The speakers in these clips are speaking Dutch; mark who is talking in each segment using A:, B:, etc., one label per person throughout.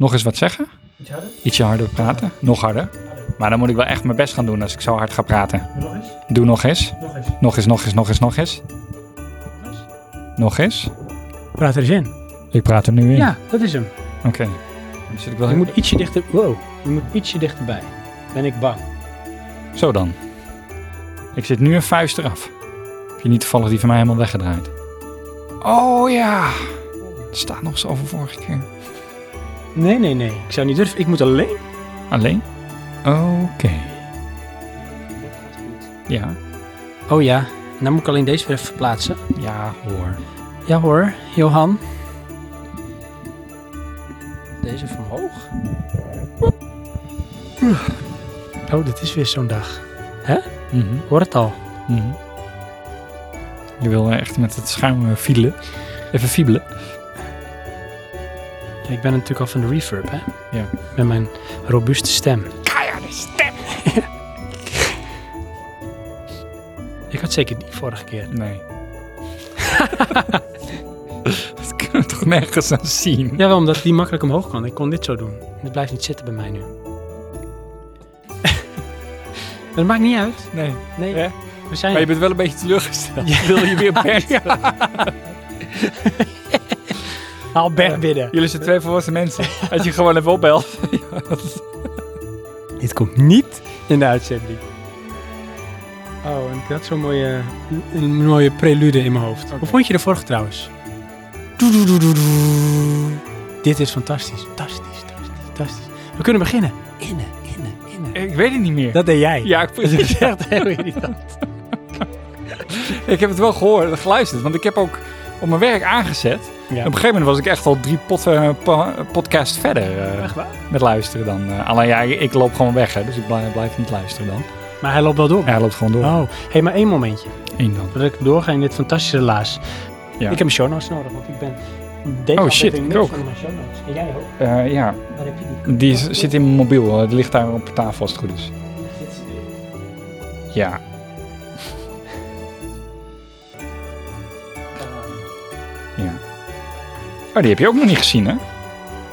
A: Nog eens wat zeggen?
B: Iets harder?
A: Ietsje harder praten? Nog harder? Maar dan moet ik wel echt mijn best gaan doen als ik zo hard ga praten.
B: Nog eens?
A: Doe nog eens.
B: Nog eens.
A: Nog eens, nog eens, nog eens, nog eens. Nog eens.
C: Praat er eens in.
A: Ik praat er nu in.
C: Ja, dat is hem.
A: Oké. Dan zit ik wel
C: Je moet ietsje dichter... Wow, je moet ietsje dichterbij. Ben ik bang.
A: Zo dan. Ik zit nu een vuist eraf. Heb je niet toevallig die van mij helemaal weggedraaid? Oh ja. Het staat nog zo van vorige keer.
C: Nee, nee, nee. Ik zou niet durven. Ik moet alleen.
A: Alleen? Oké. Ja.
C: Oh ja, dan moet ik alleen deze weer even verplaatsen.
A: Ja hoor.
C: Ja hoor, Johan. Deze even omhoog. Oh, dit is weer zo'n dag.
A: Mhm,
C: Hoor het al.
A: mhm. Je wil nou echt met het schuim eh, fiedelen. Even fiebelen.
C: Ja, ik ben natuurlijk al van de reverb, hè?
A: Ja.
C: Met mijn robuuste stem. Keiharde stem! ik had zeker die vorige keer.
A: Nee. dat kunnen we toch nergens aan zien?
C: Jawel, omdat die makkelijk omhoog kan. Ik kon dit zo doen. Het blijft niet zitten bij mij nu. maar dat maakt niet uit.
A: Nee.
C: Nee,
A: Hè?
C: we zijn...
A: Maar je bent wel een beetje teleurgesteld.
C: Ja.
A: Wil je weer Bert?
C: Haal Bert binnen.
A: Jullie zijn twee volwassen mensen. Als je gewoon even opbelt.
C: Dit komt niet in de uitzending. Oh, en ik had zo'n mooie, een mooie prelude in mijn hoofd. Hoe vond je de vorige trouwens? Doedoedoedoedoe. Dit is fantastisch. Fantastisch, fantastisch, fantastisch. We kunnen beginnen. Innen, innen, innen.
A: Ik weet het niet meer.
C: Dat deed jij.
A: Ja, ik,
C: Dat is echt heel irritant.
A: ik heb het wel gehoord, geluisterd. Want ik heb ook op mijn werk aangezet.
C: Ja.
A: Op een gegeven moment was ik echt al drie pod, eh, po- podcasts verder eh,
C: Echt waar?
A: met luisteren dan. eh. alleen ja, ik loop gewoon weg, hè, dus ik blijf, blijf niet luisteren dan.
C: Maar hij loopt wel door.
A: Ja, hij loopt gewoon door.
C: Oh, hey, maar één momentje.
A: Eén dan.
C: Dat ik doorga in dit fantastische relaas.
A: Ja.
C: Ik heb mijn show notes nodig, want ik ben... Deze
A: Oh,
C: aflevering
A: shit, ik
C: niks
A: ook.
C: van mijn show notes. En jij ook.
A: Eh, ja,
C: Waar heb je die?
A: die is- zit in mijn mobiel. eh, Die ligt daar op tafel als het goed is. Ja.
C: Ehm,
A: ja. Oh, die heb je ook nog niet gezien, hè?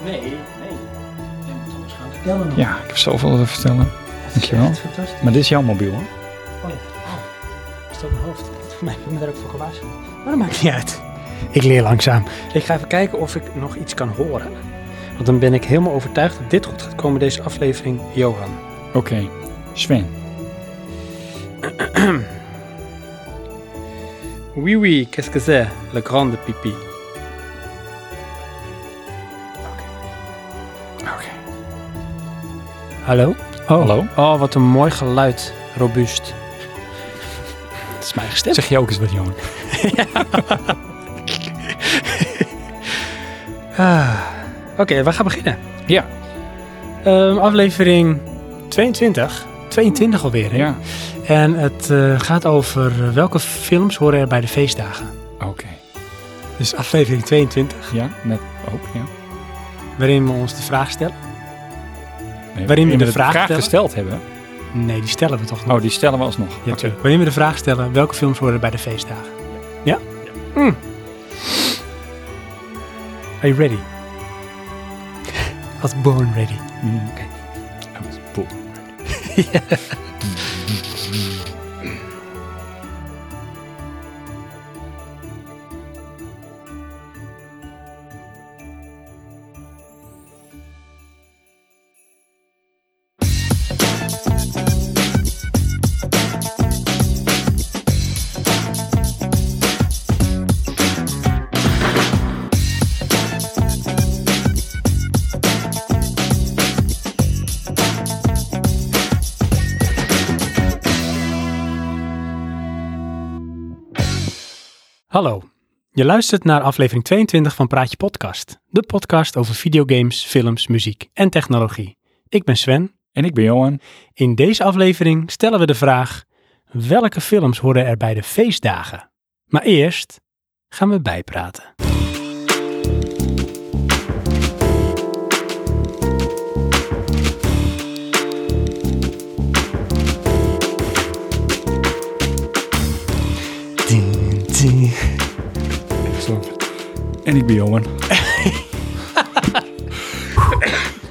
C: Nee, nee. Jij moet alles gaan vertellen.
A: Ja, ik heb zoveel te vertellen. Dankjewel.
C: fantastisch.
A: Maar dit is jouw mobiel, hè?
C: Oh, Ah, is dat mijn hoofd? Voor mij heb ik me daar ook voor gewaarschuwd. Maar dat maakt niet uit. Ik leer langzaam. Ik ga even kijken of ik nog iets kan horen. Want dan ben ik helemaal overtuigd dat dit goed gaat komen, deze aflevering, Johan.
A: Oké. Sven.
C: Oui, oui, qu'est-ce que c'est? Le grande pipi.
A: Oké.
C: Hallo? Oh.
A: Hallo?
C: Oh, wat een mooi geluid. Robuust. Dat is mijn eigen stem.
A: Zeg je ook eens wat, Johan?
C: Ah. Oké, we gaan beginnen.
A: Ja.
C: Ehm, aflevering 22. 22 alweer, hè?
A: Ja.
C: En het eh, gaat over eh, welke films horen er bij de feestdagen.
A: Oké.
C: Dus aflevering 22,
A: Ja, net ook, ja.
C: waarin we ons de vraag stellen.
A: Nee,
C: Waarin we de
A: het
C: vraag stellen.
A: gesteld hebben.
C: Nee, die stellen we toch niet.
A: Oh, die stellen we alsnog.
C: Ja, tuurlijk. Waarin we de vraag stellen, welke films horen er bij de feestdagen? Ja? Mm. Are you ready? Als born ready.
A: Mm. Dat is boel.
C: Hallo, je luistert naar aflevering 22 van Praatje Podcast. De podcast over videogames, films, muziek en technologie. Ik ben Sven.
A: En ik ben Johan.
C: In deze aflevering stellen we de vraag, welke films horen er bij de feestdagen? Maar eerst gaan we bijpraten.
A: En ik ben Johan.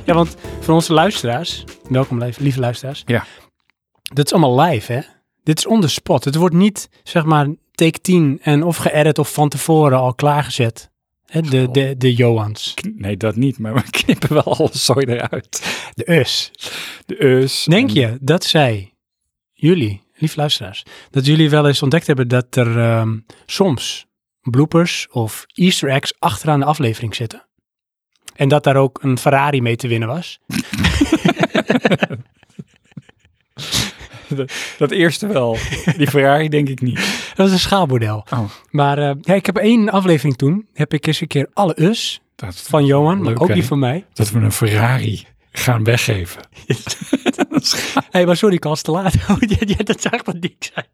C: Ja, want voor onze luisteraars, welkom lief- lieve luisteraars.
A: Ja.
C: Dit is allemaal live, hè? Dit is on the spot. Het wordt niet, zeg maar, take 10 en of geëdit of van tevoren al klaargezet. Hè, de, de, de Johans.
A: Nee, dat niet, maar we knippen wel alles zooi eruit.
C: De us.
A: De us.
C: Denk
A: en-
C: je dat zij, jullie, lief luisteraars, dat jullie wel eens ontdekt hebben dat er ehm, soms bloopers of easter eggs achteraan de aflevering zitten? En dat daar ook een Ferrari mee te winnen was?
A: Dat eerste wel. Die Ferrari denk ik niet.
C: Dat is een schaalmodel.
A: Oh.
C: Maar eh, ja, ik heb één aflevering toen, heb ik eens een keer alle us
A: Dat,
C: van Johan, maar
A: Leuk,
C: ook
A: hè?
C: die van mij.
A: dat we een Ferrari gaan weggeven. Dat is gaaf.
C: Hé, maar sorry, Kals, te laat. Oh, ja, ja, dat zag ik niet zijn.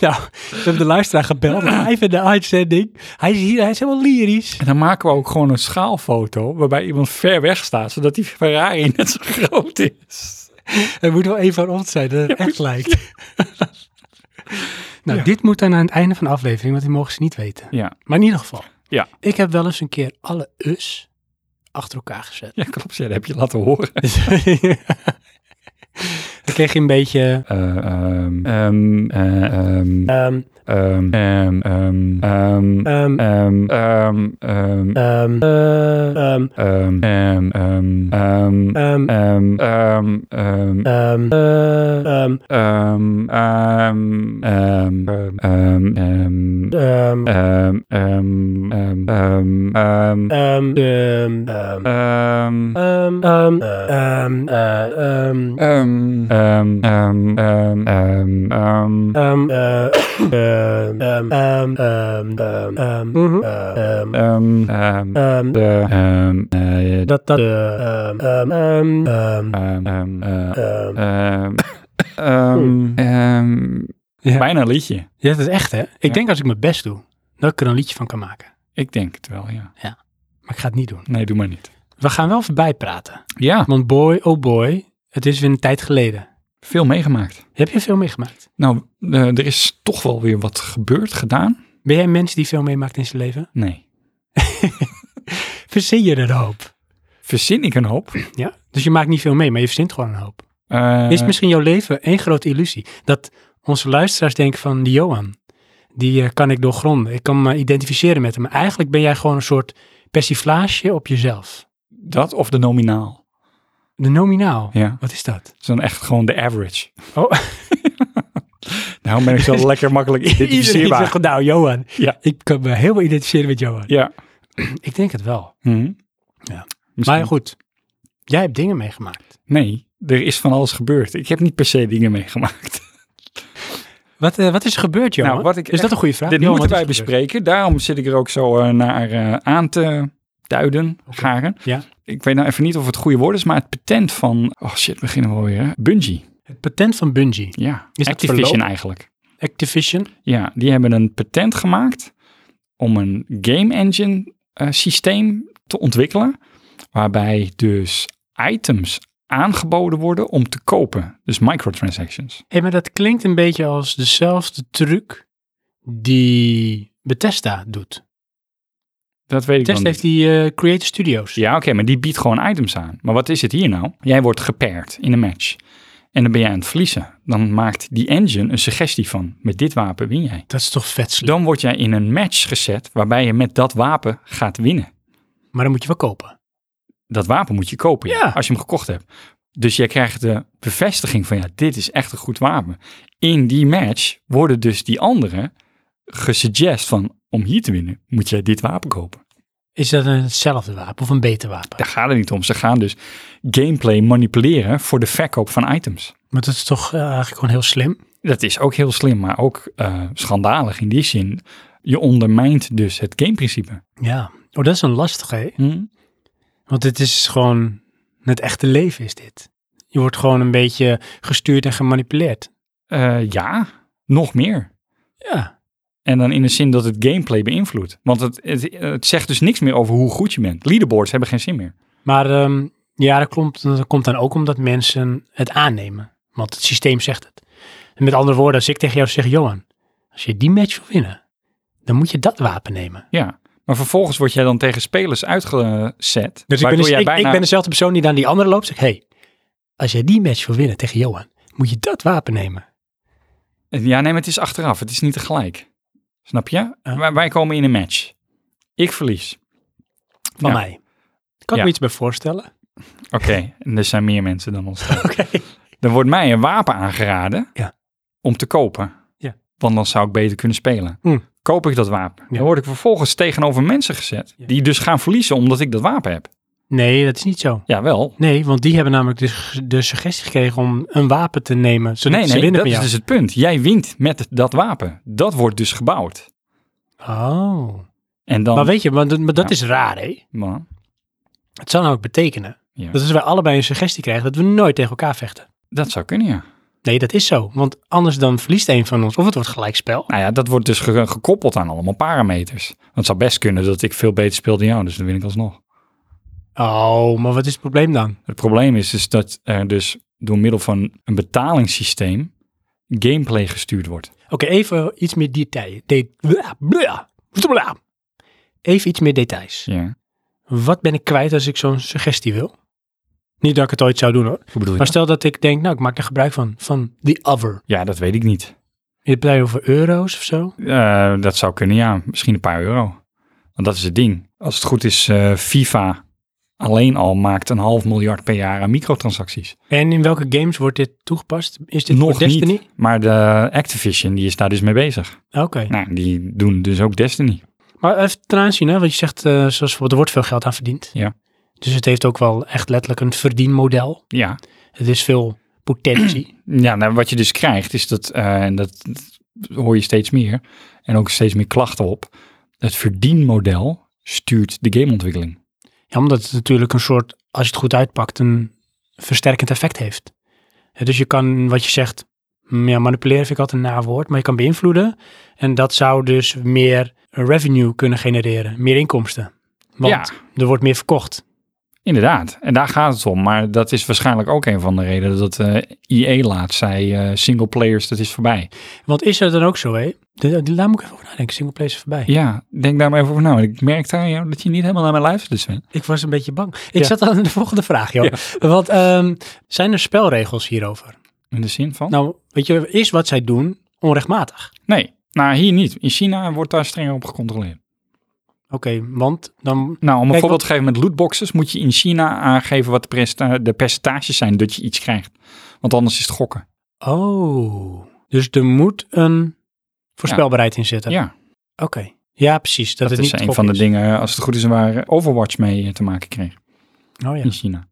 C: Nou, we hebben de luisteraar gebeld, live in de uitzending. Hij is hier, hij is helemaal lyrisch.
A: en dan maken we ook gewoon een schaalfoto waarbij iemand ver weg staat, zodat die Ferrari net zo groot is.
C: Hij moet wel één van ons zijn, dat het echt lijkt. nou,
A: Ja.
C: dit moet dan aan het einde van de aflevering, want die mogen ze niet weten.
A: Ja,
C: Maar in ieder geval,
A: Ja.
C: ik heb wel eens een keer alle us achter elkaar gezet.
A: ja klopt. Ja, dat heb je laten horen.
C: Dan kreeg je een beetje...
A: Eh, ehm, ehm, eh, ehm,
C: ehm,
A: ehm, ehm, ehm, ehm,
C: ehm,
A: ehm, ehm, ehm,
C: ehm, eh,
A: ehm, ehm, ehm,
C: ehm,
A: ehm,
C: ehm,
A: ehm, ehm, ehm,
C: ehm, eh, ehm,
A: Ehm, ehm, ehm, ehm, ehm, ehm, ehm,
C: ehm,
A: ehm, ehm, ehm, ehm,
C: ehm, ehm, ehm,
A: ehm,
C: ehm, ehm, ehm, eh, ehm,
A: ehm, ehm, ehm, ehm, ehm, ehm,
C: ehm, eh, ehm, ehm, ehm, ehm, ehm, ehm, eh, ehm,
A: ehm, ehm,
C: ehm,
A: de, ehm, eh,
C: dat dat eh, ehm, ehm, ehm, ehm,
A: ehm, ehm, eh,
C: ehm.
A: ehm, ehm, ehm.
C: Ja.
A: Bijna liedje.
C: Ja, dat is echt hè. Ik
A: Ja.
C: denk als ik mijn best doe, dat ik er een liedje van kan maken.
A: Ik denk het wel, ja.
C: Maar ik ga het niet doen.
A: Nee, doe maar niet.
C: We gaan wel voorbij praten.
A: Ja,
C: Want boy, oh boy, het is weer een tijd geleden.
A: veel meegemaakt.
C: Heb je veel meegemaakt?
A: Nou, eh, er is toch wel weer wat gebeurd, gedaan.
C: Ben jij een mens die veel meemaakt in zijn leven?
A: Nee.
C: Verzin je er een hoop?
A: Verzin ik een hoop.
C: Ja? Dus je maakt niet veel mee, maar je verzint gewoon een hoop.
A: Eh,
C: Is misschien jouw leven één grote illusie? Dat onze luisteraars denken van, die Johan, die eh, kan ik doorgronden. Ik kan me identificeren met hem. Maar eigenlijk ben jij gewoon een soort persiflage op jezelf.
A: Dat of de nominaal?
C: De nominaal.
A: Ja.
C: Wat is dat?
A: Dus dan echt gewoon de average.
C: Oh.
A: nou ben ik zo lekker makkelijk
C: Iedereen zegt
A: identificeerbaar.
C: gewoon, nou Johan,
A: Ja.
C: ik kan me helemaal identificeren met Johan.
A: Ja.
C: Ik denk het wel.
A: Hm.
C: Ja.
A: Misschien-
C: Maar goed, jij hebt dingen meegemaakt.
A: Nee, er is van alles gebeurd. Ik heb niet per se dingen meegemaakt.
C: Wat, eh, wat is er gebeurd, Johan?
A: Nou, wat ik
C: is dat
A: echt-
C: een goede vraag?
A: Dit
C: Johan,
A: moeten
C: wat
A: wij
C: is er gebeurd?
A: bespreken. Daarom zit ik er ook zo eh, naar eh, aan te duiden, garen.
C: Ja.
A: Ik weet nou even niet of het goede woord is, maar het patent van... Oh shit, beginnen we alweer. hè? Bungie,
C: Het patent van Bungie,
A: ja.
C: Is dat
A: Activision
C: verlopen?
A: eigenlijk.
C: Activision.
A: Ja, die hebben een patent gemaakt om een game engine eh, systeem te ontwikkelen. Waarbij dus items aangeboden worden om te kopen. Dus microtransactions.
C: Hé, maar dat klinkt een beetje als dezelfde truc die Bethesda doet.
A: Dat weet ik
C: Bethesda
A: wel niet.
C: heeft die eh, Creator Studios.
A: Ja, oké, maar die biedt gewoon items aan. Maar wat is het hier nou? Jij wordt gepaired in een match. En dan ben jij aan het verliezen. Dan maakt die engine een suggestie van, met dit wapen win jij. Dus
C: Dat is toch vet slim.
A: Dan word jij in een match gezet waarbij je met dat wapen gaat winnen.
C: Maar dan moet je wel kopen.
A: dat wapen moet je kopen ja,
C: Ja.
A: als je hem gekocht hebt. Dus jij krijgt de bevestiging van ja, dit is echt een goed wapen. In die match worden dus die anderen gesuggest van om hier te winnen moet jij dit wapen kopen.
C: Is dat een hetzelfde wapen of een beter wapen?
A: Daar gaat het niet om. Ze gaan dus gameplay manipuleren voor de verkoop van items.
C: Maar dat is toch eh, eigenlijk gewoon heel slim?
A: Dat is ook heel slim, maar ook eh, schandalig in die zin. Je ondermijnt dus het gameprincipe.
C: Ja. Oh, dat is een lastige, hè?
A: Hm?
C: Want het is gewoon... Het echte leven is dit. Je wordt gewoon een beetje gestuurd en gemanipuleerd.
A: Eh, ja, nog meer.
C: Ja.
A: En dan in de zin dat het gameplay beïnvloedt. Want het, het, het zegt dus niks meer over hoe goed je bent. Leaderboards hebben geen zin meer.
C: Maar ehm, ja, dat komt, dat komt dan ook omdat mensen het aannemen. Want het systeem zegt het. En met andere woorden, als ik tegen jou zeg, Johan, als je die match wil winnen, dan moet je dat wapen nemen.
A: Ja. Maar vervolgens word jij dan tegen spelers uitgezet.
C: Dus ik ben,
A: waardoor
C: dus,
A: jij
C: ik,
A: bijna-
C: ik ben dezelfde persoon die dan die andere loopt. Zeg, hey, als jij die match wil winnen tegen Johan, moet je dat wapen nemen. dus-
A: Ja, nee, maar het is achteraf. Het is niet tegelijk. Snap je?
C: Ja.
A: Wij- Wij komen in een match. Ik verlies.
C: Van
A: Ja.
C: mij. Kan ik
A: Ja.
C: me iets bij voorstellen?
A: Oké, en er zijn meer mensen dan ons.
C: Oké.
A: Er wordt mij een wapen aangeraden
C: Ja.
A: om te kopen.
C: Ja.
A: Want dan zou ik beter kunnen spelen.
C: Hm.
A: Koop ik dat wapen.
C: Ja.
A: Dan word ik vervolgens tegenover mensen gezet.
C: Ja.
A: Die dus gaan verliezen omdat ik dat wapen heb.
C: Nee, dat is niet zo.
A: Jawel.
C: Nee, want die hebben namelijk dus de suggestie gekregen om een wapen te nemen, zodat
A: Nee,
C: ze
A: nee,
C: winnen
A: dat is
C: van jou.
A: dus het punt. Jij wint met dat wapen. Dat wordt dus gebouwd.
C: Oh.
A: En dan...
C: Maar weet je, want, dat- maar dat
A: dus- Ja.
C: is raar, hè?
A: Man,
C: Het zou nou ook betekenen
A: Ja.
C: dat als wij allebei een suggestie krijgen dat we nooit tegen elkaar vechten.
A: dat zou kunnen, ja.
C: Nee, dat is zo. Want anders dan verliest een van ons of het wordt gelijkspel.
A: Nou ja, dat wordt dus ge- gekoppeld aan allemaal parameters. Want het zou best kunnen dat ik veel beter speel dan jou, dus dan win ik alsnog.
C: Oh, maar wat is het probleem dan?
A: Het probleem is dus dat er dus door middel van een betalingssysteem gameplay gestuurd wordt.
C: Oké, even iets meer detail. De- bla, bla, bla. Even iets meer details.
A: Ja.
C: Wat ben ik kwijt als ik zo'n suggestie wil? Niet dat ik het ooit zou doen hoor.
A: Hoe bedoel je?
C: Maar stel dat ik denk, nou, ik maak er gebruik van, van the other.
A: Ja, dat weet ik niet.
C: Je hebt het over euro's of zo.
A: Eh, dat zou kunnen, ja. Misschien een paar euro. Want dat is het ding. Als het goed is, eh, FIFA alleen al maakt een half miljard per jaar aan microtransacties.
C: En in welke games wordt dit toegepast? Is dit
A: Nog
C: voor Destiny?
A: niet. Maar de Activision, die is daar dus mee bezig.
C: Oké.
A: Nou, die doen dus ook Destiny.
C: Maar even ten aanzien, hè, want je zegt, eh, zoals bijvoorbeeld, er wordt veel geld aan verdiend.
A: Ja.
C: Dus het heeft ook wel echt letterlijk een verdienmodel.
A: Ja.
C: Het is veel potentie.
A: Ja, nou, wat je dus krijgt is dat, eh, en dat dat hoor je steeds meer, en ook steeds meer klachten op, het verdienmodel stuurt de gameontwikkeling.
C: ja, omdat het natuurlijk een soort, als je het goed uitpakt, een versterkend effect heeft. Ja, dus je kan, wat je zegt, mm, ja, manipuleren vind ik altijd een nawoord, maar je kan beïnvloeden. En dat zou dus meer revenue kunnen genereren, meer inkomsten. Want
A: Ja.
C: er wordt meer verkocht.
A: Inderdaad, en daar gaat het om. Maar dat is waarschijnlijk ook een van de redenen dat eh EA laat zei, eh single players, dat is voorbij.
C: Want is dat dan ook zo, hè? De- de- Daar moet ik even over nadenken. Singleplay is voorbij.
A: Ja, denk daar maar even over na. want Ik merk daar jou dat je niet helemaal naar mij luistert, Sven.
C: Ik was een beetje bang. Ik
A: Ja.
C: zat aan de volgende vraag, joh. Want ehm, zijn er spelregels hierover?
A: In de zin van?
C: Nou, weet je, is wat zij doen onrechtmatig?
A: Nee, nou hier niet. In China wordt daar strenger op gecontroleerd.
C: Oké, want dan...
A: Nou, om een
C: Kijk,
A: voorbeeld te geven met lootboxes, moet je in China aangeven wat de, presta- de percentages zijn dat je iets krijgt. Want anders is het gokken.
C: Oh, dus er moet een voorspelbaarheid in zitten.
A: Ja,
C: Oké. Ja, precies. Dat,
A: dat
C: het
A: is
C: niet
A: een
C: gok
A: van de
C: is.
A: dingen, eh, als het goed is, waar Overwatch mee eh, te maken kreeg
C: Oh ja.
A: in China.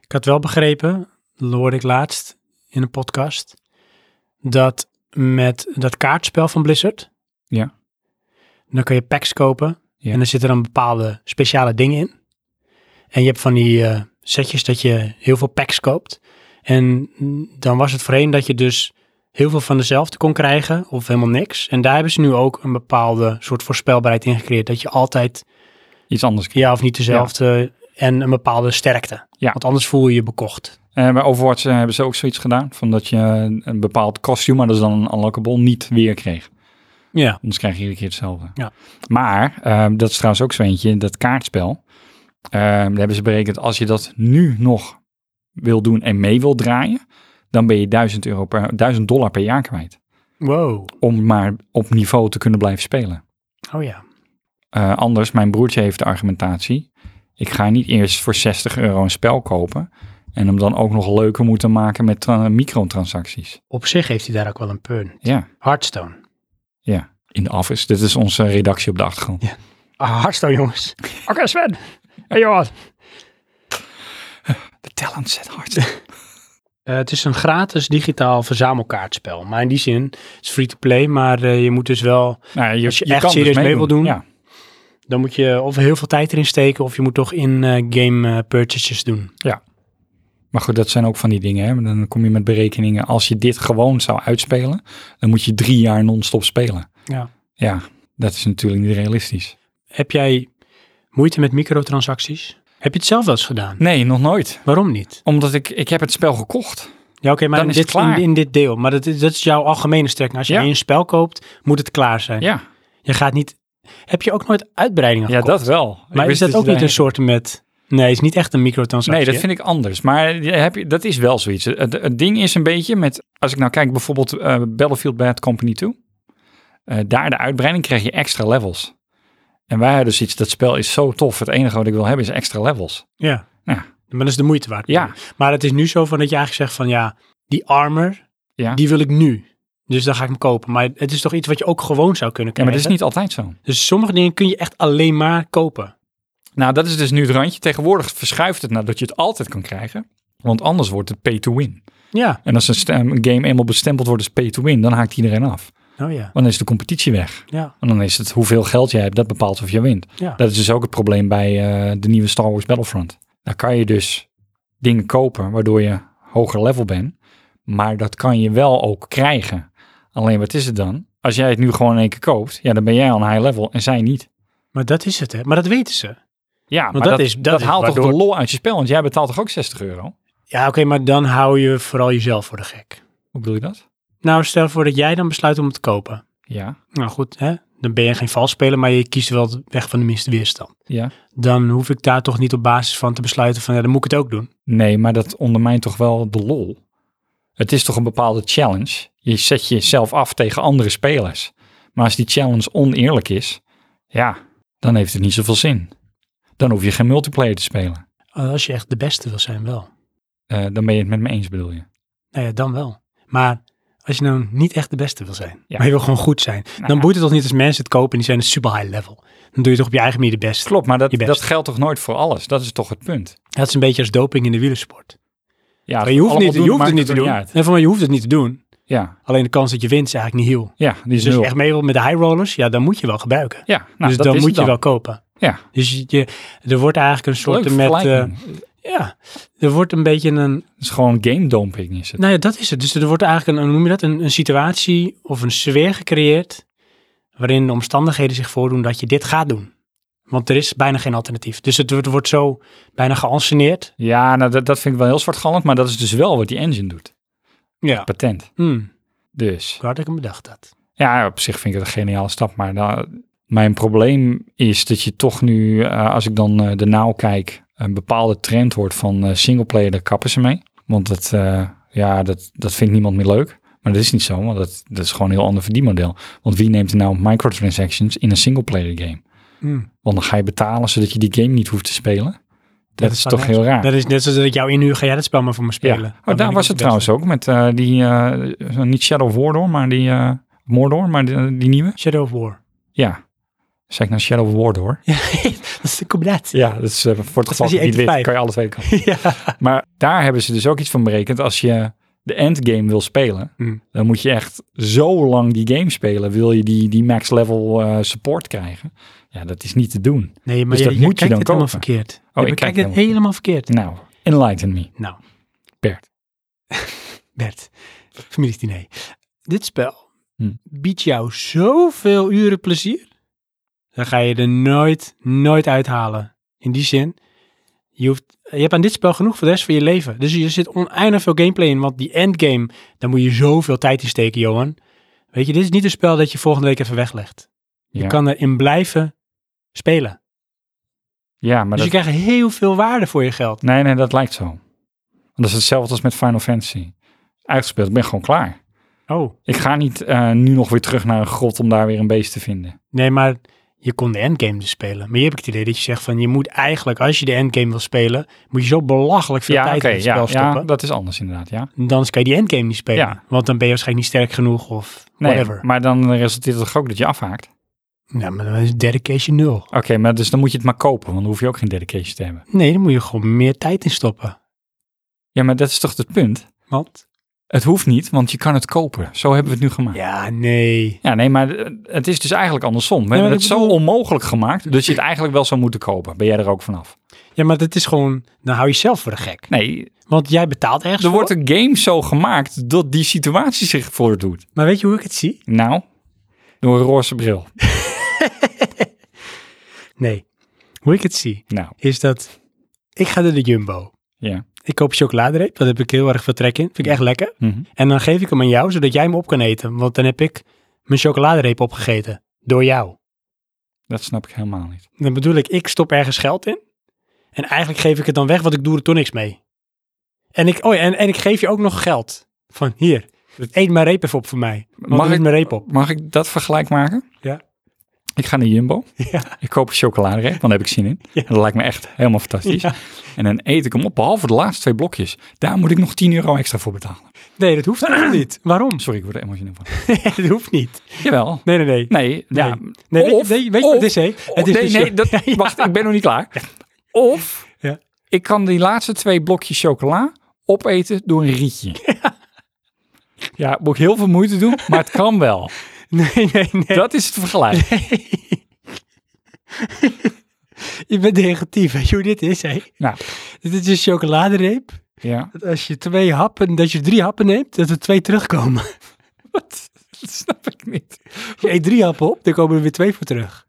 C: Ik had wel begrepen, dat hoorde ik laatst in een podcast, dat met dat kaartspel van Blizzard,
A: Ja.
C: dan kun je packs kopen
A: Ja.
C: en dan zitten dan bepaalde speciale dingen in. En je hebt van die eh, setjes dat je heel veel packs koopt. En mm, dan was het voorheen dat je dus heel veel van dezelfde kon krijgen of helemaal niks. En daar hebben ze nu ook een bepaalde soort voorspelbaarheid in gecreëerd. Dat je altijd
A: Iets anders.
C: ja of niet dezelfde en een bepaalde sterkte.
A: Ja.
C: Want anders voel je je bekocht.
A: Eh, bij Overwatch eh, hebben ze ook zoiets gedaan, van dat je een- een bepaald kostuum, maar dat is dan een unlockable, niet weer kreeg.
C: Ja.
A: Anders krijg je iedere keer hetzelfde.
C: Ja.
A: Maar, eh, dat is trouwens ook zo eentje, dat kaartspel. eh, daar hebben ze berekend, als je dat nu nog wil doen en mee wil draaien, dan ben je 1000, euro per, 1000 dollar per jaar kwijt.
C: Wow.
A: om maar op niveau te kunnen blijven spelen.
C: Oh ja.
A: Eh, anders, mijn broertje heeft de argumentatie. Ik ga niet eerst voor 60 euro een spel kopen en hem dan ook nog leuker moeten maken met eh, microtransacties.
C: Op zich heeft hij daar ook wel een punt.
A: Ja,
C: Hearthstone.
A: ja. In de office. Dit is onze redactie op de achtergrond.
C: Ah, Hearthstone, jongens. Oké, Sven. Hey, Johan.
A: De talent zet hard.
C: Eh, het is een gratis digitaal verzamelkaartspel. Maar in die zin, het is free-to-play, maar eh, je moet dus wel...
A: nou,
C: Als je echt serieus mee wil doen.
A: Ja.
C: Dan moet je of heel veel tijd erin steken, of je moet toch in eh, game eh, purchases doen.
A: Maar goed, dat zijn ook van die dingen. Hè? Dan kom je met berekeningen. Als je dit gewoon zou uitspelen, dan moet je drie jaar non-stop spelen.
C: Ja.
A: Ja, dat is natuurlijk niet realistisch.
C: Heb jij moeite met microtransacties? Heb je het zelf wel eens gedaan?
A: Nee, nog nooit.
C: Waarom niet?
A: Omdat ik, ik heb het spel gekocht.
C: Ja, oké, maar
A: Dan
C: in
A: is het
C: dit, in,
A: klaar.
C: in dit deel. Maar dat, is- dat is jouw algemene strekking. Als je
A: Ja.
C: één spel koopt, moet het klaar zijn.
A: Ja,
C: Je gaat niet Heb je ook nooit uitbreidingen
A: Ja,
C: gekocht?
A: dat wel. Ik
C: Maar is
A: wist
C: dat ook
A: je
C: niet
A: daar-
C: een soort met... Nee, het is niet echt een microtransactie.
A: Nee, dat vind ik anders. Maar je- heb je, dat is wel zoiets. Het, het ding is een beetje met... Als ik nou kijk bijvoorbeeld eh, Battlefield Bad Company 2. eh, daar de uitbreiding krijg je extra levels. En wij hadden dus iets, dat spel is zo tof. Het enige wat ik wil hebben is extra levels.
C: Ja.
A: Ja.
C: Maar dat is de moeite waard.
A: Ja.
C: Maar het is nu zo van dat je eigenlijk zegt van ja, die armor,
A: Ja.
C: die wil ik nu. Dus dan ga ik hem kopen. Maar het is toch iets wat je ook gewoon zou kunnen
A: Ja, maar
C: krijgen.
A: dat is niet altijd zo.
C: Dus sommige dingen kun je echt alleen maar kopen.
A: Nou, dat is dus nu het randje. Tegenwoordig verschuift het naar dat je het altijd kan krijgen. Want anders wordt het pay to win.
C: Ja.
A: En als een stem- een game eenmaal bestempeld wordt als pay to win, dan haakt iedereen af.
C: Oh ja.
A: Want dan is de competitie weg.
C: Ja.
A: En dan is het hoeveel geld jij hebt, dat bepaalt of je wint.
C: Ja.
A: Dat is dus ook het probleem bij eh, de nieuwe Star Wars Battlefront. Daar kan je dus dingen kopen waardoor je hoger level bent. Maar dat kan je wel ook krijgen. Alleen wat is het dan? Als jij het nu gewoon in één keer koopt, ja, dan ben jij al een high level en zij niet.
C: Maar dat is het, hè? Maar dat weten ze.
A: Ja, maar
C: dat
A: dat,
C: is-
A: is,
C: dat
A: dat,
C: is
A: haalt toch
C: waardoor-
A: de lol uit je spel? Want jij betaalt toch ook 60 euro?
C: Ja, oké, maar dan hou je vooral jezelf voor de gek.
A: Hoe bedoel je dat?
C: Nou, stel voor dat jij dan besluit om het te kopen.
A: Ja,
C: Nou goed, hè? Dan ben je geen vals speler, maar je kiest wel de weg van de minste weerstand.
A: ja.
C: Dan hoef ik daar toch niet op basis van te besluiten van ja, dan moet ik het ook doen.
A: Nee, maar dat ondermijnt toch wel de lol? Het is toch een bepaalde challenge? Je zet jezelf af tegen andere spelers. Maar als die challenge oneerlijk is, ja, dan heeft het niet zoveel zin. Dan hoef je geen multiplayer te spelen.
C: Eh, Als je echt de beste wil zijn, wel.
A: Eh, dan ben je het met me eens, bedoel je?
C: Nou ja, dan wel. Maar als je nou niet echt de beste wil zijn,
A: Ja. Nou
C: maar je wil gewoon goed zijn, dan boeit het toch niet als mensen het kopen en die zijn een super high level. Dan doe je toch op je eigen manier de beste.
A: Klopt, maar dat,
C: Je best.
A: dat geldt toch nooit voor alles? Dat is toch het punt?
C: Dat is een beetje als doping in de wielersport.
A: Ja,
C: Maar je hoeft,
A: allemaal
C: niet, je
A: doen,
C: hoeft het
A: maakt
C: niet te doen.
A: er
C: En
A: uit.
C: van mij, je hoeft het niet te doen.
A: Ja,
C: Alleen de kans dat je wint is eigenlijk niet heel.
A: ja, die is
C: Dus als je
A: nul.
C: echt mee wil met de high rollers, ja, dan moet je wel gebruiken.
A: Ja, nou,
C: dus
A: dat
C: dan
A: is
C: moet
A: het
C: je wel kopen.
A: Ja,
C: Dus je, je- er wordt eigenlijk een soort
A: leuk
C: met. eh,
A: vergelijking.
C: ja, er wordt een beetje een.
A: Het is gewoon game dumping is het.
C: Nou ja, dat is het. Dus er wordt eigenlijk een, hoe noem je dat, een, een situatie of een sfeer gecreëerd waarin de omstandigheden zich voordoen dat je dit gaat doen. Want er is bijna geen alternatief. Dus het wordt, wordt zo bijna geanceneerd.
A: Ja, nou, dat, dat vind ik wel heel zwartgallig, maar dat is dus wel wat die engine doet.
C: Ja.
A: Patent.
C: Hmm,
A: Dus
C: hoe had ik hem bedacht dat?
A: ja, op zich vind ik het een geniale stap, maar nou, mijn probleem is dat je toch nu, eh, als ik dan eh de nauw kijk, een bepaalde trend hoort van eh singleplayer, daar kappen ze mee. Want dat, eh, ja, dat, dat vindt niemand meer leuk. Maar dat is niet zo, want dat, dat is gewoon een heel ander verdienmodel. Want wie neemt er nou microtransactions in een singleplayer game?
C: Hmm,
A: Want dan ga je betalen zodat je die game niet hoeft te spelen. Dat,
C: dat
A: is
C: kan
A: toch
C: niet.
A: heel raar.
C: Dat is net zoals dat ik jou inhuur, ga jij dat spel maar voor me spelen. Dan
A: Ja.
C: ben
A: Oh, daar
C: ik
A: was
C: de
A: het trouwens
C: beste.
A: ook met eh, die, eh, niet Shadow of War door, maar die, eh, Mordor, maar die, die nieuwe.
C: Shadow of War.
A: Ja, zeg ik nou Shadow of War door?
C: Ja, dat is de combinatie.
A: Ja, dat is eh, voor het geval dat
C: was
A: je
C: die E
A: het niet weet,
C: 1-5.
A: kan je alle twee kanten.
C: Ja.
A: Maar daar hebben ze dus ook iets van berekend. Als je de endgame wil spelen,
C: Hmm.
A: dan moet je echt zo lang die game spelen. Wil je die, die max level eh, support krijgen? Ja, dat is niet te doen.
C: Nee, maar
A: Dus
C: je,
A: dat
C: je
A: moet je
C: kijkt
A: dan
C: het helemaal
A: kopen.
C: verkeerd. Oh,
A: ik
C: je
A: kijk
C: kijkt het
A: helemaal-
C: helemaal verkeerd.
A: Nou, enlighten me.
C: Nou.
A: Bert.
C: Bert, familiediner. Dit spel
A: Hm.
C: biedt jou zoveel uren plezier. Dan ga je er nooit, nooit uithalen. In die zin, je, hoeft, je hebt aan dit spel genoeg voor de rest van je leven. Dus er zit oneindig veel gameplay in. Want die endgame, daar moet je zoveel tijd in steken, Johan. Weet je, dit is niet een spel dat je volgende week even weglegt.
A: Ja.
C: Je kan erin blijven spelen.
A: Ja, maar
C: dus
A: dat,
C: je krijgt heel veel waarde voor je geld.
A: Nee, nee, dat lijkt zo. Want dat is hetzelfde als met Final Fantasy. Uitgespeeld, ik ben gewoon klaar.
C: Oh.
A: Ik ga niet eh, nu nog weer terug naar een grot om daar weer een beest te vinden.
C: Nee, maar je kon de endgame dus spelen. Maar hier heb ik het idee dat je zegt van je moet eigenlijk, als je de endgame wil spelen, moet je zo belachelijk veel tijd
A: oké,
C: in het
A: ja,
C: spel
A: ja,
C: stoppen.
A: dat is anders inderdaad, ja.
C: Dan kan je die endgame niet spelen.
A: Ja.
C: Want dan ben je waarschijnlijk niet sterk genoeg of
A: Nee,
C: whatever.
A: maar dan resulteert het toch ook dat je afhaakt.
C: Nou, maar dan is dedication nul.
A: Oké, maar dus dan moet je het maar kopen, want dan hoef je ook geen dedication te hebben.
C: Nee, dan moet je gewoon meer tijd in stoppen.
A: Ja, maar dat is toch het punt?
C: Want?
A: Het hoeft niet, want je kan het kopen. Zo hebben we het nu gemaakt. Ja,
C: Ja, nee.
A: nee, maar eh, het is dus eigenlijk andersom. We
C: maar
A: hebben
C: ik
A: het zo onmogelijk gemaakt, dat je het eigenlijk wel zou moeten kopen. Ben jij er ook vanaf?
C: Ja, maar dat is gewoon, dan hou je zelf voor de gek.
A: Nee,
C: Want jij betaalt ergens
A: er
C: voor.
A: wordt een game zo gemaakt dat die situatie zich voordoet.
C: Maar weet je hoe ik het zie?
A: Nou, door een roze bril.
C: Nee. Hoe ik het zie,
A: Nou,
C: is dat ik ga naar de Jumbo.
A: ja.
C: Ik koop chocoladereep, daar heb ik heel erg veel trek in. Vind ik echt lekker.
A: Mhm.
C: En dan geef ik hem aan jou, zodat jij hem op kan eten. Want dan heb ik mijn chocoladereep opgegeten. Door jou.
A: Dat snap ik helemaal niet.
C: Dan bedoel ik, ik stop ergens geld in. En eigenlijk geef ik het dan weg, want ik doe er toch niks mee. En ik, oh ja, en, en ik geef je ook nog geld. Van hier, eet maar reep even op voor mij.
A: Mag
C: Mag ik
A: ik-
C: mijn reep op?
A: Mag ik dat vergelijk maken?
C: Ja.
A: Ik ga naar Jumbo.
C: Ja.
A: Ik koop een chocoladereep, want daar heb ik zin in.
C: Ja.
A: En dat lijkt me echt helemaal fantastisch.
C: Ja.
A: En dan eet ik hem op, behalve de laatste twee blokjes. Daar moet ik nog 10 euro extra voor betalen.
C: Nee, dat hoeft eigenlijk niet. Waarom?
A: Sorry, ik word er emotioneel van.
C: dat hoeft niet.
A: Jawel.
C: Nee, nee, nee.
A: Nee, ja.
C: Nee, weet-
A: of,
C: nee, weet je wat het is, hè?
A: of-
C: Het is
A: nee,
C: dus-
A: nee, dat,
C: Ja, ja.
A: wacht, ik ben nog niet klaar. Of
C: Ja.
A: ik kan die laatste twee blokjes chocola opeten door een rietje. Ja, moet ik heel veel moeite doen, maar het kan wel.
C: Nee, nee, nee.
A: Dat is het vergelijk.
C: Je bent negatief, weet je hoe dit is, hè?
A: Nou,
C: Dit is een chocoladereep.
A: ja.
C: Dat als je twee happen, dat je drie happen neemt, dat er twee terugkomen.
A: Wat? Dat snap ik niet.
C: Je eet drie happen op, dan komen er weer twee voor terug.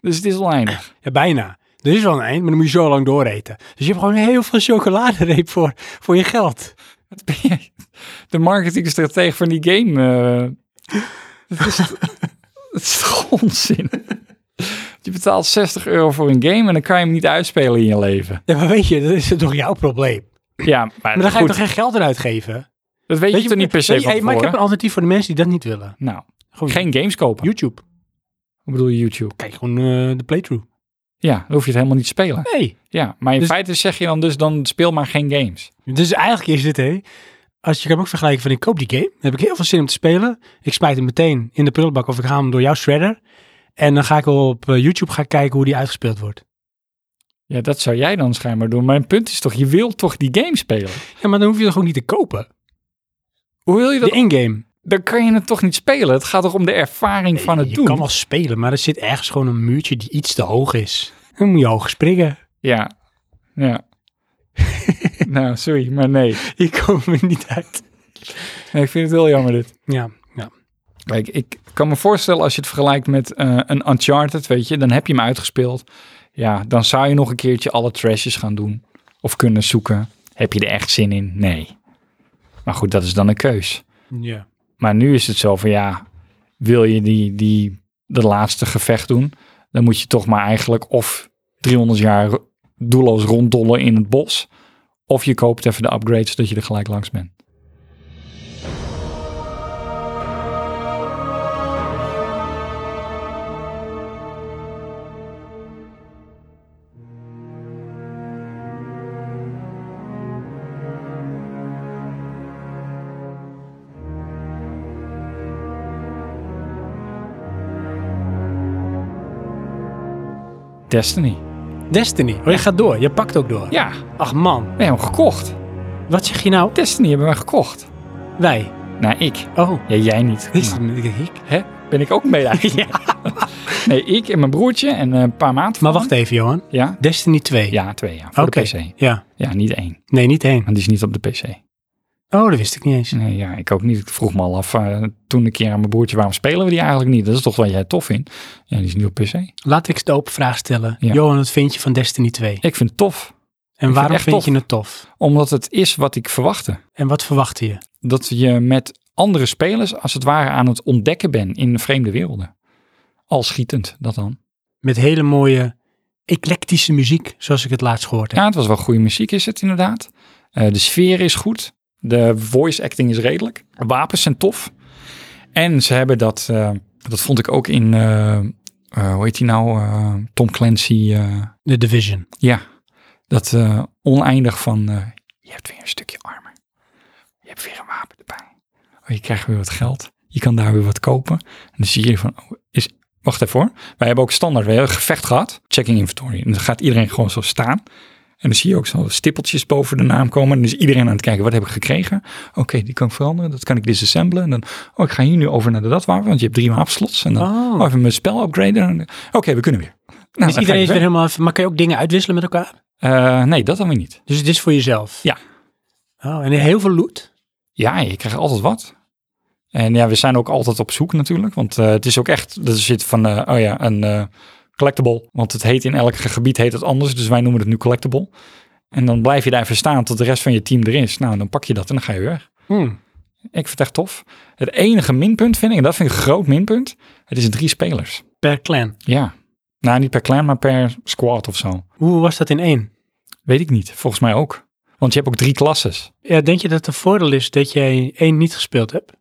A: Dus het is oneindig.
C: Ja, bijna. Er is wel een eind, maar dan moet je zo lang dooreten. Dus je hebt gewoon heel veel chocoladereep voor, voor je geld.
A: Wat ben jij? De marketingstratege van die game. eh, dat, is, dat is toch onzin? Je betaalt 60 euro voor een game en dan kan je hem niet uitspelen in je leven.
C: Ja, maar weet je, dat is toch jouw probleem?
A: Ja, maar,
C: Maar dan ga je
A: goed,
C: toch geen geld eruit geven?
A: dat weet, je toch niet per se
C: weet je-
A: van
C: hey, Maar ik heb
A: tevoren?
C: een alternatief voor de mensen die dat niet willen.
A: Nou,
C: Gewoon
A: geen games kopen.
C: YouTube.
A: Ik bedoel je YouTube.
C: Kijk gewoon eh, de playthrough.
A: Ja, dan hoef je het helemaal niet te spelen.
C: Nee.
A: Ja, maar in
C: Dus-
A: feite zeg je dan dus, dan speel maar geen games.
C: Dus eigenlijk is dit, hé. Als je kan ook vergelijken van ik koop die game, dan heb ik heel veel zin om te spelen. Ik smijt hem meteen in de prullenbak of ik haal hem door jouw shredder. En dan ga ik wel op eh, YouTube gaan kijken hoe die uitgespeeld wordt.
A: Ja, dat zou jij dan schijnbaar doen. Mijn punt is toch, je wil toch die game spelen?
C: Ja, maar dan hoef je er gewoon niet te kopen.
A: Hoe wil je dat?
C: De in-game.
A: Dan kan je het toch niet spelen? Het gaat toch om de ervaring van het
C: je
A: doen?
C: kan wel spelen, maar er zit ergens gewoon een muurtje die iets te hoog is. Dan moet je hoog springen.
A: Ja, ja. nou, sorry, maar nee.
C: Ik kom er niet uit.
A: Nee, Ik vind het heel jammer dit.
C: Ja, ja.
A: Kijk, ik kan me voorstellen als je het vergelijkt met eh, een Uncharted, weet je. Dan heb je hem uitgespeeld. Ja, dan zou je nog een keertje alle trashes gaan doen. Of kunnen zoeken. Heb je er echt zin in? Nee. Maar goed, dat is dan een keus.
C: ja.
A: Maar nu is het zo van ja, wil je die, die, de laatste gevecht doen, dan moet je toch maar eigenlijk of 300 jaar doelloos ronddollen in het bos, of je koopt even de upgrades zodat je er gelijk langs bent. Destiny.
C: Destiny. Oh, je gaat door. Je pakt ook door.
A: Ja,
C: Ach man,
A: we hebben hem gekocht.
C: wat zeg je nou?
A: Destiny hebben wij gekocht.
C: Wij.
A: Nou, ik.
C: Oh,
A: Ja, jij niet.
C: is
A: Nou,
C: het ik?
A: hè? Ben ik ook mee eigenlijk? Nee, ik en mijn broertje en eh, een paar maanden.
C: Maar wacht even, Johan.
A: Ja?
C: Destiny 2.
A: Ja, twee jaar.
C: Oké.
A: Voor de PC.
C: Ja.
A: Ja, niet één.
C: Nee, niet één.
A: Want die is niet op de PC.
C: Oh, dat wist ik niet eens.
A: Nee, ja, ik ook niet. Ik vroeg me al af eh, toen een keer aan mijn broertje, waarom spelen we die eigenlijk niet? Dat is toch wat jij tof vindt. Ja, die is niet op PC.
C: Laat ik de open vraag stellen.
A: Ja.
C: Johan, wat vind je van Destiny 2?
A: Ik vind het tof,
C: En waarom
A: echt
C: vind
A: tof.
C: je het tof?
A: omdat het is wat ik verwachtte.
C: En wat verwachtte je?
A: Dat je met andere spelers als het ware aan het ontdekken bent in vreemde werelden. Al schietend, dat dan.
C: Met hele mooie eclectische muziek, zoals ik het laatst gehoord heb.
A: Ja, het was wel goede muziek, is het inderdaad. Eh, de sfeer is goed. De voice acting is redelijk. Wapens zijn tof. En ze hebben dat, eh, dat vond ik ook in, eh, eh, hoe heet die nou? Eh, Tom Clancy. eh,
C: The Division.
A: Ja, dat eh, oneindig van, eh, je hebt weer een stukje armer. Je hebt weer een wapen erbij. Oh, je krijgt weer wat geld. Je kan daar weer wat kopen. En dan zie je van, oh, is, wacht even hoor. Wij hebben ook standaard, we hebben een gevecht gehad. Checking inventory. En dan gaat iedereen gewoon zo staan. En dan zie je ook zo stippeltjes boven de naam komen. En dan is iedereen aan het kijken, wat heb ik gekregen? Oké, die kan ik veranderen. Dat kan ik disassemblen. En dan, oh, ik ga hier nu over naar dat wapen. Want je hebt drie wapenslots. En dan,
C: Oh.
A: oh, even mijn spel upgraden. En dan, Oké, we kunnen weer. Nou, dan
C: dus
A: ga
C: iedereen
A: ik
C: is weer helemaal... even- Maar kan je ook dingen uitwisselen met elkaar?
A: Eh, nee, dat dan weer niet.
C: Dus het is voor jezelf?
A: Ja.
C: Oh, en heel veel loot?
A: Ja, je krijgt altijd wat. En ja, we zijn ook altijd op zoek natuurlijk. Want eh, het is ook echt, er zit van, eh, oh ja, een eh, collectible. Want het heet in elk gebied heet het anders. Dus wij noemen het nu collectible. En dan blijf je daar even staan tot de rest van je team er is. Nou, dan pak je dat en dan ga je weer weg.
C: Hmm.
A: Ik vind het echt tof. Het enige minpunt vind ik, en dat vind ik een groot minpunt, het is drie spelers.
C: Per clan.
A: Ja, Nou, niet per clan, maar per squad of zo.
C: Hoe was dat in één?
A: Weet ik niet. Volgens mij ook. Want je hebt ook drie klasses.
C: Ja, denk je dat het een voordeel is dat jij één niet gespeeld hebt?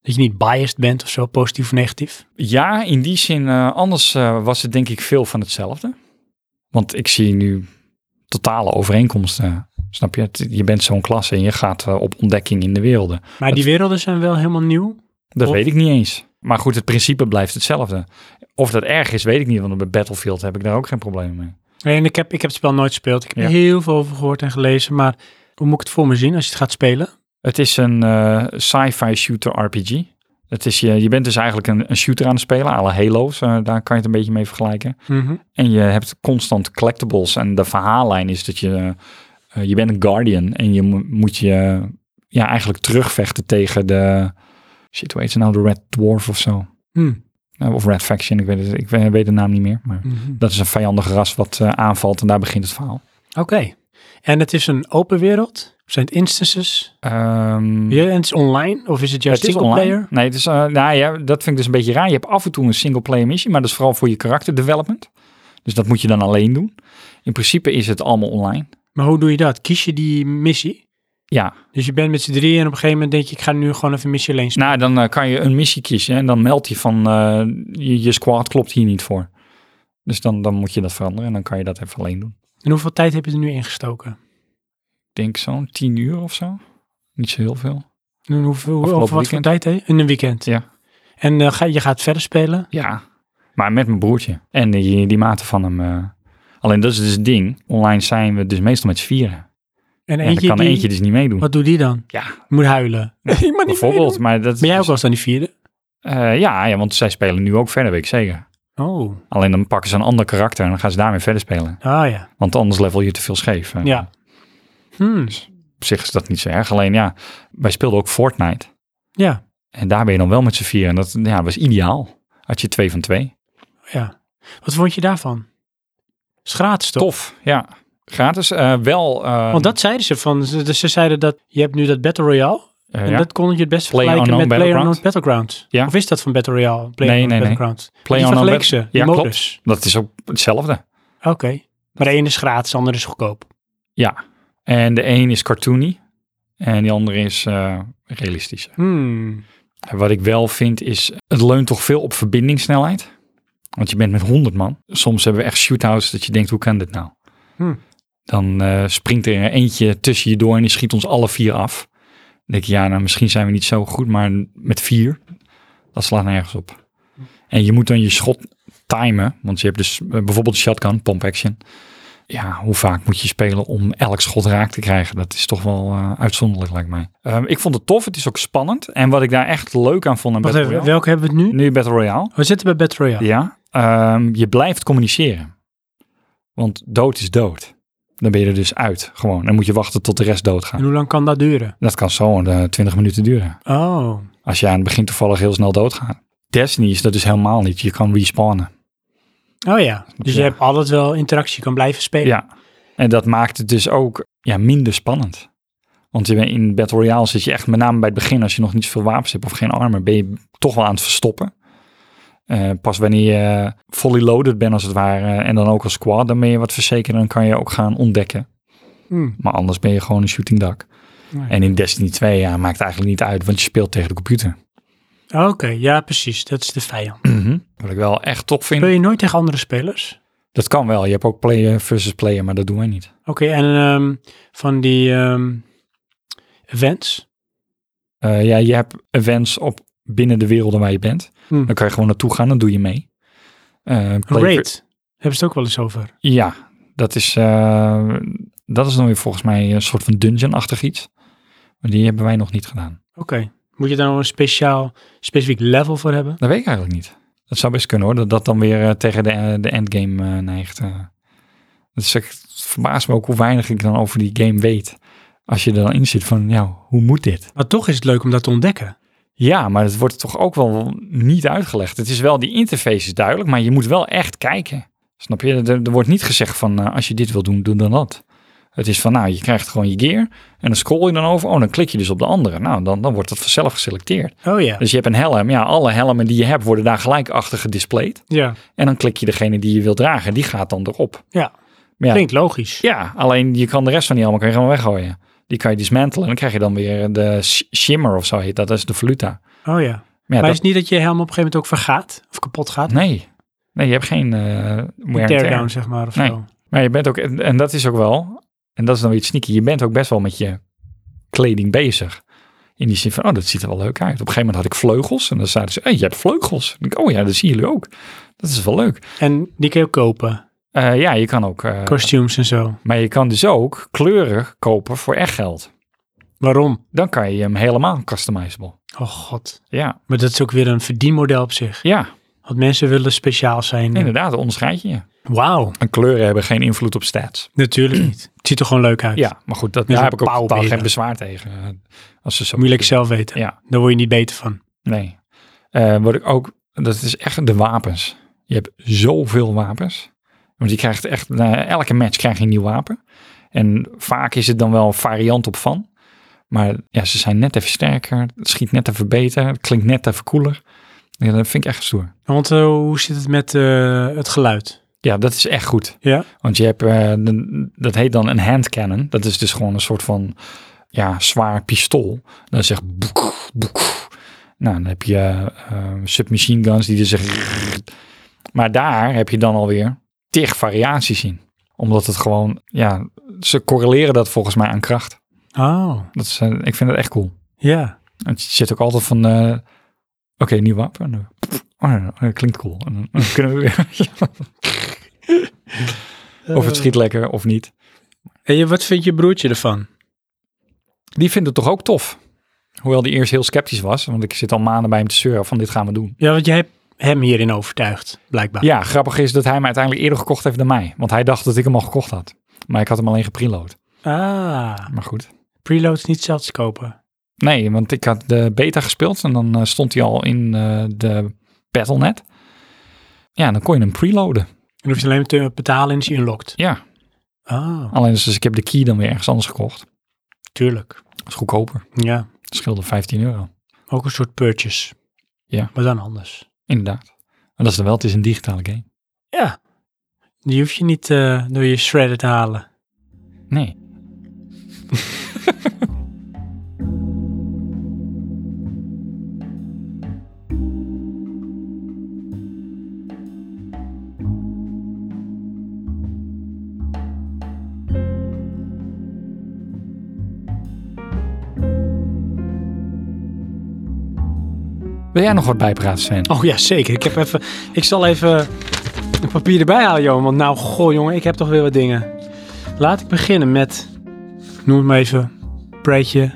C: Dat je niet biased bent of zo, positief of negatief?
A: Ja, in die zin. eh, anders eh, was het denk ik veel van hetzelfde. Want ik zie nu totale overeenkomsten. Snap je? Het- Je bent zo'n klasse en je gaat eh, op ontdekking in de werelden.
C: Maar die werelden zijn wel helemaal nieuw.
A: Dat
C: Of-
A: weet ik niet eens. Maar goed, het principe blijft hetzelfde. Of dat erg is, weet ik niet. Want bij Battlefield heb ik daar ook geen probleem mee.
C: En ik heb, ik heb het spel nooit gespeeld. Ik heb
A: Ja.
C: er heel veel over gehoord en gelezen. Maar hoe moet ik het voor me zien als je het gaat spelen?
A: Het is een eh, sci-fi shooter RPG. Het is je, je bent dus eigenlijk een, een shooter aan het spelen, à la Halo's. eh, daar kan je het een beetje mee vergelijken. En je hebt constant collectibles. En de verhaallijn is dat je... eh, je bent een guardian en je mo- moet je ja, eigenlijk terugvechten tegen de... Shit, hoe heet ze nou? De Red Dwarf of zo.
C: Hm.
A: Eh, Of Red Faction, ik weet, het, ik we- weet de naam niet meer. Maar
C: Mhm.
A: dat is een vijandig ras wat eh, aanvalt en daar begint het verhaal.
C: Oké. En het is een open wereld? Zijn het instances?
A: Ehm,
C: Ja, en het is online? Of is het juist
A: Het is
C: single
A: online.
C: player?
A: Nee, het is, eh, nou ja, dat vind ik dus een beetje raar. Je hebt af en toe een single player missie, maar dat is vooral voor je karakter development. Dus dat moet je dan alleen doen. In principe is het allemaal online.
C: Maar hoe doe je dat? Kies je die missie?
A: Ja,
C: Dus je bent met z'n drieën en op een gegeven moment denk je, ik ga nu gewoon even missie alleen spelen.
A: nou dan eh, kan je een missie kiezen en dan meldt hij van eh, je, je squad klopt hier niet voor. Dus dan, dan moet je dat veranderen en dan kan je dat even alleen doen.
C: En hoeveel tijd heb je er nu ingestoken?
A: Ik denk zo'n tien uur of zo. Niet zo heel veel.
C: En hoeveel,
A: Afgelopen
C: over wat voor
A: weekend?
C: tijd? Hè? In een weekend?
A: Ja.
C: En eh, ga, je gaat verder spelen?
A: Ja, maar met mijn broertje. En die, die mate van hem. eh. Alleen dat is dus het ding. Online zijn we dus meestal met z'n vieren.
C: En
A: En dan
C: eentje,
A: kan
C: die,
A: eentje dus niet meedoen.
C: wat doet die dan?
A: Ja,
C: Moet huilen. Ik mag niet
A: Bijvoorbeeld,
C: meedoen.
A: maar dat
C: Ben jij ook
A: is-
C: wel eens aan die vierde?
A: Eh, ja, ja, want zij spelen nu ook verder, weet ik zeker.
C: Oh,
A: Alleen dan pakken ze een ander karakter en dan gaan ze daarmee verder spelen.
C: ah ja.
A: Want anders level je te veel scheef. Eh,
C: Ja. Hmm.
A: Op zich is dat niet zo erg. Alleen ja, wij speelden ook Fortnite.
C: Ja,
A: En daar ben je dan wel met z'n vier. En dat ja, was ideaal. Had je twee van twee.
C: ja. Wat vond je daarvan? Is gratis toch?
A: Tof, ja. Gratis. eh, wel. eh,
C: Want dat zeiden ze van, ze, ze zeiden dat je hebt nu dat Battle Royale.
A: eh,
C: En
A: ja.
C: dat kon je het best
A: Player
C: vergelijken met
A: Unknown
C: PlayerUnknown's Battlegrounds.
A: Ja.
C: Of is dat van Battle Royale?
A: nee, nee.
C: Battlegrounds.
A: Play
C: Die
A: on
C: vergeleek
A: Unbe-
C: ze, die
A: Ja,
C: modus.
A: klopt. Dat is ook hetzelfde.
C: Oké. Maar de ene is gratis, de andere is goedkoop.
A: Ja. En de een is cartoony. En die andere is eh, realistischer.
C: Hmm.
A: Wat ik wel vind is, het leunt toch veel op verbindingssnelheid. Want je bent met 100 man. Soms hebben we echt shootouts dat je denkt, hoe kan dit nou?
C: Hm.
A: Dan eh, springt er eentje tussen je door en die schiet ons alle vier af. Dan denk je, ja, nou misschien zijn we niet zo goed, maar met vier, dat slaat nergens op. En je moet dan je schot timen, want je hebt dus eh, bijvoorbeeld shotgun, pump action. Ja, hoe vaak moet je spelen om elk schot raak te krijgen? Dat is toch wel eh, uitzonderlijk, lijkt mij. Ehm, ik vond het tof, het is ook spannend. En wat ik daar echt leuk aan vond aan
C: Wacht
A: Battle
C: even,
A: Royale...
C: welke hebben we het nu?
A: Nu Battle Royale.
C: We zitten bij Battle Royale.
A: Ja, ehm, je blijft communiceren. Want dood is dood. Dan ben je er dus uit, gewoon. Dan moet je wachten tot de rest doodgaat.
C: En hoe lang kan dat duren?
A: Dat kan zo eh, 20 minuten duren.
C: Oh.
A: Als je aan het begin toevallig heel snel doodgaat. Destiny is dat dus helemaal niet. Je kan respawnen.
C: Oh ja. Dus je
A: Ja.
C: hebt altijd wel interactie, je kan blijven spelen.
A: Ja. En dat maakt het dus ook ja, minder spannend. Want je bent- in Battle Royale zit je echt met name bij het begin, als je nog niet veel wapens hebt of geen armen, ben je toch wel aan het verstoppen. Eh, pas wanneer je fully loaded bent als het ware en dan ook als squad, dan ben je wat verzekerd dan kan je ook gaan ontdekken.
C: Hmm.
A: Maar anders ben je gewoon een shooting duck.
C: Ja.
A: En in Destiny 2 ja, maakt het eigenlijk niet uit, want je speelt tegen de computer.
C: Oké, ja precies. Dat is de vijand.
A: Wat ik wel echt top
C: Speel
A: vind,
C: je nooit tegen andere spelers?
A: dat kan wel. Je hebt ook player versus player, maar dat doen wij niet.
C: Oké, en ehm, van die ehm, events?
A: Eh, ja, je hebt een wens op binnen de werelden waar je bent.
C: Hmm.
A: Dan kan je gewoon naartoe gaan, dan doe je mee. Eh,
C: Een
A: play-
C: raid. Hebben ze het ook wel eens over.
A: Ja, dat is, eh, dat is dan weer volgens mij een soort van dungeon-achtig iets. Maar die hebben wij nog niet gedaan.
C: Oké. Moet je daar nou een speciaal, specifiek level voor hebben?
A: Dat weet ik eigenlijk niet. Dat zou best kunnen hoor, dat dat dan weer eh, tegen de, eh, de endgame eh, neigt. eh. dat is echt, het verbaast me ook hoe weinig ik dan over die game weet. Als je er dan in zit van, ja, hoe moet dit?
C: Maar toch is het leuk om dat te ontdekken.
A: Ja, maar het wordt toch ook wel niet uitgelegd. Het is wel, die interface is duidelijk, maar je moet wel echt kijken. Snap je? Er, er wordt niet gezegd van, eh, als je dit wil doen, doe dan dat. Het is van, nou, je krijgt gewoon je gear en dan scroll je dan over. Oh, dan klik je dus op de andere. Nou, dan, dan wordt dat vanzelf geselecteerd.
C: Oh ja.
A: Dus je hebt een helm. Ja, alle helmen die je hebt worden daar gelijk achter gedisplayed.
C: Ja.
A: En dan klik je degene die je wilt dragen. Die gaat dan erop.
C: Ja.
A: Maar ja,
C: Klinkt logisch.
A: ja, alleen je kan de rest van die helmen kan je gewoon weggooien. Die kan je dismantelen en dan krijg je dan weer de sh- shimmer of zo heet dat. Dat is de valuta.
C: Oh ja.
A: Maar ja,
C: maar
A: dat-
C: is het niet dat je helm op een gegeven moment ook vergaat? Of kapot gaat?
A: Nee. Nee, je hebt geen eh wear and tear.
C: Teardown, zeg maar. Of
A: Nee.
C: zo.
A: Maar je bent ook, en, en dat is ook wel, en dat is dan weer het sneaky, je bent ook best wel met je kleding bezig. In die zin van, oh, dat ziet er wel leuk uit. Op een gegeven moment had ik vleugels en dan zeiden ze, hey, je hebt vleugels. Dan denk ik, oh ja, dat zien jullie ook. Dat is wel leuk.
C: En die kun je ook kopen.
A: Eh, ja, je kan ook, eh,
C: Costumes en zo.
A: maar je kan dus ook kleuren kopen voor echt geld.
C: Waarom?
A: Dan kan je hem helemaal customizable.
C: Oh god.
A: Ja,
C: Maar dat is ook weer een verdienmodel op zich.
A: ja,
C: Want mensen willen speciaal zijn.
A: inderdaad, dat onderscheid je.
C: Wauw.
A: En kleuren hebben geen invloed op stats. Dus
C: Natuurlijk niet. Het ziet er gewoon leuk uit.
A: Ja, maar goed, dat, daar
C: Met zo'n
A: heb ik ook totaal
C: pauwbenen.
A: geen bezwaar tegen. eh, Als ze zo
C: Moeilijk zelf weten.
A: Ja.
C: Daar word je niet beter van.
A: Nee. Eh, wat ik ook, dat is echt de wapens. Je hebt zoveel wapens. Want je krijgt echt, na elke match krijg je een nieuw wapen. En vaak is het dan wel een variant op van. Maar ja, ze zijn net even sterker. Het schiet net even beter. Het klinkt net even koeler. Ja, dat vind ik echt stoer.
C: Want eh, hoe zit het met eh, het geluid?
A: Ja, dat is echt goed.
C: Ja.
A: Want je hebt, eh, de- dat heet dan een hand cannon. Dat is dus gewoon een soort van ja, zwaar pistool. Dan zegt boek, boek. Nou, dan heb je eh, submachine guns die dus zeggen. Maar daar heb je dan alweer tig variaties in. Omdat het gewoon, ja, ze correleren dat volgens mij aan kracht.
C: Oh,
A: Dat is, eh, ik vind dat echt cool.
C: ja.
A: Het zit ook altijd van, eh, oké, nieuw wapen. En dan, Oh, dat klinkt cool. En dan, dan kunnen we weer. of
C: Eh.
A: het schiet lekker of niet. Eh.
C: En je, wat vindt je broertje ervan?
A: die vindt het toch ook tof. Hoewel die eerst heel sceptisch was, want ik zit al maanden bij hem te zeuren van dit gaan we doen.
C: Ja, want jij hebt hem hierin overtuigd, blijkbaar.
A: Ja, grappig is dat hij hem uiteindelijk eerder gekocht heeft dan mij. Want hij dacht dat ik hem al gekocht had. Maar ik had hem alleen gepreload.
C: Ah,
A: Maar goed.
C: preloads niet zelfs kopen.
A: Nee, want ik had de beta gespeeld en dan eh, stond hij al in eh, de Battle.net. Ja, dan kon je hem preloaden.
C: En hoef je alleen maar te betalen en is hij unlocked.
A: Ja,
C: Ah,
A: alleen dus, dus ik heb de key dan weer ergens anders gekocht.
C: tuurlijk.
A: Dat is goedkoper.
C: Ja,
A: Dat scheelde 15 euro.
C: ook een soort purchase.
A: Ja.
C: Maar dan anders.
A: Inderdaad. En dat is dan wel, het is een digitale game.
C: Ja. Die hoef je niet eh, door je shredder te halen.
A: Nee. Wil jij nog wat bijpraten, Sven?
C: Oh ja, zeker. Ik, heb even, ik zal even een papier erbij halen, joh. Want nou, goh, jongen, ik heb toch weer wat dingen. Laat ik beginnen met, noem het maar even, Breitje,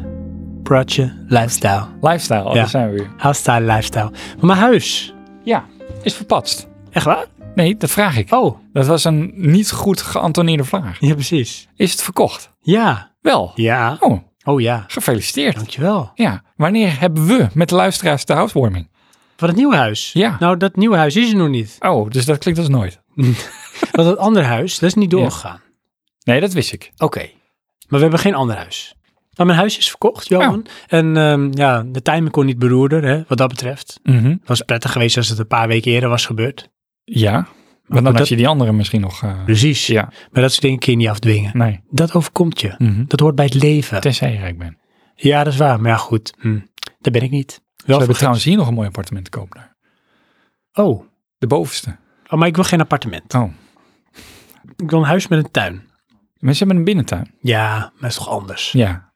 C: Pratje, Lifestyle.
A: Lifestyle, oh,
C: Ja.
A: daar zijn we weer.
C: Hostile Lifestyle. Maar mijn huis.
A: Ja, is verpatst.
C: Echt waar?
A: Nee, dat vraag ik.
C: Oh,
A: Dat was een niet goed geantoneerde vraag.
C: ja, precies.
A: Is het verkocht?
C: Ja.
A: Wel.
C: Ja.
A: Oh,
C: Oh ja.
A: gefeliciteerd.
C: Dankjewel.
A: Ja, wanneer hebben we met de luisteraars de housewarming?
C: Van het nieuwe huis.
A: Ja.
C: Nou, dat nieuwe huis is er nog niet.
A: Oh, dus dat klinkt als nooit.
C: Want dat andere huis, dat is niet doorgegaan.
A: Nee, dat wist ik.
C: Oké. Maar we hebben geen ander huis. Maar mijn huis is verkocht, Johan. En ehm, ja, de timing kon niet beroerder, hè, wat dat betreft.
A: Mhm.
C: Het was prettig geweest als het een paar weken eerder was gebeurd.
A: Ja, want dan
C: dat-
A: had je die andere misschien nog... eh,
C: Precies.
A: ja,
C: Maar dat soort dingen kun je niet afdwingen.
A: nee.
C: Dat overkomt je.
A: Mhm.
C: Dat hoort bij het leven.
A: Tenzij je rijk bent.
C: Ja, dat is waar. Maar ja, goed. Hm. Daar ben ik niet.
A: Ze
C: Wel
A: hebben
C: verge-
A: trouwens hier nog een mooi appartement te koop. Daar.
C: oh.
A: De bovenste.
C: oh, maar ik wil geen appartement.
A: Oh,
C: Ik wil een huis met een tuin.
A: mensen hebben een binnentuin.
C: Ja, maar dat is toch anders.
A: Ja.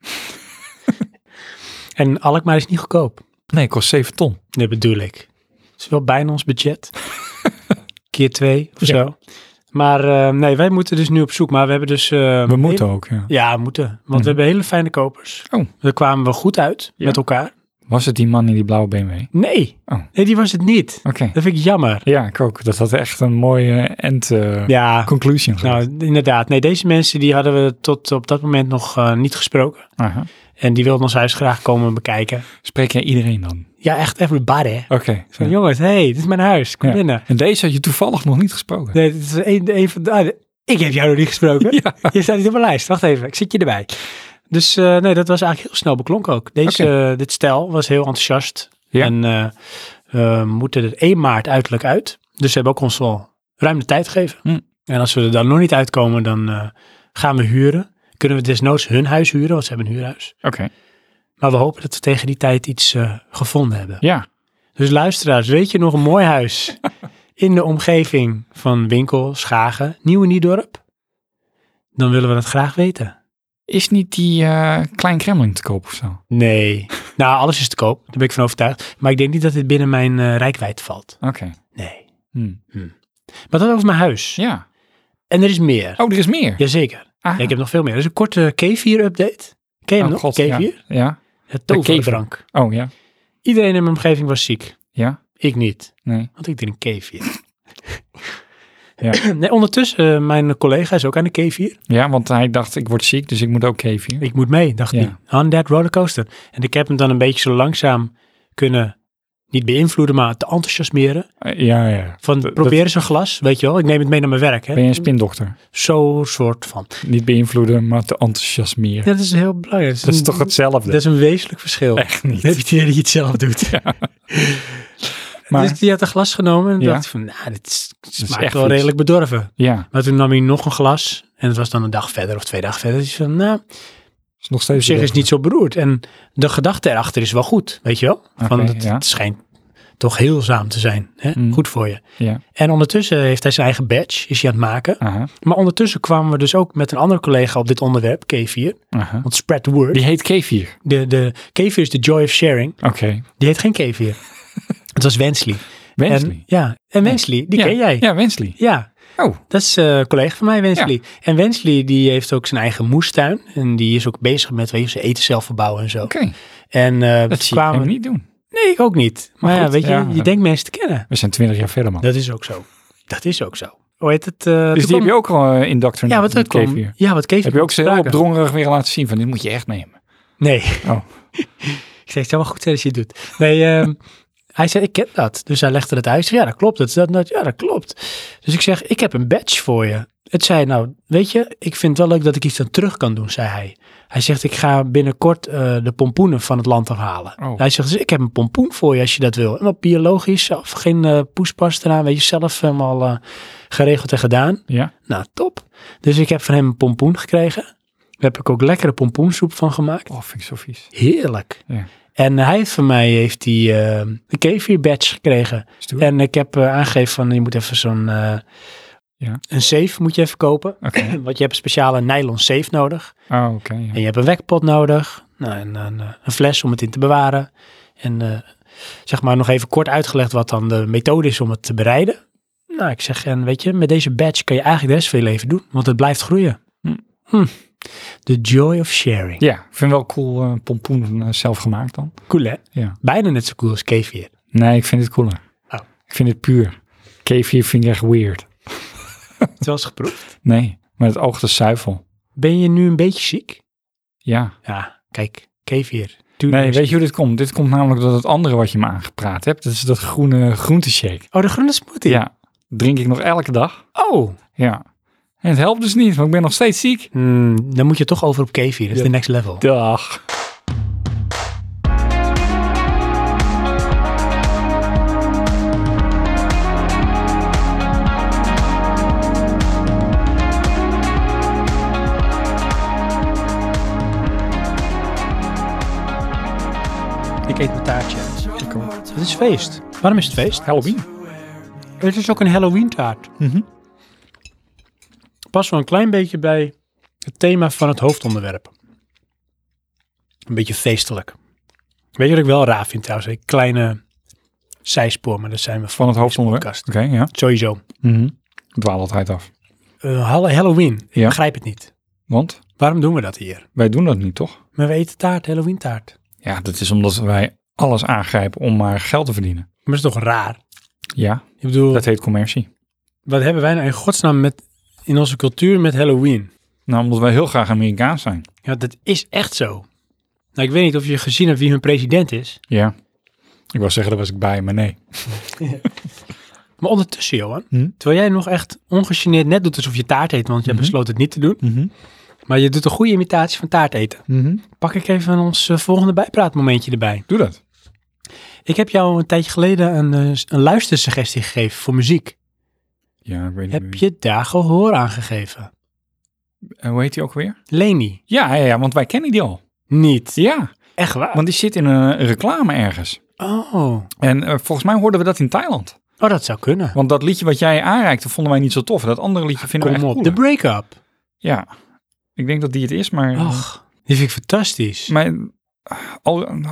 C: En Alkmaar is niet goedkoop.
A: Nee, kost 7 ton.
C: Dat bedoel ik. Het is wel bijna ons budget. Keer twee of
A: Ja.
C: zo. Maar eh, nee, wij moeten dus nu op zoek. Maar we hebben dus... eh,
A: We moeten ook, ja.
C: Ja, we moeten. Want
A: Mhm.
C: we hebben hele fijne kopers.
A: Oh.
C: Daar kwamen we goed uit
A: Ja.
C: met elkaar.
A: Was het die man in die blauwe BMW? Oké.
C: Nee.
A: Oh.
C: Nee, die was het niet. Dat vind ik jammer.
A: Ja, ik ook. Dat had echt een mooie end eh,
C: Ja,
A: conclusion geweest.
C: nou inderdaad. Nee, deze mensen die hadden we tot op dat moment nog eh, niet gesproken.
A: Aha.
C: En die wilden ons huis graag komen bekijken.
A: Spreek jij iedereen dan?
C: Ja, echt everybody.
A: Oké.
C: Van, jongens, hey, dit is mijn huis. Kom
A: Ja.
C: binnen.
A: En deze had je toevallig nog niet gesproken.
C: Nee, dit is een, een van de... ah, Ik heb jou nog niet gesproken.
A: Ja.
C: Je staat niet op mijn lijst. Wacht even, ik zit je erbij. Dus eh, nee, dat was eigenlijk heel snel beklonken ook. Deze, eh, dit stel was heel enthousiast.
A: Ja.
C: En eh, we moeten er 1 maart uiterlijk uit. Dus ze hebben ook ons wel ruim de tijd gegeven.
A: Hm.
C: En als we er dan nog niet uitkomen, dan eh, gaan we huren. Kunnen we desnoods hun huis huren, want ze hebben een huurhuis.
A: Oké,
C: Maar we hopen dat we tegen die tijd iets eh, gevonden hebben.
A: ja.
C: Dus luisteraars, weet je nog een mooi huis in de omgeving van Winkel, Schagen, Nieuw Niedorp? Dan willen we dat graag weten.
A: Is niet die eh, Klein Kremling te koop of zo?
C: Nee. Nou, alles is te koop, daar ben ik van overtuigd. Maar ik denk niet dat dit binnen mijn eh rijkwijd valt.
A: Oké.
C: Nee.
A: Hm.
C: Maar dat over mijn huis.
A: Ja.
C: En er is meer.
A: Oh, er is meer.
C: Jazeker.
A: Ah.
C: Ja, ik heb nog veel meer. Er is een korte eh, K4-update. Ken je hem
A: oh,
C: nog?
A: god,
C: K4?
A: ja. ja.
C: Het toverbrank.
A: Oh, ja.
C: Iedereen in mijn omgeving was ziek.
A: Ja.
C: Ik niet.
A: Nee.
C: Want ik drink K4.
A: Ja.
C: nee, ondertussen, eh, mijn collega is ook aan de K4.
A: Ja, want hij dacht, ik word ziek, dus ik moet ook kevier.
C: Ik moet mee, dacht
A: Ja.
C: hij. On that rollercoaster. En ik heb hem dan een beetje zo langzaam kunnen, niet beïnvloeden, maar te enthousiasmeren.
A: Eh, ja, ja.
C: Van probeer eens een glas, weet je wel. Ik neem het mee naar mijn werk.
A: Ben
C: hè.
A: je een spindokter?
C: Zo'n soort van.
A: Niet beïnvloeden, maar te enthousiasmeren.
C: Ja, dat is heel belangrijk.
A: Dat is
C: een-
A: toch hetzelfde?
C: Dat is een wezenlijk verschil.
A: Echt
C: Dan heb je
A: niet.
C: het idee dat je het zelf doet.
A: Maar-
C: dus die had een glas genomen en
A: Ja.
C: dacht van, nou, dit s- smaakt
A: echt
C: wel
A: iets.
C: redelijk bedorven.
A: Ja,
C: Maar toen nam hij nog een glas. En het was dan een dag verder of twee dagen verder. Dus van, nou,
A: is nog
C: op
A: steeds
C: zich is het niet zo beroerd. En de gedachte erachter is wel goed, weet je wel? Van,
A: Oké,
C: het,
A: ja.
C: het schijnt toch heelzaam te zijn. Hè?
A: Mm.
C: Goed voor je.
A: Ja.
C: En ondertussen heeft hij zijn eigen badge, is hij aan het maken.
A: Aha,
C: Maar ondertussen kwamen we dus ook met een andere collega op dit onderwerp, K4.
A: aha.
C: Want spread the word.
A: Die heet kevier.
C: De, de, K4 is de joy of sharing.
A: Oké.
C: Die heet geen K4. het was Wensley. En,
A: Wensley.
C: ja, en Wensley, die
A: ja.
C: ken jij.
A: Ja, Wensley.
C: Ja.
A: Oh.
C: Dat is eh, een collega van mij, Wensley. En Wensley die heeft ook zijn eigen moestuin. En die is ook bezig met weet je, zijn eten zelf verbouwen en zo.
A: Oké,
C: En eh
A: dat zie ik
C: kwamen...
A: hem niet doen.
C: Nee, ik ook niet. Maar,
A: Maar
C: ja,
A: goed,
C: weet je,
A: ja.
C: je denkt mensen te kennen.
A: We zijn twintig jaar verder, man.
C: Dat is ook zo. Dat is ook zo. Hoe heet het? eh,
A: dus
C: toen
A: die
C: kwam-
A: heb je ook al in Dr.
C: Ja, wat dat kwam.
A: kevier.
C: Ja, wat kevier.
A: Heb je ook zo heel
C: Sprake.
A: opdrongerig weer laten zien van dit moet je echt nemen.
C: Nee.
A: Oh.
C: ik zeg, het zou wel goed zijn als je het doet. Nee, ehm, hij zei, ik ken dat. Dus hij legde het uit. Ik zeg, ja, dat klopt. Dat, is dat, dat, ja, dat klopt. Dus ik zeg, ik heb een badge voor je. Het zei, nou, weet je, ik vind het wel leuk dat ik iets aan terug kan doen, zei hij. Hij zegt, ik ga binnenkort eh, de pompoenen van het land afhalen.
A: Oh.
C: Hij zegt, dus ik heb een pompoen voor je als je dat wil. En wat biologisch, of geen eh, poespas eraan, weet je, zelf helemaal eh, geregeld en gedaan.
A: Ja,
C: Nou, top. Dus ik heb van hem een pompoen gekregen. Daar heb ik ook lekkere pompoensoep van gemaakt.
A: oh, vind ik zo vies.
C: Heerlijk.
A: Ja.
C: En hij heeft van mij heeft hij, eh, een kefir badge gekregen.
A: Stoer.
C: En ik heb eh, aangegeven van je moet even zo'n eh,
A: Ja.
C: een safe moet je even kopen.
A: Oké.
C: Want je hebt een speciale nylon safe nodig.
A: Oh, oké. ja.
C: En je hebt een wekpot nodig. Nou, en, een, eh, een fles om het in te bewaren. En eh, zeg maar nog even kort uitgelegd wat dan de methode is om het te bereiden. Nou, ik zeg, en weet je, met deze badge kan je eigenlijk de rest van je leven doen. Want het blijft groeien.
A: Hm.
C: Hm. The joy of sharing.
A: Ja, ik vind het wel cool eh, pompoen eh, zelf gemaakt dan.
C: Cool hè?
A: Ja.
C: Bijna net zo cool als kefir.
A: Nee, ik vind het cooler.
C: Oh.
A: Ik vind het puur. Kevier vind ik echt weird.
C: Het was geproefd.
A: Nee, maar het oog de zuivel.
C: Ben je nu een beetje ziek?
A: Ja.
C: Ja, kijk, kefir. Tuurlijk
A: Nee,
C: is
A: weet je hoe dit komt? Dit komt namelijk door het andere wat je me aangepraat hebt. Dat is dat groene groenteshake.
C: Oh, de groene smoothie.
A: Ja, drink ik nog elke dag.
C: Oh.
A: Ja. En het helpt dus niet, want ik ben nog steeds ziek.
C: Hmm, dan moet je toch over op kefir. Dat is
A: Ja.
C: de next level.
A: Dag.
C: Ik eet mijn taartje. Het is feest. Waarom is het feest?
A: Halloween.
C: Het is ook een Halloween taart.
A: Mhm.
C: Pas wel een klein beetje bij het thema van het hoofdonderwerp. Een beetje feestelijk. Weet je wat ik wel raar vind trouwens? Een kleine zijspoor, maar dat zijn we
A: Van het hoofdonderwerp.
C: podcast.
A: Oké, ja.
C: Sowieso.
A: Mhm. Ik Dwaal altijd af.
C: Eh, Hall- Halloween. Ik
A: Ja.
C: begrijp het niet.
A: Want
C: Waarom doen we dat hier?
A: wij doen dat niet, toch?
C: Maar we eten taart, Halloween taart.
A: Ja, dat is omdat wij alles aangrijpen om maar geld te verdienen.
C: Maar dat is toch raar?
A: Ja,
C: Ik bedoel,
A: dat heet commercie.
C: wat hebben wij nou in godsnaam met, in onze cultuur met Halloween?
A: Nou, omdat wij heel graag Amerikaans zijn.
C: Ja, dat is echt zo. Nou, ik weet niet of je gezien hebt wie hun president is.
A: Ja. Ik wou zeggen, daar was ik bij, maar nee.
C: Maar ondertussen, Johan,
A: Hm?
C: terwijl jij nog echt ongegeneerd net doet alsof je taart eet, want je
A: Mhm. Mhm.
C: besloot het niet te doen. Maar je doet een goede imitatie van taart eten. Pak ik even ons eh, volgende bijpraatmomentje erbij.
A: Doe dat.
C: Ik heb jou een tijdje geleden een, eh, s- een luistersuggestie gegeven voor muziek.
A: Ja, ik weet niet
C: Heb
A: meer
C: je daar gehoor aan gegeven?
A: wie- Eh, hoe heet die ook weer?
C: Leni,
A: Ja, ja, ja, want wij kennen die al.
C: niet.
A: Ja,
C: Echt waar?
A: want die zit in een reclame ergens.
C: Oh.
A: En eh, volgens mij hoorden we dat in Thailand.
C: oh, dat zou kunnen.
A: Want dat liedje wat jij aanreikte vonden wij niet zo tof. Dat andere liedje vinden we
C: Kom
A: echt
C: op, de
A: cooler.
C: break-up.
A: Ja, ik denk dat die het is, maar...
C: Ach, die vind ik fantastisch.
A: Maar... al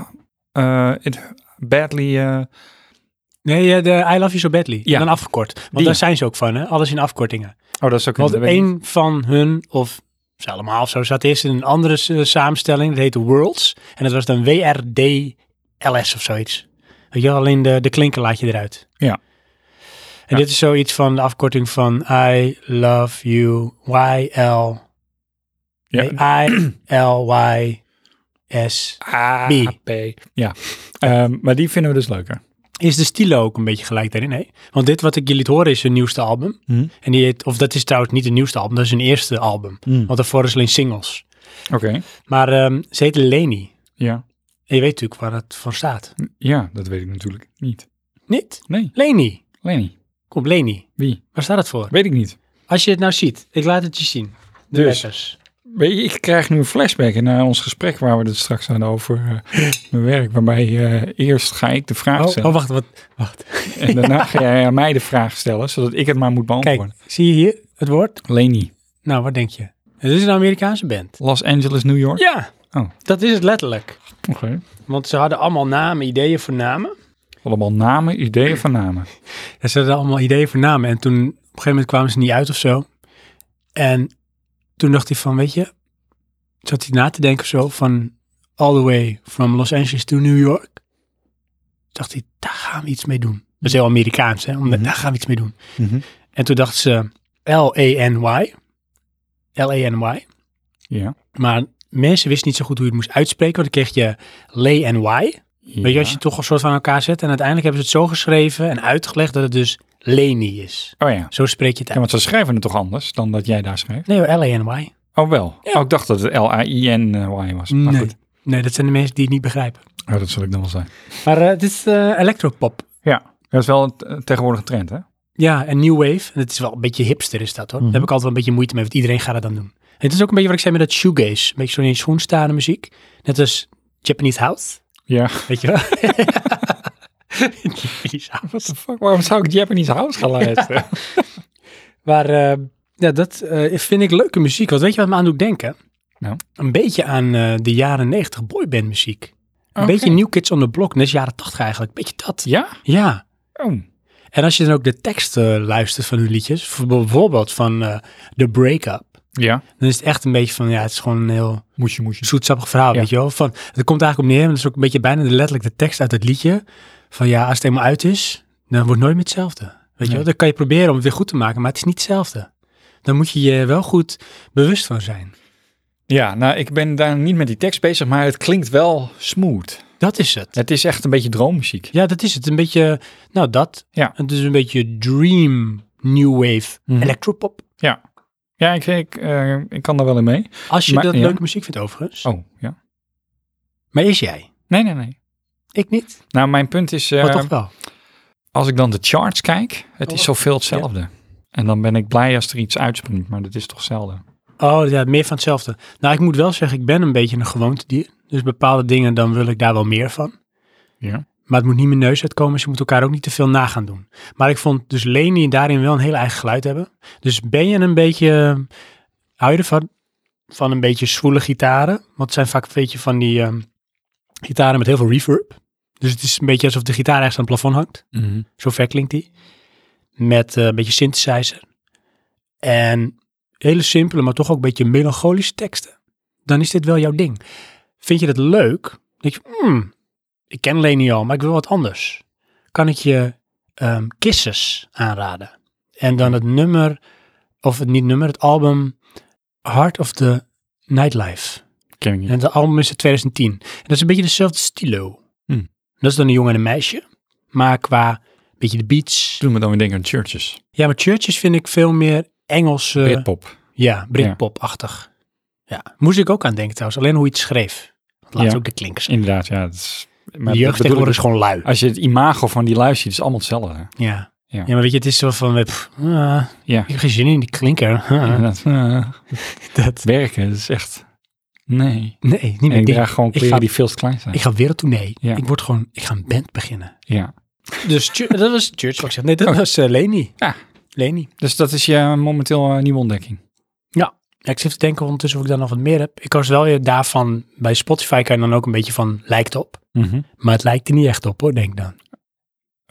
A: eh, it badly... eh,
C: Nee, ja, de I Love You So Badly.
A: Ja.
C: Dan afgekort. Want
A: Die.
C: daar zijn ze ook van, hè? Alles in afkortingen.
A: oh, dat zou
C: Want
A: kunnen. dat weet ik niet.
C: één van hun, of ze allemaal of zo, zat eerst in een andere eh, samenstelling. Dat heette Worlds. En dat was dan WRDLS of zoiets. Weet je, wel, alleen de, de klinker laat je eruit.
A: Ja. Ja.
C: En dit is zoiets van de afkorting van I love you, YL,
A: Ja,
C: nee, I, L, Y, S.
A: A,
C: B.
A: Ah, P. Ja, Ehm, maar die vinden we dus leuker.
C: Is de stilo ook een beetje gelijk daarin? Nee. Want dit wat ik je liet horen is hun nieuwste album.
A: Hm.
C: En die heet, of dat is trouwens niet het nieuwste album, dat is hun eerste album.
A: Hmm.
C: Want daarvoor is alleen singles.
A: Oké,
C: Maar ehm, ze heet Leni.
A: ja.
C: En je weet natuurlijk waar het voor staat.
A: Ja, dat weet ik natuurlijk niet.
C: Niet?
A: Nee,
C: Leni.
A: Lenny.
C: Kom, Leni.
A: Wie?
C: Waar staat het voor?
A: Weet ik niet.
C: Als je het nou ziet, ik laat het je zien. De
A: Dus.
C: letters.
A: Weet je, ik krijg nu een flashback naar ons gesprek waar we het straks hadden over eh, mijn werk. Waarbij eh, eerst ga ik de vraag
C: Oh,
A: stellen
C: oh, wacht, wat, wacht.
A: en daarna ga jij aan mij de vraag stellen, zodat ik het maar moet
C: Kijk,
A: beantwoorden.
C: zie je hier het woord?
A: Lenny,
C: Nou, wat denk je? Het is een Amerikaanse band.
A: Los Angeles, New York?
C: Ja,
A: Oh.
C: dat is het letterlijk.
A: Oké.
C: Want ze hadden allemaal namen, ideeën voor namen.
A: Allemaal namen, ideeën van namen.
C: Ja, ze hadden allemaal ideeën voor namen. En toen, op een gegeven moment kwamen ze niet uit of zo. En toen dacht hij van, weet je, zat hij na te denken of zo van all the way from Los Angeles to New York. Dacht hij, daar gaan we iets mee doen. Dat is heel Amerikaans, hè? Om,
A: Mhm.
C: Daar gaan we iets mee doen. En toen dacht ze L-A-N-Y. L-A-N-Y.
A: Ja.
C: Maar mensen wisten niet zo goed hoe je het moest uitspreken. Want dan kreeg je Lay en Y. Weet je, als je het toch een soort van aan elkaar zet. En uiteindelijk hebben ze het zo geschreven en uitgelegd dat het dus Leni is.
A: Oh ja.
C: Zo spreek je het
A: Ja,
C: uit.
A: want ze schrijven het toch anders dan dat jij daar schreef?
C: Nee, hoor, L-A-N-Y.
A: Oh wel.
C: Ja.
A: Oh, ik dacht dat het L-A-I-N-Y eh, was. Maar
C: Nee.
A: goed.
C: nee, dat zijn de mensen die het niet begrijpen.
A: Ja, dat zal ik dan wel zijn.
C: Maar eh, dit is eh, electropop.
A: Ja, dat is wel een eh, tegenwoordige trend, hè?
C: Ja, en New Wave. En het is wel een beetje hipster is dat hoor.
A: Mhm.
C: Daar heb ik altijd wel een beetje moeite mee, want iedereen gaat dat dan doen. En het is ook een beetje wat ik zei met dat shoegaze. Een beetje zo in je schoen staande muziek. Net als Japanese house.
A: Ja.
C: Weet je wel? Japanese house.
A: What the fuck? Waarom zou ik Japanese house gaan luisteren?
C: Maar eh, ja, dat eh, vind ik leuke muziek. Want weet je wat me aan doet denken?
A: Nou?
C: Een beetje aan eh, de jaren negentig boyband muziek. Een beetje New Kids on the Block, net jaren tachtig eigenlijk. Beetje dat.
A: Ja?
C: Ja.
A: Oh.
C: En als je dan ook de teksten luistert van hun liedjes, voor- bijvoorbeeld van eh The Breakup.
A: Ja.
C: Dan is het echt een beetje van, ja, het is gewoon een heel
A: Moet je, moet je.
C: zoetsappig verhaal,
A: Ja.
C: weet je wel. Van, het komt eigenlijk op neer, en dat is ook een beetje bijna de- letterlijk de tekst uit het liedje. Van ja, als het eenmaal uit is, dan wordt het nooit meer hetzelfde. Weet je
A: Nee.
C: wel, dan kan je proberen om het weer goed te maken, maar het is niet hetzelfde. Dan moet je je wel goed bewust van zijn.
A: Ja, nou, ik ben daar niet met die tekst bezig, maar het klinkt wel smooth.
C: Dat is het.
A: Het is echt een beetje droommuziek.
C: Ja, dat is het. Een beetje, nou dat.
A: Ja.
C: Het is een beetje dream, new wave,
A: Mhm.
C: electropop.
A: Ja, ik, ik, eh, ik kan daar wel in mee.
C: Als je
A: Maar-
C: dat
A: ja.
C: leuke muziek vindt overigens.
A: Oh, ja.
C: Maar is jij?
A: Nee, nee, nee.
C: Ik niet.
A: Nou, mijn punt is,
C: Maar
A: eh,
C: toch wel.
A: als ik dan de charts kijk, het
C: Oh,
A: is zoveel hetzelfde. En dan ben ik blij als er iets uitspringt, maar dat is toch zelden.
C: Oh ja, meer van hetzelfde. Nou, ik moet wel zeggen, ik ben een beetje een gewoontedier. Dus bepaalde dingen, dan wil ik daar wel meer van.
A: Ja.
C: Maar het moet niet mijn neus uitkomen, dus je moet elkaar ook niet te veel nagaan doen. Maar ik vond dus Leni daarin wel een heel eigen geluid hebben. Dus ben je een beetje, eh, hou je ervan, van een beetje zwoele gitaren? Want het zijn vaak een beetje van die ehm, gitaren met heel veel reverb. Dus het is een beetje alsof de gitaar ergens aan het plafond hangt. Zo ver klinkt die. Met eh, een beetje synthesizer. En hele simpele, maar toch ook een beetje melancholische teksten. Dan is dit wel jouw ding. Vind je dat leuk? Dan denk je, "Hmm, ik ken Leni al, maar ik wil wat anders. Kan ik je ehm Kisses aanraden? En dan het nummer, of het niet nummer, het album Heart of the Nightlife.
A: Ken ik niet.
C: En het album is uit 2010. En dat is een beetje dezelfde stilo.
A: Hmm.
C: Dat is dan een jongen en een meisje. Maar qua beetje de beats.
A: Doe me dan weer denken aan churches.
C: Ja, maar Churches vind ik veel meer Engels. eh,
A: Britpop.
C: Ja, Britpop-achtig. Ja. moest ik ook aan denken trouwens. Alleen hoe je het schreef. Want Laatst
A: Ja.
C: ook de klinkers.
A: Inderdaad, ja. Dat is, maar
C: De jeugd
A: dat bedoel
C: tegenwoordig
A: ik, dus-
C: is gewoon lui.
A: als je het imago van die lui ziet, is het allemaal hetzelfde.
C: Ja.
A: Ja.
C: Ja. maar weet je, het is zo van, eh, pff, ah,
A: Ja.
C: ik heb geen zin in die klinker. Ah,
A: Inderdaad. Eh,
C: dat,
A: werken, dat is echt... Nee.
C: nee, niet
A: Ik
C: meer. die-
A: draag gewoon
C: ik
A: kleren
C: ga-
A: die veel te klein zijn.
C: ik ga weer tournee.
A: Ja.
C: Ik word gewoon, ik ga een band beginnen.
A: ja.
C: Dus chu- dat was Church, wat ik zeg. Nee, dat
A: Oh.
C: was eh, Leni.
A: Ja.
C: Leni.
A: Dus dat is je momenteel eh, nieuwe ontdekking.
C: Ja, ik zit te denken ondertussen of ik daar nog wat meer heb. Ik was wel weer daarvan, bij Spotify kan je dan ook een beetje van, lijkt op. Maar het lijkt er niet echt op hoor, denk ik dan.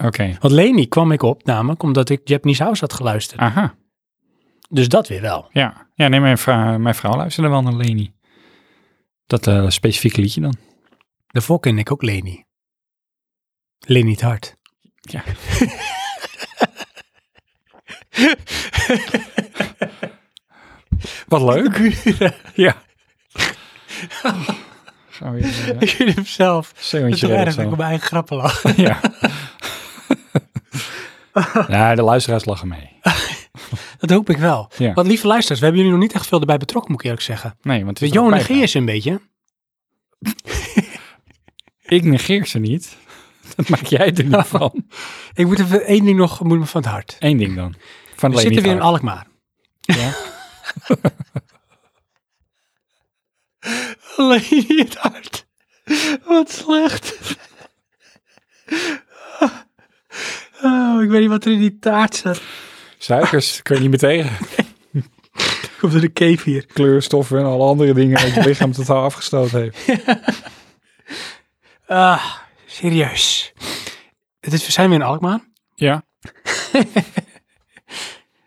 A: Oké.
C: Want Leni kwam ik op namelijk omdat ik Japanese House had geluisterd.
A: Aha.
C: Dus dat weer wel.
A: Ja. Ja, nee, mijn vrouw, mijn vrouw luisterde wel naar Leni. Dat eh, specifieke liedje dan.
C: Daarvoor ken ik ook Leni. Leni het hart.
A: Ja. Wat leuk. Ja. Gaan we weer eh,
C: Ik vind hem zelf. Het
A: zeeuwentje
C: is
A: redden
C: erg dat ik
A: zo.
C: op mijn eigen grappen lag.
A: Ja. ja, de luisteraars lachen mee.
C: Dat hoop ik wel.
A: Ja.
C: Want lieve luisteraars, we hebben jullie nog niet echt veel erbij betrokken, moet ik eerlijk zeggen.
A: Nee, want het
C: Dus
A: is er
C: Johan
A: ook
C: negeer
A: bijgehaald.
C: ze een beetje.
A: Ik negeer ze niet. Dat maak jij er niet van.
C: Ik moet even één ding nog moet me van het hart.
A: Eén ding dan. Van
C: We
A: Leni
C: zitten weer in
A: Hart.
C: Alkmaar.
A: Ja.
C: Leni het hart. Wat slecht. Oh, ik weet niet wat er in die taart staat.
A: Suikers, kun je niet meer tegen.
C: Komt er een cave hier.
A: Kleurstoffen en alle andere dingen dat je lichaam totaal afgestoten heeft.
C: Ah, serieus. Het is, we zijn weer in Alkmaar.
A: Ja.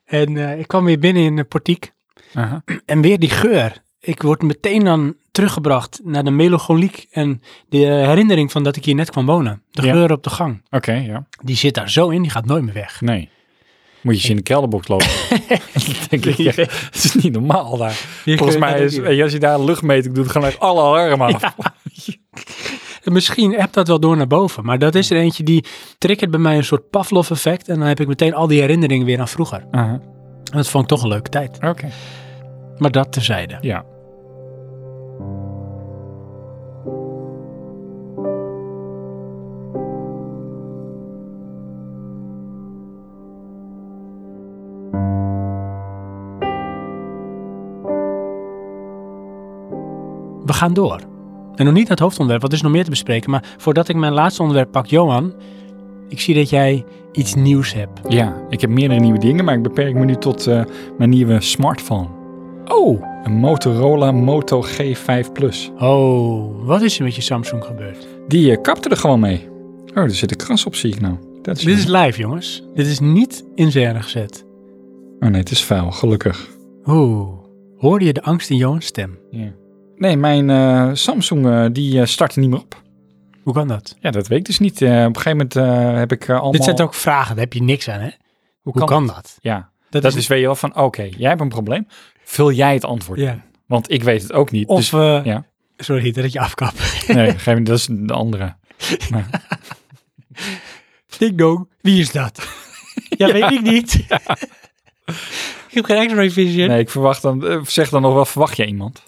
C: En eh, ik kwam weer binnen in de portiek.
A: Aha.
C: En weer die geur. Ik word meteen dan teruggebracht naar de melancholiek en de herinnering van dat ik hier net kwam wonen. De
A: Ja.
C: geur op de gang.
A: Oké, ja.
C: Die zit daar zo in, die gaat nooit meer weg.
A: Nee. Moet je eens in de kelderbox lopen. Dat denk ik, ja, het is niet normaal daar. Volgens mij is, weet je, als je daar een luchtmeting doet, gaan echt alle alarmen af.
C: Misschien hebt dat wel door naar boven, maar dat is er eentje die triggert bij mij een soort Pavlov-effect. En dan heb ik meteen al die herinneringen weer aan vroeger.
A: Aha.
C: En dat vond ik toch een leuke tijd.
A: Oké.
C: Maar dat terzijde.
A: Ja.
C: We gaan door. En nog niet naar het hoofdonderwerp, want er is nog meer te bespreken. Maar voordat ik mijn laatste onderwerp pak, Johan, ik zie dat jij iets nieuws hebt.
A: Ja, ik heb meerdere nieuwe dingen, maar ik beperk me nu tot eh, mijn nieuwe smartphone.
C: Oh!
A: Een Motorola Moto G5 Plus.
C: Oh, wat is er met je Samsung gebeurd?
A: Die eh, kapte er gewoon mee. Oh, er zit een kras op, zie ik nou. Dat is
C: Dit is live, jongens. Dit is niet in scène gezet.
A: Oh nee, het is vuil, gelukkig.
C: Oeh, hoorde je de angst in Johans stem?
A: Nee, mijn eh, Samsung eh, die eh, startte niet meer op.
C: Hoe kan dat?
A: Ja, dat weet ik dus niet. Eh, op een gegeven moment eh, heb ik eh, allemaal...
C: Dit zijn ook vragen, daar heb je niks aan, hè? Hoe, kan, dat?
A: Ja, dat, is weet je wel van, oké, jij hebt een probleem. Vul jij het antwoord in.
C: Ja.
A: Want ik weet het ook niet.
C: Of,
A: dus,
C: eh,
A: ja.
C: sorry dat ik je afkap.
A: nee, op een gegeven moment, dat is de andere.
C: Ding dong, wie is dat? ja, weet ik niet. ik heb geen x-ray vision.
A: Nee, ik verwacht dan... eh, zeg dan nog wel, verwacht je iemand?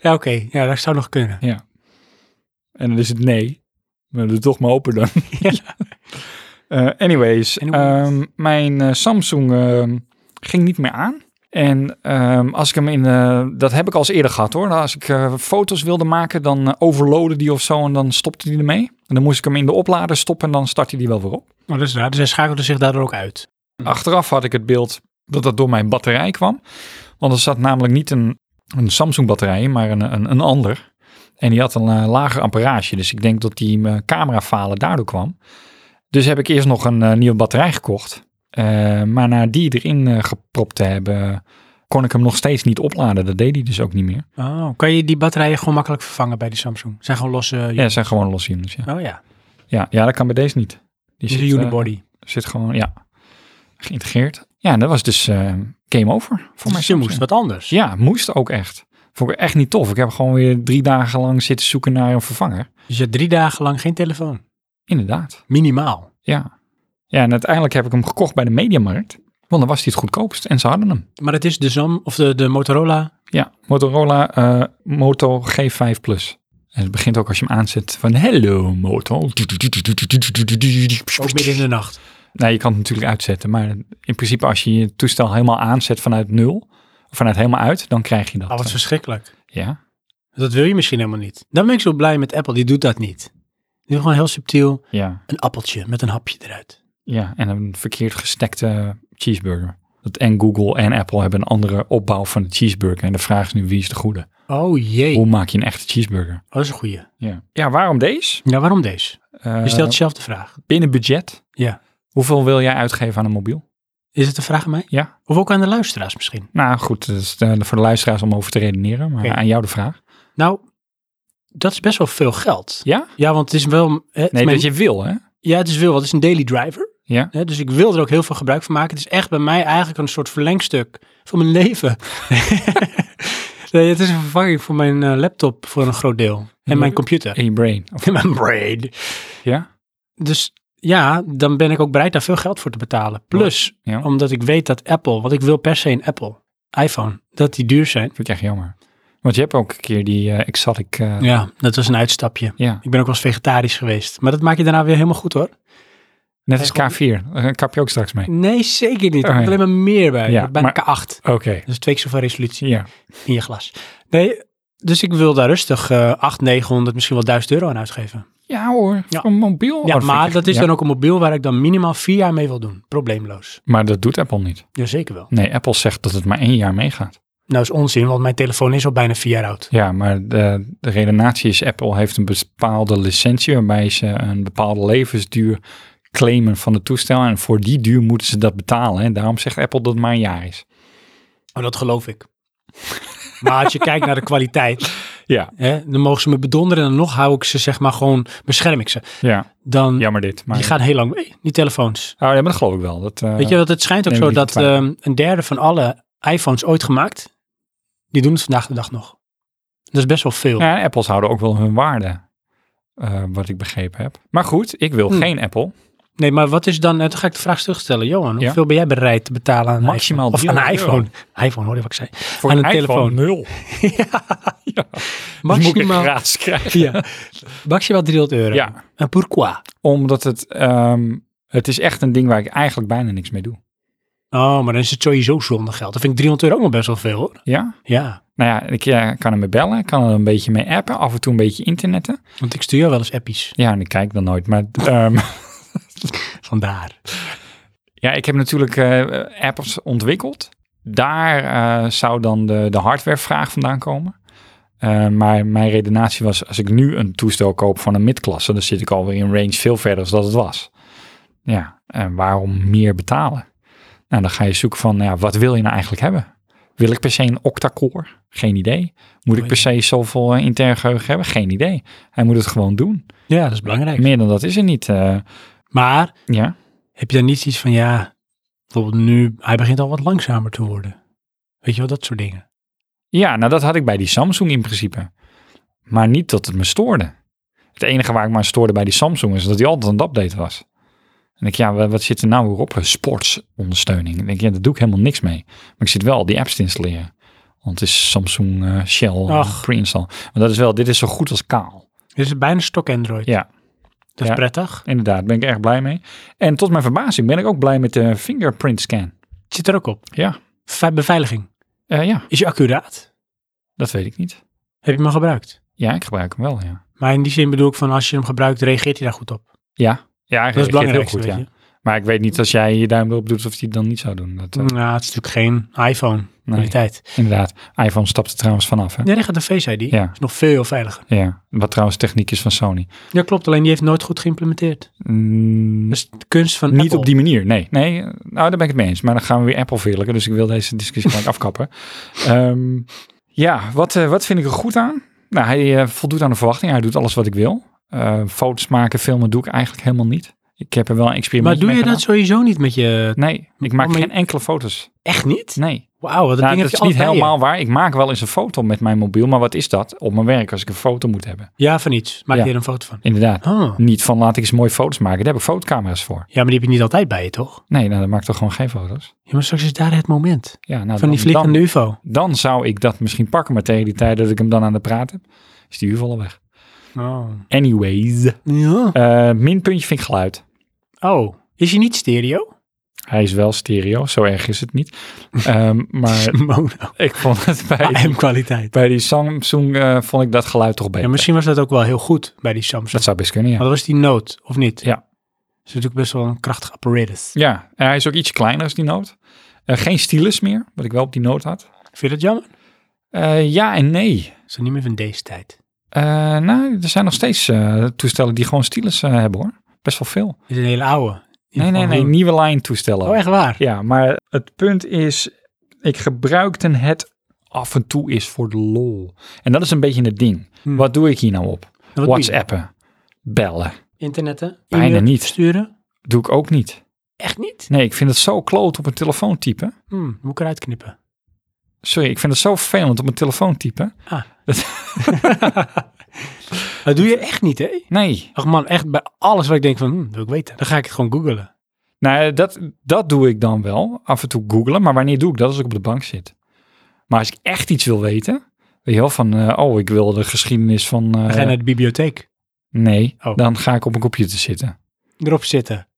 C: Ja, oké. Ja, dat zou nog kunnen.
A: En dan is het nee. Maar doe het toch maar open dan.
C: Ja.
A: Eh, anyways,
C: Anyways.
A: ehm, mijn eh, Samsung ehm, ging niet meer aan. En ehm, als ik hem in, eh, dat heb ik al eens eerder gehad hoor. Als ik eh, foto's wilde maken, dan eh, overloadde die of zo en dan stopte die ermee. En dan moest ik hem in de oplader stoppen en dan startte die wel weer op.
C: Oh, dat is raar. Dus hij schakelde zich daardoor ook uit.
A: Achteraf had ik het beeld dat dat door mijn batterij kwam. Want er zat namelijk niet een, een Samsung-batterij, in, maar een, een, een ander. En die had een eh, lager amperage. Dus ik denk dat die eh, camerafalen daardoor kwam. Dus heb ik eerst nog een eh, nieuwe batterij gekocht. Eh, maar na die erin eh, gepropt te hebben, kon ik hem nog steeds niet opladen. Dat deed hij dus ook niet meer.
C: Oh, kan je die batterijen gewoon makkelijk vervangen bij die Samsung? Zijn gewoon losse...
A: Ja, het zijn gewoon losse units. Ja.
C: Oh ja,
A: Ja, ja, dat kan bij deze niet. Die
C: die is
A: zit,
C: een
A: eh,
C: unibody.
A: zit gewoon, ja, geïntegreerd. Ja, en dat was dus eh, game over voor mij.
C: dus je moest wat anders.
A: Ja, moest ook echt. Vond ik echt niet tof. Ik heb gewoon weer drie dagen lang zitten zoeken naar een vervanger.
C: Dus je had drie dagen lang geen telefoon.
A: Inderdaad,
C: Minimaal.
A: ja. Ja, en uiteindelijk heb ik hem gekocht bij de Mediamarkt. Want dan was hij het goedkoopst en ze hadden hem.
C: Maar het is de Zam of de, de Motorola.
A: Ja, Motorola eh, Moto G5 Plus. En het begint ook als je hem aanzet van hello Moto.
C: Ook midden in de nacht.
A: Nou, je kan het natuurlijk uitzetten, maar in principe als je je toestel helemaal aanzet vanuit nul, of vanuit helemaal uit, dan krijg je dat.
C: Oh, wat verschrikkelijk.
A: ja.
C: Dat wil je misschien helemaal niet. Dan ben ik zo blij met Apple. Die doet dat niet. Die doet gewoon heel subtiel
A: Ja,
C: een appeltje met een hapje eruit.
A: ja, en een verkeerd gestekte cheeseburger. Dat en Google en Apple hebben een andere opbouw van de cheeseburger. En de vraag is nu, wie is de goede?
C: Oh jee.
A: Hoe maak je een echte cheeseburger?
C: Oh, dat is een goeie.
A: Ja, ja waarom deze?
C: Ja, waarom deze?
A: Eh,
C: Je stelt zelf de vraag.
A: binnen budget.
C: Ja.
A: Hoeveel wil jij uitgeven aan een mobiel?
C: Is het een vraag aan mij?
A: Ja.
C: Of ook aan de luisteraars misschien?
A: Nou goed, dat is eh, voor de luisteraars om over te redeneren, maar
C: Oké.
A: aan jou de vraag.
C: Nou, dat is best wel veel geld.
A: Ja?
C: Ja, want het is wel... hè, het
A: Nee,
C: mijn-
A: dat je wil hè?
C: Ja, het is veel. wat Het is een daily driver.
A: Ja.
C: Hè, dus ik wil er ook heel veel gebruik van maken. Het is echt bij mij eigenlijk een soort verlengstuk van mijn leven. nee, het is een vervanging voor mijn eh, laptop voor een groot deel. En mijn computer.
A: In je brain. Of,
C: En mijn brain.
A: ja?
C: Dus ja, dan ben ik ook bereid daar veel geld voor te betalen. Plus,
A: Ja.
C: omdat ik weet dat Apple, want ik wil per se een Apple iPhone, dat die duur zijn.
A: Vind ik echt jammer. Want je hebt ook een keer die eh Exotic... eh,
C: Ja, dat was een uitstapje.
A: ja,
C: Ik ben ook wel eens vegetarisch geweest. Maar dat maak je daarna weer helemaal goed hoor.
A: net als
C: Echt
A: K4. Daar kap je ook straks mee.
C: Nee, zeker niet. Er
A: Oh,
C: komt
A: ja.
C: alleen maar meer bij.
A: Ja,
C: Ja, bijna K8.
A: Oké.
C: Dus twee keer zoveel resolutie
A: Ja.
C: in je glas. Nee, dus ik wil daar rustig eh 800, 900, misschien wel 1000 euro aan uitgeven.
A: ja hoor,
C: Ja.
A: een mobiel.
C: Ja,
A: Oh, vind
C: maar
A: ik-
C: dat is
A: ja.
C: dan ook een mobiel waar ik dan minimaal vier jaar mee wil doen. Probleemloos.
A: Maar dat doet Apple niet.
C: Jazeker wel.
A: Nee, Apple zegt dat het maar één jaar meegaat.
C: Nou is onzin, want mijn telefoon is al bijna vier jaar oud.
A: Ja, maar de, de redenatie is Apple heeft een bepaalde licentie waarbij ze een bepaalde levensduur claimen van het toestel. En voor die duur moeten ze dat betalen. En daarom zegt Apple dat het maar een jaar is.
C: Oh, dat geloof ik. maar als je kijkt naar de kwaliteit,
A: Ja,
C: hè, dan mogen ze me bedonderen en dan nog hou ik ze, zeg maar, gewoon bescherm ik ze.
A: ja.
C: Dan,
A: jammer dit. Maar,
C: die gaan heel lang mee, die telefoons.
A: oh, ja, maar dat geloof ik wel. Dat, eh,
C: Weet je wat, het schijnt ook
A: neem
C: zo
A: ik niet
C: dat
A: in twijfel.
C: ehm, een derde van alle iPhones ooit gemaakt, die doen het vandaag de dag nog. Dat is best wel veel.
A: Ja, en Apples houden ook wel hun waarde, eh, wat ik begrepen heb. Maar goed, ik wil
C: Hm.
A: geen Apple.
C: Nee, maar wat is dan, eh, dan ga ik de vraag terugstellen. Johan,
A: Ja.
C: hoeveel ben jij bereid te betalen aan een
A: Maximaal
C: iPhone? Of aan een
A: 300 euro.
C: iPhone. iPhone, hoor je wat ik zei?
A: Voor
C: Aan
A: een,
C: een telefoon.
A: iPhone nul. ja. Die moet ik
C: Maximaal,
A: gratis krijgen.
C: ja, maximaal 300 euro.
A: Ja,
C: En pourquoi?
A: omdat het, ehm, het is echt een ding waar ik eigenlijk bijna niks mee doe.
C: Oh, maar dan is het sowieso zonder geld. Dan vind ik 300 euro ook nog best wel veel hoor.
A: Ja?
C: Ja,
A: Nou ja, ik eh, kan ermee bellen, kan er een beetje mee appen, af en toe een beetje internetten.
C: want ik stuur jou wel eens appies.
A: Ja, en ik kijk dan nooit. Maar ehm,
C: Vandaar.
A: ja, ik heb natuurlijk eh, apps ontwikkeld. Daar eh, zou dan de, de hardwarevraag vandaan komen. Eh, maar mijn redenatie was, als ik nu een toestel koop van een midklasse, dan zit ik alweer in range veel verder dan dat het was. Ja, en waarom meer betalen? Nou, dan ga je zoeken van, ja, wat wil je nou eigenlijk hebben? Wil ik per se een octa-core? Geen idee. Moet ik per se zoveel eh, intern geheugen hebben? Geen idee. Hij moet het gewoon doen.
C: Ja, dat is belangrijk.
A: Meer dan dat is er niet. eh,
C: Maar
A: ja.
C: Heb je dan niet iets van, ja, bijvoorbeeld nu, hij begint al wat langzamer te worden. Weet je wel, dat soort dingen.
A: Ja, nou dat had ik bij die Samsung in principe. Maar niet dat het me stoorde. Het enige waar ik me aan stoorde bij die Samsung is dat die altijd een update was. En ik, ja, wa- wat zit er nou weer op? Sportsondersteuning. Ik denk, ja, daar doe ik helemaal niks mee. Maar ik zit wel al die apps te installeren. Want het is Samsung eh, Shell eh,
C: Ach.
A: pre-install. Maar dat is wel, dit is zo goed als kaal.
C: Dit is bijna stok Android.
A: Ja.
C: Dat is
A: Ja.
C: prettig.
A: Inderdaad, daar ben ik erg blij mee. En tot mijn verbazing ben ik ook blij met de fingerprint scan.
C: Het zit er ook op.
A: Ja,
C: Ve- beveiliging.
A: Eh, ja
C: Is je accuraat?
A: dat weet ik niet.
C: Heb je hem al gebruikt?
A: Ja, ik gebruik hem wel, ja.
C: Maar in die zin bedoel ik van, als je hem gebruikt, reageert hij daar goed op.
A: Ja, ja hij
C: Dat is
A: reageert heel
C: belangrijk.
A: goed, ja. Maar ik weet niet als jij je duim erop doet of die het dan niet zou doen. Dat, eh,
C: Nou, het is natuurlijk geen iPhone
A: nee,
C: kwaliteit.
A: inderdaad. iPhone stapt er trouwens vanaf. Hè?
C: Nee, daar gaat een Face ID.
A: Ja.
C: Is nog veel veiliger.
A: Ja, wat trouwens techniek is van Sony.
C: Ja, klopt. Alleen die heeft nooit goed geïmplementeerd.
A: Mm,
C: Dus de kunst van
A: niet
C: Apple.
A: op die manier, nee. nee. eh, Nou, daar ben ik het mee eens. Maar dan gaan we weer Apple verlijken. Dus ik wil deze discussie gelijk afkappen. Ehm, ja, wat, eh, wat vind ik er goed aan? Nou, hij eh, voldoet aan de verwachting. Hij doet alles wat ik wil. Eh, foto's maken, filmen doe ik eigenlijk helemaal niet. Ik heb er wel een experiment
C: Maar doe
A: mee
C: je dat
A: gedaan.
C: sowieso niet met je...
A: Nee, ik maak
C: Oh, maar je-
A: geen enkele foto's.
C: Echt niet?
A: Nee.
C: Wauw, wat een
A: Nou,
C: ding
A: dat
C: heb je
A: is niet
C: altijd bij je.
A: helemaal waar. Ik maak wel eens een foto met mijn mobiel, maar wat is dat? Op mijn werk als ik een foto moet hebben.
C: Ja, van iets. Maak
A: Ja.
C: je er een foto van.
A: Inderdaad.
C: Oh.
A: Niet van laat ik eens mooie foto's maken. Daar heb ik fotocamera's voor.
C: Ja, maar die heb je niet altijd bij je, toch?
A: Nee, nou, dan maak ik toch gewoon geen foto's.
C: Ja, maar straks is daar het moment.
A: Ja, nou,
C: Van die
A: dan, dan,
C: vliegende ufo.
A: dan zou ik dat misschien pakken, maar tegen die tijd dat ik hem dan aan de praat heb, is die uur weg.
C: Oh.
A: Anyways,
C: Ja.
A: Eh, minpuntje vind ik geluid.
C: Oh, is je niet stereo?
A: Hij is wel stereo, zo erg is het niet. Ehm, maar
C: Mono.
A: ik vond het bij,
C: AM-kwaliteit.
A: bij die Samsung eh, vond ik dat geluid toch beter.
C: Ja, misschien was dat ook wel heel goed bij die Samsung.
A: Dat zou best kunnen, ja.
C: Maar dat was die Note, of niet?
A: Ja.
C: Dat is natuurlijk best wel een krachtig apparatus.
A: Ja, en hij is ook iets kleiner als die noot. Eh, geen stylus meer, wat ik wel op die noot had.
C: Vind je dat jammer?
A: Eh, ja en nee.
C: Dat is niet meer van deze tijd.
A: Eh, nou, er zijn nog steeds eh, toestellen die gewoon stylus eh, hebben hoor. Best wel veel.
C: Dit is een hele oude. Die
A: Nee, nee,
C: gewoon
A: nee,
C: heel-
A: nieuwe lijn toestellen.
C: Oh, echt waar?
A: Ja, maar het punt is, ik gebruikte het af en toe eens voor de lol. En dat is een beetje het ding.
C: Hmm.
A: Wat doe ik hier nou op?
C: Wat doe je?
A: Whatsappen, bellen,
C: Internetten?
A: Bijna
C: E-mail
A: niet.
C: Sturen?
A: doe ik ook niet.
C: Echt niet?
A: Nee, ik vind het zo kloot op mijn telefoon typen.
C: Hm, moet ik eruit knippen.
A: Sorry, ik vind het zo vervelend op mijn telefoon typen.
C: Dat doe je echt niet, hè?
A: Nee,
C: Ach man, echt bij alles wat ik denk van, hm, wil ik weten. Dan ga ik het gewoon googlen.
A: Nou, ja, dat, dat doe ik dan wel. Af en toe googlen. Maar wanneer doe ik dat? Als ik op de bank zit. Maar als ik echt iets wil weten. Weet je wel, van... eh, oh, ik wil de geschiedenis van... eh,
C: Dan ga je naar de bibliotheek.
A: nee,
C: Oh.
A: dan ga ik op een computer zitten.
C: Erop zitten.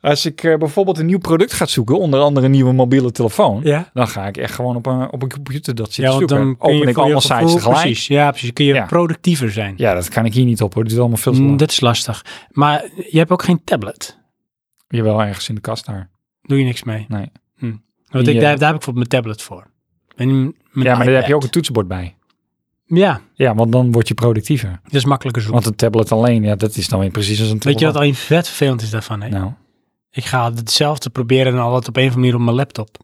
A: Als ik eh, bijvoorbeeld een nieuw product ga zoeken... onder andere een nieuwe mobiele telefoon...
C: Ja?
A: dan ga ik echt gewoon op een, op een computer dat zitten
C: Ja, want
A: zoeken.
C: dan kun
A: Open
C: je
A: ik
C: voor je
A: allemaal sites
C: gevoel-
A: tegelijk.
C: Precies, ja, precies. Kun je
A: Ja.
C: productiever zijn.
A: Ja, dat kan ik hier niet op hoor. Dit is allemaal veel te
C: Mm,
A: lang.
C: dat is lastig. Maar je hebt ook geen tablet.
A: Jawel, ergens in de kast daar.
C: Doe je niks mee.
A: Nee.
C: Hm. Want
A: Die, eh,
C: ik, daar, daar heb ik bijvoorbeeld mijn tablet voor. En mijn
A: ja, maar daar heb je ook een
C: iPad.
A: toetsenbord bij.
C: Ja,
A: Ja, want dan word je productiever.
C: dat is makkelijker zoeken.
A: Want een tablet alleen, ja, dat is dan weer precies als een
C: Weet
A: tablet.
C: je wat alleen vet vervelend is daarvan? Hè?
A: Nou,
C: Ik ga hetzelfde proberen en altijd op een of andere manier op mijn laptop.
A: hoe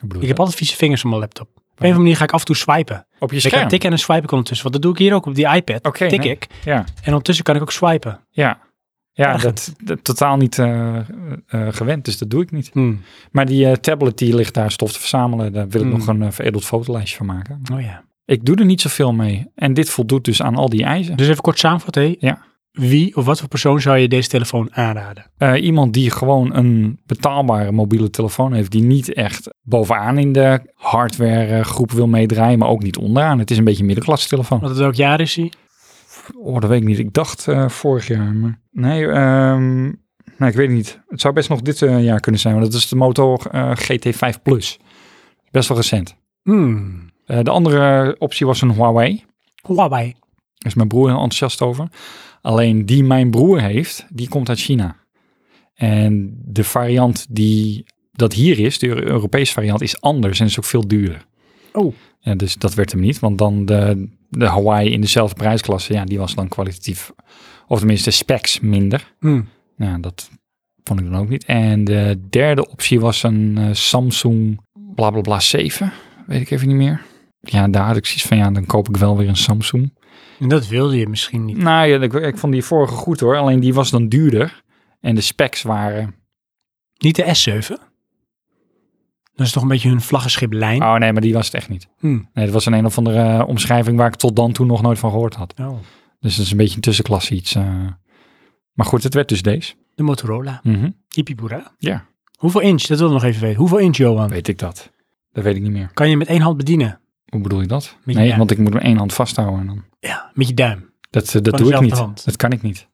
A: bedoel
C: Ik
A: je
C: heb altijd vieze vingers op mijn laptop. Op een of andere manier ga ik af en toe swipen. Dus
A: Op je
C: Ik
A: scherm.
C: ga tikken en dan swipe ik ondertussen. Want dat doe ik hier ook op die iPad.
A: Oké,
C: tik
A: nee.
C: ik.
A: Ja,
C: En ondertussen kan ik ook swipen.
A: ja. Ja, dat,
C: Ergend.
A: dat totaal niet eh, eh, gewend, dus dat doe ik niet.
C: Hm.
A: Maar die eh, tablet die ligt daar stof te verzamelen, daar wil ik
C: Hmm.
A: nog een eh, veredeld fotolijstje van maken.
C: Oh ja.
A: Ik doe er niet zoveel mee. En dit voldoet dus aan al die eisen.
C: Dus even kort samenvatten. hè?
A: Ja.
C: Wie of wat voor persoon zou je deze telefoon aanraden?
A: Eh, iemand die gewoon een betaalbare mobiele telefoon heeft, die niet echt bovenaan in de hardware eh, groep wil meedraaien, maar ook niet onderaan. Het is een beetje een middenklasse telefoon.
C: Want het welk jaar is hij?
A: Oh, dat weet ik niet. Ik dacht eh, vorig jaar, maar nee, ehm, nee, ik weet het niet. Het zou best nog dit eh, jaar kunnen zijn, want dat is de Moto eh, GT5 Plus. Best wel recent.
C: Hmm.
A: Eh, de andere optie was een Huawei. Daar
C: Huawei.
A: is mijn broer heel enthousiast over. Alleen die mijn broer heeft, die komt uit China. En de variant die dat hier is, de Euro- Europese variant, is anders en is ook veel duurder.
C: Oh.
A: Ja, dus dat werd hem niet, want dan de, de Hawaii in dezelfde prijsklasse, ja, die was dan kwalitatief, of tenminste specs minder.
C: Hmm.
A: Nou, dat vond ik dan ook niet. En de derde optie was een eh, Samsung bla bla bla 7, weet ik even niet meer. Ja, daar had ik zoiets van, ja, dan koop ik wel weer een Samsung.
C: En dat wilde je misschien niet.
A: Nou ja, ik, ik vond die vorige goed hoor, alleen die was dan duurder. En de specs waren...
C: Niet de S7. Dat is toch een beetje hun vlaggenschip lijn.
A: Oh nee, maar die was het echt niet.
C: Hmm.
A: Nee, dat was een een of andere eh, omschrijving waar ik tot dan toe nog nooit van gehoord had.
C: Oh.
A: Dus dat is een beetje een tussenklasse iets. eh. Maar goed, het werd dus deze.
C: De Motorola.
A: Mhm.
C: Ipipura.
A: Ja.
C: Hoeveel inch? Dat wil ik nog even weten. Hoeveel inch, Johan?
A: Weet ik dat? Dat weet ik niet meer.
C: Kan je met één hand bedienen?
A: Hoe bedoel je dat?
C: Met je
A: nee,
C: duim.
A: want ik moet mijn één hand vasthouden. En dan.
C: Ja, met je duim.
A: Dat, eh, dat
C: Van
A: doe ik
C: dezelfde
A: niet.
C: hand.
A: Dat kan ik niet.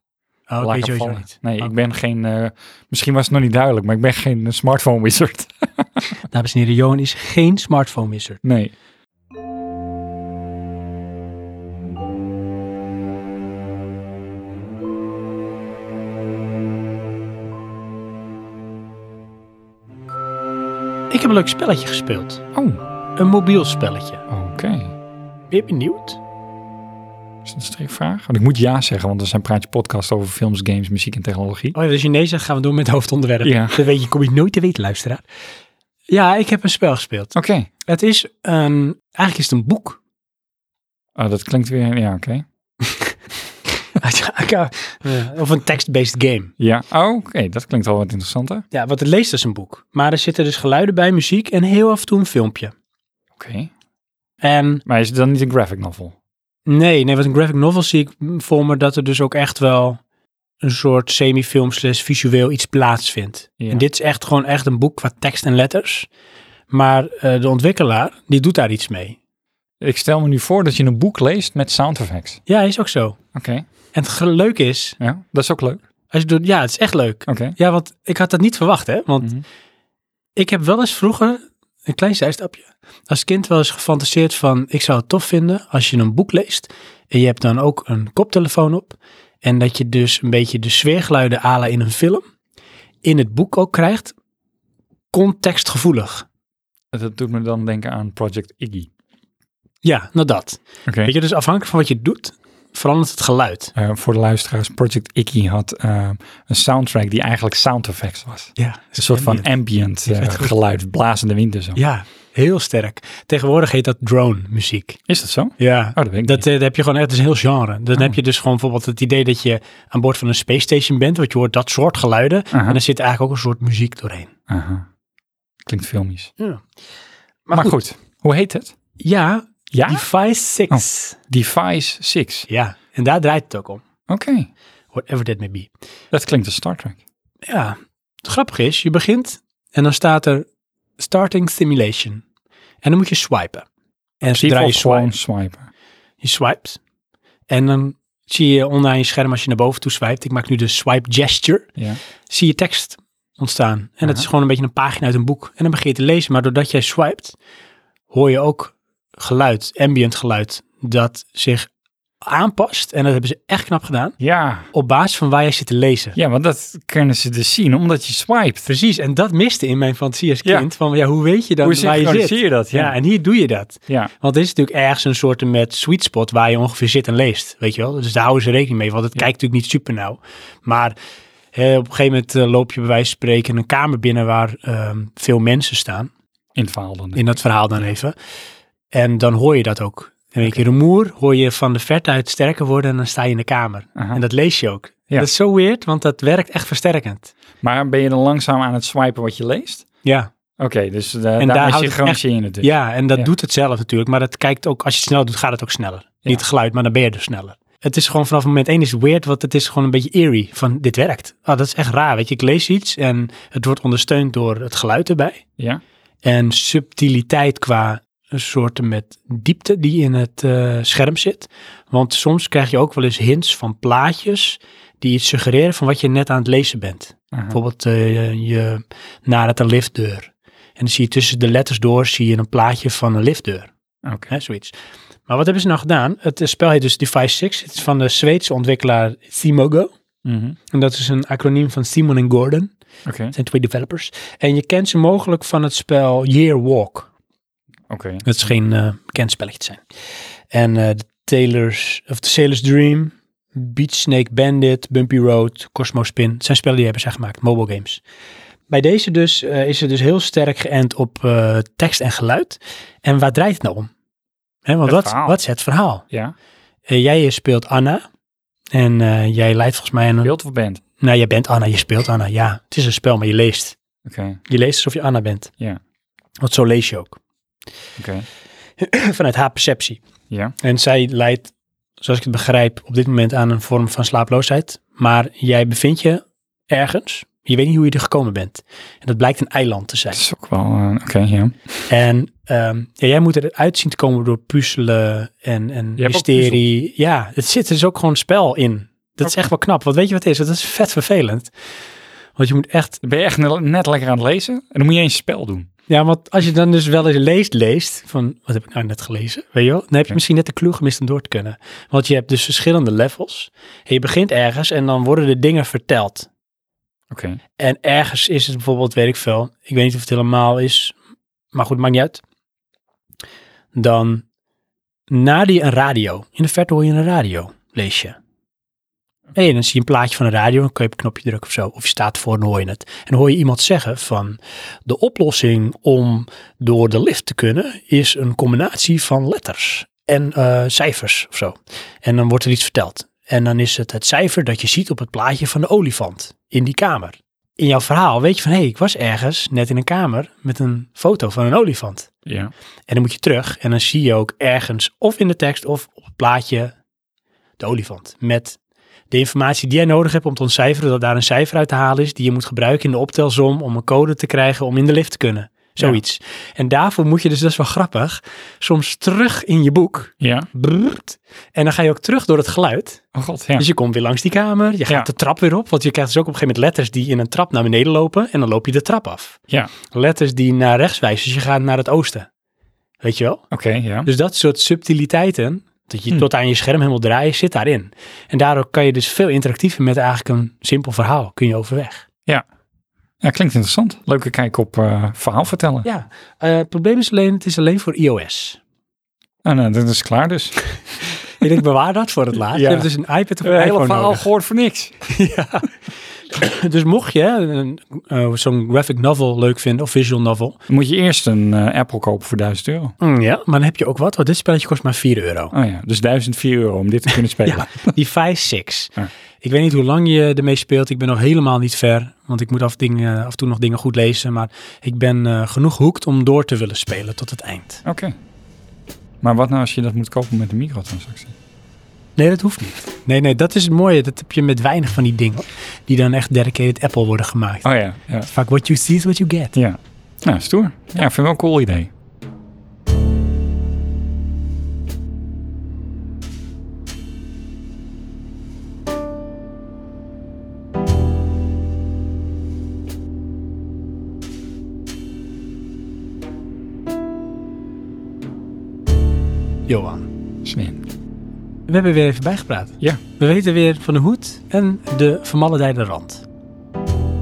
C: Oh, dat
A: Laat
C: weet
A: ik
C: je
A: hem
C: sowieso
A: vallen.
C: niet.
A: Nee,
C: Oh.
A: ik ben geen... eh, misschien was het nog niet duidelijk, maar ik ben geen eh, smartphone wizard.
C: nou, Dames en heren, Johan is geen smartphone wizard.
A: nee.
C: Ik heb een leuk spelletje gespeeld.
A: Oh,
C: Een mobiel spelletje.
A: oké.
C: Ben je benieuwd? Oh
A: Is dat een strikvraag? Want ik moet ja zeggen, want er zijn praatje podcast over films, games, muziek en technologie.
C: Oh ja, als je nee zegt, gaan we door met het hoofdonderwerp.
A: Ja.
C: Dat weet je, kom je nooit te weten, luisteraar. Ja, ik heb een spel gespeeld.
A: Oké.
C: Het is een... Eigenlijk is het een boek.
A: Oh, dat klinkt weer... Ja, oké.
C: Ja, of een text-based game.
A: Ja, oh, oké, dat klinkt al wat interessanter.
C: Ja, wat het leest is een boek. Maar er zitten dus geluiden bij, muziek en heel af en toe een filmpje.
A: Oké.
C: En
A: Maar is het dan niet een graphic novel?
C: nee, nee, wat een graphic novel zie ik mm, voor me dat er dus ook echt wel een soort semi-film slash visueel iets plaatsvindt.
A: Ja.
C: En dit is echt gewoon echt een boek qua tekst en letters. Maar eh, de ontwikkelaar, die doet daar iets mee.
A: Ik stel me nu voor dat je een boek leest met sound effects.
C: Ja, is ook zo.
A: Oké,
C: En het ge- leuke is,
A: ja, dat is ook leuk. Oké.
C: als je doet, ja, het is echt leuk. Ja, want ik had dat niet verwacht, hè. Want
A: Mhm.
C: ik heb wel eens vroeger, een klein zijstapje, als kind wel eens gefantaseerd van... ik zou het tof vinden als je een boek leest en je hebt dan ook een koptelefoon op... en dat je dus een beetje de sfeergeluiden à la in een film... in het boek ook krijgt, contextgevoelig.
A: Dat doet me dan denken aan Project Iggy.
C: Ja, nou dat.
A: Oké.
C: Weet je, dus afhankelijk van wat je doet, verandert het geluid.
A: Eh, voor de luisteraars, Project Iggy had eh, een soundtrack die eigenlijk sound effects was.
C: Ja,
A: Een soort van ambient eh, geluid, blazende wind en zo.
C: Ja, heel sterk. Tegenwoordig heet dat drone muziek.
A: Is dat zo? Oh,
C: Ja,
A: dat weet ik
C: Dat,
A: niet.
C: eh, dat heb je gewoon echt, het is een heel genre. Dan
A: Oh.
C: heb je dus gewoon bijvoorbeeld het idee dat je aan boord van een space station bent, want je hoort dat soort geluiden.
A: Aha,
C: En er zit eigenlijk ook een soort muziek doorheen.
A: aha. Klinkt filmisch.
C: Ja.
A: Maar, goed. hoe heet het?
C: Ja,
A: Ja?
C: Device 6.
A: Device 6.
C: Ah. Oh. Ja, en daar draait het ook om.
A: Oké,
C: Whatever that may be.
A: dat klinkt als Star Trek.
C: Ja, het grappige is, je begint en dan staat er starting simulation. En dan moet je swipen. En zodra je
A: Default gewoon
C: swipe,
A: swipen.
C: je swipes. En dan zie je onderaan je scherm als je naar boven toe swipt. Ik maak nu de swipe gesture.
A: Ja.
C: zie je tekst ontstaan. En dat is gewoon een beetje een pagina uit een boek. En dan begin je te lezen, maar doordat jij swipet, hoor je ook geluid, ambient geluid, dat zich aanpast. En dat hebben ze echt knap gedaan,
A: ja,
C: op basis van waar jij zit te lezen.
A: Ja, want dat kunnen ze dus zien, omdat je swipet.
C: Precies, en dat miste in mijn fantasie als
A: Ja.
C: kind. Van ja, hoe weet je dan
A: Hoe
C: waar je
A: synchroniseer
C: zit?
A: je dat? Ja.
C: ja, en hier doe je dat.
A: Ja,
C: Want dit is natuurlijk ergens een soort met sweet spot waar je ongeveer zit en leest, weet je wel. Dus daar houden ze rekening mee, want het kijkt natuurlijk niet super nauw. Maar eh, op een gegeven moment eh, loop je bij wijze van spreken een kamer binnen waar ehm, veel mensen staan.
A: in het verhaal dan.
C: In dat verhaal dan even. En dan hoor je dat ook. En een keer een moer hoor je van de verte uit sterker worden en dan sta je in de kamer.
A: Aha.
C: En dat lees je ook.
A: Ja.
C: Dat is zo weird, want dat werkt echt versterkend.
A: Maar ben je dan langzaam aan het swipen wat je leest?
C: Ja,
A: Oké, dus eh, daar,
C: daar
A: daar is
C: houdt
A: je
C: het
A: gewoon
C: echt-
A: in het dus.
C: ja en dat
A: Ja.
C: doet het zelf natuurlijk. Maar dat kijkt ook, als je het snel doet, gaat het ook sneller.
A: Ja.
C: Niet het geluid, maar dan ben je dus sneller. Het is gewoon vanaf moment één is het weird, want het is gewoon een beetje eerie. Van dit werkt. Ah, dat is echt raar, weet je. Ik lees iets en het wordt ondersteund door het geluid erbij.
A: Ja?
C: en subtiliteit qua een soort met diepte die in het eh, scherm zit. Want soms krijg je ook wel eens hints van plaatjes die iets suggereren van wat je net aan het lezen bent.
A: Aha.
C: Bijvoorbeeld eh, je nadert een liftdeur. En dan zie je tussen de letters door zie je een plaatje van een liftdeur.
A: Oké.
C: Hè, zoiets. Maar wat hebben ze nou gedaan? Het eh, spel heet dus Device 6. Het is van de Zweedse ontwikkelaar Simogo.
A: Mhm.
C: En dat is een acroniem van Simon en Gordon.
A: Oké,
C: Het zijn twee developers. En je kent ze mogelijk van het spel Year Walk.
A: oké.
C: Dat is geen eh, bekend spelletje te zijn. En eh, de Taylor's, of de Sailor's Dream, Beach Snake Bandit, Bumpy Road, Cosmo Spin. Het zijn spellen die hebben zij gemaakt, mobile games. Bij deze dus eh, is het dus heel sterk geënt op eh, tekst en geluid. En waar draait het nou om? Hè, want
A: Het
C: wat,
A: verhaal.
C: wat is het verhaal?
A: Ja,
C: Eh, jij speelt Anna. En eh, jij leidt volgens mij aan een...
A: beeld of band?
C: Nou, jij bent Anna, je speelt Anna. Ja, het is een spel, maar je leest.
A: Oké,
C: Je leest alsof je Anna bent.
A: Ja.
C: Want zo lees je ook.
A: oké.
C: Vanuit haar perceptie.
A: Ja,
C: En zij leidt, zoals ik het begrijp, op dit moment aan een vorm van slaaploosheid. Maar jij bevindt je ergens. Je weet niet hoe je er gekomen bent. En dat blijkt een eiland te zijn.
A: dat is ook wel... eh, oké, ja.
C: En ehm, ja, jij moet eruit zien te komen door puzzelen en, en
A: hebt ook
C: mysterie. Ja, het zit dus ook gewoon spel in. Dat is echt wel knap. Want weet je wat het is? Dat is vet vervelend. Want je moet echt...
A: Dan ben je echt ne- net lekker aan het lezen en dan moet je eens spel doen.
C: Ja, want als je dan dus wel eens leest, leest van... Wat heb ik nou net gelezen? Weet je wel? Dan heb je
A: Ja.
C: misschien net de clue gemist om door te kunnen. Want je hebt dus verschillende levels. En je begint ergens en dan worden de dingen verteld.
A: Oké,
C: En ergens is het bijvoorbeeld, weet ik veel, ik weet niet of het helemaal is, maar goed, maakt niet uit. Dan nader je een radio. In de verte hoor je een radio, lees je. En dan zie je een plaatje van een radio, dan kun je op een knopje drukken of zo. Of je staat voor en dan hoor je het. En dan hoor je iemand zeggen van, de oplossing om door de lift te kunnen, is een combinatie van letters en eh, cijfers of zo. En dan wordt er iets verteld. En dan is het het cijfer dat je ziet op het plaatje van de olifant in die kamer. In jouw verhaal weet je van, hé, hey, ik was ergens net in een kamer met een foto van een olifant.
A: Ja.
C: En dan moet je terug en dan zie je ook ergens, of in de tekst of op het plaatje, de olifant. Met de informatie die jij nodig hebt om te ontcijferen dat daar een cijfer uit te halen is, die je moet gebruiken in de optelsom om een code te krijgen om in de lift te kunnen. Zoiets. En daarvoor moet je dus, dat is wel grappig, soms terug in je boek.
A: Ja.
C: Brrrt. en dan ga je ook terug door het geluid.
A: Oh god, ja.
C: Dus je komt weer langs die kamer, je gaat
A: Ja.
C: de trap weer op. Want je krijgt dus ook op een gegeven moment letters die in een trap naar beneden lopen. En dan loop je de trap af.
A: Ja.
C: Letters die naar rechts wijzen, dus je gaat naar het oosten. Weet je wel?
A: Oké, ja.
C: Dus dat soort subtiliteiten, dat je
A: Hmm.
C: tot aan je scherm helemaal draait, zit daarin. En daardoor kan je dus veel interactiever met eigenlijk een simpel verhaal, kun je overweg.
A: Ja, klinkt interessant. Leuke kijk op eh, verhaal vertellen.
C: Ja, eh, het probleem is alleen, het is alleen voor iOS.
A: Ah, nou, dat is klaar dus.
C: Ik denk, bewaar dat voor het laatst.
A: Ja.
C: Je hebt dus een iPad of
A: We hebben
C: een
A: het hele
C: iPhone
A: verhaal
C: nodig.
A: gehoord voor niks.
C: Dus mocht je een, eh, zo'n graphic novel leuk vinden, of visual novel.
A: Dan moet je eerst een eh, Apple kopen voor 1000 euro.
C: Mm, ja, maar dan heb je ook wat, want dit spelletje kost maar 4 euro.
A: Oh ja, dus 1004 euro om dit te kunnen spelen.
C: Ja, die 5-6.
A: Ja.
C: Ik weet niet hoe lang je ermee speelt. Ik ben nog helemaal niet ver. Want ik moet af, dingen, af en toe nog dingen goed lezen. Maar ik ben eh, genoeg hoekt om door te willen spelen tot het eind.
A: Oké. Maar wat nou als je dat moet kopen met een microtransactie?
C: Nee, dat hoeft niet. Nee, nee, dat is het mooie. Dat heb je met weinig van die dingen. Die dan echt dedicated Apple worden gemaakt.
A: Oh ja, ja.
C: Vaak what you see is what you get.
A: Ja. Nou, stoer. Ja, vind ik wel een cool idee.
C: Johan,
A: Slim.
C: we hebben weer even bijgepraat.
A: Ja.
C: We weten weer van de hoed en de vermaledijde rand.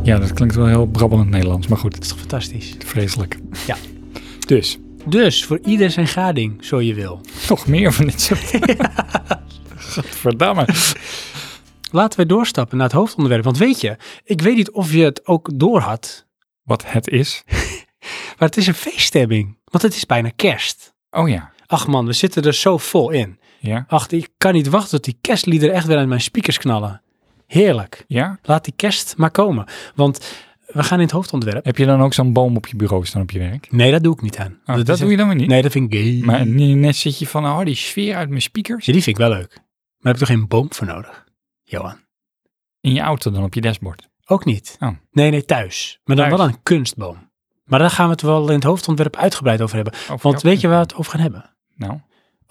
A: Ja, dat klinkt wel heel brabbelend Nederlands, maar goed,
C: Dat is toch fantastisch?
A: vreselijk.
C: Ja.
A: Dus,
C: Dus, voor ieder zijn gading, zo je wil.
A: nog meer van dit soort... Godverdamme.
C: Laten we doorstappen naar het hoofdonderwerp. Want weet je, ik weet niet of je het ook door had.
A: Wat het is.
C: Maar het is een feeststemming. Want het is bijna kerst.
A: Oh ja.
C: Ach man, we zitten er zo vol in.
A: Ja?
C: Ach, ik kan niet wachten tot die kerstliederen echt weer uit mijn speakers knallen. Heerlijk.
A: Ja?
C: Laat die kerst maar komen. Want we gaan in het hoofdontwerp.
A: Heb je dan ook zo'n boom op je bureau staan op je werk?
C: Nee, dat doe ik niet aan.
A: Oh, dat
C: is-
A: doe je dan weer niet?
C: Nee, dat vind ik gay.
A: Maar nu net zit je van, oh, die sfeer uit mijn speakers.
C: Zie, Die vind ik wel leuk. Maar daar heb ik toch geen boom voor nodig? Johan.
A: In je auto dan op je dashboard.
C: Ook niet.
A: Oh.
C: Nee, nee, thuis. Maar dan
A: Thuis.
C: wel een kunstboom. Maar daar gaan we het wel in het hoofdontwerp uitgebreid over hebben.
A: Of
C: Want
A: dat-
C: weet je waar we het over gaan hebben?
A: Nou.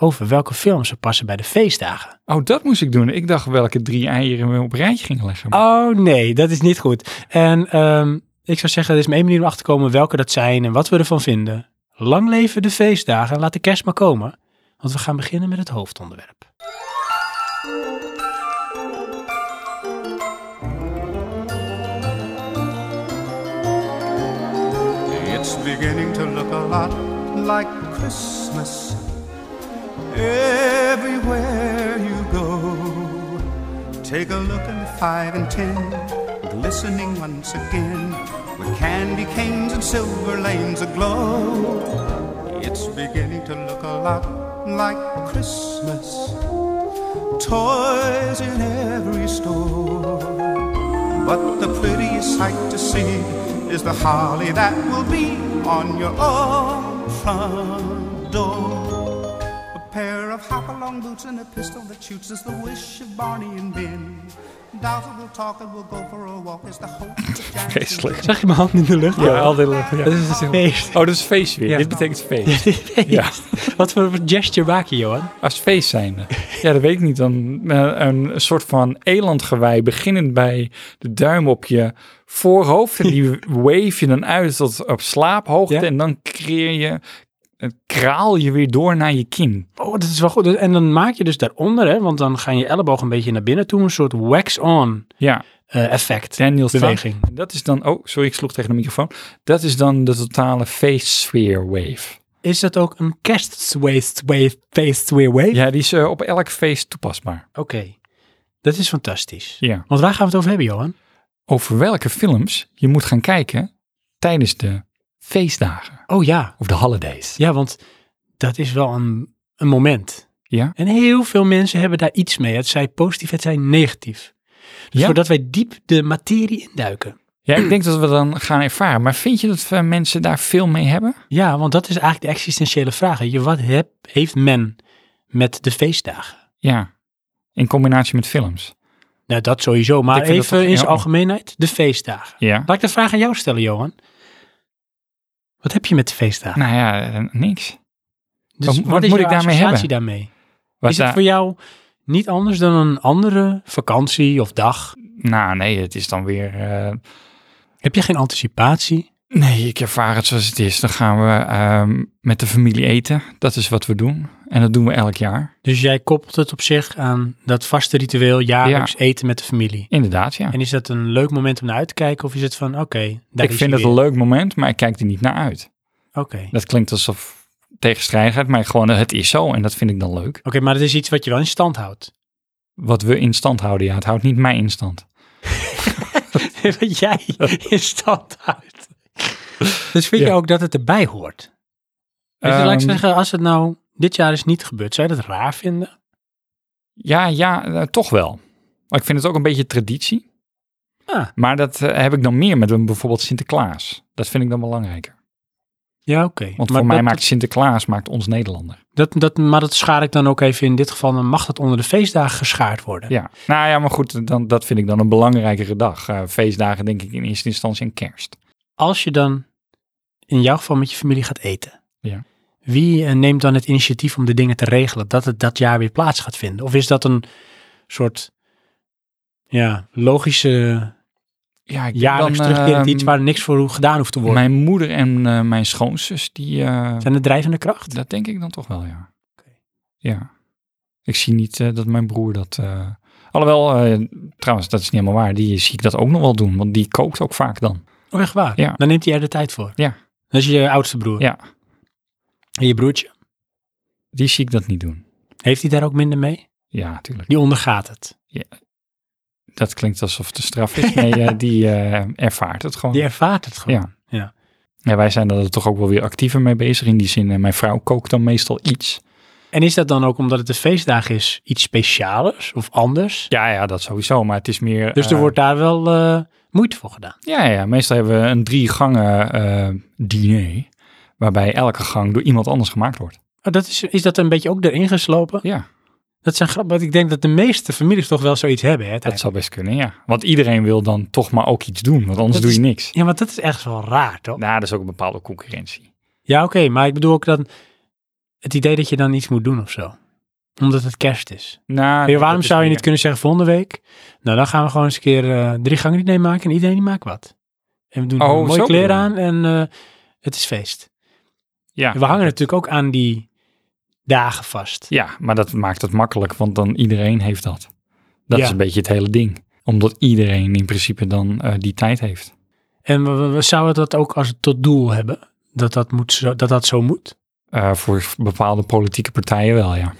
C: over welke films ze passen bij de feestdagen.
A: Oh, dat moest ik doen. Ik dacht welke drie eieren we op rijtje gingen leggen.
C: Oh nee, dat is niet goed. En ehm, ik zou zeggen, er is maar één manier om achter te komen welke dat zijn en wat we ervan vinden. Lang leven de feestdagen en laat de kerst maar komen. Want we gaan beginnen met het hoofdonderwerp.
D: It's beginning to look a lot like Christmas everywhere you go. Take a look at the five and ten, glistening once again with candy canes and silver lanes aglow. It's beginning to look a lot like Christmas. Toys in every store. But the prettiest sight to see is the holly that will be on your own front door. A pair of hop-along boots and a pistol that shoots is the wish of Barney and Ben. Doubter will talk and will go for a walk is the hope of Jack.
A: Vreselijk.
C: Zag je mijn hand in de lucht? Ja, altijd lucht. Dat is een feest.
A: Oh, dat is feest weer.
C: Ja.
A: Dit betekent feest. Ja.
C: Wat voor een gesture maak je, Johan?
A: Als feest zijnde. Ja, dat weet ik niet. Dan eh, een soort van elandgewei beginnend bij de duim op je voorhoofd. En die wave je dan uit tot op slaaphoogte.
C: Ja.
A: En dan creëer je, eh, kraal je weer door naar je kin.
C: Oh, dat is wel goed. En dan maak je dus daaronder, hè, want dan gaan je elleboog een beetje naar binnen toe, een soort wax-on
A: Ja,
C: eh, effect.
A: Daniel Strack.
C: Beweging.
A: Dat is dan, oh sorry, ik sloeg tegen de microfoon. Dat is dan de totale feestsfeer wave.
C: Is dat ook een kerstsweestweestweestweerwave?
A: Ja, die is eh, op elk feest toepasbaar.
C: Oké, dat is fantastisch.
A: Ja.
C: Want waar gaan we het over hebben, Johan?
A: Over welke films je moet gaan kijken tijdens de feestdagen
C: Oh ja,
A: of de holidays.
C: ja, want dat is wel een, een moment.
A: Ja.
C: En heel veel mensen hebben daar iets mee. Het zij positief, het zij negatief. Dus
A: Ja.
C: voordat wij diep de materie induiken.
A: Ja, ik denk dat we dan gaan ervaren. Maar vind je dat eh, mensen daar veel mee hebben?
C: Ja, want dat is eigenlijk de existentiële vraag. weet Je, wat heb, heeft men met de feestdagen?
A: Ja. In combinatie met films.
C: Nou, dat sowieso. Maar
A: Ik vind dat
C: even
A: toch-
C: in zijn
A: ja.
C: algemeenheid, de feestdagen.
A: Ja.
C: Laat ik de vraag aan jou stellen, Johan. Wat heb je met de feestdagen?
A: Nou ja, eh, niks.
C: dus
A: wat-
C: wat,
A: wat
C: is
A: moet
C: jouw
A: ik daarmee hebben?
C: associatie daarmee?
A: Wat
C: is het
A: daar-
C: voor jou niet anders dan een andere vakantie of dag?
A: Nou nee, het is dan weer... eh,
C: Heb je geen anticipatie?
A: Nee, ik ervaar het zoals het is. Dan gaan we ehm, met de familie eten. Dat is wat we doen. En dat doen we elk jaar.
C: Dus jij koppelt het op zich aan dat vaste ritueel jaarlijks eten met de familie.
A: Inderdaad, ja.
C: En is dat een leuk moment om naar uit te kijken? Of is het van, oké, daar
A: Ik
C: is
A: vind
C: hij
A: het een
C: weer.
A: leuk moment, maar ik kijk er niet naar uit.
C: Oké, oké,
A: Dat klinkt alsof tegenstrijdigheid, maar gewoon eh, het is zo en dat vind ik dan leuk.
C: maar dat is iets wat je wel in stand houdt.
A: Wat we in stand houden, ja, het houdt niet mij in stand.
C: wat jij in stand houdt. Dus vind
A: Ja.
C: je ook dat het erbij hoort? Dus
A: Ehm,
C: laat ik zeggen, als het nou dit jaar is niet gebeurd, zou je dat raar vinden?
A: Ja, ja, eh, toch wel. Maar ik vind het ook een beetje traditie.
C: Ah.
A: Maar dat eh, heb ik dan meer met een bijvoorbeeld Sinterklaas. Dat vind ik dan belangrijker.
C: Ja, oké.
A: Want
C: Maar
A: voor mij
C: dat-
A: maakt Sinterklaas maakt ons Nederlander.
C: Dat, dat, maar dat schaar ik dan ook even in dit geval. Dan mag dat onder de feestdagen geschaard worden.
A: Ja. Nou ja, maar goed, dan, dat vind ik dan een belangrijkere dag. Eh, feestdagen denk ik in eerste instantie aan kerst.
C: Als je dan in jouw geval met je familie gaat eten.
A: Ja.
C: Wie eh, neemt dan het initiatief om de dingen te regelen dat het dat jaar weer plaats gaat vinden? Of is dat een soort ja, logische,
A: Ja, ik denk
C: jaarlijks
A: dan,
C: terugkerend
A: eh,
C: iets waar niks voor hoe- gedaan hoeft te worden?
A: Mijn moeder en eh, mijn schoonzus, die, eh,
C: Zijn de drijvende kracht?
A: dat denk ik dan toch wel, ja.
C: Oké.
A: Ja. Ik zie niet eh, dat mijn broer dat... eh, Alhoewel, eh, trouwens, dat is niet helemaal waar. Die zie ik dat ook nog wel doen, want die kookt ook vaak dan.
C: Oh, echt waar?
A: Ja.
C: Dan neemt hij er de tijd voor.
A: Ja.
C: Dat is je oudste broer.
A: Ja.
C: En je broertje,
A: Die zie ik dat niet doen.
C: heeft hij daar ook minder mee?
A: Ja, natuurlijk.
C: Die ondergaat het.
A: Dat klinkt alsof het een straf is. Nee, eh, die eh, ervaart het gewoon.
C: Die ervaart het gewoon.
A: Ja. Ja, wij zijn er toch ook wel weer actiever mee bezig in die zin. En mijn vrouw kookt dan meestal iets.
C: En is dat dan ook omdat het de feestdag is iets specialers of anders?
A: Ja, ja, dat sowieso. Maar het is meer...
C: Dus er
A: eh,
C: wordt daar wel eh, moeite voor gedaan.
A: Ja, ja, meestal hebben we een drie gangen eh, diner. Waarbij elke gang door iemand anders gemaakt wordt.
C: Oh, dat is, is dat een beetje ook erin geslopen?
A: Ja,
C: Dat zijn grappig, want ik denk dat de meeste families toch wel zoiets hebben. Hè,
A: dat
C: uiteindelijk.
A: zou best kunnen, ja. Want iedereen wil dan toch maar ook iets doen, want anders
C: Dat
A: doe je
C: is- Oh.
A: niks.
C: Ja, want dat is echt wel raar, toch?
A: Nou, dat is ook een bepaalde concurrentie.
C: Ja, oké, maar ik bedoel ook dan het idee dat je dan iets moet doen of zo. Omdat het kerst is.
A: Nou,
C: Weet je, waarom
A: dat is
C: zou je
A: meer-
C: niet kunnen zeggen volgende week? Nou, dan gaan we gewoon eens een keer eh, drie gangen diner maken en iedereen die maakt wat. En we doen
A: Oh,
C: een mooie
A: zo
C: kleren
A: bedoel je.
C: aan en eh, het is feest.
A: Ja.
C: We hangen natuurlijk ook aan die dagen vast.
A: ja, maar dat maakt het makkelijk, want dan iedereen heeft dat. Dat
C: Ja.
A: is een beetje het hele ding. Omdat iedereen in principe dan eh, die tijd heeft.
C: En we, we- we zouden dat ook als tot doel hebben. Dat dat, moet zo, dat, dat zo moet.
A: Eh, voor bepaalde politieke partijen wel, ja.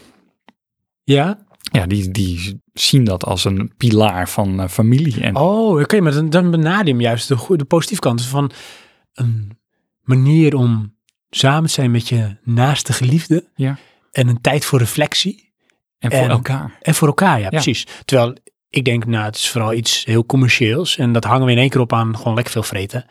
C: Ja?
A: Ja, die, die zien dat als een pilaar van eh, familie. En
C: Oh, oké. maar dan, dan benader je hem juist de, goe- de positieve kant. Van een manier om samen te zijn met je naaste geliefde.
A: Ja.
C: En een tijd voor reflectie.
A: En voor
C: En-
A: elkaar.
C: En voor elkaar, ja,
A: Ja.
C: precies. Terwijl ik denk, nou, het is vooral iets heel commercieels. En dat hangen we in één keer op aan gewoon lekker veel vreten.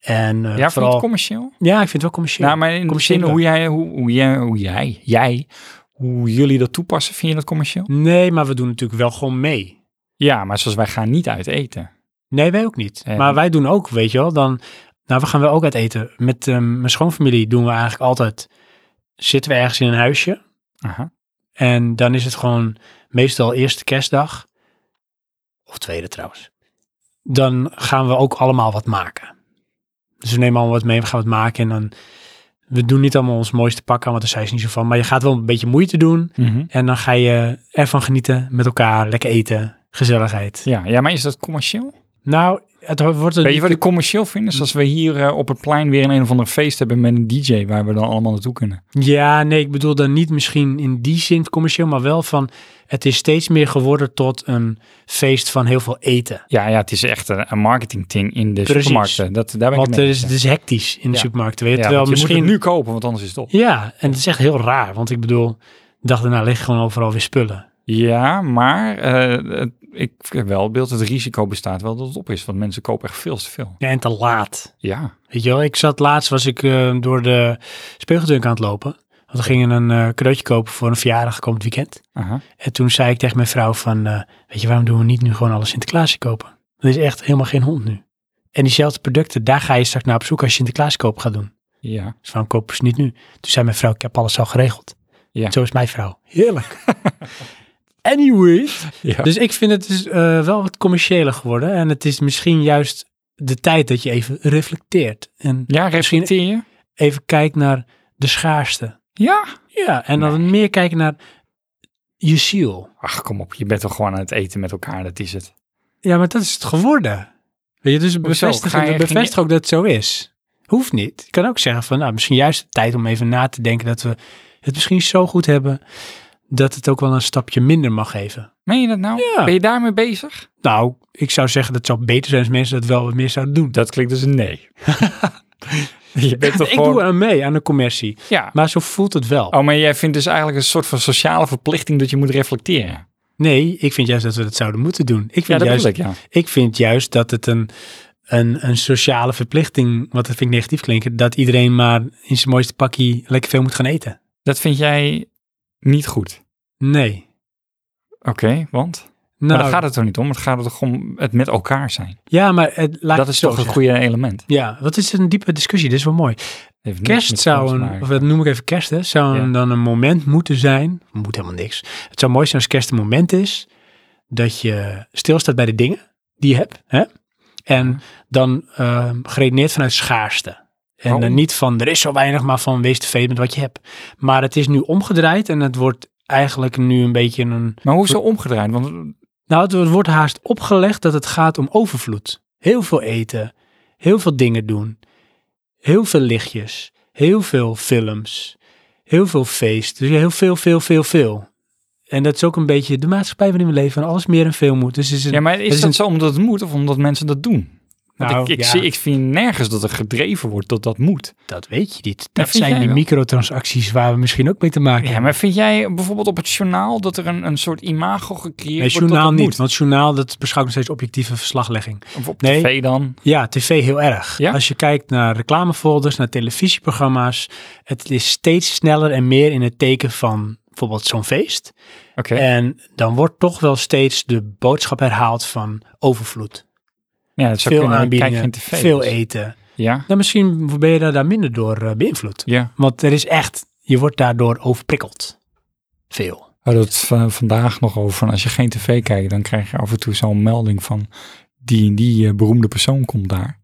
C: En
A: Ja,
C: eh,
A: vooral
C: vooral...
A: commercieel.
C: ja, ik vind het wel commercieel.
A: Nou, maar in de
C: Commercieel
A: zin hoe jij, hoe, hoe jij, hoe jij, jij, hoe jullie dat toepassen, vind je dat commercieel?
C: Nee, maar we doen natuurlijk wel gewoon mee.
A: Ja, maar zoals wij gaan niet uit eten.
C: Nee, wij ook niet.
A: En-
C: Maar wij doen ook, weet je wel, dan... Nou, we gaan wel ook uit eten. Met ehm, mijn schoonfamilie doen we eigenlijk altijd... Zitten we ergens in een huisje.
A: Aha.
C: En dan is het gewoon meestal eerste kerstdag. Of tweede trouwens. Dan gaan we ook allemaal wat maken. Dus we nemen allemaal wat mee, we gaan wat maken. En dan... We doen niet allemaal ons mooiste pak aan, want daar zijn ze niet zo van. Maar je gaat wel een beetje moeite doen.
A: Mhm.
C: En dan ga je ervan genieten met elkaar. Lekker eten, gezelligheid.
A: ja, ja, maar is dat commercieel?
C: Nou, het wordt een...
A: Weet je wat ik commercieel vind? Is als we hier eh, op het plein weer een, een of ander feest hebben met een DJ waar we dan allemaal naartoe kunnen.
C: Ja, nee, ik bedoel dan niet misschien in die zin commercieel, maar wel van het is steeds meer geworden tot een feest van heel veel eten.
A: Ja, ja het is echt een, een marketing-ting in de
C: Precies.
A: supermarkten. Dat, daar ben ik
C: Want
A: het
C: er
A: mee
C: is,
A: eens,
C: het is hectisch in de
A: Ja.
C: supermarkt. Weet je?
A: ja. Ja,
C: Terwijl
A: want je
C: misschien.
A: moet het nu kopen, want anders is het op.
C: Ja, en het is echt heel raar, want ik bedoel, De dag daarna liggen gewoon overal weer spullen.
A: Ja, maar eh, het- ik heb wel het beeld, het risico bestaat wel dat het op is. Want mensen kopen echt veel te veel.
C: Ja, en te laat.
A: Ja,
C: Weet je wel, ik zat laatst, was ik eh, door de speelgoedwinkel aan het lopen. Want we gingen een eh, cadeautje kopen voor een verjaardag komend weekend.
A: aha.
C: En toen zei ik tegen mijn vrouw van, eh, weet je, waarom doen we niet nu gewoon alles Sinterklaasje kopen? Dat is echt helemaal geen hond nu. En diezelfde producten, daar ga je straks naar op zoek als je Sinterklaas koop gaat doen.
A: ja.
C: Dus waarom kopen ze niet nu? Toen zei mijn vrouw, ik heb alles al geregeld.
A: Ja.
C: Zo is mijn vrouw. Heerlijk. Anyways.
A: ja.
C: Dus ik vind het dus, eh, wel wat commerciëler geworden. En het is misschien juist de tijd dat je even reflecteert. En
A: ja, reflecteer je?
C: even kijkt naar de schaarste.
A: Ja.
C: Ja, en dan meer kijken naar je ziel.
A: Ach, kom op, je bent toch gewoon aan het eten met elkaar, dat is het.
C: Ja, maar dat is het geworden. Weet je, dus
A: Ga je-
C: bevestig,
A: ging
C: bevestig ook dat het zo is. Hoeft niet. Je kan ook zeggen van, nou, misschien juist de tijd om even na te denken dat we het misschien zo goed hebben dat het ook wel een stapje minder mag geven.
A: Meen je dat nou?
C: Ja.
A: Ben je daarmee bezig?
C: Nou, ik zou zeggen dat het zou beter zijn als mensen dat wel wat meer zouden doen.
A: Dat klinkt dus een nee. je bent toch
C: ik
A: gewoon...
C: doe aan mee aan de commercie,
A: Ja.
C: maar zo voelt het wel.
A: Oh, maar jij vindt dus eigenlijk een soort van sociale verplichting dat je moet reflecteren.
C: Nee, ik vind juist dat we dat zouden moeten doen. Ik
A: Ja,
C: vind
A: dat
C: juist
A: bedoel ik, ja.
C: Ik vind juist dat het een, een, een sociale verplichting, wat dat vind ik negatief klinken, dat iedereen maar in zijn mooiste pakje lekker veel moet gaan eten.
A: Dat vind jij niet goed.
C: Nee.
A: Oké, want?
C: Nou,
A: maar daar gaat het toch niet om? Het gaat er toch om het met elkaar zijn?
C: ja, maar het, laat ik
A: dat
C: het
A: is
C: zo
A: toch een
C: zeggen.
A: goede element?
C: Ja, wat is een diepe discussie, dit is wel mooi.
A: Heeft niks
C: Kerst
A: met
C: zou
A: ons te
C: een,
A: maken.
C: of dat noem ik even kerst, hè, zou
A: Ja.
C: een- dan een moment moeten zijn, moet helemaal niks. Het zou mooi zijn als kerst een moment is dat je stilstaat bij de dingen die je hebt. Hè? En dan ehm geredeneerd vanuit schaarste. En
A: Waarom?
C: dan niet van er is zo weinig, maar van wees tevreden met wat je hebt. Maar het is nu omgedraaid en het wordt eigenlijk nu een beetje een.
A: Maar hoe is het omgedraaid? Want
C: Nou, het, het wordt haast opgelegd dat het gaat om overvloed. Heel veel eten, heel veel dingen doen, heel veel lichtjes, heel veel films, heel veel feest. Dus heel veel, veel, veel, veel. En dat is ook een beetje de maatschappij waarin we leven. En alles meer en veel moet. Dus het is een,
A: Ja, maar is
C: het
A: dat
C: is een-
A: zo omdat het moet of omdat mensen dat doen? Want
C: Nou,
A: ik, ik,
C: ja.
A: zie, ik vind nergens dat er gedreven wordt dat dat moet.
C: Dat weet je niet. Dat
A: vind
C: zijn
A: jij
C: die
A: wel.
C: microtransacties waar we misschien ook mee te maken
A: Ja,
C: hebben.
A: maar vind jij bijvoorbeeld op het journaal dat er een, een soort imago gecreëerd
C: Nee,
A: wordt?
C: journaal
A: dat dat
C: niet, want journaal dat beschouwt nog steeds objectieve verslaglegging.
A: Moet? Of op
C: Nee.
A: tv dan?
C: Ja, tv heel erg.
A: Ja?
C: Als je kijkt naar reclamefolders, naar televisieprogramma's, het is steeds sneller en meer in het teken van bijvoorbeeld zo'n feest.
A: Oké.
C: En dan wordt toch wel steeds de boodschap herhaald van overvloed.
A: ja, dat zou
C: Veel
A: kunnen. Ik Kijk
C: aanbiedingen,
A: geen tv.
C: veel e-
A: dus.
C: eten.
A: Ja,
C: Nou, misschien ben je daar, daar minder door eh, beïnvloed.
A: ja.
C: Want er is echt, je wordt daardoor overprikkeld. Veel.
A: We hadden het van- vandaag nog over van als je geen tv kijkt, dan krijg je af en toe zo'n melding van die en die eh, beroemde persoon komt daar.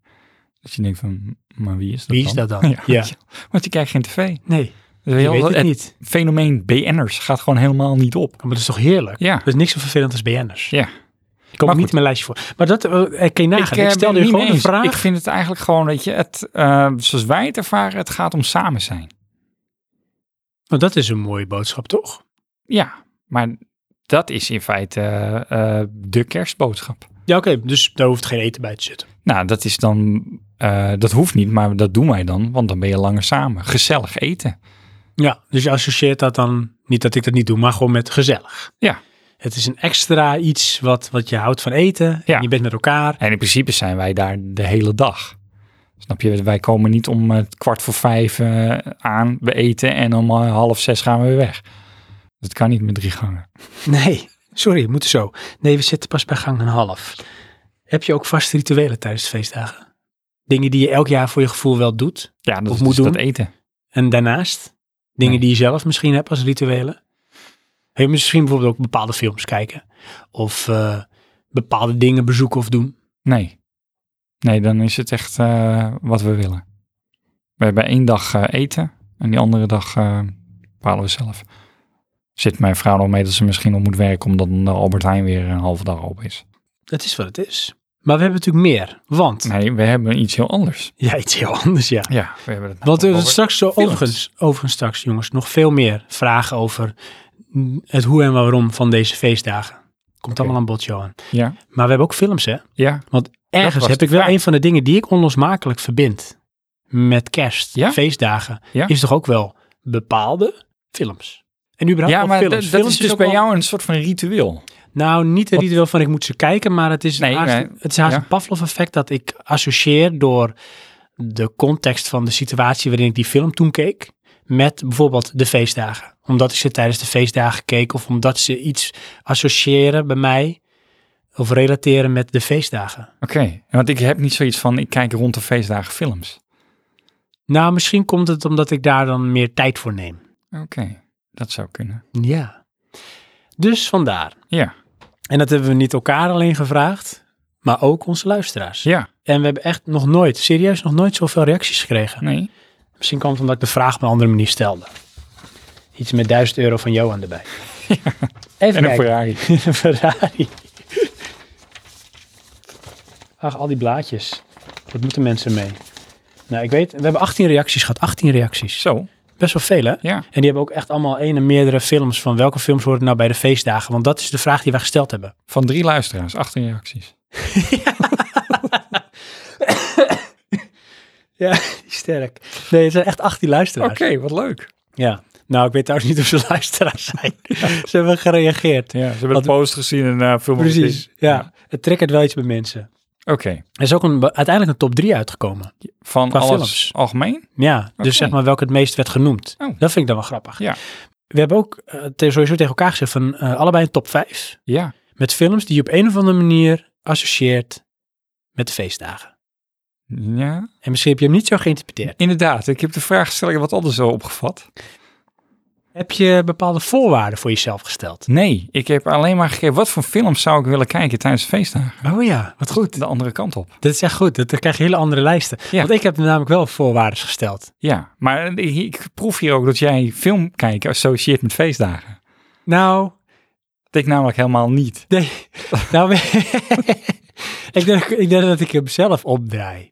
A: Dat je denkt van, maar wie is dat
C: Wie
A: dan?
C: is dat dan?
A: Ja,
C: Ja.
A: Want je kijkt geen tv.
C: Nee,
A: Dus
C: je
A: heel-
C: weet het
A: het
C: niet.
A: fenomeen BN'ers gaat gewoon helemaal niet op.
C: Maar dat is toch heerlijk?
A: Ja.
C: Dat is niks zo vervelend als BN'ers.
A: Ja.
C: Ik kom
A: Maar
C: niet
A: goed.
C: op mijn lijstje voor. Maar dat eh, kan je nagaan. Ik,
A: eh,
C: stel
A: ben
C: je
A: het niet
C: gewoon
A: mee
C: een
A: eens.
C: vraag.
A: Ik vind het eigenlijk gewoon dat je het, eh, zoals wij het ervaren, het gaat om samen zijn.
C: Want dat is een mooie boodschap, toch?
A: Ja, maar dat is in feite eh, eh, de kerstboodschap.
C: Ja, oké. Dus daar hoeft geen eten bij te zitten.
A: Nou, dat is dan, eh, dat hoeft niet, maar dat doen wij dan, want dan ben je langer samen. Gezellig eten.
C: Ja, dus je associeert dat dan, niet dat ik dat niet doe, maar gewoon met gezellig.
A: Ja.
C: Het is een extra iets wat, wat je houdt van eten.
A: Ja.
C: En je bent met elkaar.
A: En in principe zijn wij daar de hele dag. Snap je? Wij komen niet om eh, kwart voor vijf eh, aan, we eten en om eh, half zes gaan we weer weg. Dat kan niet met drie gangen.
C: Nee, sorry, moet zo. Nee, we zitten pas bij gang en half. Heb je ook vaste rituelen tijdens de feestdagen? Dingen die je elk jaar voor je gevoel wel doet?
A: Ja, dat
C: Of
A: is
C: moet
A: dus
C: doen.
A: dat eten.
C: En daarnaast, dingen
A: Nee.
C: die je zelf misschien hebt als rituelen. Heb je misschien bijvoorbeeld ook bepaalde films kijken. Of eh, bepaalde dingen bezoeken of doen.
A: Nee. Nee, dan is het echt eh, wat we willen. We hebben één dag eh, eten en die andere dag eh, bepalen we zelf. Zit mijn vrouw nog mee dat ze misschien nog moet werken omdat de Albert Heijn weer een halve dag open is.
C: Dat is wat het is. Maar we hebben natuurlijk meer. Want,
A: Nee, we hebben iets heel anders.
C: ja, iets heel anders, ja.
A: Ja, we hebben het
C: Want
A: over-
C: er is straks zo,
A: films.
C: overigens, overigens straks jongens, nog veel meer vragen over mm, het hoe en waarom van deze feestdagen. Komt allemaal aan bod, Johan.
A: Ja,
C: Maar we hebben ook films, hè?
A: ja.
C: Want
A: Dat
C: ergens
A: was
C: heb
A: de
C: ik wel
A: vraag.
C: een van de dingen die ik onlosmakelijk verbind met kerst,
A: Ja?
C: feestdagen,
A: Ja?
C: is toch ook wel bepaalde films. En überhaupt
A: Ja,
C: al
A: maar
C: films.
A: dat- dat
C: Films
A: is dus
C: ook
A: bij
C: wel-
A: jou een soort van ritueel.
C: Nou, niet het ritueel van ik moet ze kijken, maar het is
A: Nee,
C: haast,
A: nee.
C: het is haast
A: Ja.
C: een Pavlov-effect dat ik associeer door de context van de situatie waarin ik die film toen keek met bijvoorbeeld de feestdagen. Omdat ik ze tijdens de feestdagen keek of omdat ze iets associëren bij mij of relateren met de feestdagen.
A: Oké, want ik heb niet zoiets van, ik kijk rond de feestdagen films.
C: Nou, misschien komt het omdat ik daar dan meer tijd voor neem.
A: Oké, dat zou kunnen.
C: Ja. Dus vandaar.
A: Ja,
C: En dat hebben we niet elkaar alleen gevraagd, maar ook onze luisteraars.
A: ja,
C: En we hebben echt nog nooit, serieus nog nooit zoveel reacties gekregen.
A: nee.
C: Misschien kwam het omdat ik de vraag op een andere manier stelde. Iets met 1000 euro van Johan erbij. Even
A: En een
C: kijken.
A: Ferrari.
C: Een Ferrari. Ach, al die blaadjes. Wat moeten mensen mee? Nou, ik weet, we hebben 18 reacties gehad. 18 reacties.
A: Zo,
C: Best wel veel, hè?
A: ja.
C: En die hebben ook echt allemaal één en meerdere films van welke films horen nou bij de feestdagen? Want dat is de vraag die wij gesteld hebben.
A: Van drie luisteraars, 18 reacties.
C: Ja, sterk. Nee, het zijn echt 18 luisteraars.
A: wat leuk.
C: Ja. Nou, ik weet trouwens niet of ze luisteraars zijn. ze hebben gereageerd.
A: Ja, ze hebben
C: Wat-
A: de post gezien en eh film
C: Precies.
A: gezien.
C: Ja. Het triggert wel iets bij mensen.
A: Oké,
C: Er is ook een, uiteindelijk een top 3 uitgekomen.
A: van
C: Qua
A: alles
C: films.
A: algemeen?
C: Ja,
A: Oké.
C: dus zeg maar welke het meest werd genoemd.
A: Oh.
C: Dat vind ik dan wel grappig.
A: Ja.
C: We hebben ook eh, te- sowieso tegen elkaar gezegd van eh, allebei een top 5
A: Ja,
C: met films die je op een of andere manier associeert met de feestdagen.
A: ja.
C: En misschien heb je hem niet zo geïnterpreteerd.
A: Inderdaad, ik heb de vraagstelling wat anders zo opgevat.
C: Heb je bepaalde voorwaarden voor jezelf gesteld?
A: Nee, ik heb alleen maar gekeken, wat voor films zou ik willen kijken tijdens de feestdagen?
C: Oh ja, wat goed.
A: De andere kant op.
C: Dat is echt goed. Dat- Dan krijg je hele andere lijsten.
A: Ja.
C: Want ik heb namelijk wel voorwaarden gesteld.
A: Ja, maar eh, ik, ik proef hier ook dat jij film kijken associeert met feestdagen.
C: Nou,
A: Dat ik namelijk helemaal niet.
C: nee. nou ik, denk, ik denk dat ik hem zelf opdraai.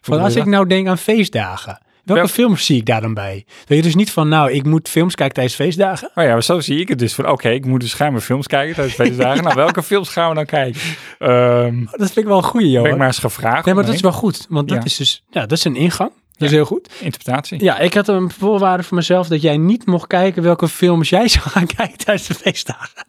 C: Van
A: bedoel
C: als
A: je
C: ik nou denk aan feestdagen, welke
A: Wel-
C: films zie ik daar dan bij? Dat je dus niet van, nou, ik moet films kijken tijdens feestdagen.
A: Oh ja, maar zo zie ik het dus van, oké, ik moet dus schijnbaar films kijken tijdens de feestdagen. Nou, welke films gaan we dan kijken? Ehm
C: Dat vind ik wel een goede, joh.
A: ben ik maar eens gevraagd.
C: Nee, maar dat
A: Nee,
C: is wel goed. Want dat
A: Ja.
C: is dus, ja, dat is een ingang. Dat is heel goed.
A: Interpretatie.
C: Ja, ik had een voorwaarde voor mezelf dat jij niet mocht kijken welke films jij zou gaan kijken tijdens de feestdagen.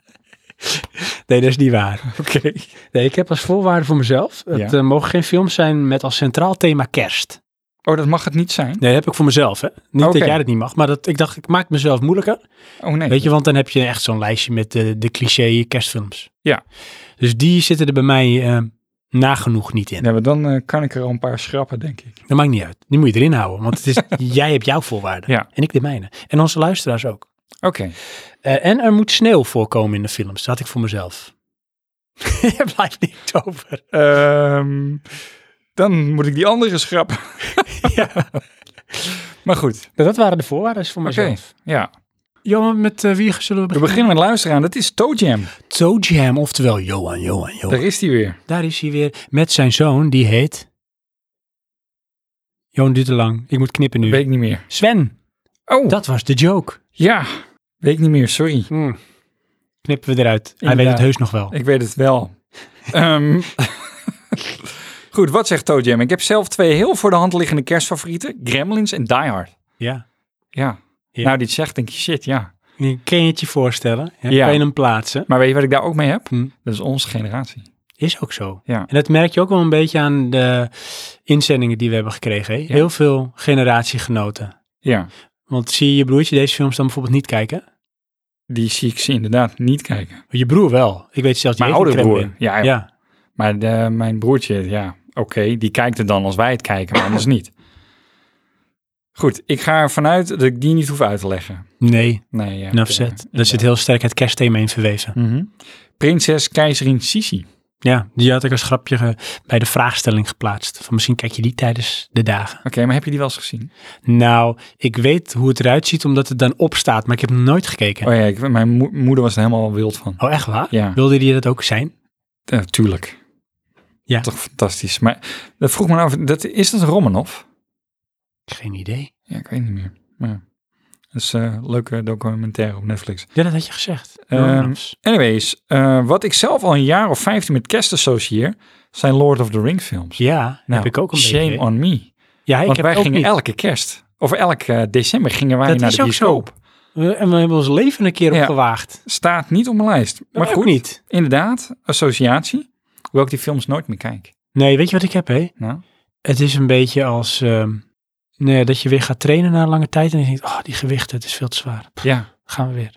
C: Nee, dat is niet waar.
A: Oké.
C: Nee, ik heb als voorwaarde voor mezelf, het
A: Ja.
C: eh, mogen geen films zijn met als centraal thema kerst.
A: Oh, dat mag het niet zijn?
C: Nee, dat heb ik voor mezelf. Hè? Niet
A: Oké.
C: dat jij dat niet mag, maar dat, ik dacht, ik maak het mezelf moeilijker.
A: Oh nee.
C: Weet je, want dan heb je echt zo'n lijstje met de, de cliché kerstfilms.
A: Ja.
C: Dus die zitten er bij mij eh, nagenoeg niet in.
A: Ja, maar dan eh, kan ik er al een paar schrappen, denk ik.
C: Dat maakt niet uit. Die moet je erin houden, want het is, jij hebt jouw voorwaarden.
A: Ja.
C: En ik de mijne. En onze luisteraars ook.
A: Oké.
C: Eh, en er moet sneeuw voorkomen in de films. Dat had ik voor mezelf. Er blijft niks over.
A: Ehm, dan moet ik die andere schrappen.
C: Ja.
A: Maar goed,
C: Nou, dat waren de voorwaarden voor
A: oké.
C: mezelf.
A: Ja.
C: Johan, met eh, wie
A: We
C: zullen we beginnen?
A: beginnen met luisteren aan. Dat is Toe Jam.
C: Toe Jam, oftewel Johan, Johan, Johan.
A: Daar is hij weer.
C: Daar is hij weer met zijn zoon, die heet... Johan duurt te lang. Ik moet knippen nu.
A: Weet ik niet meer.
C: Sven,
A: Oh,
C: dat was de joke.
A: ja. Weet ik niet meer, sorry.
C: Hmm. Knippen we eruit. Hij weet
A: Inderdaad.
C: het heus nog wel.
A: Ik weet het wel. Ehm, goed, wat zegt Toe Jam? Ik heb zelf twee heel voor de hand liggende kerstfavorieten. Gremlins en Die Hard.
C: Ja.
A: Ja.
C: Ja.
A: Nou, dit zegt, denk je, shit, ja.
C: Kun je het je voorstellen? Ja,
A: Ja.
C: Kan je hem plaatsen?
A: Maar weet je wat ik daar ook mee heb?
C: Hm.
A: Dat is onze generatie.
C: Is ook zo.
A: Ja.
C: En dat merk je ook wel een beetje aan de inzendingen die we hebben gekregen. hè? Heel veel generatiegenoten.
A: Ja.
C: Want zie je je broertje deze films dan bijvoorbeeld niet kijken?
A: Die zie ik ze inderdaad niet kijken.
C: Je broer wel. Ik weet zelfs die
A: Mijn
C: heeft een
A: oude broer.
C: Kremlin.
A: Ja,
C: Ja.
A: ja. Maar de- mijn broertje, ja, oké, die kijkt het dan als wij het kijken, maar anders niet. Goed, ik ga ervan uit dat ik die niet hoef uit te leggen.
C: Nee,
A: Nee, ja.
C: een afzet. Nou, Daar zit heel sterk het kerstthema in verweven.
A: Mhm. Prinses Keizerin Sisi.
C: Ja, die had ik als grapje ge- bij de vraagstelling geplaatst. Van misschien kijk je die tijdens de dagen.
A: Oké, maar heb je die wel eens gezien?
C: Nou, ik weet hoe het eruit ziet omdat het dan opstaat, maar ik heb nog nooit gekeken.
A: Oh ja, ik, mijn mo- moeder was er helemaal wild van.
C: Oh, echt waar?
A: Ja.
C: Wilde die dat ook zijn?
A: Eh, tuurlijk.
C: Ja.
A: Toch fantastisch. Maar dat vroeg me nou, af, dat, is dat Romanov?
C: Geen idee.
A: Ja, ik weet niet meer. Maar ja. Dat is eh, een leuke documentaire op Netflix.
C: Ja, dat had je gezegd.
A: Ehm,
C: Romanovs.
A: Anyways, eh, wat ik zelf al een jaar of 15 met kerst associeer, zijn Lord of the Rings films.
C: ja, heb ik ook een
A: Nou, shame
C: beetje.
A: on me.
C: Ja, ik
A: Want
C: heb
A: wij
C: ook
A: gingen
C: niet.
A: elke kerst, of elk eh, december gingen wij
C: Dat
A: naar
C: is
A: de
C: ook zo.
A: bioscoop.
C: We- en we hebben ons leven een keer
A: Ja.
C: opgewaagd.
A: Staat niet op mijn lijst.
C: Maar
A: Maar
C: ook
A: goed,
C: niet.
A: inderdaad, associatie. Hoewel ik die films nooit meer kijk.
C: Nee, weet je wat ik heb, hè?
A: Nou,
C: Het is een beetje als ehm, nou ja, dat je weer gaat trainen na een lange tijd. En je denkt, oh, die gewichten, het is veel te zwaar. Pff,
A: ja.
C: gaan we weer.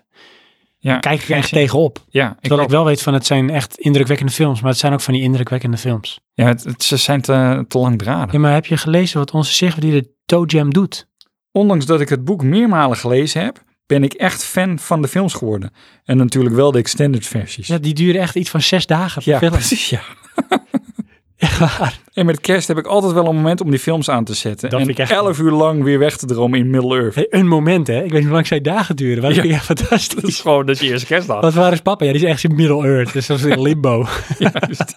A: ja
C: Kijk ik er echt
A: zin.
C: tegenop.
A: Ja, ik
C: Terwijl ik,
A: ook.
C: wel weet van, het zijn echt indrukwekkende films. Maar het zijn ook van die indrukwekkende films.
A: ja het, het- ze zijn te, te langdradig.
C: Ja, maar heb je gelezen wat onze Sigrid die de Toe Jam doet?
A: Ondanks dat ik het boek meermalen gelezen heb, ben ik echt fan van de films geworden. En natuurlijk wel de extended versies.
C: Ja, die duren echt iets van zes dagen. per
A: Ja,
C: film.
A: precies. Ja.
C: Echt waar.
A: En met kerst heb ik altijd wel een moment om die films aan te zetten.
C: Dat
A: en
C: vind ik echt-
A: elf uur lang weer weg te dromen in Middle-earth.
C: Hey, een moment, hè? Ik weet niet hoe lang zij dagen duren. Maar dat
A: Ja.
C: vind ik echt
A: Dat is
C: fantastisch.
A: gewoon dat je eerste kerstdag.
C: Wat waar is papa? Ja, die is echt in Middle-earth. Dus dat is in limbo.
A: Juist.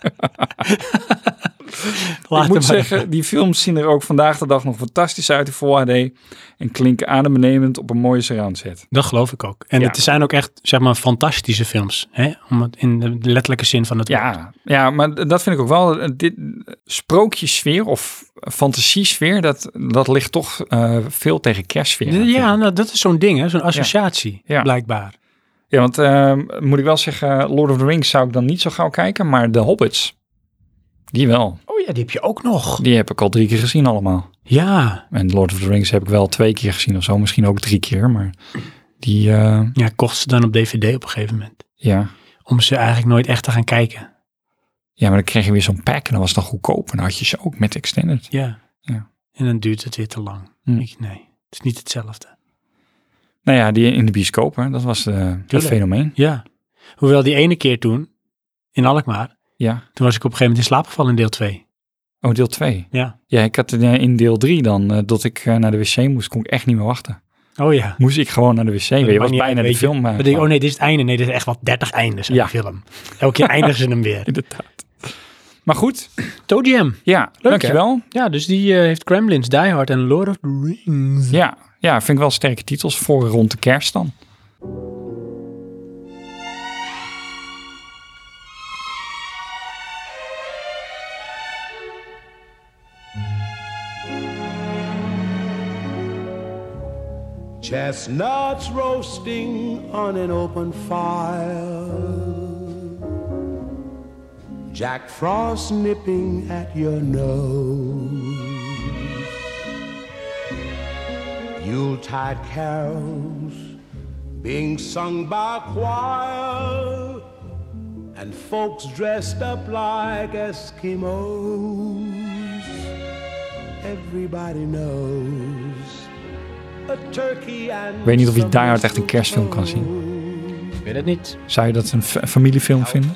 C: Laat
A: ik dus
C: dus hem maar.
A: moet zeggen, die films zien er ook vandaag de dag nog fantastisch uit in Full HD. En klinken adembenemend op een mooie surround set.
C: Dat geloof ik ook. En
A: Ja.
C: het zijn ook echt, zeg maar, fantastische films. Hè? Om het in de letterlijke zin van het woord.
A: Ja, ja, maar d- dat vind ik ook wel. eh, Dit sprookjesfeer of fantasiesfeer, dat, dat ligt toch eh, veel tegen kerstsfeer.
C: Ja,
A: aan, vind ik.
C: nou, dat is zo'n ding, hè? Zo'n associatie,
A: Ja.
C: blijkbaar.
A: ja, want eh, moet ik wel zeggen, Lord of the Rings zou ik dan niet zo gauw kijken. Maar de Hobbits, die wel.
C: Oh ja, die heb je ook nog.
A: Die heb ik al drie keer gezien allemaal.
C: Ja.
A: En Lord of the Rings heb ik wel twee keer gezien of zo. Misschien ook drie keer, maar die, eh,
C: Ja, kocht ze dan op dvd op een gegeven moment.
A: ja...
C: Om ze eigenlijk nooit echt te gaan kijken.
A: Ja, maar dan kreeg je weer zo'n pack en dan was het dan goedkoop. En dan had je ze ook met extended.
C: Ja.
A: Ja.
C: En dan duurt het weer te lang.
A: Hm.
C: Ik, nee, het is niet hetzelfde.
A: Nou ja, die in de bioscoop, hè, dat was eh het
C: Tuurlijk.
A: fenomeen.
C: Ja. Hoewel die ene keer toen, in Alkmaar,
A: Ja.
C: toen was ik op een gegeven moment in slaap gevallen in deel 2.
A: Oh, deel 2.
C: Ja.
A: Ja, ik had eh, in deel 3 dan eh, dat ik eh, naar de wc moest, kon ik echt niet meer wachten.
C: Oh ja.
A: Moest ik gewoon naar de wc. weer. Je
C: maakt
A: was
C: niet uit,
A: bijna de
C: weet je.
A: film. eh,
C: Dan denk ik, oh
A: klaar.
C: nee, dit is het einde. Nee, dit is echt wel 30 eindes aan
A: Ja.
C: de film. Elke keer eindigen ze hem weer.
A: Inderdaad. Maar goed,
C: Toe Jam.
A: ja, dankjewel.
C: Ja, dus die eh, heeft Gremlins, Die Hard en Lord of the Rings.
A: Ja, ja, vind ik wel sterke titels voor rond de kerst dan.
E: Chestnuts roasting on an open fire. Jack Frost nipping at your nose. Yuletide carols being sung by a choir. And folks dressed up like Eskimos. Everybody knows. A turkey and
A: Ik weet niet of je Die
E: some
A: Hard echt een kerstfilm kan zien.
C: Ik weet het niet.
A: Zou je dat een fa- familiefilm vinden?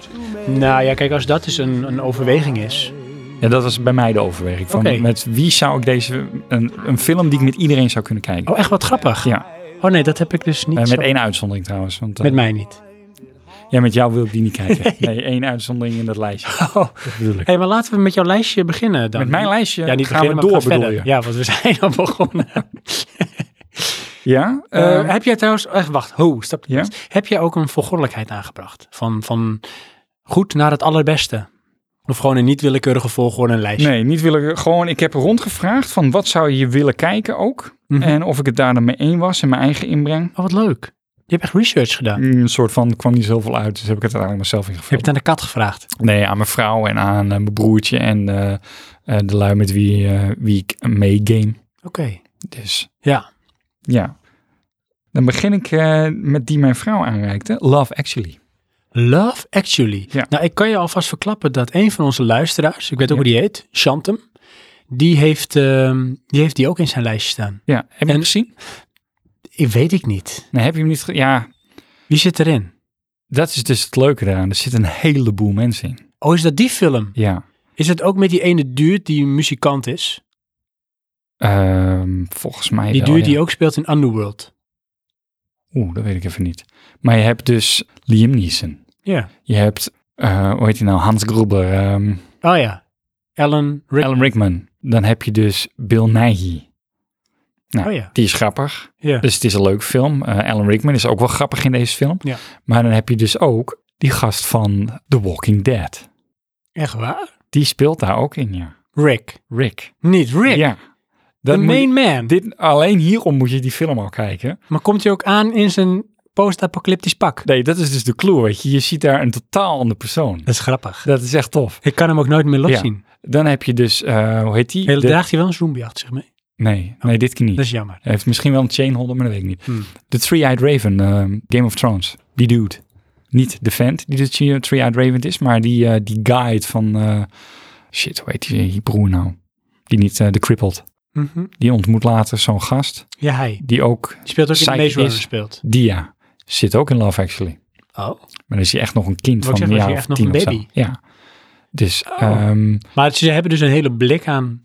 C: Nou ja, kijk, als dat dus een, een overweging is.
A: Ja, dat was bij mij de overweging. Van
C: Oké.
A: Met wie zou ik deze... Een, een film die ik met iedereen zou kunnen kijken.
C: Oh, echt wat grappig.
A: Ja.
C: Oh nee, dat heb ik dus niet.
A: Eh,
C: zo-
A: met één uitzondering trouwens. Want, eh,
C: Met mij niet.
A: Ja, met jou wil ik die niet kijken. Nee, één uitzondering in dat lijstje.
C: Oh. Hé, hey, maar laten we met jouw lijstje beginnen dan.
A: Met mijn lijstje
C: Ja, niet
A: gaan
C: beginnen,
A: we
C: maar
A: door,
C: gaan
A: bedoel
C: verder.
A: je?
C: Ja, want we zijn al begonnen.
A: Ja?
C: Eh,
A: eh,
C: heb jij trouwens... Echt, wacht. Ho, stap.
A: Ja?
C: Heb jij ook een volgordelijkheid aangebracht? Van, van goed naar het allerbeste? Of gewoon een niet willekeurige volgorde een lijstje?
A: nee, niet willen. Gewoon, ik heb rondgevraagd van wat zou je willen kijken ook.
C: Mhm.
A: En of ik het daar dan mee één was en mijn eigen inbreng.
C: Oh, wat leuk. Je hebt echt research gedaan.
A: Mm, Een soort van, er kwam niet zoveel uit, dus heb ik het uiteindelijk mezelf
C: Heb je
A: ingevuld.
C: het aan de kat gevraagd?
A: Nee, aan mijn vrouw en aan eh, mijn broertje en eh, eh, de lui met wie, eh, wie ik meegame.
C: Oké.
A: Dus
C: Ja.
A: ja. Dan begin ik eh, met die mijn vrouw aanreikte, Love Actually.
C: Love Actually.
A: Ja.
C: Nou, ik kan je alvast verklappen dat een van onze luisteraars, ik weet ook
A: Ja.
C: hoe die heet, Shantem, die heeft, ehm, die heeft die ook in zijn lijstje staan.
A: Ja, heb je hem
C: En-
A: gezien?
C: Ik weet ik niet.
A: Nee, heb je hem niet ge- Ja,
C: Wie zit erin?
A: Dat is dus het leuke daaraan. Er zit een heleboel mensen in.
C: Oh, is dat die film?
A: Ja.
C: Is het ook met die ene duurt die een muzikant is?
A: Ehm, volgens mij
C: Die
A: wel,
C: duur
A: ja.
C: die ook speelt in Underworld.
A: Oeh, dat weet ik even niet. Maar je hebt dus Liam Neeson.
C: Ja.
A: Je hebt, eh, hoe heet hij nou, Hans Gruber, ehm,
C: Oh ja. Alan Rick.
A: Alan Rickman. Dan heb je dus Bill Nighy. Nou,
C: Oh ja.
A: die is grappig.
C: Ja.
A: Dus het is een leuk film. Eh, Alan Rickman is ook wel grappig in deze film.
C: Ja.
A: Maar dan heb je dus ook die gast van The Walking Dead.
C: Echt waar?
A: Die speelt daar ook in, ja.
C: Rick.
A: Rick.
C: Niet Rick.
A: Ja.
C: De
A: moet je-
C: main man.
A: dit, alleen hierom moet je die film al kijken.
C: Maar komt hij ook aan in zijn post-apocalyptisch pak?
A: Nee, dat is dus de clue, weet je. Je ziet daar een totaal ander persoon.
C: Dat is grappig.
A: Dat is echt tof.
C: Ik kan hem ook nooit meer
A: Ja.
C: loszien.
A: Dan heb je dus, eh, hoe heet die?
C: Heel
A: De-
C: Draagt hij wel een zombie achter zich mee?
A: nee, nee, dit keer niet.
C: Dat is jammer.
A: Hij heeft misschien wel een chainholder, maar dat weet ik niet.
C: Oh. Dus- Hmm.
A: De Three-Eyed Raven, ehm, Game of Thrones. Die dude. Niet de vent die de Three- Three-Eyed Raven is, maar die, eh, die guide van... eh, shit, hoe heet die, die broer nou? Die niet, eh, de crippled.
C: Mhm.
A: Die ontmoet later zo'n gast,
C: Ja, hij.
A: die ook...
C: Die speelt ook in
A: Psychic
C: Maze Runner
A: is-
C: speelt.
A: Dia zit ook in Love Actually.
C: Oh.
A: Maar dan is hij echt nog een kind
C: Wou ik
A: van een
C: zeggen, was
A: jaar
C: hij
A: of
C: echt nog
A: tien
C: een
A: of zo.
C: baby?
A: Ja. Dus
C: Oh.
A: ehm,
C: Maar ze hebben dus een hele blik aan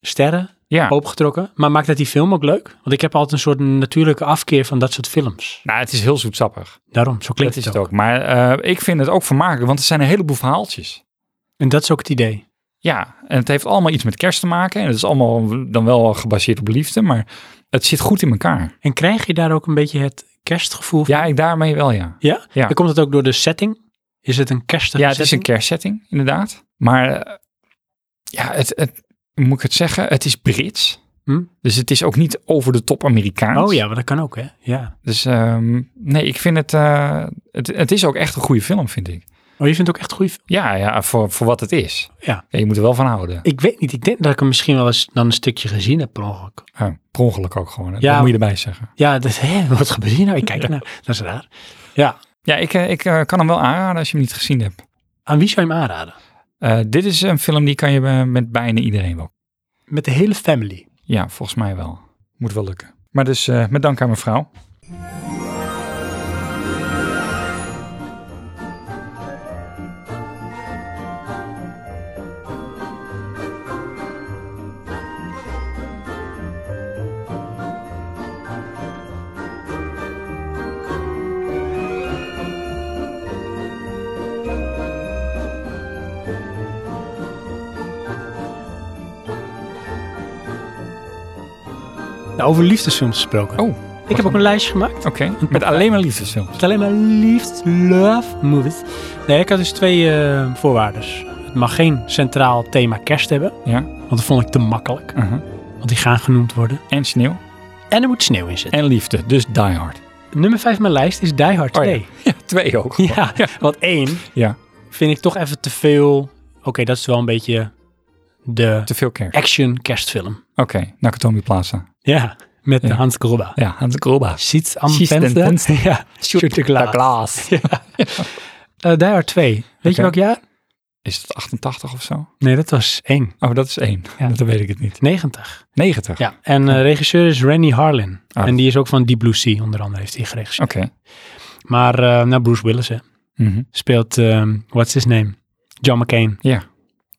C: sterren
A: ja,
C: opgetrokken. Maar maakt dat die film ook leuk? Want ik heb altijd een soort natuurlijke afkeer van dat soort films.
A: nou, het is heel zoetsappig.
C: Daarom, zo klinkt
A: dat is
C: het
A: het
C: ook.
A: ook. Maar eh, ik vind het ook vermakelijk, want er zijn een heleboel verhaaltjes.
C: En dat is ook het idee.
A: Ja, en het heeft allemaal iets met kerst te maken. En het is allemaal dan wel gebaseerd op liefde, maar het zit goed in elkaar.
C: En krijg je daar ook een beetje het kerstgevoel van?
A: Ja, ik daarmee wel, ja.
C: Ja?
A: Ja.
C: En komt het ook door de setting? Is het een kerstige
A: Ja, het is een
C: setting?
A: kerstsetting, inderdaad. Maar eh, ja, het, het, hoe moet ik het zeggen? Het is Brits.
C: Hm?
A: Dus het is ook niet over de top Amerikaans.
C: Oh ja, maar dat kan ook, hè? Ja.
A: Dus ehm, nee, ik vind het, eh, het... Het is ook echt een goede film, vind ik.
C: Oh, je vindt het ook echt goede film?
A: Ja, ja voor, voor wat het is.
C: Ja.
A: Je moet er wel van houden.
C: Ik weet niet. Ik denk dat ik hem misschien wel eens dan een stukje gezien heb per ongeluk.
A: Ja, Ah, per ongeluk ook gewoon. hè.
C: Ja.
A: Dat moet je erbij zeggen.
C: Ja, dat, hè, wat gebeurt hier nou? Ik kijk ernaar. Dat is raar. Ja.
A: Ja, ik, eh, ik eh, kan hem wel aanraden als je hem niet gezien hebt.
C: Aan wie zou je hem aanraden?
A: Eh, dit is een film die kan je eh, met bijna iedereen wel.
C: Met de hele family.
A: Ja, volgens mij wel. Moet wel lukken. Maar dus eh, met dank aan mevrouw.
C: Nou, over liefdesfilms gesproken.
A: Oh,
C: ik heb ook een lijstje gemaakt.
A: oké. Met alleen maar liefdesfilms.
C: Het alleen maar liefst love movies. Nee, ik had dus twee eh, voorwaarden. Het mag geen centraal thema kerst hebben,
A: Ja.
C: want dat vond ik te makkelijk.
A: aha.
C: Want die gaan genoemd worden.
A: En sneeuw.
C: En er moet sneeuw in zitten.
A: En liefde. Dus Die Hard.
C: Nummer vijf op mijn lijst is Die Hard
A: Oh
C: 2.
A: Ja, twee ook.
C: ja. want één
A: Ja.
C: vind ik toch even te veel... Oké, dat is wel een beetje de
A: Te veel kerst.
C: action kerstfilm.
A: Oké. Nakatomi Plaza.
C: Ja, met
A: Ja.
C: Hans Gruber.
A: Ja, Hans Groba.
C: Ziet aan
A: Ziet den venster.
C: Ja, shoot the glass. Ja. Eh, Die Hard 2. Weet je
A: Oké.
C: welk jaar?
A: Is dat 88 of zo?
C: Nee, dat was één.
A: Oh, dat is één.
C: Ja.
A: Dat weet ik het niet.
C: 90.
A: 90.
C: Ja, en eh, regisseur is Randy Harlan.
A: Ah.
C: En die is ook van Deep Blue Sea, onder andere heeft hij geregisseerd.
A: Oké.
C: Maar eh, nou, Bruce Willis hè,
A: Mhm.
C: speelt, ehm, what's his name? John McCain.
A: Ja.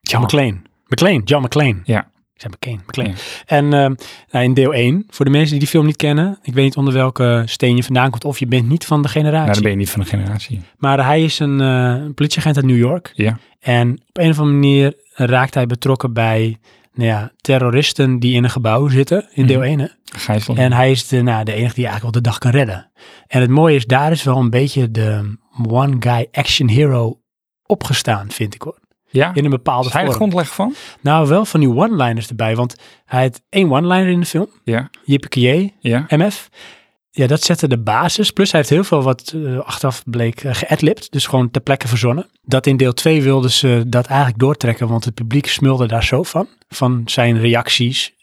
C: John McClane. McClane, John McClane.
A: Ja.
C: Ik zei McCain, McClane. En ehm, nou, in deel 1, voor de mensen die die film niet kennen, ik weet niet onder welke steen je vandaan komt of je bent niet van de
A: Nou, dan
C: generatie.
A: ben je niet van de generatie.
C: Maar hij is een eh, politieagent uit New York.
A: Ja.
C: En op een of andere manier raakt hij betrokken bij nou ja, terroristen die in een gebouw zitten, in deel
A: Mhm.
C: 1 hè.
A: Gijssel.
C: En hij is de, nou, de enige die eigenlijk wel de dag kan redden. En het mooie is, daar is wel een beetje de one guy action hero opgestaan, vind ik hoor.
A: ja?
C: In een bepaalde
A: Is hij de
C: vorm.
A: grondlegger van?
C: Nou, wel van die one-liners erbij. Want hij had één one-liner in de film.
A: Ja.
C: Yippie
A: Ja.
C: MF. Ja, dat zette de basis. Plus hij heeft heel veel wat eh, achteraf bleek uh, geadlipt. Dus gewoon ter plekke verzonnen. Dat in deel 2 wilden ze dat eigenlijk doortrekken. Want het publiek smulde daar zo van. Van zijn reacties.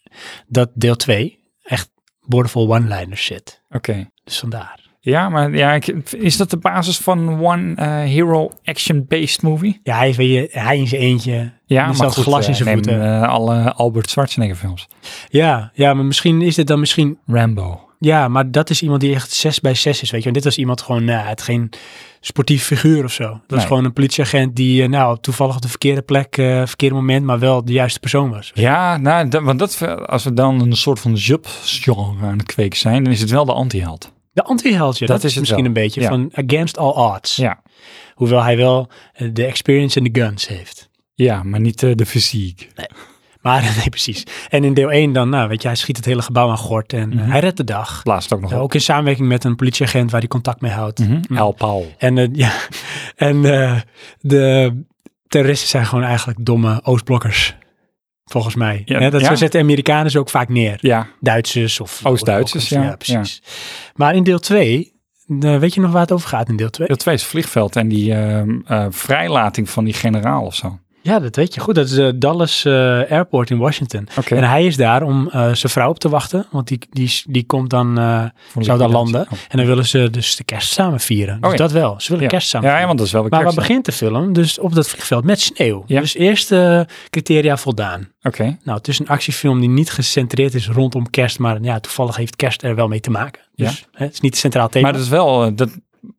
C: Dat deel 2 echt boordevol one-liners zit.
A: Oké.
C: Dus vandaar.
A: Ja, maar ja, ik- is dat de basis van one eh, hero action-based movie?
C: Ja, hij, is, weet je, hij in zijn eentje.
A: Ja,
C: Er staat glas in
A: eh,
C: zijn
A: neem,
C: voeten.
A: eh, alle Albert Schwarzenegger films.
C: Ja, ja, maar misschien is dit dan misschien...
A: Rambo.
C: Ja, maar dat is iemand die echt 6 bij 6 is, weet je. En dit was iemand gewoon, nou, het geen sportief figuur of zo. Dat was
A: Nee.
C: gewoon een politieagent die, eh, nou, toevallig op de verkeerde plek, eh verkeerde moment, maar wel de juiste persoon was.
A: Ja, nou, dat, want dat, als we dan een soort van subgenre aan het kweken zijn, dan is het wel de anti-held.
C: De anti-heldje, dat,
A: Dat is
C: is
A: het
C: misschien
A: wel,
C: een beetje
A: ja.
C: van against all odds.
A: Ja.
C: Hoewel hij wel eh, de experience en de guns heeft.
A: Ja, maar niet eh, de fysiek.
C: Maar, nee, precies. En in deel 1 dan, nou, weet je, hij schiet het hele gebouw aan gort en eh,
A: Mhm.
C: hij redt de dag.
A: Laatst ook nog
C: Ja,
A: op.
C: ook in samenwerking met een politieagent waar hij contact mee houdt.
A: Mhm. El Paul.
C: En, eh, ja, en eh, de terroristen zijn gewoon eigenlijk domme Oostblokkers. volgens mij.
A: Ja,
C: Hè, dat
A: ja.
C: Zo zetten Amerikanen ze ook vaak neer.
A: Ja,
C: Duitsers of...
A: Oost-Duitsers, ja.
C: precies. Maar in deel 2, weet je nog waar het over gaat in deel 2?
A: deel 2 is vliegveld en die ehm, eh, vrijlating van die generaal of zo.
C: Ja, dat weet je goed. Dat is eh, Dallas eh, Airport in Washington.
A: Oké.
C: En hij is daar om eh, zijn vrouw op te wachten. Want die, die, die komt dan, eh,
A: Voor
C: zou
A: liquidatie.
C: daar landen.
A: Oh.
C: En dan willen ze dus de kerst samen vieren. Dus
A: ja.
C: dat wel. Ze willen
A: Ja.
C: kerst samen
A: Ja, ja,
C: vieren.
A: want dat is wel de
C: maar waar
A: kerst.
C: begint de film? Dus op dat vliegveld met sneeuw.
A: Ja.
C: Dus eerst eh, criteria voldaan.
A: Oké,
C: Nou, het is een actiefilm die niet gecentreerd is rondom kerst. Maar ja, toevallig heeft kerst er wel mee te maken. Dus hè, het is niet het centraal thema.
A: maar dat is wel, eh, dat,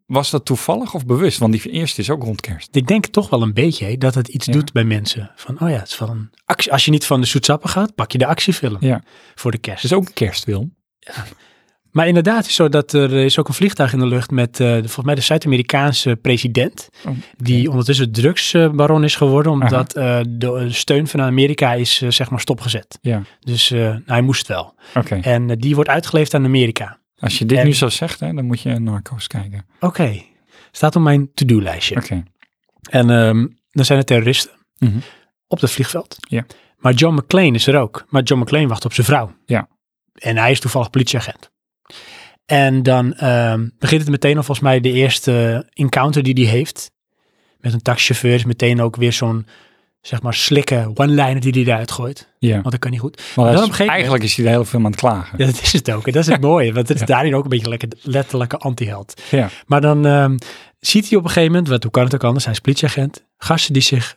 A: was dat toevallig of bewust? Want die eerste is ook rond kerst.
C: Ik denk toch wel een beetje hè, dat het iets
A: Ja.
C: doet bij mensen. Van, oh ja, het is wel een actie. Als je niet van de zoetsappen gaat, pak je de actiefilm
A: Ja.
C: voor de kerst. Dus
A: Het is ook een kerstfilm.
C: Maar inderdaad, het is zo dat er is ook een vliegtuig in de lucht met eh, de- volgens mij de Zuid-Amerikaanse president.
A: Oh,
C: Die ondertussen drugsbaron is geworden,
A: Aha.
C: omdat eh, de eh, steun van Amerika is eh, zeg maar stopgezet.
A: Ja,
C: Dus eh, hij moest wel.
A: oké.
C: En eh, die wordt uitgeleverd aan Amerika.
A: Als je dit
C: en-
A: nu zo zegt, hè, dan moet je Narcos kijken.
C: Oké, staat op mijn to-do-lijstje.
A: Oké,
C: En ehm, dan zijn er terroristen
A: Mhm.
C: op het vliegveld.
A: Ja.
C: Maar John McClane is er ook. Maar John McClane wacht op zijn vrouw.
A: Ja.
C: En hij is toevallig politieagent. En dan ehm, begint het meteen al volgens mij de eerste encounter die hij heeft. Met een taxichauffeur is meteen ook weer zo'n, zeg maar, slikke one-liner die hij eruit gooit.
A: ja.
C: Want dat kan niet goed.
A: Maar
C: dan
A: dat
C: op
A: is-
C: een gegeven
A: eigenlijk is hij de hele film aan het klagen.
C: Ja, dat is het ook. En dat is het mooie. Want het is daarin ook een beetje lekker, letterlijke anti-held.
A: Ja.
C: Maar dan ehm, ziet hij op een gegeven moment, want hoe kan het ook anders, hij is politieagent, gasten die zich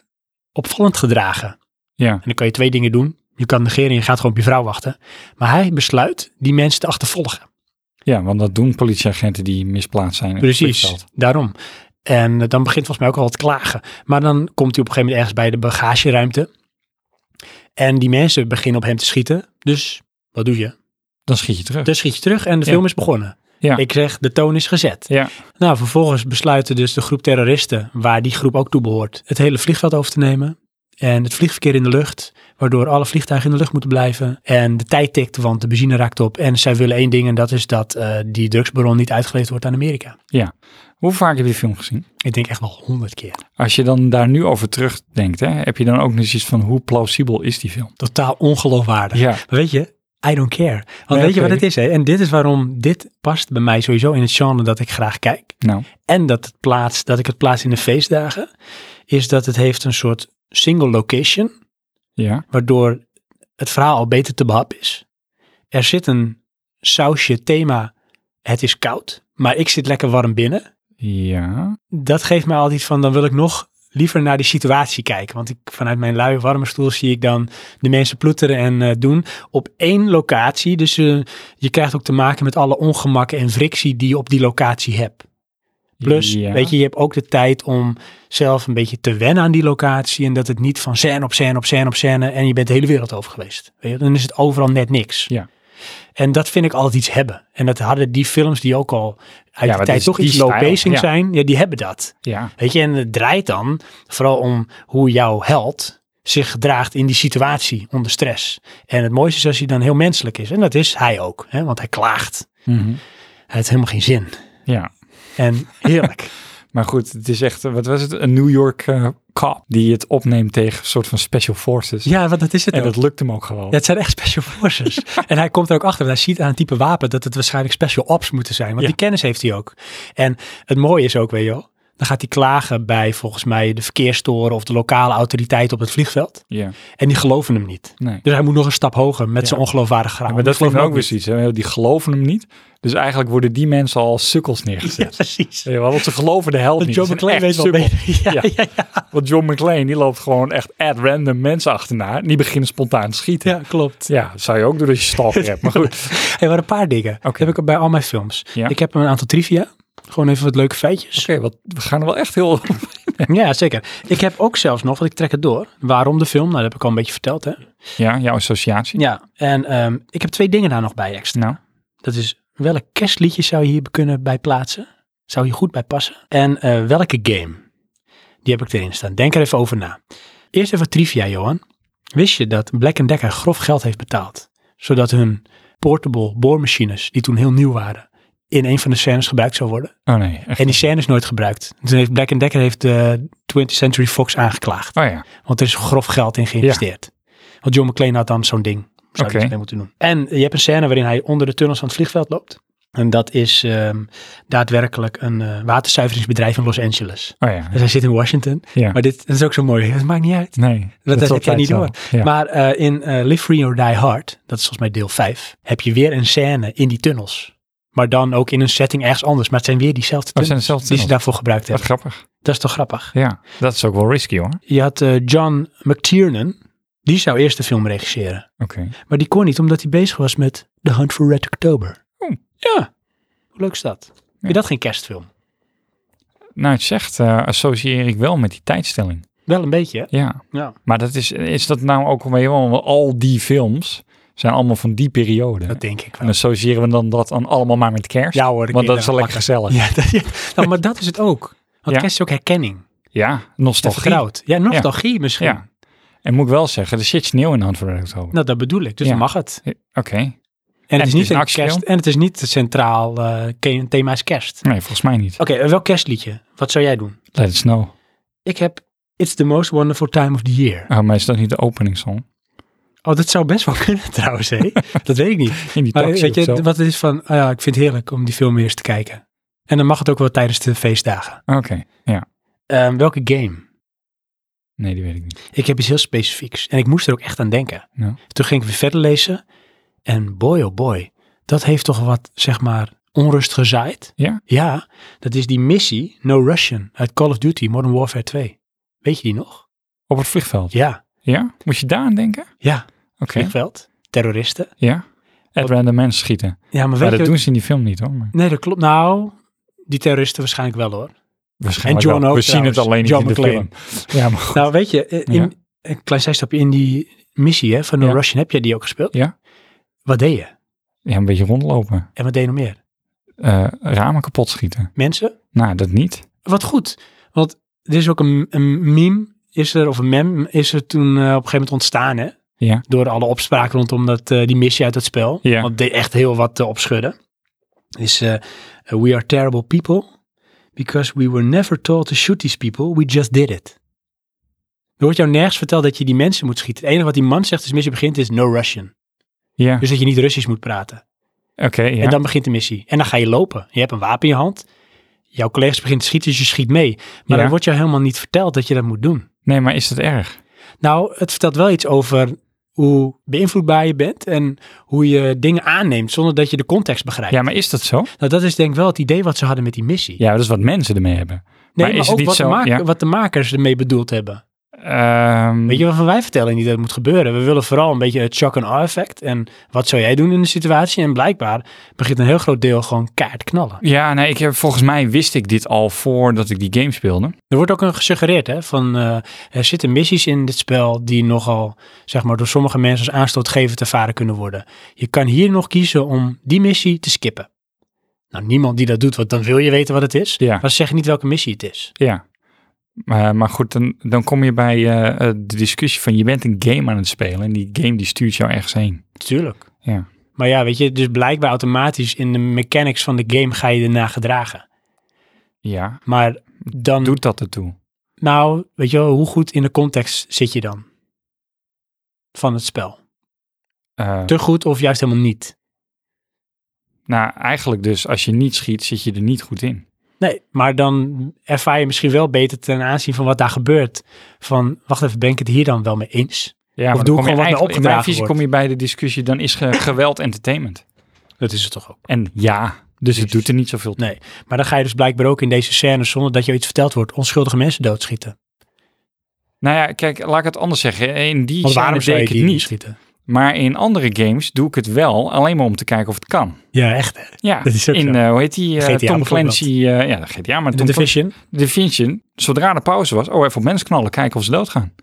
C: opvallend gedragen.
A: Ja.
C: En dan kan je twee dingen doen. Je kan negeren en je gaat gewoon op je vrouw wachten. Maar hij besluit die mensen te achtervolgen.
A: Ja, want dat doen politieagenten die misplaatst zijn. in het
C: Precies,
A: vliegveld.
C: daarom. En eh, dan begint volgens mij ook al het klagen. Maar dan komt hij op een gegeven moment ergens bij de bagageruimte. En die mensen beginnen op hem te schieten. Dus wat doe je?
A: Dan schiet je terug.
C: Dan schiet je terug en de
A: Ja.
C: film is begonnen.
A: Ja.
C: Ik zeg, de toon is gezet.
A: Ja,
C: Nou, vervolgens besluiten dus de groep terroristen, waar die groep ook toe behoort, het hele vliegveld over te nemen. En het vliegverkeer in de lucht, waardoor alle vliegtuigen in de lucht moeten blijven. En de tijd tikt, want de benzine raakt op. En zij willen één ding en dat is dat eh, die drugsbaron niet uitgeleverd wordt aan Amerika.
A: ja. Hoe vaak heb je die film gezien?
C: Ik denk echt wel honderd keer.
A: Als je dan daar nu over terugdenkt, hè, heb je dan ook nog iets van hoe plausibel is die film?
C: Totaal ongeloofwaardig.
A: Ja.
C: Maar weet je, I don't care. Want
A: Nee,
C: weet je
A: oké.
C: wat het is? Hè? En dit is waarom dit past bij mij sowieso in het genre dat ik graag kijk.
A: Nou,
C: en dat, het plaats, dat ik het plaats in de feestdagen, is dat het heeft een soort single location,
A: ja.
C: waardoor het verhaal al beter te behappen is. Er zit een sausje thema, het is koud, maar ik zit lekker warm binnen.
A: Ja.
C: Dat geeft mij altijd van, dan wil ik nog liever naar die situatie kijken. Want ik, vanuit mijn luie warme stoel zie ik dan de mensen ploeteren en eh, doen op één locatie. Dus eh, je krijgt ook te maken met alle ongemakken en frictie die je op die locatie hebt. Plus,
A: ja.
C: weet je, je hebt ook de tijd om zelf een beetje te wennen aan die locatie. En dat het niet van scène op scène op scène op scène en je bent de hele wereld over geweest. Weet je, dan is het overal net niks.
A: Ja.
C: En dat vind ik altijd iets hebben. En dat hadden die films die ook al uit
A: maar
C: de
A: het
C: tijd
A: is
C: toch
A: die
C: iets low
A: stijl,
C: pacing
A: ja.
C: zijn, ja, die hebben dat.
A: Ja.
C: Weet je, en het draait dan vooral om hoe jouw held zich gedraagt in die situatie onder stress. En het mooiste is als hij dan heel menselijk is. En dat is hij ook, hè, want hij klaagt.
A: Mhm.
C: Hij heeft helemaal geen zin.
A: Ja.
C: En heerlijk.
A: Maar goed, het is echt, eh, wat was het? Een New York eh, cop die het opneemt tegen een soort van special forces.
C: ja, want dat is het
A: En
C: ook.
A: dat lukt hem ook gewoon.
C: Ja, het zijn echt special forces. en hij komt er ook achter, want hij ziet aan het type wapen dat het waarschijnlijk special ops moeten zijn. Want
A: Ja.
C: die kennis heeft hij ook. En het mooie is ook, weet je wel, dan gaat hij klagen bij volgens mij de verkeerstoren of de lokale autoriteit op het vliegveld.
A: Ja.
C: En die geloven hem niet.
A: Nee.
C: Dus hij moet nog een stap hoger met
A: Ja.
C: zijn ongeloofwaardig graad.
A: Ja, maar dat vind ik ook weer zoiets. hè. Die geloven hem niet. Dus eigenlijk worden die mensen al als sukkels
C: Ja,
A: neergezet.
C: precies.
A: Ja, want ze geloven de held niet.
C: John
A: Ze zijn
C: McClane weet
A: echt
C: wel
A: sukkels.
C: beter. Ja,
A: Ja.
C: ja. Ja,
A: Want John McClane, die loopt gewoon echt at random mensen achterna. En die beginnen spontaan te schieten. Ja,
C: klopt.
A: zou je ook doen als je stalker hebt. Maar goed.
C: Hey, maar een paar dingen. Dat heb ik ook bij al mijn films.
A: Ja.
C: Ik heb een aantal trivia. Gewoon even wat leuke feitjes.
A: Oké, wat we gaan er wel echt heel...
C: Ja, zeker. Ik heb ook zelfs nog, want ik trek het door, waarom de film. Nou, dat heb ik al een beetje verteld, hè.
A: Ja, jouw associatie.
C: Ja, en ehm, ik heb twee dingen daar nog bij extra.
A: Nou,
C: Dat is, welk kerstliedje zou je hier kunnen bij plaatsen? Zou hier goed bij passen? En eh, welke game? Die heb ik erin staan. Denk er even over na. Eerst even trivia, Johan. Wist je dat Black Decker grof geld heeft betaald? Zodat hun portable boormachines, die toen heel nieuw waren, in een van de scènes gebruikt zou worden.
A: oh nee. echt.
C: En die scène is nooit gebruikt. Toen heeft Black Decker heeft de 20th Century Fox aangeklaagd.
A: Oh ja.
C: Want er is grof geld in geïnvesteerd. Want John McClane had dan zo'n ding. Zou
A: Oké.
C: hij mee moeten doen. En je hebt een scène waarin hij onder de tunnels van het vliegveld loopt. En dat is ehm, daadwerkelijk een eh, waterzuiveringsbedrijf in Los Angeles.
A: Oh ja.
C: Dus hij zit in Washington.
A: Ja.
C: Maar dit dat is ook zo mooi. Het maakt niet uit.
A: Nee.
C: Dat, dat heb jij
A: altijd
C: niet
A: zo.
C: door.
A: Ja.
C: Maar eh, in eh, Live Free or Die Hard, dat is volgens mij deel 5, heb je weer een scène in die tunnels. Maar dan ook in een setting ergens anders. Maar het zijn weer diezelfde
A: Oh, zijn
C: tunnels
A: dezelfde
C: die ze
A: tunnels.
C: daarvoor gebruikt
A: Wat
C: hebben.
A: grappig.
C: Dat is toch grappig?
A: Ja, dat is ook wel risky hoor. Oké.
C: Je had eh, John McTiernan, die zou eerst de film regisseren. Maar die kon niet, omdat hij bezig was met The Hunt for Red October.
A: Oh.
C: Ja, hoe leuk is dat? Vind je dat geen kerstfilm?
A: Nou, het zegt, eh, associeer ik wel met die tijdstelling.
C: Wel een beetje, hè?
A: Ja.
C: Ja.
A: Maar dat is, is dat nou ook alweer, want al die films zijn allemaal van die periode.
C: Dat denk ik
A: en
C: wel.
A: associëren we dan dat dan allemaal maar met kerst?
C: Ja hoor, de
A: Want dat is wel
C: kinderen
A: lekker gezellig. Ja,
C: Ja, dat- ja. Nou, maar dat is het ook. Want
A: Ja.
C: kerst is ook herkenning. Toch
A: nostalgie.
C: groot. Ja, nostalgie misschien.
A: Ja. En moet ik wel zeggen, er zit sneeuw in de hand voor oktober.
C: Nou, dat bedoel ik. Dus
A: Ja.
C: dan mag het.
A: Oké.
C: En, het is niet
A: een
C: een
A: actiefilm?
C: kerst. En het is niet het centraal eh, ke- thema is kerst.
A: Nee, volgens mij niet.
C: Oké, eh, welk kerstliedje? Wat zou jij doen?
A: Let it snow.
C: Ik heb It's the most wonderful time of the year.
A: Ah, maar is dat niet de openingssong?
C: Oh, dat zou best wel kunnen trouwens, hè? dat weet ik niet.
A: In die
C: Maar
A: taxi
C: weet
A: of zo?
C: je, wat het is van, ah ja, ik vind het heerlijk om die film weer eens te kijken. En dan mag het ook wel tijdens de feestdagen.
A: Oké. Ja.
C: Ehm, welke game?
A: Nee, die weet ik niet.
C: Ik heb iets heel specifieks. En ik moest er ook echt aan denken.
A: Ja.
C: Toen ging ik weer verder lezen. En boy, oh boy. Dat heeft toch wat, zeg maar, onrust gezaaid.
A: Ja?
C: Ja, dat is die missie No Russian uit Call of Duty Modern Warfare 2. Weet je die nog?
A: Op het vliegveld.
C: Ja,
A: Ja? Moest je daar aan denken?
C: ja.
A: Oké.
C: Vliegveld, terroristen.
A: Ja. At random mensen schieten.
C: Ja, maar
A: Maar
C: weet
A: dat
C: je...
A: doen ze in die film niet hoor. Maar
C: Nee, dat klopt. Nou, die terroristen waarschijnlijk wel hoor.
A: waarschijnlijk
C: En John
A: wel.
C: ook
A: We zien het
C: trouwens.
A: alleen niet
C: John
A: in de
C: McClane.
A: film. Ja, maar goed.
C: Nou, weet je, eh, in,
A: Ja.
C: een klein zijstapje in die missie hè, van No
A: Ja.
C: Russian, heb jij die ook gespeeld?
A: Ja.
C: Wat deed je?
A: Ja, een beetje rondlopen.
C: En wat deed je nog meer?
A: Eh, ramen kapot schieten.
C: Mensen?
A: Nou, dat niet.
C: Wat goed. Want er is ook een, een meme, is er, of een mem, is er toen eh, op een gegeven moment ontstaan, hè?
A: Ja.
C: Door alle opspraak rondom dat, eh, die missie uit dat spel.
A: Ja.
C: Want het deed echt heel wat eh, opschudden. Is eh, We are terrible people because we were never told to shoot these people. We just did it. Er wordt jou nergens verteld dat je die mensen moet schieten. Het enige wat die man zegt als de missie begint is no Russian.
A: Ja.
C: Dus dat je niet Russisch moet praten.
A: Oké, ja.
C: En dan begint de missie. En dan ga je lopen. Je hebt een wapen in je hand. Jouw collega's beginnen te schieten, dus je schiet mee. Maar
A: Ja.
C: dan wordt jou helemaal niet verteld dat je dat moet doen.
A: Nee, maar is dat erg?
C: Nou, het vertelt wel iets over hoe beïnvloedbaar je bent en hoe je dingen aanneemt zonder dat je de context begrijpt.
A: Ja, maar is dat zo?
C: Nou, dat is denk ik wel het idee wat ze hadden met die missie.
A: Ja, dat is wat mensen ermee hebben.
C: nee,
A: maar
C: maar,
A: is het
C: ook
A: niet
C: wat,
A: zo-
C: de maak-
A: ja. Mm.
C: wat de makers ermee bedoeld hebben.
A: Ehm,
C: Weet je waarvan wij vertellen niet dat het moet gebeuren? We willen vooral een beetje het shock and awe effect. En wat zou jij doen in de situatie? En blijkbaar begint een heel groot deel gewoon kaart knallen.
A: Ja, nee, ik heb, volgens mij wist ik dit al voordat ik die game speelde.
C: Er wordt ook een gesuggereerd hè, van eh, er zitten missies in dit spel die nogal zeg maar, door sommige mensen als aanstootgevend ervaren kunnen worden. Je kan hier nog kiezen om die missie te skippen. Nou, niemand die dat doet, want dan wil je weten wat het is.
A: Ja.
C: Maar ze zeggen niet welke missie het is.
A: Ja. Maar, maar goed, dan, dan kom je bij eh, eh, de discussie van je bent een game aan het spelen en die game die stuurt jou ergens heen.
C: Tuurlijk.
A: Ja.
C: Maar ja, weet je, dus blijkbaar automatisch in de mechanics van de game ga je erna gedragen.
A: Ja,
C: Maar dan,
A: doet dat ertoe?
C: nou, weet je wel, hoe goed in de context zit je dan? Van het spel.
A: Eh,
C: Te goed of juist helemaal niet?
A: nou, eigenlijk dus, als je niet schiet, zit je er niet goed in.
C: Nee, maar dan ervaar je misschien wel beter ten aanzien van wat daar gebeurt. Van, wacht even, ben ik het hier dan wel mee eens?
A: Ja,
C: Of
A: dan
C: doe
A: kom
C: ik gewoon
A: je
C: wat mij
A: eigenlijk- In mijn
C: opgedragen
A: visie
C: wordt.
A: kom je bij de discussie, dan is ge- geweld entertainment.
C: Dat is het toch ook.
A: En ja, dus het doet er niet zoveel toe.
C: Nee, maar dan ga je dus blijkbaar ook in deze scène zonder dat je iets verteld wordt, onschuldige mensen doodschieten.
A: Nou ja, kijk, laat ik het anders zeggen. In die
C: Want waarom
A: scène
C: zou
A: deed ik
C: je
A: het
C: die niet
A: niet,
C: schieten?
A: maar in andere games doe ik het wel, alleen maar om te kijken of het kan.
C: Ja, echt. hè?
A: Ja,
C: Dat is ook
A: in,
C: zo.
A: eh, hoe heet die, eh,
C: GTA
A: Tom
C: bijvoorbeeld.
A: Clancy, eh, ja, GTA, maar
C: De
A: Tom Clancy-
C: Division.
A: De Vinci, zodra de pauze was, oh, even op mensen knallen, kijken of ze doodgaan.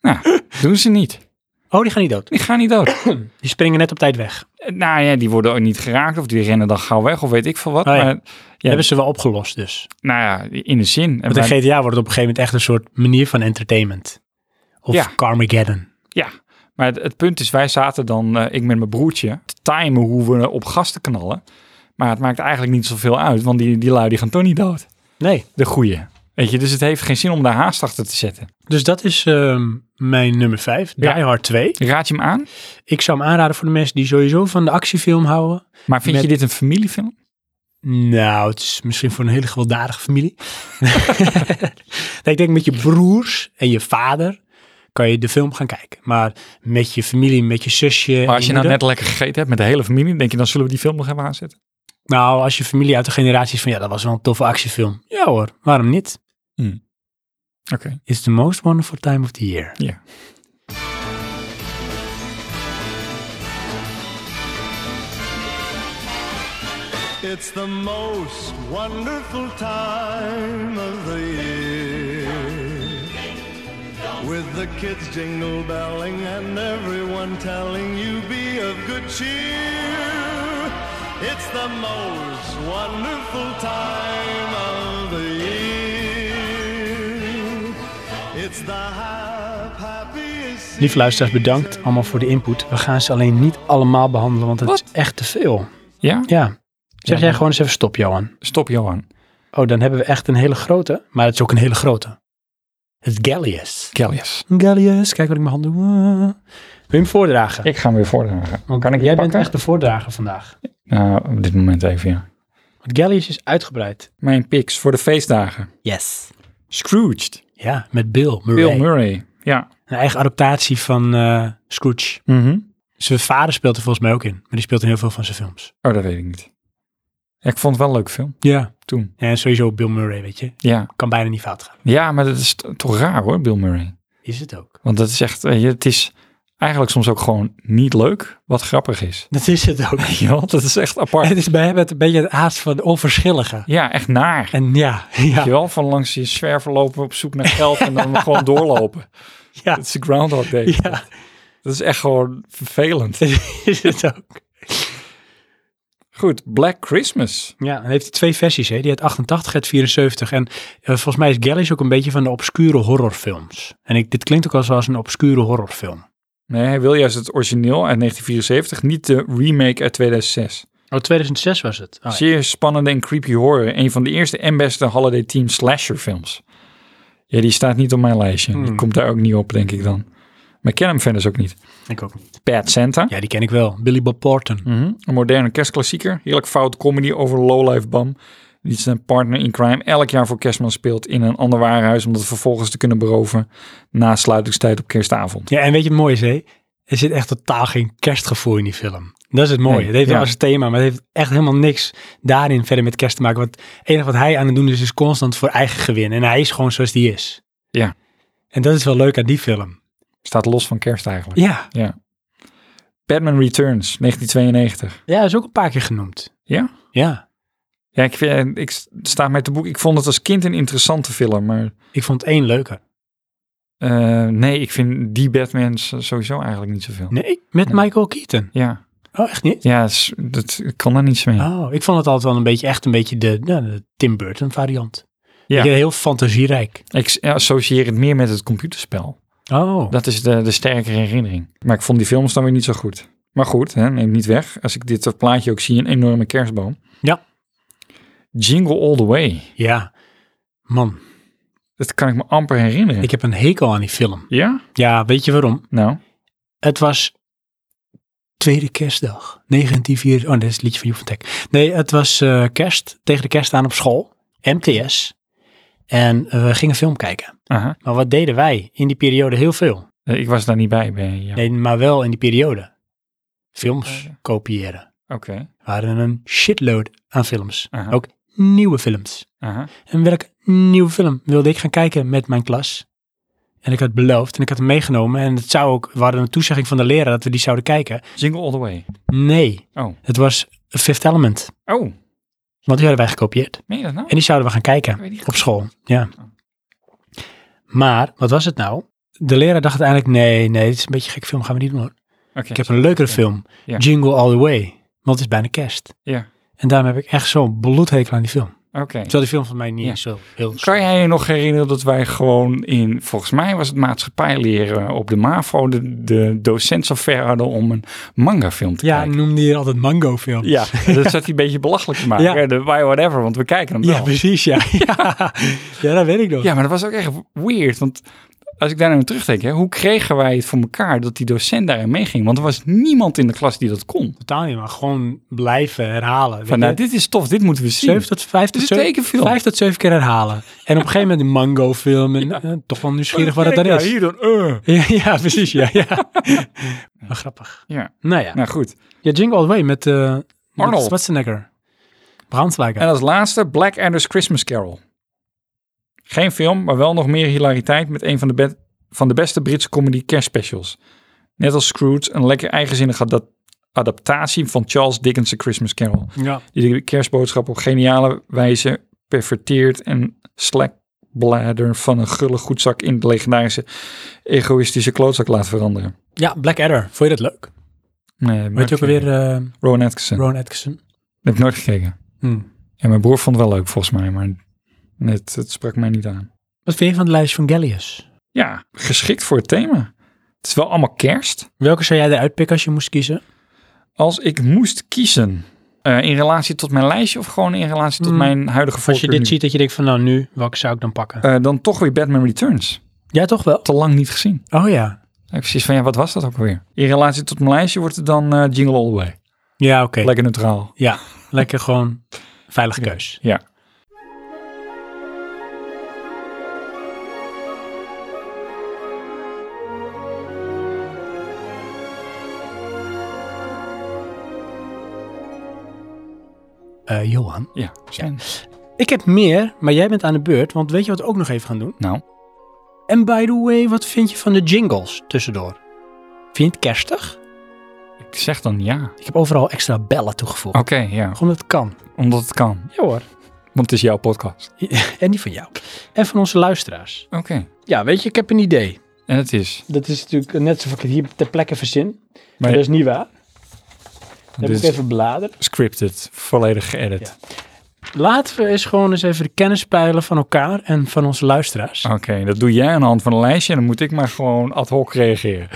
A: nou, doen ze niet.
C: Oh, die gaan niet dood.
A: Die gaan niet dood.
C: Die springen net op tijd weg. Dat
A: Eh, nou ja, die worden ook niet geraakt of die rennen dan gauw weg of weet ik veel wat.
C: Oh ja.
A: Maar ja,
C: hebben ze wel opgelost dus.
A: nou ja, in de zin. En
C: Want in
A: wij-
C: GTA wordt het op een gegeven moment echt een soort manier van entertainment. Of
A: Ja.
C: Carmageddon.
A: ja, maar het, het punt is, wij zaten dan, eh, ik met mijn broertje, te timen hoe we op gas te knallen. Maar het maakt eigenlijk niet zoveel uit, want die, die lui die gaan toch niet dood.
C: Nee.
A: De goeie. Weet je, dus het heeft geen zin om daar haast achter te zetten.
C: Dus dat is ehm, mijn nummer 5,
A: Ja.
C: Die Hard 2.
A: Raad je hem aan?
C: Ik zou hem aanraden voor de mensen die sowieso van de actiefilm houden.
A: Maar vind
C: Met-
A: je dit een familiefilm?
C: Nou, het is misschien voor een hele gewelddadige familie. Nee, ik denk met je broers en je vader kan je de film gaan kijken. Maar met je familie, met je zusje. en
A: Maar als je nou
C: moeder-
A: net lekker gegeten hebt met de hele familie, denk je dan zullen we die film nog even aanzetten?
C: Nou, als je familie uit de generatie is van ja, dat was wel een toffe actiefilm. Ja hoor, waarom niet?
A: Oké.
C: It's the most wonderful time of the year.
A: Ja.
E: It's the most wonderful time of the year. With the kids jingle belling and everyone telling you be of good cheer. It's the most wonderful time of the year. It's the hap- happiest.
C: Lieve luisteraars, bedankt allemaal voor de input. We gaan ze alleen niet allemaal behandelen, want het
A: Wat?
C: is echt te veel.
A: Ja?
C: Ja. Zeg
A: Ja,
C: jij
A: dan-
C: gewoon eens even stop, Johan.
A: Stop Johan.
C: Oh, dan hebben we echt een hele grote. Maar het is ook een hele grote. Het Gallius.
A: Kelly's.
C: Gallius, kijk wat ik mijn handen doe. Wil je hem voordragen?
A: Ik ga hem weer voordragen.
C: Want
A: Kan ik
C: jij
A: die
C: bent
A: pakken?
C: echt de voordrager vandaag.
A: Nou, op dit moment even, ja.
C: Want Gallius is uitgebreid.
A: Mijn picks voor de feestdagen.
C: Yes.
A: Scrooged.
C: Ja, met Bill Murray.
A: Bill Murray. Ja.
C: Een eigen adaptatie van eh, Scrooge. Zijn vader speelt er volgens mij ook in. Maar die speelt in heel veel van zijn films.
A: Oh, dat weet ik niet. Ja, ik vond het wel een leuk film
C: Ja.
A: toen.
C: En sowieso Bill Murray, weet je.
A: Ja.
C: Kan bijna niet fout gaan.
A: Ja, maar dat is t- toch raar hoor, Bill Murray.
C: Is het ook.
A: Want dat is echt, weet je, het is eigenlijk soms ook gewoon niet leuk wat grappig is.
C: Dat is het ook.
A: Ja, dat is echt apart.
C: Het is bij hem het een beetje het haast van onverschillige.
A: Ja, echt naar.
C: En ja, ja,
A: Weet je wel, van langs je zwerver lopen op zoek naar geld en dan gewoon doorlopen.
C: ja,
A: Dat is de Groundhog Day.
C: ja,
A: Dat is echt gewoon vervelend.
C: is het ook.
A: Goed, Black Christmas.
C: Ja, dan heeft hij twee versies. Hè. Die uit 88 en 74. En eh, volgens mij is Gallies ook een beetje van de obscure horrorfilms. En ik, dit klinkt ook al zoals een obscure horrorfilm.
A: Nee, hij wil juist het origineel uit 1974, niet de remake uit 2006.
C: Oh, 2006 was het. Oh, ja.
A: Zeer spannende en creepy horror. Een van de eerste en beste Holiday Team slasher films. Ja, die staat niet op mijn lijstje. Die komt daar ook niet op, denk ik dan. Maar ik ken hem verder dus ook niet.
C: Ik ook niet.
A: Bad Santa.
C: Ja, die ken ik wel. Billy Bob Thornton.
A: Mhm. Een moderne kerstklassieker. Heerlijk fout comedy over lowlife bam. Die zijn partner in crime elk jaar voor kerstman speelt in een ander warenhuis om dat vervolgens te kunnen beroven na sluitingstijd op kerstavond.
C: Ja, en weet je wat mooi is, hè? Er zit echt totaal geen kerstgevoel in die film. Dat is het mooie.
A: Nee,
C: het heeft
A: ja.
C: wel als thema, maar het heeft echt helemaal niks daarin verder met kerst te maken. Want het enige wat hij aan het doen is, is constant voor eigen gewin. En hij is gewoon zoals die is.
A: Ja.
C: En dat is wel leuk aan die film.
A: Staat los van kerst eigenlijk.
C: Ja,
A: Batman Returns, 1992.
C: ja is ook een paar keer genoemd.
A: Ja?
C: Ja.
A: Ja, ik, vind- ik sta met de boek. Ik vond het als kind een interessante film, maar
C: Ik vond één leuker.
A: Eh, nee, ik vind die Batman sowieso eigenlijk niet zoveel.
C: Nee, met
A: Nee.
C: Michael Keaton.
A: Ja,
C: Oh, echt niet?
A: ja s- dat ik kan daar niets mee.
C: Oh, ik vond het altijd wel een beetje, echt een beetje de, nou, de Tim Burton variant.
A: Ja.
C: Ja. Heel fantasierijk.
A: Ik s- associeer het meer met het computerspel.
C: Oh.
A: Dat is de, de sterke herinnering. Maar ik vond die films dan weer niet zo goed. Maar goed, hè, neem niet weg. Als ik dit plaatje ook zie, een enorme kerstboom.
C: Ja.
A: Jingle All The Way.
C: Ja. Man,
A: Dat kan ik me amper herinneren.
C: ik heb een hekel aan die film.
A: Ja?
C: Ja, weet je waarom?
A: Nou,
C: Het was tweede kerstdag, 1904. Oh, dit is het liedje van Joep van Teck. Nee, het was eh, kerst, tegen de kerst aan op school, MTS. En eh, we gingen film kijken.
A: aha.
C: Maar wat deden wij in die periode? Heel veel.
A: Eh, ik was daar niet bij. bij jou.
C: Nee, maar wel in die periode. Films
A: Ja, ja.
C: kopiëren.
A: Oké.
C: We hadden een shitload aan films.
A: Aha.
C: Ook nieuwe films.
A: Aha.
C: En welke nieuwe film wilde ik gaan kijken met mijn klas? En ik had beloofd en ik had hem meegenomen. En het zou ook, we hadden een toezegging van de leraar dat we die zouden kijken.
A: Jingle All The Way.
C: Nee,
A: Oh.
C: het was Fifth Element.
A: Oh,
C: Want die hadden wij gekopieerd.
A: meen je dat nou?
C: En die zouden we gaan kijken
A: Weet je die-
C: op school. Ja. Maar, wat was het nou? De leraar dacht uiteindelijk, nee, nee, dit is een beetje een gek film, gaan we niet doen hoor.
A: Oké.
C: Ik heb een leukere film,
A: Ja.
C: Jingle All The Way. Want het is bijna kerst.
A: Ja.
C: En daarom heb ik echt zo'n bloedhekel aan die film.
A: Oké.
C: Terwijl die film van mij niet
A: Ja.
C: zo heel...
A: Kan jij je nog herinneren dat wij gewoon in, volgens mij was het maatschappijleren op de MAVO, de, de docent zo ver hadden om een mangafilm te
C: Ja,
A: kijken.
C: noemde je altijd mango films.
A: Ja, dat zat hij een beetje belachelijk te maken.
C: Ja.
A: Ja. De why whatever, want we kijken hem wel.
C: Ja, precies, ja. ja. Ja, dat weet ik nog.
A: Ja, maar dat was ook echt weird, want als ik daar naar terugdenk, hè, hoe kregen wij het voor elkaar dat die docent daarin meeging? Want er was niemand in de klas die dat kon.
C: Totaal niet, maar gewoon blijven herhalen. weet
A: Van, nou,
C: je.
A: dit is tof, dit moeten we zien.
C: 7 tot 5 tot
A: Dit is een tekenfilm.
C: 5 tot 7 keer herhalen. En op een gegeven moment die mango film. En, eh, toch
A: Oh,
C: wel nieuwsgierig wat het dan
A: Ja,
C: is.
A: hier dan, eh.
C: Ja, ja, precies. Ja, ja. Maar grappig.
A: Ja,
C: Nou ja.
A: nou goed.
C: Ja, Jingle All the Way met eh
A: Arnold.
C: met Schwarzenegger. Brandslager.
A: En als laatste Blackadder's Christmas Carol. Geen film, maar wel nog meer hilariteit met een van de, be- van de beste Britse comedy kerstspecials. Net als Scrooge, een lekker eigenzinnige ada- adaptatie van Charles Dickens' Christmas Carol.
C: Ja.
A: Die de kerstboodschap op geniale wijze perverteert en slackblader van een gulle goedzak in de legendarische egoïstische klootzak laat veranderen.
C: ja, Black Adder. Vond je dat leuk?
A: Nee,
C: Weet je ook alweer eh
A: Ron Atkinson.
C: Ron Atkinson?
A: Dat heb ik nooit gekeken.
C: Hmm.
A: En mijn broer vond het wel leuk volgens mij, maar net, het sprak mij niet aan.
C: Wat vind je van het lijstje van Gallius?
A: ja, geschikt voor het thema. Het is wel allemaal kerst.
C: Welke zou jij eruit pikken als je moest kiezen?
A: Als ik moest kiezen eh, in relatie tot mijn lijstje of gewoon in relatie tot
C: Hmm.
A: mijn huidige
C: Als je
A: voorkeur
C: dit
A: nu?
C: ziet, dat je denkt van nou nu, welke zou ik dan pakken?
A: Eh, dan toch weer Batman Returns.
C: ja, toch wel?
A: Te lang niet gezien.
C: Oh ja.
A: Ik heb precies van, ja, wat was dat ook alweer? In relatie tot mijn lijstje wordt het dan eh, Jingle All the Way.
C: Ja, oké.
A: Lekker neutraal.
C: Ja, lekker gewoon veilige keus.
A: Ja.
C: Eh, Johan.
A: Ja. Zijn.
C: Ik heb meer, maar jij bent aan de beurt, want weet je wat we ook nog even gaan doen?
A: Nou,
C: En by the way, wat vind je van de jingles tussendoor? Vind je het kerstig?
A: ik zeg dan ja. Oké,
C: Ik heb overal extra bellen toegevoegd.
A: ja.
C: Gewoon dat het kan.
A: Omdat het kan.
C: Ja hoor.
A: Want het is jouw podcast.
C: En die van jou. En van onze luisteraars.
A: Oké.
C: Ja, weet je, ik heb een idee.
A: En het is. Eh,
C: Dat is natuurlijk net alsof ik het hier ter plekke verzin.
A: Maar
C: Maar Dus- dat is niet waar.
A: dit
C: Dat heb
A: is
C: ik even bladerd.
A: scripted. Volledig geëdit.
C: Laten we eens gewoon eens even de kennis peilen van elkaar en van onze luisteraars.
A: Oké, dat doe jij aan de hand van een lijstje en dan moet ik maar gewoon ad hoc reageren.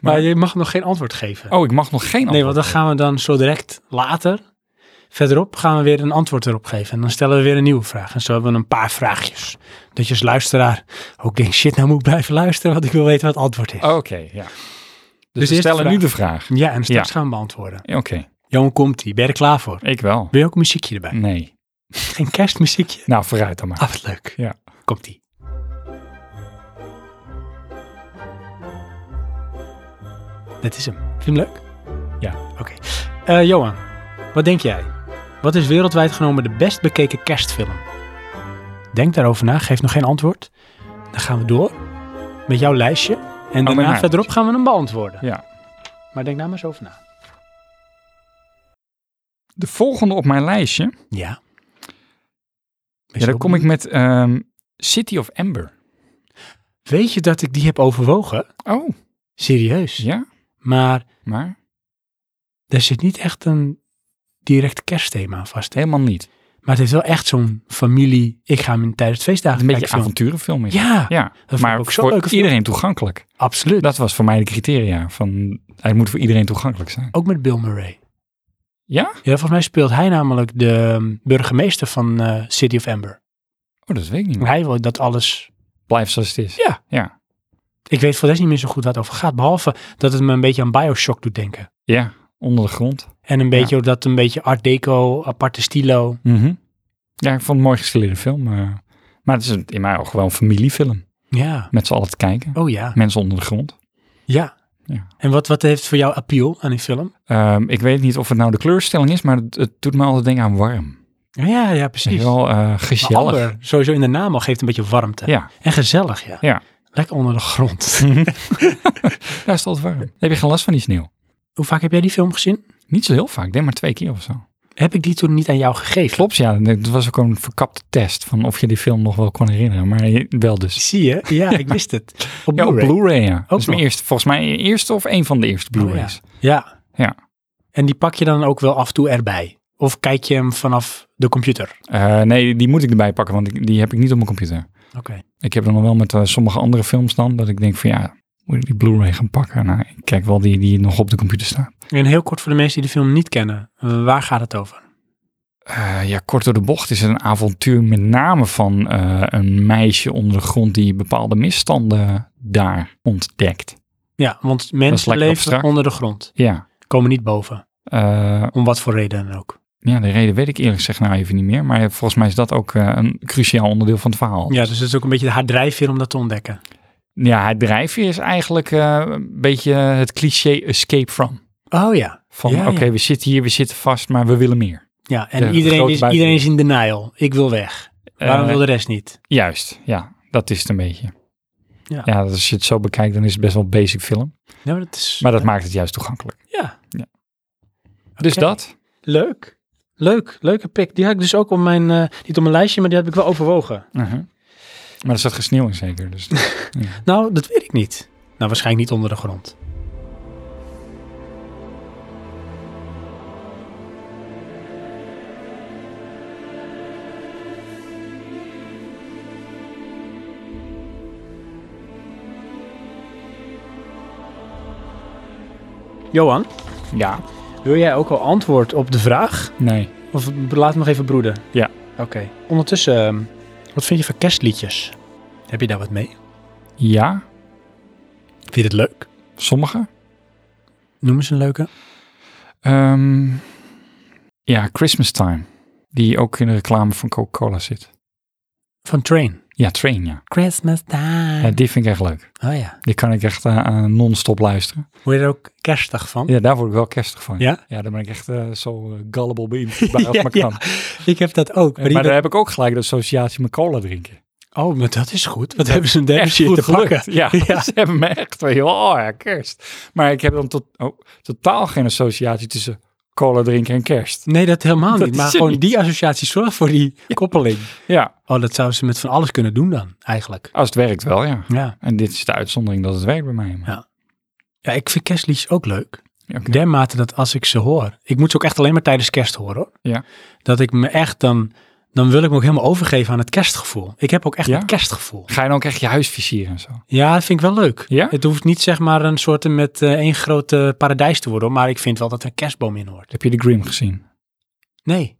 C: Maar je mag nog geen antwoord geven.
A: Oh, ik mag nog geen antwoord.
C: Nee, want dan gaan we dan zo direct later, verderop, gaan we weer een antwoord erop geven. En dan stellen we weer een nieuwe vraag. En zo hebben we een paar vraagjes. Dat je als luisteraar ook denkt, shit, nou moet ik blijven luisteren, want ik wil weten wat het antwoord is.
A: Oké, ja. Dus,
C: eerst
A: we
C: de
A: stellen
C: vraag.
A: nu de vraag.
C: Ja, en straks
A: Ja.
C: gaan we beantwoorden.
A: Oké,
C: Johan komt ie, ben je er klaar voor?
A: ik wel.
C: Wil je ook een muziekje erbij?
A: Nee.
C: Geen kerstmuziekje?
A: Nou, vooruit dan maar.
C: Ah, wat leuk.
A: Ja.
C: Komt ie. Dat is hem. Vind je hem leuk?
A: Ja.
C: Oké. Eh, Johan, wat denk jij? Wat is wereldwijd genomen de best bekeken kerstfilm? Denk daarover na, geef nog geen antwoord. Dan gaan we door met jouw lijstje. En
A: Oh, mijn
C: daarna
A: lijstje.
C: verderop gaan we hem beantwoorden.
A: Ja.
C: Maar denk daar maar eens over na.
A: De volgende op mijn lijstje,
C: Ja.
A: ja, dan kom ik met ehm, City of Amber.
C: Weet je dat ik die heb overwogen?
A: Oh,
C: Serieus.
A: ja,
C: Maar
A: maar
C: Er zit niet echt een direct kerstthema aan vast. Hè?
A: helemaal niet.
C: Maar het is wel echt zo'n familie. Ik ga hem tijdens feestdagen
A: Een beetje
C: kijken film.
A: avonturenfilm is het.
C: Ja,
A: Ja,
C: vond
A: maar
C: ik ook zo'n
A: voor
C: leuke film.
A: iedereen toegankelijk.
C: absoluut.
A: Dat was voor mij de criteria. Van, hij moet voor iedereen toegankelijk zijn.
C: Ook met Bill Murray.
A: Ja?
C: Ja, volgens mij speelt hij namelijk de um, burgemeester van eh, City of Amber.
A: Oh, dat weet ik niet. meer.
C: Hij wil dat alles...
A: Blijf zoals het is.
C: Ja.
A: Ja.
C: Ik weet voor de rest niet meer zo goed waar het over gaat. Behalve dat het me een beetje aan Bioshock doet denken.
A: Ja, onder de grond.
C: En een beetje dat een beetje art deco, aparte stilo.
A: Mhm. Ja, ik vond het een mooi gestileerde film. eh. maar het is een- in mij ook wel een familiefilm.
C: Ja.
A: Met z'n allen te kijken.
C: Oh ja.
A: Mensen onder de grond.
C: Ja.
A: Ja.
C: En wat, wat heeft voor jou appeal aan die film?
A: Ehm, ik weet niet of het nou de kleurstelling is, maar het, het doet me altijd denken aan warm.
C: Ja, ja,
A: Weet
C: precies.
A: je wel, eh,
C: Maar
A: gezellig.
C: amber, sowieso in de naam al, geeft een beetje warmte.
A: Ja,
C: En gezellig, ja.
A: Ja.
C: Lekker onder de grond.
A: daar is het altijd warm. Dan heb je geen last van die sneeuw.
C: Hoe vaak heb jij die film gezien?
A: Niet zo heel vaak, ik denk maar twee keer of zo.
C: Heb ik die toen niet aan jou gegeven?
A: Klopt, ja. Het was ook een verkapte test van of je die film nog wel kon herinneren. Maar je- wel dus.
C: Zie je? Ja, ik wist het. Op
A: Ja, op
C: Blu-ray.
A: Blu-ray, ja. Dat is mijn
C: nog.
A: eerste, volgens mij mijn eerste of een van de eerste Blu-rays.
C: Oh, ja. ja.
A: Ja.
C: En die pak je dan ook wel af en toe erbij? Of kijk je hem vanaf de computer?
A: Eh, nee, die moet ik erbij pakken, want ik- die heb ik niet op mijn computer.
C: Oké.
A: Ik heb dan nog wel met eh, sommige andere films dan, dat ik denk van ja, moet ik die Blu-ray gaan pakken? Nou, ik kijk wel die die nog op de computer staat.
C: En heel kort voor de mensen die de film niet kennen. eh, Waar gaat het over?
A: Eh, ja, kort door de bocht is het een avontuur met name van eh, een meisje onder de grond die bepaalde misstanden daar ontdekt.
C: Ja, want
A: Dat is
C: mensen
A: lekker
C: leven
A: abstract.
C: onder de grond.
A: Ja,
C: Komen niet boven.
A: eh,
C: Om wat voor reden dan ook.
A: ja, de reden weet ik eerlijk gezegd nou even niet meer. Maar volgens mij is dat ook eh, een cruciaal onderdeel van het verhaal.
C: Ja, dus het is ook een beetje haar drijfveer om dat te ontdekken.
A: Ja, het drijfveer is eigenlijk eh, een beetje het cliché escape from.
C: Oh ja.
A: Van
C: Ja, ja.
A: oké, we zitten hier, we zitten vast, maar we willen meer.
C: Ja, en
A: De
C: iedereen,
A: grote
C: is,
A: buitenwereld.
C: iedereen is in denial. Ik wil weg. Waarom
A: Eh,
C: wil de rest niet?
A: Juist, ja, dat is het een beetje.
C: Ja.
A: Ja. als je het zo bekijkt, dan is het best wel een basic film.
C: Ja, maar dat is...
A: Maar dat maakt het juist toegankelijk.
C: ja.
A: Ja. Dus
C: Oké.
A: dat.
C: Leuk. Leuk. Leuke pick. Die had ik dus ook op mijn... eh, niet op mijn lijstje, maar die heb ik wel overwogen.
A: Mhm. Maar er zat geen sneeuw in zeker. Dus
C: Nou, dat weet ik niet. Nou, waarschijnlijk niet onder de grond. Johan,
A: ja,
C: wil jij ook al antwoord op de vraag?
A: nee.
C: Of laat hem nog even broeden?
A: Ja.
C: Oké. Ondertussen, ehm, wat vind je van kerstliedjes? Heb je daar wat mee?
A: Ja,
C: Vind je het leuk?
A: sommige.
C: Noem eens een leuke.
A: Ehm, ja, Christmas Time. Die ook in de reclame van Coca-Cola zit.
C: Van Train.
A: Ja, Train, ja.
C: Christmas time.
A: ja. Die vind ik echt leuk.
C: Oh ja.
A: Die kan ik echt eh, aan non-stop luisteren.
C: Word je er ook kerstig van?
A: Ja, daar word ik wel kerstig van.
C: Ja?
A: Ja, daar ben ik echt eh, zo eh, gullible beïnvloedbaar als
C: Ja,
A: maar
C: ja.
A: kan.
C: Ik heb dat ook.
A: Maar, daar heb ik ook gelijk de associatie met cola drinken.
C: Oh, maar dat is goed. Wat hebben ze een derde
A: Echt
C: shit
A: goed
C: te
A: gelukt.
C: pakken?
A: Ja,
C: Ja.
A: ze hebben me echt van, joh, oh ja, kerst. Maar ik heb dan tot, oh, totaal geen associatie tussen cola drinken en kerst.
C: Nee, dat helemaal
A: Dat
C: niet.
A: is
C: Maar
A: het
C: gewoon
A: niet.
C: die associatie zorgt voor die koppeling.
A: Ja,
C: Oh, dat zouden ze met van alles kunnen doen dan, eigenlijk.
A: als het werkt wel, ja.
C: Ja.
A: En dit is de uitzondering dat het werkt bij mij. maar-
C: Ja, ik vind kerstliedjes ook leuk.
A: Ja, oké.
C: Dermate dat als ik ze hoor. Ik moet ze ook echt alleen maar tijdens kerst horen hoor.
A: Ja.
C: Dat ik me echt dan, dan wil ik me ook helemaal overgeven aan het kerstgevoel. Ik heb ook echt
A: Ja?
C: het kerstgevoel.
A: Ga je dan ook echt je huis versieren en zo?
C: Ja, dat vind ik wel leuk.
A: Ja?
C: Het hoeft niet zeg maar een soort met eh, één groot eh, paradijs te worden, hoor, maar ik vind wel dat er een kerstboom in hoort.
A: Heb je de Grim gezien?
C: Nee.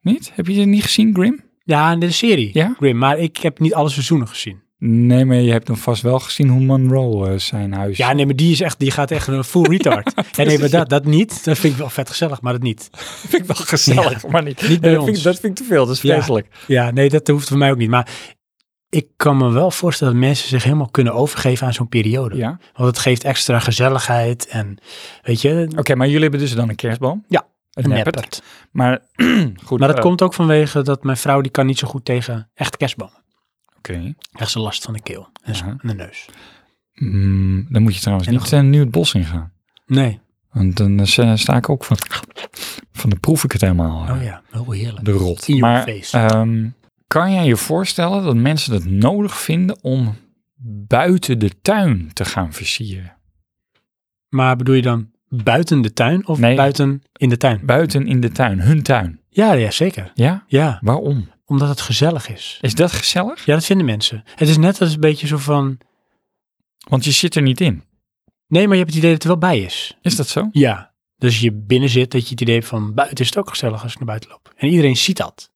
A: Niet? Heb je het niet gezien, Grim?
C: Ja, in de serie.
A: Ja?
C: Grim, maar ik heb niet alle seizoenen gezien.
A: Nee, maar je hebt hem vast wel gezien hoe Monroe eh, zijn huis...
C: Ja, nee, maar die is echt, die gaat echt een full retard. ja, nee, maar dat, dat niet. Dat vind ik wel vet gezellig, maar dat niet.
A: vind ik wel gezellig, maar niet,
C: Niet bij
A: Ja, dat, vind
C: ons.
A: ik, dat vind ik te veel, dat is
C: Ja.
A: vreselijk.
C: Ja, nee, dat hoeft voor mij ook niet. Maar ik kan me wel voorstellen dat mensen zich helemaal kunnen overgeven aan zo'n periode.
A: Ja.
C: Want het geeft extra gezelligheid en, weet je,
A: Oké, maar jullie hebben dus dan een kerstboom?
C: Ja,
A: Een
C: een
A: neppert.
C: neppert.
A: Maar goed.
C: Maar dat
A: eh,
C: komt ook vanwege dat mijn vrouw, die kan niet zo goed tegen echte kerstbomen.
A: Oké.
C: Echt ze last van de keel en, zo-
A: Ja.
C: en de neus.
A: Mm, dan moet je trouwens
C: En
A: niet eh, nu het bos ingaan.
C: Nee.
A: Want dan eh, sta ik ook van... Van dan proef ik het helemaal. eh,
C: Oh ja, wel heerlijk.
A: De rot.
C: In your
A: maar
C: face.
A: ehm, kan jij je voorstellen dat mensen het nodig vinden om buiten de tuin te gaan versieren?
C: Maar bedoel je dan buiten de tuin of
A: Nee.
C: buiten in de tuin?
A: Buiten in de tuin, hun tuin.
C: Ja, ja, zeker.
A: Ja?
C: Ja,
A: Waarom?
C: omdat het gezellig is.
A: Is dat gezellig?
C: Ja, dat vinden mensen. Het is net als een beetje zo van,
A: Want je zit er niet in.
C: nee, maar je hebt het idee dat het er wel bij is.
A: Is dat zo?
C: Ja. Dus je binnen zit, dat je het idee hebt van, buiten is het ook gezellig als ik naar buiten loop. En iedereen ziet dat.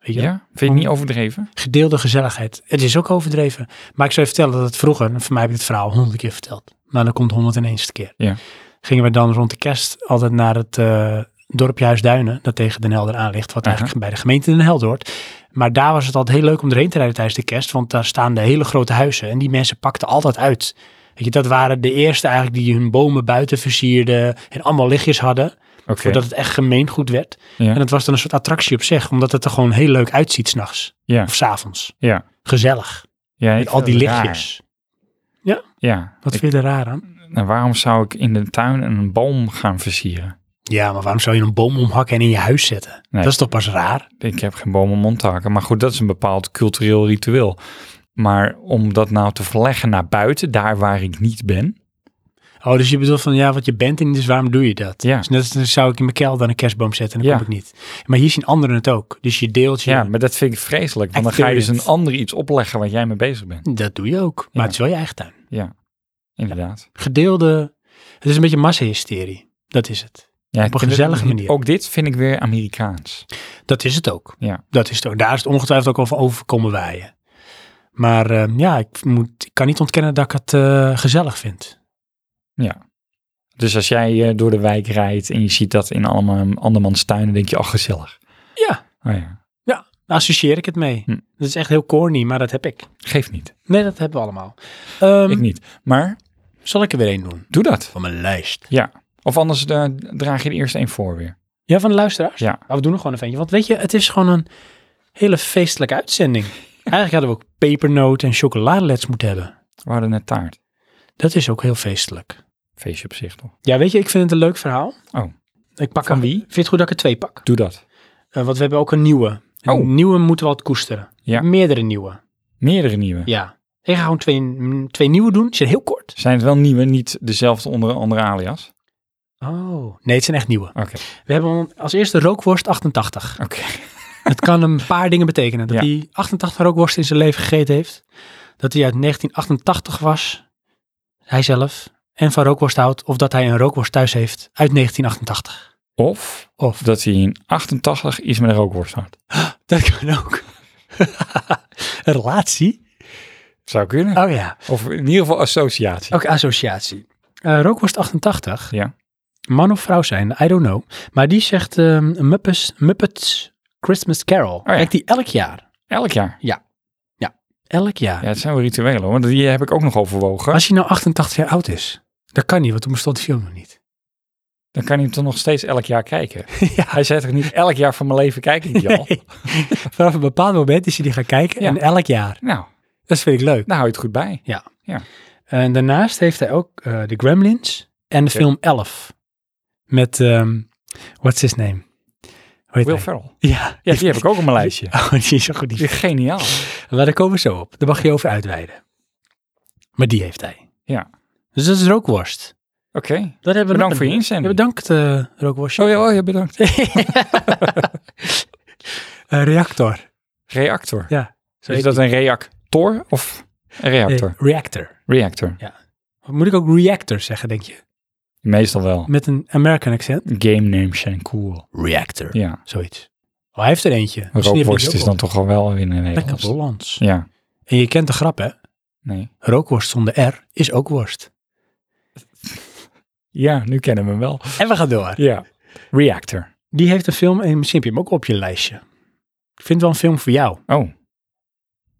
C: Weet je
A: Ja?
C: wel?
A: Vind je het niet overdreven?
C: gedeelde gezelligheid. Het is ook overdreven. Maar ik zou je vertellen dat het vroeger, en voor mij heb ik het verhaal honderd keer verteld. Maar dan komt honderd en eenste keer.
A: Ja.
C: Gingen we dan rond de kerst altijd naar het eh, dorpje Huisduinen, dat tegen Den Helder aan ligt, wat
A: Aha.
C: eigenlijk bij de gemeente Den Helder hoort. Maar daar was het altijd heel leuk om erheen te rijden tijdens de kerst, want daar staan de hele grote huizen en die mensen pakten altijd uit. Weet je, dat waren de eerste eigenlijk die hun bomen buiten versierden en allemaal lichtjes hadden,
A: Oké.
C: voordat het echt gemeengoed werd.
A: Ja.
C: En dat was dan een soort attractie op zich, omdat het er gewoon heel leuk uitziet s'nachts
A: Ja.
C: of s'avonds
A: Ja.
C: gezellig.
A: ja ik
C: met al die
A: vind het raar.
C: lichtjes.
A: Ja.
C: Wat vind je er raar aan?
A: Nou, waarom zou ik in de tuin een boom gaan versieren?
C: Ja, maar waarom zou je een boom omhakken en in je huis zetten?
A: Nee.
C: Dat is toch pas raar?
A: Ik heb geen boom om mond te hakken. Maar goed, dat is een bepaald cultureel ritueel. Maar om dat nou te verleggen naar buiten, daar waar ik niet ben.
C: Oh, dus je bedoelt van ja, wat je bent en dus waarom doe je dat?
A: Ja.
C: Dus net als dan zou ik in mijn kelder een kerstboom zetten en dan
A: Ja.
C: kom ik niet. Maar hier zien anderen het ook. Dus je deelt je.
A: Ja, maar dat vind ik vreselijk. Want dan ga je dus een ander iets opleggen waar jij mee bezig bent.
C: Dat doe je ook. Maar
A: Ja.
C: het is wel je eigen tuin.
A: Ja, inderdaad.
C: Gedeelde. Het is een beetje massahysterie. Dat is het.
A: Ja,
C: Op een
A: ik vind
C: gezellige
A: het-
C: manier.
A: Ook dit vind ik weer Amerikaans.
C: Dat is het ook.
A: Ja.
C: Dat is het ook. Daar is het ongetwijfeld ook over overkomen waaien. Maar eh, ja, ik, moet, ik kan niet ontkennen dat ik het eh, gezellig vind.
A: Ja. Dus als jij eh, door de wijk rijdt en je ziet dat in allemaal um, andermans tuinen, denk je, ach, gezellig.
C: Ja,
A: Oh ja,
C: daar associeer ik het mee.
A: Hm.
C: Dat is echt heel corny, maar dat heb ik.
A: geeft niet.
C: Nee, dat hebben we allemaal. Ehm,
A: Ik niet. Maar
C: Zal ik er weer één doen?
A: doe dat.
C: Van mijn lijst.
A: Ja. Of anders eh, draag je er eerst één voor weer.
C: Ja, van de luisteraars?
A: Ja.
C: Nou, we doen er gewoon een eentje. Want weet je, het is gewoon een hele feestelijke uitzending. Eigenlijk hadden we ook pepernoot en chocoladeletters moeten hebben.
A: We hadden net taart.
C: Dat is ook heel feestelijk.
A: Feestje op zich toch?
C: Ja, weet je, ik vind het een leuk verhaal.
A: Oh.
C: Ik pak
A: Van
C: er-
A: wie?
C: Vind je het goed dat ik er twee pak?
A: Doe dat.
C: Eh, want we hebben ook een nieuwe. Een
A: Oh.
C: nieuwe moeten we altijd koesteren.
A: Ja.
C: Meerdere nieuwe.
A: Meerdere nieuwe.
C: Ja. Ik ga gewoon twee, mm, twee nieuwe doen. Ze zijn heel kort.
A: Zijn het wel nieuwe, niet dezelfde onder een andere alias?
C: Oh. Nee, het zijn echt nieuwe.
A: Oké.
C: We hebben als eerste rookworst 88.
A: Oké.
C: Het kan een paar dingen betekenen. Dat
A: Ja.
C: hij 88 rookworsten in zijn leven gegeten heeft. Dat hij uit 1988 was. Hij zelf. En van rookworst houdt. Of dat hij een rookworst thuis heeft uit 1988.
A: Of,
C: Of.
A: dat hij in 88 iets met een rookworst had.
C: Dat kan ook. een relatie?
A: Zou kunnen.
C: Oh ja.
A: Of in ieder geval associatie.
C: Ook associatie. Eh, rookworst 88.
A: Ja.
C: Man of vrouw zijn, I don't know. Maar die zegt ehm Muppets, Muppets Christmas Carol.
A: Oh ja.
C: Kijkt die elk jaar.
A: Elk jaar.
C: Elk jaar.
A: Ja, het zijn wel rituelen hoor. Want die heb ik ook nog overwogen.
C: Als hij nou 88 jaar oud is. Dat kan niet, want toen bestond de film nog niet.
A: Dan kan hij hem toch nog steeds elk jaar kijken.
C: ja.
A: Hij zei toch niet elk jaar van mijn leven kijk ik die al?
C: Nee. Vanaf een bepaald moment is hij die gaan kijken.
A: Ja.
C: En elk jaar.
A: Nou,
C: Dat vind ik leuk.
A: daar hou je het goed bij.
C: En daarnaast heeft hij ook eh, de Gremlins en de
A: Oké.
C: film Elf. Met, ehm, what's his name? Hoe heet
A: Will
C: hij?
A: Ferrell.
C: Ja.
A: Ja, die heb ik ook op mijn lijstje.
C: Oh, die is zo goed. Die...
A: Die is geniaal.
C: Maar daar komen we zo op. Daar mag je over uitweiden. Maar die heeft hij.
A: Ja.
C: Dus dat is rookworst.
A: Oké,
C: Dat hebben we nog
A: bedankt
C: een-
A: voor je
C: Ja,
A: inzending.
C: bedankt, eh, rookworstje.
A: Oh ja, oh ja, bedankt.
C: Eh, reactor.
A: Reactor.
C: Ja. Zo
A: Is
C: heet
A: dat
C: die.
A: een reactor of een
C: Nee,
A: reactor?
C: Eh, reactor.
A: Reactor.
C: Moet ik ook reactor zeggen, denk je?
A: Meestal wel.
C: Met een American accent.
A: Game names zijn cool.
C: Reactor.
A: Ja.
C: Zoiets. Oh, hij heeft er eentje. Misschien heeft hij
A: Rookworst
C: die
A: is
C: ook
A: dan toch al wel weer een
C: wel. Lekker
A: Nederlands.
C: Hollands.
A: Ja.
C: En je kent de grap, hè?
A: Nee.
C: Rookworst zonder R is ook worst.
A: Ja, nu kennen we hem wel.
C: En we gaan door.
A: Ja. Reactor.
C: Die heeft een film en misschien heb je hem ook op je lijstje. Ik vind het wel een film voor jou.
A: Oh,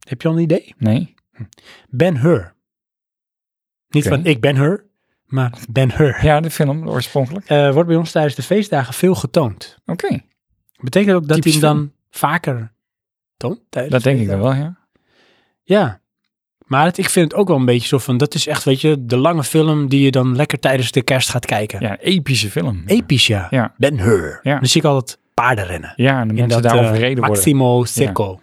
C: Heb je al een idee?
A: nee.
C: Ben Hur. Niet
A: Oké.
C: van ik ben Hur, maar Ben Hur.
A: Ja, de film oorspronkelijk.
C: Eh, wordt bij ons tijdens de feestdagen veel getoond.
A: Oké,
C: Betekent ook dat
A: Typisch
C: hij hem dan vaker toont? tijdens
A: dat
C: de
A: denk ik dan
C: feestdagen?
A: wel, ja.
C: Ja. Maar het, ik vind het ook wel een beetje zo van, dat is echt, weet je, de lange film die je dan lekker tijdens de kerst gaat kijken.
A: Ja, een epische film.
C: Episch, ja.
A: Ja.
C: Ben Hur.
A: Ja.
C: Dan zie ik altijd paarden rennen.
A: Ja, en de
C: In
A: mensen daar
C: eh,
A: overreden worden.
C: Maximo Secco.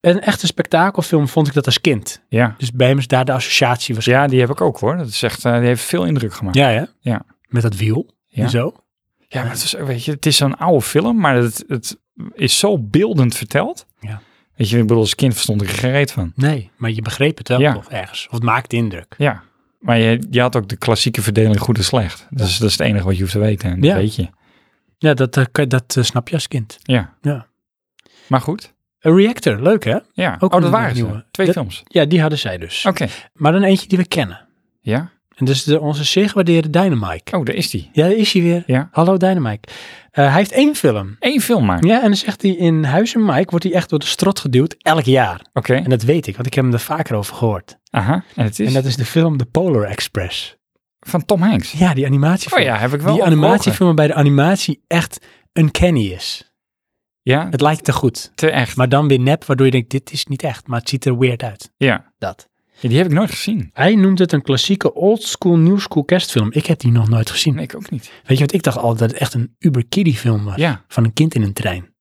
C: Een echte spektakelfilm vond ik dat als kind.
A: Ja.
C: Dus bij hem is daar de associatie was.
A: ja, die heb ik ook hoor. Dat is echt, eh, die heeft veel indruk gemaakt.
C: Ja, hè?
A: Ja.
C: Met dat wiel
A: Ja.
C: en zo.
A: Ja, maar het is, eh, weet je, het is zo'n oude film, maar het, het is zo beeldend verteld.
C: Ja.
A: Weet je, ik bedoel, als kind verstond ik er geen reet van.
C: Nee, maar je begreep het wel
A: Ja.
C: toch ergens. Of het maakt indruk.
A: Ja. Maar je, je had ook de klassieke verdeling goed en slecht. Dus dat is het enige wat je hoeft te weten. En dat
C: Ja.
A: weet je.
C: Ja, dat, eh, kan- dat eh, snap je als kind.
A: Ja.
C: Ja.
A: Maar goed.
C: Een reactor, leuk hè?
A: Ja.
C: Ook
A: oh, dat
C: een
A: waren ze.
C: nieuwe.
A: Twee
C: Dat-
A: films.
C: Ja, die hadden zij dus.
A: Oké.
C: Maar dan eentje die we kennen.
A: Ja.
C: En dus de, onze zeer gewaardeerde Dynamite.
A: Oh, daar is die.
C: Ja, daar is hij weer.
A: Ja.
C: Hallo Dynamite. Eh, hij heeft één film.
A: Eén film maar.
C: Ja, en dan zegt hij in Huis en Mike wordt hij echt door de strot geduwd elk jaar.
A: Oké.
C: En dat weet ik, want ik heb hem er vaker over gehoord.
A: Aha. En het is
C: En dat is de film The Polar Express.
A: van Tom Hanks.
C: Ja, die
A: Oh
C: animatiefilm.
A: ja, heb ik wel
C: die
A: overwogen.
C: animatiefilm waarbij de animatie echt uncanny is.
A: Ja,
C: Het lijkt te goed,
A: te echt.
C: maar dan weer nep, waardoor je denkt, dit is niet echt, maar het ziet er weird uit.
A: ja.
C: Dat.
A: Ja, die heb ik nooit gezien.
C: Hij noemt het een klassieke oldschool, nieuwschool kerstfilm. Ik heb die nog nooit gezien.
A: Nee, ik ook niet.
C: Weet je wat, ik dacht altijd dat het echt een uber kiddie film was.
A: Ja.
C: Van een kind in een trein.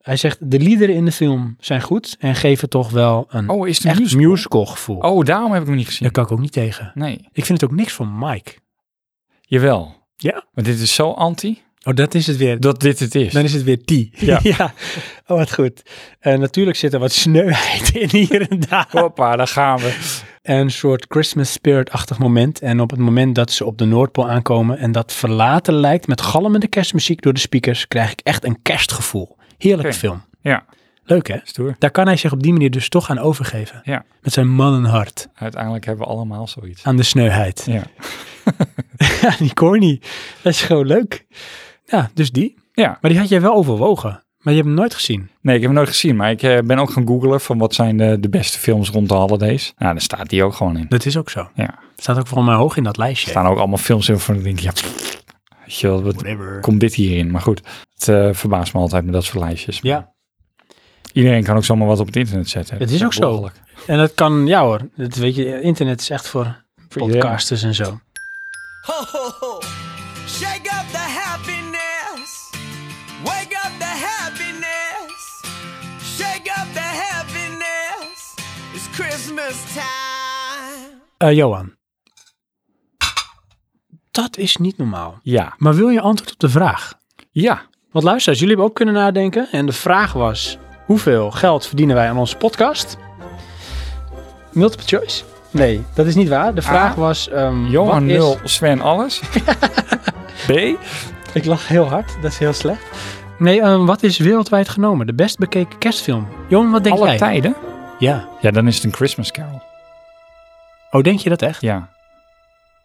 C: Hij zegt, de liederen in de film zijn goed en geven toch wel een
A: Oh, is het
C: echt
A: een
C: musical,
A: musical?
C: gevoel.
A: Oh, daarom heb ik hem niet
C: Daar
A: gezien.
C: kan ik ook niet tegen.
A: Nee.
C: Ik vind het ook niks van Mike.
A: Jawel.
C: Ja.
A: Want dit is zo anti
C: Oh, dat is het weer.
A: dat dit het is.
C: Dan is het weer die.
A: Ja.
C: Oh, wat goed. Eh, natuurlijk zit er wat sneuheid in hier en daar.
A: Hoppa, daar gaan we.
C: En Een soort Christmas spirit-achtig moment. En op het moment dat ze op de Noordpool aankomen en dat verlaten lijkt met galmende kerstmuziek door de speakers, krijg ik echt een kerstgevoel. Heerlijke
A: Oké.
C: film.
A: Ja.
C: Leuk hè?
A: Stoer.
C: Daar kan hij zich op die manier dus toch aan overgeven.
A: Ja.
C: Met zijn mannenhart
A: Uiteindelijk hebben we allemaal zoiets.
C: aan de sneuheid.
A: Ja.
C: Ja, die corny. Dat is gewoon leuk. Ja, dus die.
A: ja.
C: Maar die had jij wel overwogen. Maar je hebt hem nooit gezien.
A: Nee, ik heb hem nooit gezien, maar ik eh, ben ook gaan googlen van wat zijn de, de beste films rond de holidays. Nou, daar staat die ook gewoon in.
C: Dat is ook zo.
A: Ja.
C: Staat ook volgens mij hoog in dat lijstje.
A: Er staan ook allemaal films in van ik denk, ja, pff, weet je wel, wat
C: Whatever.
A: komt dit hierin? Maar goed, het eh, verbaast me altijd met dat soort lijstjes. Maar
C: Ja.
A: Iedereen kan ook zomaar wat op het internet zetten.
C: Het is ook zo.
A: belachelijk.
C: En dat kan, ja hoor. Dat weet je, internet is echt voor
A: iedereen.
C: podcasters en zo.
F: Ho, ho, ho. Shake up the happiness. Wake up the happiness. Shake up the happiness. It's Christmas time.
C: Eh, Johan. Dat is niet normaal.
A: Ja,
C: Maar wil je antwoord op de vraag?
A: ja,
C: Want luisteraars, jullie hebben ook kunnen nadenken. En de vraag was, hoeveel geld verdienen wij aan onze podcast? Multiple choice? Nee, dat is niet waar. De vraag was... ehm,
A: Johan
C: wat is-
A: 0, Sven alles. B,
C: Ik lach heel hard, dat is heel slecht. Nee, ehm, wat is wereldwijd genomen de best bekeken kerstfilm? Johan, wat denk
A: alle
C: jij?
A: tijden.
C: Ja.
A: Ja, dan is het een Christmas Carol.
C: Oh, denk je dat echt?
A: Ja.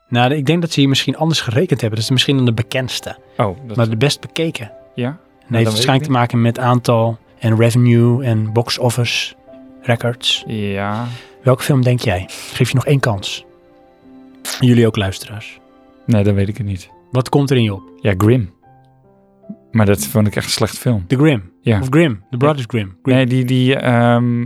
C: Nou, ik denk dat ze hier misschien anders gerekend hebben. Dat is misschien dan de bekendste,
A: Oh, dat,
C: maar de best bekeken.
A: ja.
C: Nee,
A: Nou, dan
C: heeft
A: weet ik
C: waarschijnlijk te maken met aantal en revenue en box office records.
A: Ja.
C: Welke film denk jij? Geef je nog één kans. Jullie ook luisteraars.
A: Nee, dan weet ik het niet.
C: Wat komt er in je op?
A: Ja, Grim. Maar dat vond ik echt een slecht film.
C: The Grim.
A: Ja.
C: Of Grim. The Brothers Grim.
A: Nee, die, die, ehm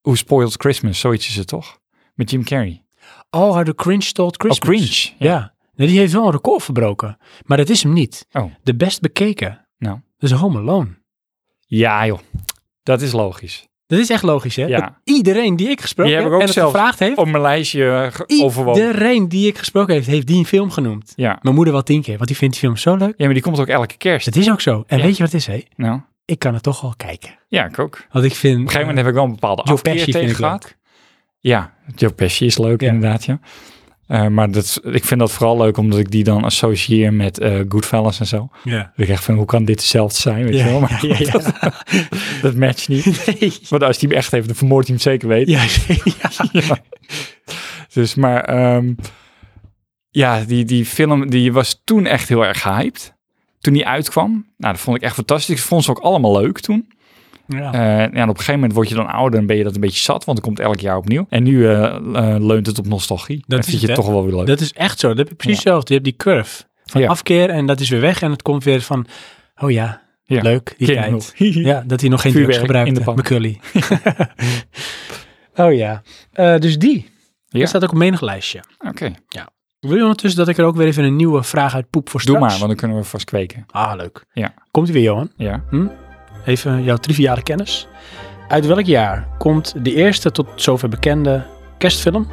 A: Who Spoiled Christmas, zoiets is het toch? Met Jim Carrey. Oh,
C: Oh, How the Cringe Stole Christmas.
A: Cringe,
C: Ja. Nee, die heeft wel een record verbroken. Maar dat is hem niet.
A: Oh.
C: De best bekeken.
A: Nou.
C: Dat is Home Alone.
A: Ja, joh. Dat is logisch.
C: Dat is echt logisch, hè?
A: Ja.
C: Dat iedereen die ik gesproken
A: Die heb
C: heb
A: ik ook
C: en het
A: zelf
C: gevraagd heeft...
A: Op mijn lijstje eh, ge- overwogen.
C: Iedereen die ik gesproken heeft, heeft die film genoemd.
A: Ja.
C: Mijn moeder wel tien keer, want die vindt die film zo leuk.
A: ja, maar die komt ook elke kerst.
C: Dat Dus is ook zo. En
A: Ja.
C: weet je wat het is, hè?
A: Nou,
C: Ik kan het toch wel kijken.
A: ja, ik ook. Op
C: Want ik vind...
A: een gegeven moment heb ik wel een bepaalde
C: Joe
A: afkeer
C: Pesci vind
A: tegen
C: ik leuk.
A: gehad. Ja, Joe Pesci is leuk
C: Ja.
A: inderdaad, ja. Eh, maar dat, is- ik vind dat vooral leuk omdat ik die dan associeer met eh Goodfellas en zo.
C: Ja.
A: Dat ik echt van, hoe kan dit hetzelfde zijn, weet
C: Ja,
A: je wel? Maar
C: ja, ja.
A: dat matcht niet.
C: Nee.
A: Want als die hem echt heeft, dan vermoordt hij hem zeker weet.
C: Ja, ja.
A: Dus, maar ehm, ja, die, die film die was toen echt heel erg gehyped. Toen die uitkwam. Nou, dat vond ik echt fantastisch. Ik vond ze ook allemaal leuk toen.
C: Ja.
A: Eh, en op een gegeven moment word je dan ouder en ben je dat een beetje zat. Want het komt elk jaar opnieuw. En nu eh, eh, leunt het op nostalgie.
C: Dat
A: Dat
C: is
A: vind je
C: het,
A: het
C: hè?
A: toch wel weer leuk.
C: Dat is echt zo. Dat heb je precies
A: Ja.
C: hetzelfde. Je hebt die curve van
A: Ja.
C: afkeer en dat is weer weg. En het komt weer van, oh ja,
A: Ja.
C: leuk, die
A: Kind
C: tijd.
A: genoeg.
C: Ja, dat hij nog geen drugs
A: Vuurwerk in
C: gebruikte.
A: de pan.
C: McCully. oh ja. Eh, dus die.
A: Ja.
C: Dat staat ook op menig lijstje.
A: Oké,
C: Wil je ondertussen dat ik er ook weer even een nieuwe vraag uit poep voor
A: doe
C: straks?
A: maar, want dan kunnen we vast kweken.
C: Ah, leuk.
A: Ja.
C: Komt ie weer, Johan.
A: Ja.
C: Even jouw triviale kennis. Uit welk jaar komt de eerste tot zover bekende kerstfilm?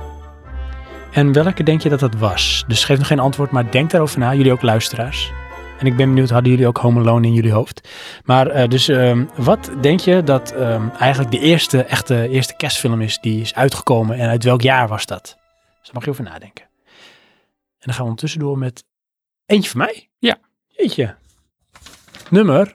C: En welke denk je dat dat was? Dus geef nog geen antwoord, maar denk daarover na. Jullie ook luisteraars. En ik ben benieuwd, hadden jullie ook Home Alone in jullie hoofd? Maar eh, dus, ehm, wat denk je dat ehm, eigenlijk de eerste echte eerste kerstfilm is die is uitgekomen? En uit welk jaar was dat? Dus daar mag je over nadenken. En dan gaan we ondertussen door met eentje van mij.
A: Ja.
C: Eentje. Nummer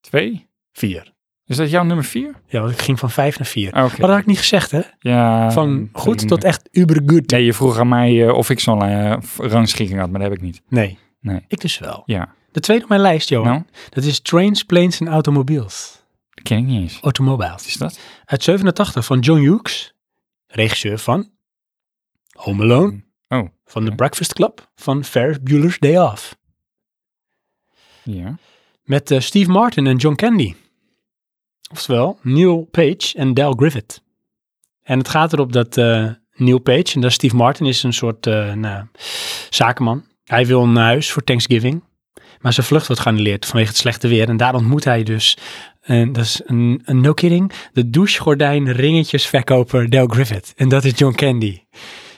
A: Twee.
C: 4.
A: Is dat jouw nummer vier?
C: Ja, want ik ging van vijf naar vier.
A: Ah, Oké. Ah,
C: Maar dat had ik niet gezegd, hè?
A: Ja.
C: Van goed
A: drie.
C: tot echt ubergoed.
A: Nee, je vroeg aan mij eh, of ik zo'n eh, rangschikking had, maar dat heb ik niet.
C: Nee.
A: Nee.
C: Ik dus wel.
A: Ja.
C: De tweede op mijn lijst, Johan.
A: Nou,
C: Dat is Trains, Planes en Automobiles.
A: dat ken ik niet eens. Wat
C: Automobiles.
A: is dat?
C: Uit 87 van John Hughes. Regisseur van Home Alone.
A: Oh,
C: Van The
A: oké.
C: Breakfast Club. Van Ferris Bueller's Day Off.
A: Ja.
C: Met eh, Steve Martin en John Candy. Oftewel Neil Page en Dal Griffith. En het gaat erop dat eh, Neil Page, en dat is Steve Martin, is een soort eh, nou, zakenman. Hij wil naar huis voor Thanksgiving. Maar zijn vlucht wordt geannuleerd vanwege het slechte weer. En daar ontmoet hij dus, en dat is een, een no kidding, de douchegordijn ringetjesverkoper Dal Griffith. En dat is John Candy.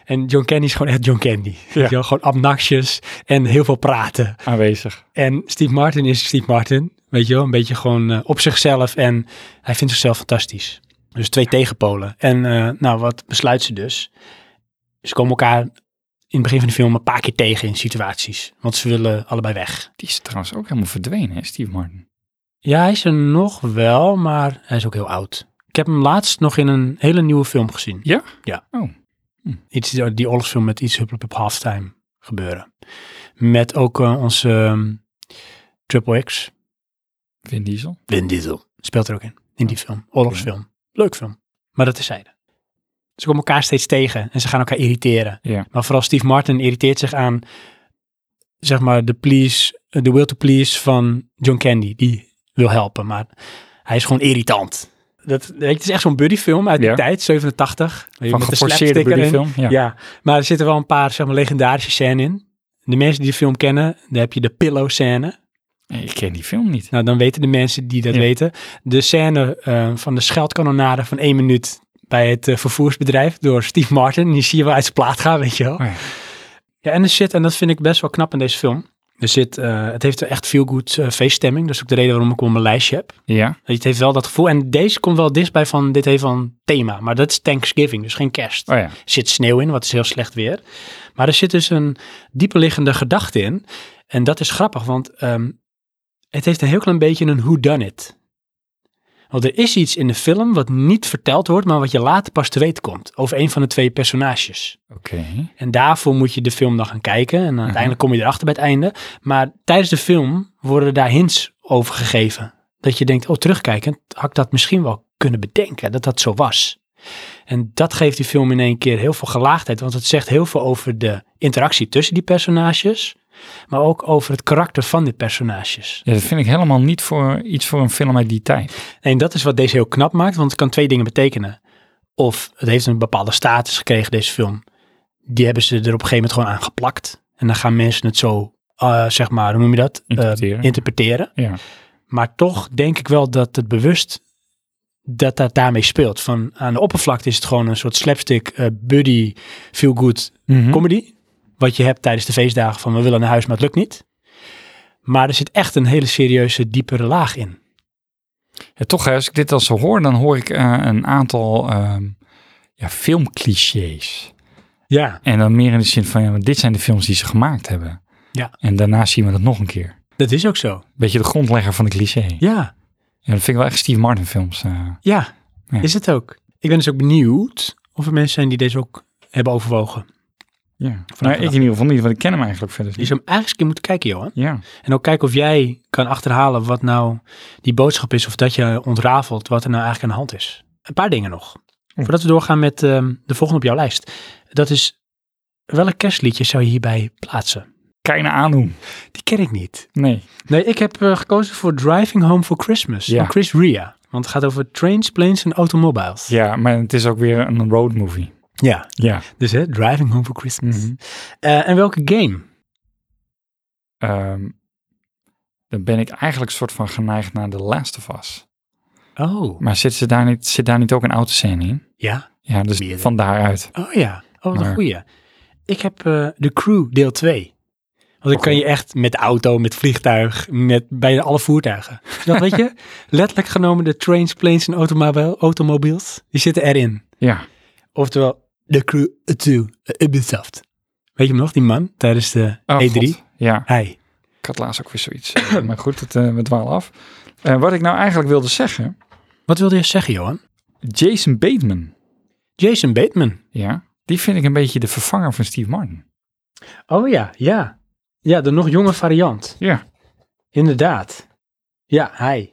C: En John Candy is gewoon echt John Candy. Weet je wel, Gewoon obnoxious en heel veel praten.
A: Aanwezig.
C: En Steve Martin is Steve Martin. Weet je wel, een beetje gewoon eh, op zichzelf. En hij vindt zichzelf fantastisch. Dus twee tegenpolen. En eh, nou, wat besluit ze dus? Ze komen elkaar in het begin van de film een paar keer tegen in situaties. Want ze willen allebei weg.
A: Die is trouwens ook helemaal verdwenen, hè, Steve Martin.
C: Ja, hij is er nog wel, maar hij is ook heel oud. Ik heb hem laatst nog in een hele nieuwe film gezien.
A: Ja?
C: Ja.
A: Oh. Hm.
C: Iets, die oorlogsfilm met iets huppel op halftime gebeuren. Met ook eh, onze ehm, Triple X,
A: Vin Diesel.
C: Win Diesel, speelt er ook in, in die film. Oorlogsfilm. Leuk film, maar dat is zijde. Ze komen elkaar steeds tegen en ze gaan elkaar irriteren.
A: Ja.
C: Maar vooral Steve Martin irriteert zich aan, zeg maar, de please, eh, de will to please van John Candy. Die wil helpen, maar hij is gewoon irritant. Dat, het is echt zo'n buddyfilm uit die
A: Ja.
C: tijd, 87. weet je,
A: Van
C: met de
A: geforceerde
C: slapstick erin.
A: buddyfilm. Ja.
C: Ja. maar er zitten wel een paar zeg maar, legendarische scènes in. De mensen die de film kennen, daar heb je de pillow scène.
A: Nee, Ik ken die film niet.
C: Nou, dan weten de mensen die dat
A: Ja.
C: weten. De scène eh, van de scheldkanonade van één minuut bij het eh, vervoersbedrijf door Steve Martin. Die zie je wel uit zijn plaat gaan, weet je wel.
A: Oh ja.
C: Ja, en er zit, en dat vind ik best wel knap in deze film. Er zit, eh, het heeft echt veel goed feeststemming. Dat is ook de reden waarom ik hem op mijn lijstje heb.
A: Ja.
C: Het heeft wel dat gevoel. En deze komt wel dichtbij van, dit heeft wel een thema. Maar dat is Thanksgiving, dus geen kerst.
A: Oh ja.
C: Er zit sneeuw in, wat is heel slecht weer. Maar er zit dus een dieperliggende gedachte in. En dat is grappig, want ehm, het heeft een heel klein beetje een who done it. Want er is iets in de film wat niet verteld wordt, maar wat je later pas te weten komt. Over een van de twee personages.
A: Oké.
C: En daarvoor moet je de film dan gaan kijken. En uiteindelijk kom je erachter bij het einde. Maar tijdens de film worden daar hints over gegeven. Dat je denkt, oh terugkijkend, had ik dat misschien wel kunnen bedenken. Dat dat zo was. En dat geeft die film in één keer heel veel gelaagdheid. Want het zegt heel veel over de interactie tussen die personages. Maar ook over het karakter van die personages.
A: Ja, dat vind ik helemaal niet voor iets voor een film uit die tijd.
C: En dat is wat deze heel knap maakt, want het kan twee dingen betekenen. Of het heeft een bepaalde status gekregen, deze film. Die hebben ze er op een gegeven moment gewoon aan geplakt. En dan gaan mensen het zo, eh, zeg maar, hoe noem je dat? Eh,
A: Interpreteren.
C: interpreteren.
A: Ja.
C: Maar toch denk ik wel dat het bewust dat dat daarmee speelt. Van aan de oppervlakte is het gewoon een soort slapstick, eh, buddy, feel good
A: Mhm.
C: comedy. Wat je hebt tijdens de feestdagen van we willen naar huis, maar het lukt niet. Maar er zit echt een hele serieuze, diepere laag in.
A: Ja, toch, hè, als ik dit al zo hoor, dan hoor ik eh, een aantal ehm, ja, filmclichés.
C: Ja.
A: En dan meer in de zin van, ja, maar dit zijn de films die ze gemaakt hebben.
C: Ja.
A: En daarna zien we dat nog een keer.
C: Dat is ook zo.
A: Beetje de grondlegger van de cliché. Ja.
C: Ja,
A: dat vind ik wel echt Steve Martin films. eh.
C: ja,
A: Ja.
C: is het ook. Ik ben dus ook benieuwd of er mensen zijn die deze ook hebben overwogen.
A: ja. Nou, ik in ieder geval niet, want ik ken hem eigenlijk verder
C: Dus Je
A: niet.
C: zou hem eigenlijk eens een keer moeten kijken, Johan.
A: Ja.
C: En ook kijken of jij kan achterhalen wat nou die boodschap is. Of dat je ontrafelt wat er nou eigenlijk aan de hand is. Een paar dingen nog. Voordat we doorgaan met ehm, de volgende op jouw lijst. Dat is, welk kerstliedje zou je hierbij plaatsen?
A: Keine nou aandoen.
C: Die ken ik niet.
A: Nee.
C: Nee, ik heb eh, gekozen voor Driving Home for Christmas
A: Ja.
C: van Chris Ria. Want het gaat over trains, planes en automobiles.
A: Ja, maar het is ook weer een road movie.
C: ja.
A: Ja.
C: Dus hè, Driving Home for Christmas.
A: Mhm.
C: Eh, en welke game?
A: Ehm, dan ben ik eigenlijk soort van geneigd naar The Last of Us.
C: Oh.
A: Maar zit, ze daar, niet, zit daar niet ook een autoscène in?
C: Ja.
A: Ja, dus
C: Meerdere.
A: van daaruit.
C: Oh ja. Oh, wat een
A: Maar-
C: goeie. Ik heb eh The Crew deel 2. Want dan kan je echt met de auto, met vliegtuig, met bijna alle voertuigen. Dat weet je, letterlijk genomen de trains, planes en automobiel, automobiels, die zitten erin.
A: Ja,
C: Oftewel, The Crew 2, eh, Ubisoft. Weet je hem nog, die man, tijdens de
A: Oh,
C: E3?
A: God. Ja,
C: Hij.
A: ik had laatst ook weer zoiets. eh, maar goed, het, eh we dwalen af. Eh, wat ik nou eigenlijk wilde zeggen.
C: Wat wilde je zeggen, Johan?
A: Jason Bateman,
C: Jason Bateman.
A: ja, die vind ik een beetje de vervanger van Steve Martin.
C: Oh ja, ja. Ja, de nog jonge variant.
A: Ja,
C: Inderdaad. Ja, hij.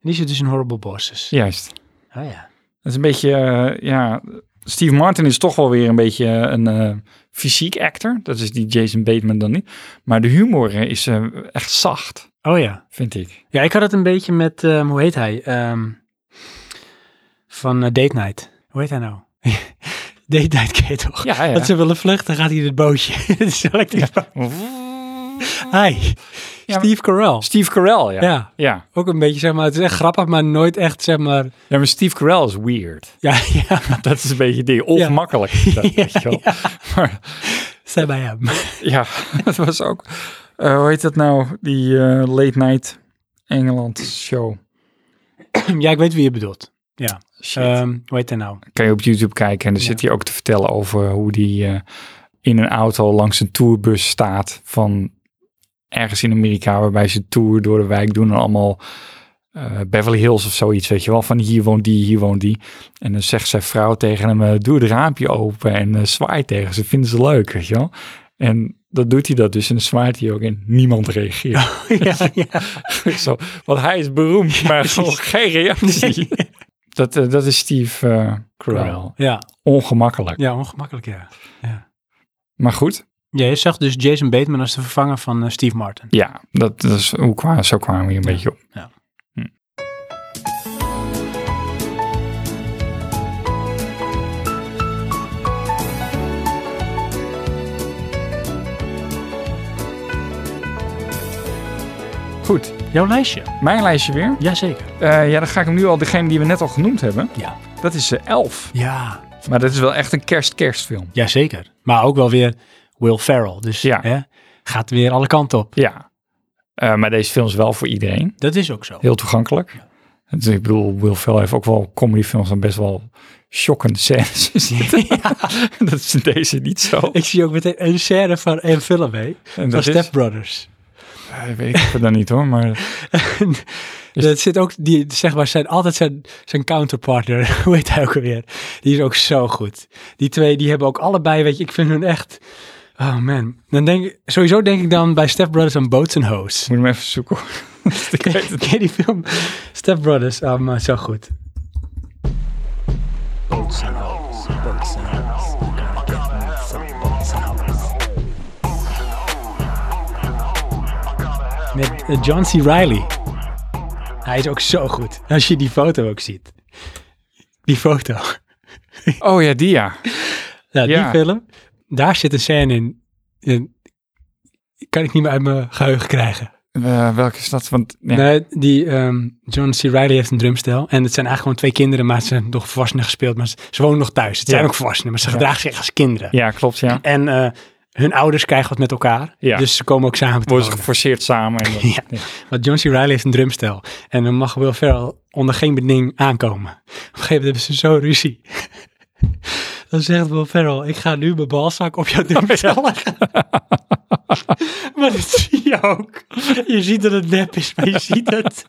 C: Die zit dus in Horrible Bosses.
A: juist.
C: Oh ja.
A: Dat is een beetje, eh, ja... Steve Martin is toch wel weer een beetje een eh, fysiek actor. Dat is die Jason Bateman dan niet. Maar de humor eh, is eh, echt zacht,
C: Oh ja.
A: vind ik.
C: Ja, ik had het een beetje met, ehm, hoe heet hij? Ehm, van eh, Date Night. Hoe heet hij nou? Date Night ken je toch?
A: Ja, ja.
C: Dat ze willen vluchten, gaat hij in het bootje. het is een elektrisch bootje. Hi,
A: Ja, maar-
C: Steve Carell.
A: Steve Carell, ja.
C: Ja,
A: ja.
C: ook een beetje, zeg maar, het is echt grappig, maar nooit echt, zeg maar,
A: Ja, maar Steve Carell is weird.
C: ja, ja,
A: Dat is een beetje het ding. Ongemakkelijk. Ja. weet je wel. Maar
C: zijn bij hem.
A: ja, dat was ook... eh, hoe heet dat nou? Die eh, Late Night Engeland show.
C: ja, ik weet wie je bedoelt. Ja,
A: Shit.
C: Ehm hoe heet hij nou?
A: kan je op YouTube kijken. En dan zit hij ook te vertellen over hoe die eh, in een auto langs een tourbus staat van ergens in Amerika, waarbij ze een tour door de wijk doen en allemaal eh, Beverly Hills of zoiets, weet je wel. Van hier woont die, hier woont die. En dan zegt zijn vrouw tegen hem, eh, doe het raampje open en eh zwaai tegen ze. Vinden ze leuk, weet je wel. En dat doet hij dat dus en dan zwaait hij ook en niemand reageert.
C: ja, ja.
A: Zo, want hij is beroemd, maar gewoon geen reactie. Dat, eh, dat is Steve eh Carell.
C: Ja,
A: Ongemakkelijk.
C: ja ongemakkelijk, ja.
A: Maar goed,
C: Ja, je zag dus Jason Bateman als de vervanger van eh, Steve Martin.
A: ja, dat, dat is, hoe kwa- zo kwamen we hier een beetje op.
C: Ja.
A: Hm. Goed,
C: Jouw lijstje?
A: mijn lijstje weer.
C: Jazeker.
A: Eh, ja, dan ga ik hem nu al, degene die we net al genoemd hebben.
C: Ja.
A: Dat is eh, Elf.
C: Ja.
A: Maar dat is wel echt een kerst-kerstfilm.
C: Jazeker. Maar ook wel weer Will Ferrell. Dus
A: Ja.
C: hè, gaat weer alle kanten op.
A: Ja. Eh, maar deze film is wel voor iedereen.
C: Dat is ook zo.
A: Heel toegankelijk. Dus ik bedoel, Will Ferrell heeft ook wel comedyfilms en best wel shockend scènes. Dus dat, dat is in deze niet zo.
C: Ik zie ook meteen een scène van een film mee.
A: En
C: Van
A: dat is,
C: Step Brothers.
A: eh, weet ik het dan niet hoor, maar Dus-
C: dat zit ook, die, zeg maar, zijn altijd zijn, zijn counterpartner. Hoe heet hij ook alweer? Die is ook zo goed. Die twee, die hebben ook allebei, weet je, ik vind hun echt... Oh man. Dan denk, ik- sowieso denk ik dan bij Step Brothers aan Boats and Hoes.
A: moet hem even zoeken. hoor. ik weet het.
C: Ken je die film? Step Brothers, ah, maar zo goed. Met eh, John C. Riley. Hij is ook zo goed. Als je die foto ook ziet. Die foto.
A: Oh ja, die ja.
C: Nou, die
A: Ja.
C: film. Daar zit een scène in. in- Kan ik niet meer uit mijn geheugen krijgen.
A: Eh, welke is dat? Want ja,
C: Nee, die ehm, John C. Riley heeft een drumstel. En het zijn eigenlijk gewoon twee kinderen, maar ze zijn nog volwassenen gespeeld. Maar ze, ze wonen nog thuis. Het zijn
A: Ja.
C: ook volwassenen, maar ze gedragen zich als kinderen.
A: ja klopt ja.
C: En eh, hun ouders krijgen wat met elkaar.
A: Ja.
C: Dus ze komen ook samen te
A: Worden ze
C: wonen.
A: geforceerd samen. En dat-
C: Ja. Want John C. Riley heeft een drumstel. En dan mag Will Ferrell onder geen beding aankomen. Op een gegeven moment hebben ze zo ruzie. Dan zegt Will Ferrell, ik ga nu mijn balzak op
A: Oh,
C: jouw drumstel leggen. maar dat zie je ook. Je ziet dat het nep is, maar je ziet het.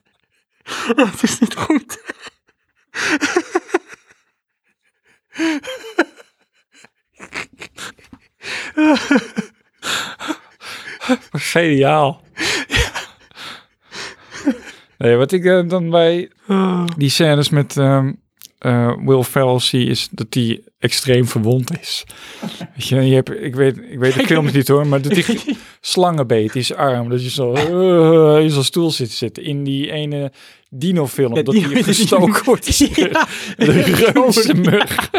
C: Het is niet goed.
A: Geniaal. Nee, wat ik eh, dan bij die scènes met ehm, eh, Will Ferrell zie, is dat hij extreem verwond is. Weet je, je hebt, ik, weet, ik weet de film niet hoor, maar dat hij slangenbeet is arm. Dat je zo eh, in zo'n stoel zit zitten. In die ene dino-film, dat
C: die-
A: hij gestoken wordt.
C: Ja,
A: De reuze mug.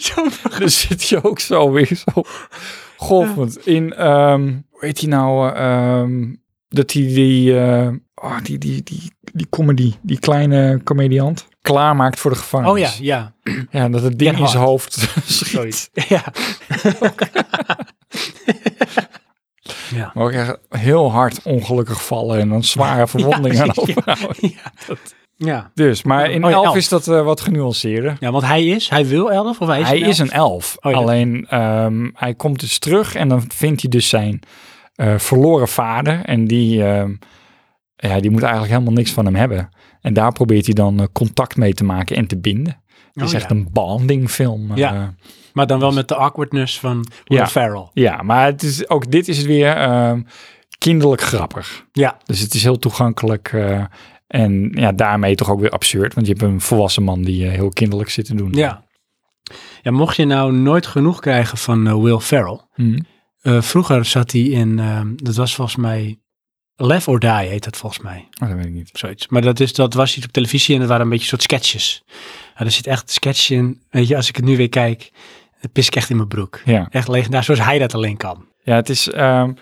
C: zo
A: Dan zit je ook zo weer zo golfend in, ehm, hoe heet die nou, eh, ehm, dat die, die, eh, oh, die, die, die, die comedy, die kleine comediant, klaarmaakt voor de gevangenis.
C: Oh ja, ja.
A: Ja, dat het ding
C: Ken
A: in zijn
C: Hart.
A: hoofd schiet.
C: Ja. ja.
A: Maar ook echt heel hard ongelukkig vallen en dan zware verwondingen. aan overhouden.
C: Ja.
A: Dus, maar in
C: Oh ja,
A: elf,
C: elf.
A: is dat eh, wat genuanceerder.
C: Ja, want hij is, hij wil elf of hij is
A: hij
C: elf?
A: is een elf.
C: Oh ja.
A: Alleen ehm, hij komt dus terug en dan vindt hij dus zijn eh, verloren vader. En die, ehm, ja, die moet eigenlijk helemaal niks van hem hebben. En daar probeert hij dan eh, contact mee te maken en te binden. Het is
C: Oh
A: echt
C: ja.
A: een bonding film. eh.
C: Ja. Maar dan wel met de awkwardness van Will
A: Ja.
C: Ferrell.
A: ja, maar het is, ook dit is weer ehm, kinderlijk grappig.
C: Ja.
A: Dus het is heel toegankelijk eh, en ja, daarmee toch ook weer absurd. Want je hebt een volwassen man die eh, heel kinderlijk zit te doen.
C: Ja. ja, mocht je nou nooit genoeg krijgen van eh, Will Ferrell.
A: Hm.
C: eh, vroeger zat hij in, ehm, dat was volgens mij, Left or Die heet dat volgens mij.
A: Oh, dat weet ik niet.
C: zoiets. Maar dat, is, dat was iets op televisie en dat waren een beetje een soort sketches. Ja, er zit echt een sketch in. Weet je, als ik het nu weer kijk, het pis ik echt in mijn broek.
A: Ja.
C: Echt legendarisch, zoals hij dat alleen kan.
A: Ja, het is. ehm,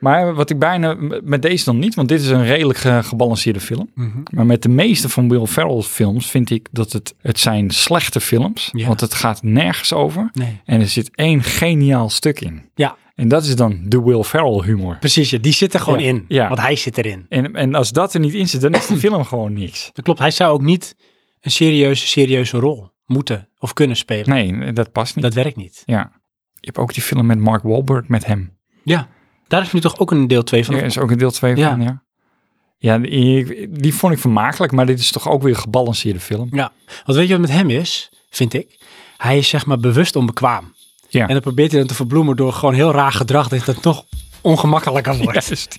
A: maar wat ik bijna m- met deze dan niet, want dit is een redelijk eh, gebalanceerde film.
C: Mhm.
A: Maar met de meeste van Will Ferrell's films vind ik dat het, het zijn slechte films,
C: Ja.
A: want het gaat nergens over.
C: Nee.
A: En er zit één geniaal stuk in.
C: Ja,
A: En dat is dan de Will Ferrell humor.
C: precies. Ja. Die zit er gewoon
A: Ja,
C: in,
A: ja.
C: want hij zit erin.
A: En, en als dat er niet in zit, dan is de film gewoon niks.
C: Dat klopt, hij zou ook niet een serieuze, serieuze rol moeten of kunnen spelen.
A: Nee, dat past niet.
C: Dat werkt niet.
A: Ja. Je hebt ook die film met Mark Wahlberg met hem.
C: Ja, daar is nu toch ook een deel 2 van.
A: Er is ook een deel 2
C: Ja.
A: van, ja. Ja, die, die vond ik vermakelijk, maar dit is toch ook weer een gebalanceerde film.
C: Ja, want weet je wat met hem is, vind ik? Hij is zeg maar bewust onbekwaam.
A: Ja.
C: En dan probeert hij dan te verbloemen door gewoon heel raar gedrag dat het nog ongemakkelijker wordt.
A: Juist.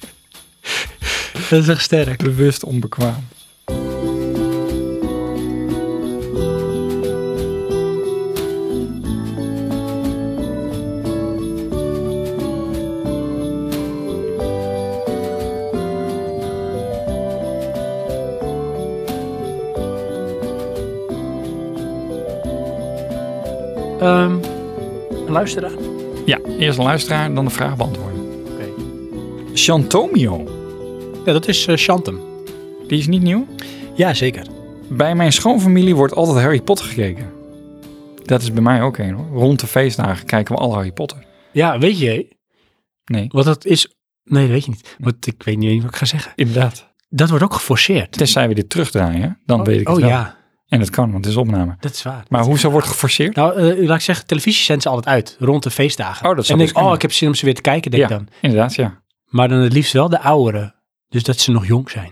C: Dat is echt sterk.
A: Bewust onbekwaam.
C: Ehm luisteraar.
A: Ja, eerst een luisteraar, dan de vraag beantwoorden. Chantomio,
C: Ja, dat is eh, Chantem.
A: die is niet nieuw.
C: Ja, zeker.
A: Bij mijn schoonfamilie wordt altijd Harry Potter gekeken. Dat is bij mij ook een hoor. Rond de feestdagen kijken we al Harry Potter.
C: Ja, weet je
A: Nee,
C: wat dat is? Nee, dat weet je niet. Want ik weet niet wat ik ga zeggen.
A: inderdaad.
C: Dat wordt ook geforceerd.
A: Tenzij we dit terugdraaien, dan weet ik het
C: oh
A: wel.
C: ja,
A: En dat kan, want het is opname.
C: dat is waar.
A: Maar hoezo wordt geforceerd?
C: Nou, eh, laat ik zeggen, televisie zendt ze altijd uit rond de feestdagen.
A: Oh, dat zou best
C: en denk ik, oh,
A: kunnen.
C: ik heb zin om ze weer te kijken,
A: ja,
C: denk ik dan.
A: inderdaad, ja.
C: Maar dan het liefst wel de ouderen. Dus dat ze nog jong zijn.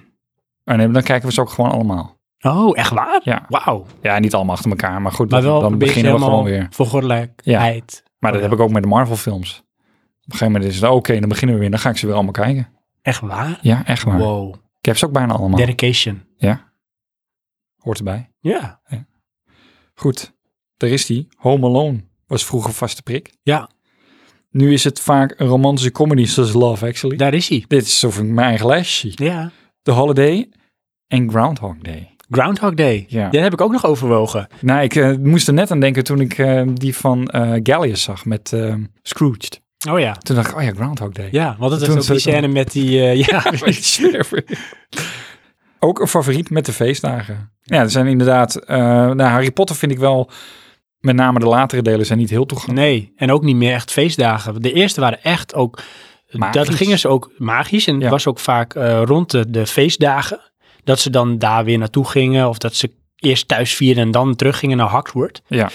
A: En Oh, dan kijken we ze ook gewoon allemaal.
C: Oh, echt waar?
A: Ja,
C: Wauw.
A: ja niet allemaal achter elkaar, maar goed,
C: Maar
A: dan,
C: wel
A: dan
C: een beetje
A: beginnen we
C: helemaal
A: gewoon weer.
C: voor gordelijkheid.
A: Maar dat heb ik ook met de Marvel films. Op een gegeven moment is het oké, dan beginnen we weer. Dan ga ik ze weer allemaal kijken.
C: Echt waar?
A: Ja, echt waar.
C: Wow.
A: Ik heb ze ook bijna allemaal.
C: Dedication.
A: Hoort erbij.
C: Ja.
A: Goed, daar is die. Home Alone was vroeger vaste prik.
C: Ja,
A: Nu is het vaak een romantische comedy zoals Love Actually.
C: daar is hij.
A: Dit is zo van mijn eigen lijstje.
C: Ja.
A: The Holiday en Groundhog Day.
C: Groundhog Day.
A: Ja.
C: Die heb ik ook nog overwogen.
A: Nou, ik eh, moest er net aan denken toen ik eh, die van eh Gallius zag met eh, Scrooged.
C: Oh ja.
A: Toen dacht ik, oh ja, Groundhog Day.
C: Ja, want dat
A: Toen
C: was
A: zei
C: ook die
A: ik al-
C: scène met die... eh, ja,
A: Ik zweer weer. Ook een favoriet met de feestdagen. Ja, er zijn inderdaad... eh nou, Harry Potter vind ik wel... Met name de latere delen zijn niet heel toegankelijk.
C: nee. En ook niet meer echt feestdagen. De eerste waren echt ook... Dat
A: Magisch.
C: gingen ze ook magisch. En het
A: Ja.
C: was ook vaak eh, rond de, de feestdagen. Dat ze dan daar weer naartoe gingen. Of dat ze eerst thuis vierden en dan teruggingen naar Hogsworth.
A: Ja.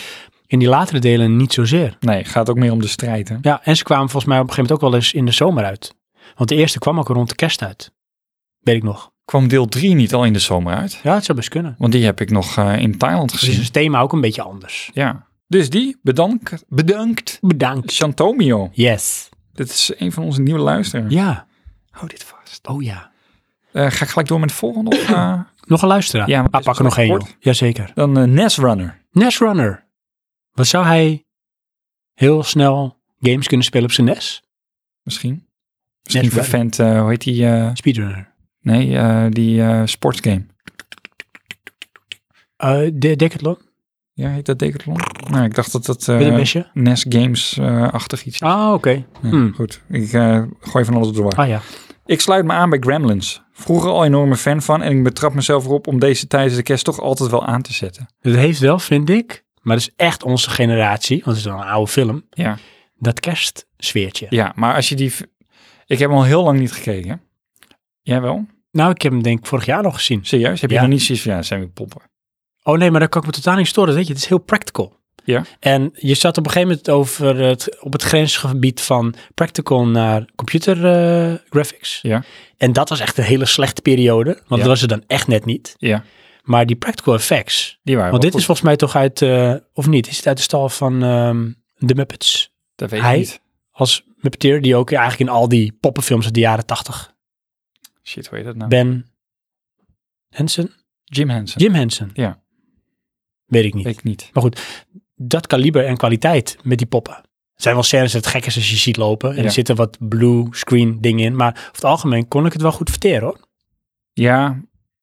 C: In die latere delen niet zozeer.
A: Nee, gaat ook meer om de strijd, hè?
C: Ja, en ze kwamen volgens mij op een gegeven moment ook wel eens in de zomer uit. Want de eerste kwam ook rond de kerst uit. Weet ik nog.
A: Kwam deel 3 niet al in de zomer uit?
C: Ja, het zou best kunnen.
A: Want die heb ik nog eh, in Thailand
C: Dus
A: gezien.
C: is het thema ook een beetje anders.
A: Ja. Dus die, bedankt. Bedankt.
C: Bedankt.
A: Chantomio.
C: Yes.
A: Dit is een van onze nieuwe luisteraars.
C: Ja.
A: Hou dit vast.
C: Oh ja.
A: Eh, ga ik gelijk door met de volgende? Of, eh,
C: Nog een luisteraar.
A: Ja,
C: Ja,
A: maar
C: ah,
A: is
C: pak er nog één.
A: kort.
C: joh. Jazeker.
A: dan eh, Nesrunner.
C: NES Runner. Wat zou hij heel snel games kunnen spelen op zijn E NES?
A: Misschien. Misschien
C: Nesrunner.
A: vervent, eh, hoe heet die? eh,
C: Speedrunner.
A: nee, eh, die eh, sportsgame.
C: Eh de Decathlon
A: Ja, heet dat Decathlon? Nou, ik dacht dat dat eh,
C: met een mesje.
A: NES Games-achtig iets is.
C: Ah, oké.
A: Ja,
C: hmm.
A: Goed, ik eh, gooi van alles door.
C: Ah ja.
A: Ik sluit me aan bij Gremlins. Vroeger al enorme fan van en ik betrap mezelf erop om deze tijdens de kerst toch altijd wel aan te zetten.
C: Het heeft wel, vind ik, maar dat is echt onze generatie, want het is wel een oude film,
A: Ja,
C: dat kerstsfeertje.
A: ja maar als je die... v- Ik heb hem al heel lang niet gekeken. Jij wel?
C: Nou, ik heb hem denk ik vorig jaar nog gezien.
A: Serieus? Heb je
C: Ja.
A: nog niet zoiets van, ja, het zijn weer poppen.
C: Oh nee, maar daar kan ik me totaal niet storen, weet je. Het is heel practical.
A: Ja.
C: En je zat op een gegeven moment over het, op het grensgebied van practical naar computer eh, graphics.
A: Ja.
C: En dat was echt een hele slechte periode, want dat
A: Ja.
C: was er dan echt net niet.
A: Ja,
C: Maar die practical effects,
A: die waren
C: want
A: wel
C: dit
A: goed.
C: is volgens mij toch uit, eh, of niet, is het uit de stal van ehm The Muppets?
A: Dat weet
C: hij-
A: ik niet.
C: Als Muppeteer, die ook eigenlijk in al die poppenfilms uit de jaren tachtig.
A: Shit, hoe heet dat nou?
C: Ben Henson?
A: Jim Henson.
C: Jim Henson?
A: Ja.
C: Weet ik niet.
A: Ik niet.
C: Maar goed, dat kaliber en kwaliteit met die poppen. Er zijn wel scènes dat het gek is als je ziet lopen. En
A: Ja.
C: er zitten wat blue screen dingen in. Maar over het algemeen kon ik het wel goed verteren hoor.
A: Ja,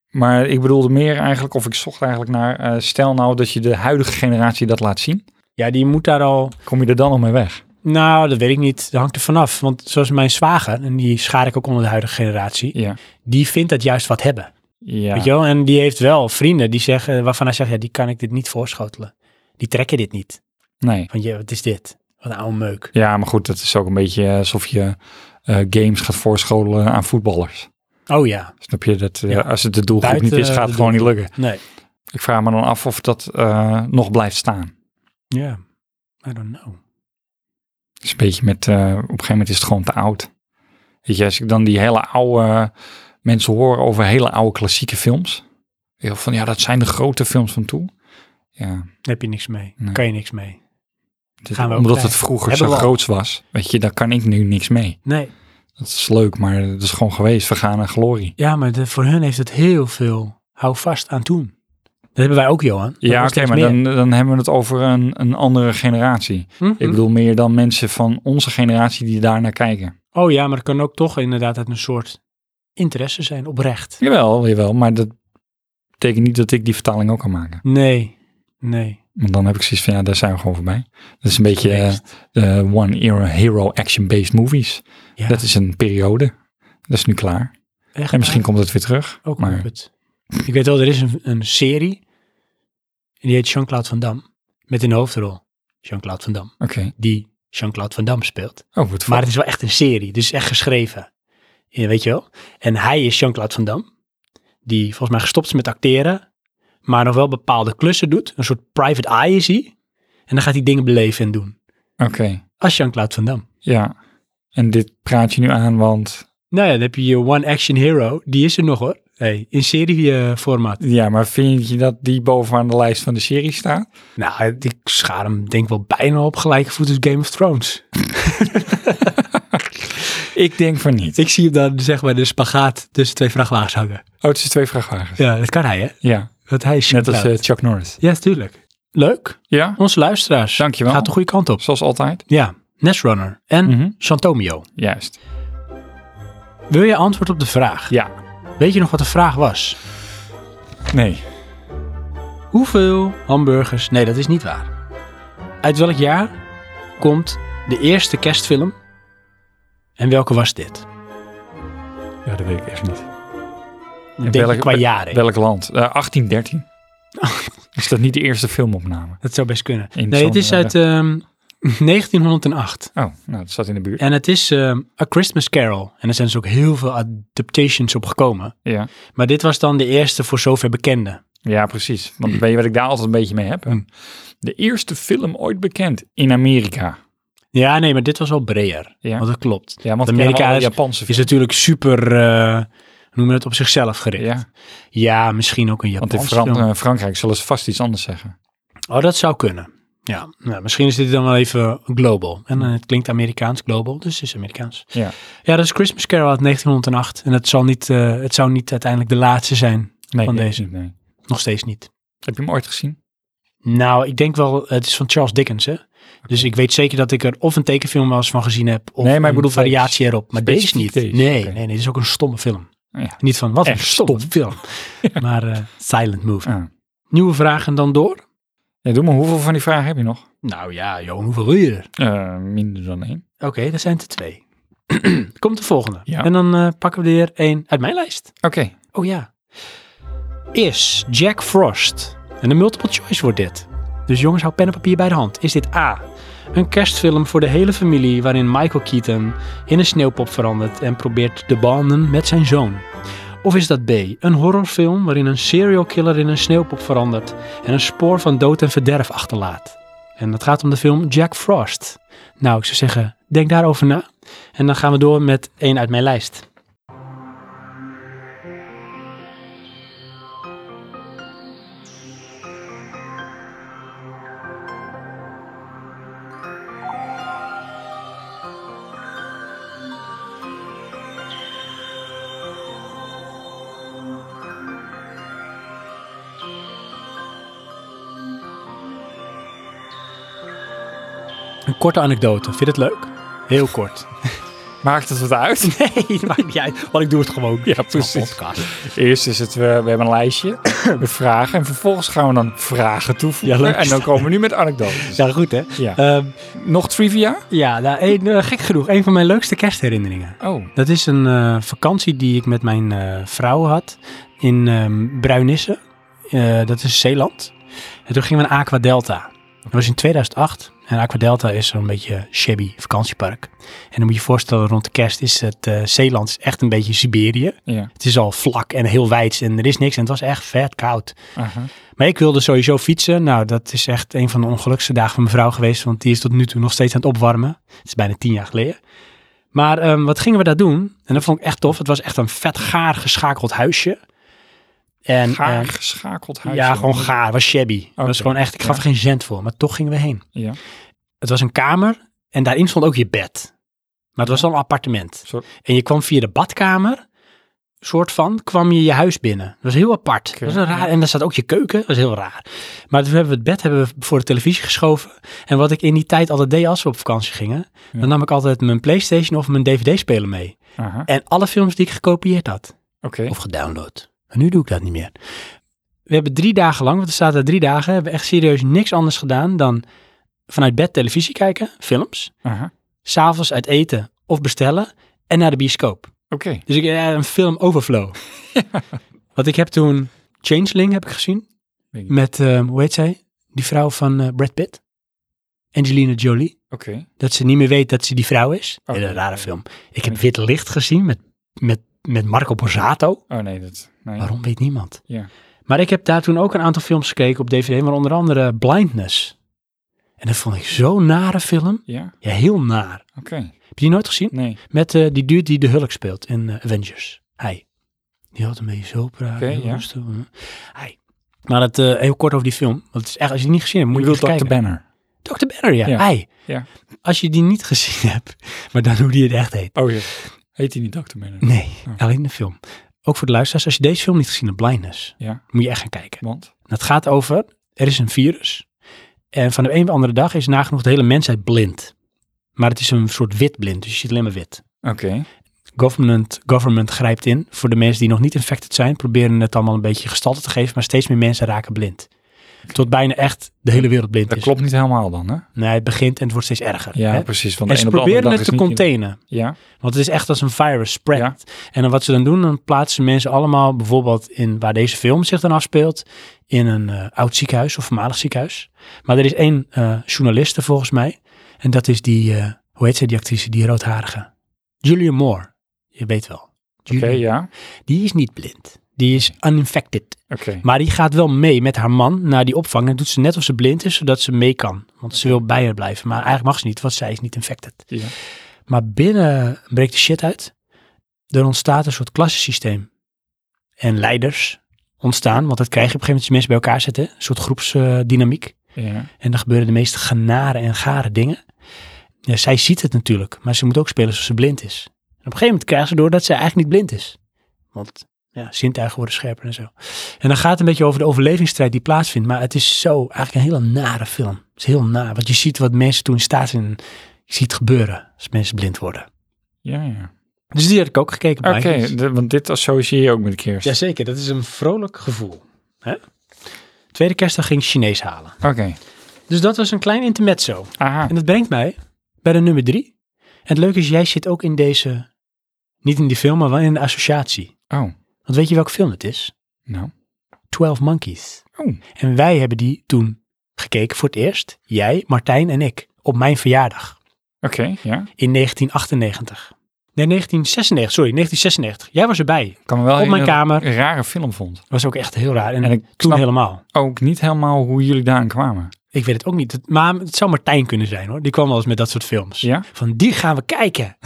A: maar ik bedoelde meer eigenlijk, of ik zocht eigenlijk naar, eh, stel nou dat je de huidige generatie dat laat zien,
C: Ja, die moet daar al...
A: kom je er dan nog mee weg?
C: Nou, dat weet ik niet. Dat hangt er vanaf. Want zoals mijn zwager, en die schaar ik ook onder de huidige generatie.
A: Ja.
C: Die vindt dat juist wat hebben.
A: Ja.
C: Weet je wel? En die heeft wel vrienden die zeggen, waarvan hij zegt, ja, die kan ik dit niet voorschotelen. Die trekken dit niet.
A: Nee.
C: Van, ja, wat is dit? Wat een oude meuk.
A: Ja, maar goed, dat is ook een beetje eh, alsof je eh, games gaat voorscholen aan voetballers.
C: Oh ja,
A: Snap je dat? eh,
C: Ja.
A: Als het de doelgroep
C: Buiten
A: niet is, gaat
C: de
A: het gewoon niet lukken.
C: nee.
A: Ik vraag me dan af of dat eh, nog blijft staan.
C: Ja, I don't know.
A: Dat is een beetje met, eh, op een gegeven moment is het gewoon te oud. Weet je, als ik dan die hele oude mensen horen over hele oude klassieke films. Heel van ja, dat zijn de grote films van toen. Ja,
C: heb je niks mee.
A: Nee.
C: Kan je niks mee.
A: dit-
C: Gaan we ook
A: omdat het
C: krijgen.
A: vroeger
C: Hebben
A: zo
C: we al.
A: groots was. Weet je, daar kan ik nu niks mee.
C: Nee.
A: Dat is leuk, maar het is gewoon geweest. Vergane glorie.
C: Ja, maar de- voor hun heeft het heel veel hou vast aan toen. Dat hebben wij ook, Johan. Dat
A: Ja,
C: was
A: oké,
C: steeds
A: maar
C: meer.
A: dan, dan hebben we het over een, een andere generatie.
C: Mhm.
A: Ik bedoel meer dan mensen van onze generatie die daar naar kijken.
C: Oh ja, maar het kan ook toch inderdaad uit een soort interesse zijn, oprecht.
A: Jawel, jawel, maar dat betekent niet dat ik die vertaling ook kan maken.
C: Nee, nee.
A: Want dan heb ik zoiets van, ja, daar zijn we gewoon voorbij. Dat is een beetje eh, eh, one era hero action-based movies.
C: Ja,
A: Dat is een periode. Dat is nu klaar.
C: echt
A: En misschien komt het weer terug.
C: waar. ook
A: maar-
C: maar... het. Ik weet wel, er is een, een serie en die heet Jean-Claude Van Damme. Met in de hoofdrol Jean-Claude Van Damme,
A: Oké.
C: die Jean-Claude Van Damme speelt.
A: Oh, wat
C: Maar
A: maar
C: het is wel echt een serie, dus echt geschreven. Ja, weet je wel? En hij is Jean-Claude Van Damme, die volgens mij gestopt is met acteren, maar nog wel bepaalde klussen doet. Een soort private eye is hij. En dan gaat hij dingen beleven en doen.
A: Oké,
C: Als Jean-Claude Van Damme.
A: ja. En dit praat je nu aan, want...
C: Nou ja, dan heb je je One Action Hero. Die is er nog hoor. Hey, in serieformaat.
A: Ja, maar vind je dat die bovenaan de lijst van de serie staat?
C: Nou, ik schaar hem denk wel bijna op gelijke voet als Game of Thrones.
A: Ik denk van niet.
C: Ik zie hem dan zeg maar de spagaat tussen twee vrachtwagens hangen.
A: Oh, het is twee vrachtwagens.
C: Ja, dat kan hij hè.
A: Ja,
C: Want hij is
A: net als eh,
C: Jean-Claude.
A: Chuck Norris.
C: Ja, tuurlijk. Leuk.
A: Ja,
C: Onze luisteraars.
A: Dankjewel.
C: Gaat de goede kant op.
A: zoals altijd.
C: Ja, Nesrunner en
A: Mhm.
C: Santomio.
A: Juist.
C: Wil je antwoord op de vraag?
A: Ja.
C: Weet je nog wat de vraag was?
A: Nee.
C: Hoeveel hamburgers? Nee, dat is niet waar. Uit welk jaar komt de eerste kerstfilm? En welke was dit?
A: Ja, dat weet ik echt niet.
C: Denk
A: welk-
C: je qua jaren.
A: Welk land? Eh, 1813. Is dat niet de eerste filmopname?
C: Dat zou best kunnen.
A: In
C: Nee, het is
A: zo'n,
C: uit ehm, 1908.
A: Oh, nou, dat zat in de buurt.
C: En het is ehm, A Christmas Carol. En er zijn dus ook heel veel adaptations op gekomen.
A: Ja.
C: Maar dit was dan de eerste voor zover bekende.
A: ja, precies. Want weet je wat ik daar altijd een beetje mee heb?
C: Hm.
A: De eerste film ooit bekend in Amerika.
C: Ja, nee, maar dit was al breder.
A: Ja.
C: Want dat klopt.
A: Ja, want we
C: De
A: kennen
C: Amerika
A: alle
C: is-
A: Japanse
C: is
A: films.
C: natuurlijk super, eh, hoe noem je het, op zichzelf gericht.
A: Ja,
C: Ja, misschien ook een
A: want in
C: Japanse
A: Fran-
C: film.
A: eh, Frankrijk zullen ze vast iets anders zeggen.
C: Oh, dat zou kunnen. Ja, nou, misschien is dit dan wel even global. En eh, het klinkt Amerikaans, global, dus het is Amerikaans.
A: Ja.
C: Ja, dat is Christmas Carol uit 1908. En het, zal niet, eh, het zou niet uiteindelijk de laatste zijn.
A: Nee,
C: Van
A: nee,
C: deze.
A: nee.
C: Nog steeds niet.
A: Heb je hem ooit gezien?
C: Nou, ik denk wel, het is van Charles Dickens, hè? Dus ik weet zeker dat ik er of een tekenfilm wel eens van gezien heb, of
A: Nee, maar ik
C: een
A: bedoel
C: variatie erop. Maar deze
A: specifiek
C: niet.
A: deze,
C: Nee,
A: oké.
C: nee, nee, dit is ook een stomme film.
A: Ja.
C: Niet van, wat een
A: Echt
C: stomme film. Maar eh, silent movie.
A: Ah.
C: Nieuwe vragen dan door?
A: Ja, doe maar, hoeveel van die vragen heb je nog?
C: Nou ja, Johan, hoeveel wil je er?
A: Eh, minder dan één.
C: Oké, dat zijn er twee. Komt de volgende.
A: Ja.
C: En dan eh, pakken we er weer één uit mijn lijst.
A: Oké.
C: Oh ja. Is Jack Frost, en een multiple choice wordt dit. Dus jongens, hou pen en papier bij de hand. Is dit A, een kerstfilm voor de hele familie waarin Michael Keaton in een sneeuwpop verandert en probeert de banden met zijn zoon? Of is dat B, een horrorfilm waarin een serial killer in een sneeuwpop verandert en een spoor van dood en verderf achterlaat? En dat gaat om de film Jack Frost. Nou, ik zou zeggen, denk daarover na. En dan gaan we door met één uit mijn lijst. Een korte anekdote. Vind je het leuk? Heel kort.
A: Maakt het wat uit?
C: Nee, maakt niet uit. Want ik doe het gewoon.
A: Ja, precies. Eerst is het, we, we hebben een lijstje met vragen. En vervolgens gaan we dan vragen toevoegen.
C: Ja, leuk.
A: en dan komen we nu met anekdotes.
C: Ja, goed hè?
A: Ja. Eh,
C: Ehm,
A: Nog trivia?
C: ja, nou, één, eh, gek genoeg. Een van mijn leukste kerstherinneringen.
A: Oh,
C: Dat is een eh, vakantie die ik met mijn eh, vrouw had in ehm, Bruinissen. Eh, dat is Zeeland. En toen gingen we naar Aqua Delta. Dat was in 2008. En Aqua Delta is zo'n beetje shabby vakantiepark. En dan moet je je voorstellen, rond de kerst is het eh, Zeeland is echt een beetje Siberië.
A: ja.
C: Het is al vlak en heel wijd en er is niks. En het was echt vet koud.
A: Aha.
C: Maar ik wilde sowieso fietsen. Nou, dat is echt een van de ongelukkigste dagen van mijn vrouw geweest. Want die is tot nu toe nog steeds aan het opwarmen. Het is bijna tien jaar geleden. Maar ehm, wat gingen we daar doen? En dat vond ik echt tof. Het was echt een vet gaar geschakeld huisje. En,
A: Gaar
C: eh,
A: geschakeld huis.
C: ja, gewoon gaar. Het was shabby. Het
A: Oké,
C: was gewoon echt, ik gaf
A: ja.
C: er geen cent voor. Maar toch gingen we heen.
A: Ja.
C: Het was een kamer en daarin stond ook je bed. Maar het was wel een appartement.
A: Soort-
C: En je kwam via de badkamer, soort van, kwam je je huis binnen. Dat was heel apart. Dat was een raar, en daar zat ook je keuken. Dat was heel raar. Maar toen hebben we het bed hebben we voor de televisie geschoven. En wat ik in die tijd altijd deed als we op vakantie gingen,
A: Ja.
C: dan nam ik altijd mijn Playstation of mijn DVD-speler mee.
A: Aha.
C: En alle films die ik gekopieerd had.
A: Oké.
C: Of gedownload. Maar nu doe ik dat niet meer. We hebben drie dagen lang, want er staat er drie dagen, hebben we echt serieus niks anders gedaan dan vanuit bed televisie kijken, films,
A: Aha.
C: s'avonds uit eten of bestellen en naar de bioscoop.
A: Oké.
C: Dus ik eh, een film overflow. Want ik heb toen Changeling heb ik gezien
A: Weet ik niet.
C: met, eh, hoe heet zij? Die vrouw van eh, Brad Pitt. Angelina Jolie.
A: Oké.
C: Dat ze niet meer weet dat ze die vrouw is.
A: Oh,
C: Hele
A: nee,
C: rare
A: nee.
C: film. Ik heb Wit Licht gezien met, met, met Marco Borsato.
A: Oh nee, dat. Nee.
C: Waarom weet niemand?
A: Ja.
C: Maar ik heb daar toen ook een aantal films gekeken op DVD, maar onder andere Blindness. En dat vond ik zo'n nare film.
A: Ja.
C: Ja, heel naar.
A: Oké.
C: Heb je die nooit gezien?
A: Nee.
C: Met eh, die dude die de Hulk speelt in eh, Avengers. Hij. Die had een beetje zo praten.
A: Oké,
C: heel
A: ja.
C: rustig, hè. Hij. Maar het, eh, heel kort over die film. Want het is echt, als je het niet gezien hebt, moet je,
A: wil
C: echt kijken.
A: Banner.
C: Dr. Banner, ja.
A: Ja.
C: Hij.
A: Ja.
C: Als je die niet gezien hebt, maar dan hoe die het echt heet.
A: Oh ja. Heet hij niet Dr. Banner?
C: Nee,
A: Oh.
C: alleen de film. Ook voor de luisteraars, als je deze film niet gezien hebt, Blindness,
A: Ja.
C: moet je echt gaan kijken.
A: Want.
C: En Het gaat over, er is een virus. En van de een op de andere dag is nagenoeg de hele mensheid blind. Maar het is een soort wit blind, dus je ziet alleen maar wit.
A: Oké.
C: Government, government grijpt in voor de mensen die nog niet infected zijn. Proberen het allemaal een beetje gestalte te geven, maar steeds meer mensen raken blind. Tot bijna echt de hele wereld blind
A: Dat
C: is.
A: klopt niet helemaal dan, hè?
C: Nee, het begint en het wordt steeds erger.
A: Ja,
C: hè?
A: precies. Van de
C: En ze
A: een op de andere
C: proberen
A: dag
C: het
A: is
C: te
A: niet-
C: containen.
A: Ja.
C: Want het is echt als een virus spread. En dan wat ze dan doen, dan plaatsen ze mensen allemaal bijvoorbeeld in waar deze film zich dan afspeelt. In een eh, oud ziekenhuis of voormalig ziekenhuis. Maar er is één eh journaliste volgens mij. En dat is die, eh, hoe heet zij die actrice, die roodharige? Julia Moore. Je weet wel.
A: Oké,
C: Julia.
A: ja.
C: Die is niet blind. Die is uninfected.
A: Oké.
C: Maar die gaat wel mee met haar man naar die opvang. En doet ze net of ze blind is, zodat ze mee kan. Want ze wil bij haar blijven. Maar eigenlijk mag ze niet, want zij is niet infected.
A: Ja.
C: Maar binnen breekt de shit uit. Er ontstaat een soort klassensysteem. En leiders ontstaan, want dat krijg je op een gegeven moment als je mensen bij elkaar zetten. Een soort groepsdynamiek.
A: Ja.
C: en dan gebeuren de meeste genare en gare dingen. Ja, zij ziet het natuurlijk, maar ze moet ook spelen zoals ze blind is. En op een gegeven moment krijgt ze door dat ze eigenlijk niet blind is. Want ja, zintuigen worden scherper en zo. En dan gaat het een beetje over de overlevingsstrijd die plaatsvindt. Maar het is zo eigenlijk een hele nare film. Het is heel naar, want je ziet wat mensen toen in staat zijn. Je ziet gebeuren als mensen blind worden.
A: Ja, ja.
C: Dus die had ik ook gekeken.
A: Oké, dus-
C: bij.
A: de- want dit associeer je ook met kerst.
C: Jazeker, dat is een vrolijk gevoel. Hè? Tweede kerstdag ging ik Chinees halen.
A: Oké.
C: Dus dat was een klein intermezzo.
A: Aha.
C: En dat brengt mij bij de nummer drie. En het leuke is, jij zit ook in deze, niet in die film, maar wel in de associatie.
A: Oh.
C: Want weet je welke film het is?
A: Nou.
C: 12 Monkeys.
A: Oh.
C: En wij hebben die toen gekeken voor het eerst. Jij, Martijn en ik. Op mijn verjaardag.
A: Oké, ja.
C: In 1998. Nee, 1996. Sorry, 1996. Jij was erbij.
A: Ik kan me wel
C: Op mijn
A: herinneren dat ik
C: kamer.
A: Een rare film vond.
C: was ook echt heel raar. En,
A: En ik
C: toen
A: snap-
C: helemaal.
A: Ook niet helemaal hoe jullie daaraan kwamen.
C: Ik weet het ook niet. Het- Maar het zou Martijn kunnen zijn hoor. Die kwam wel eens met dat soort films.
A: Ja?
C: Van die gaan we kijken.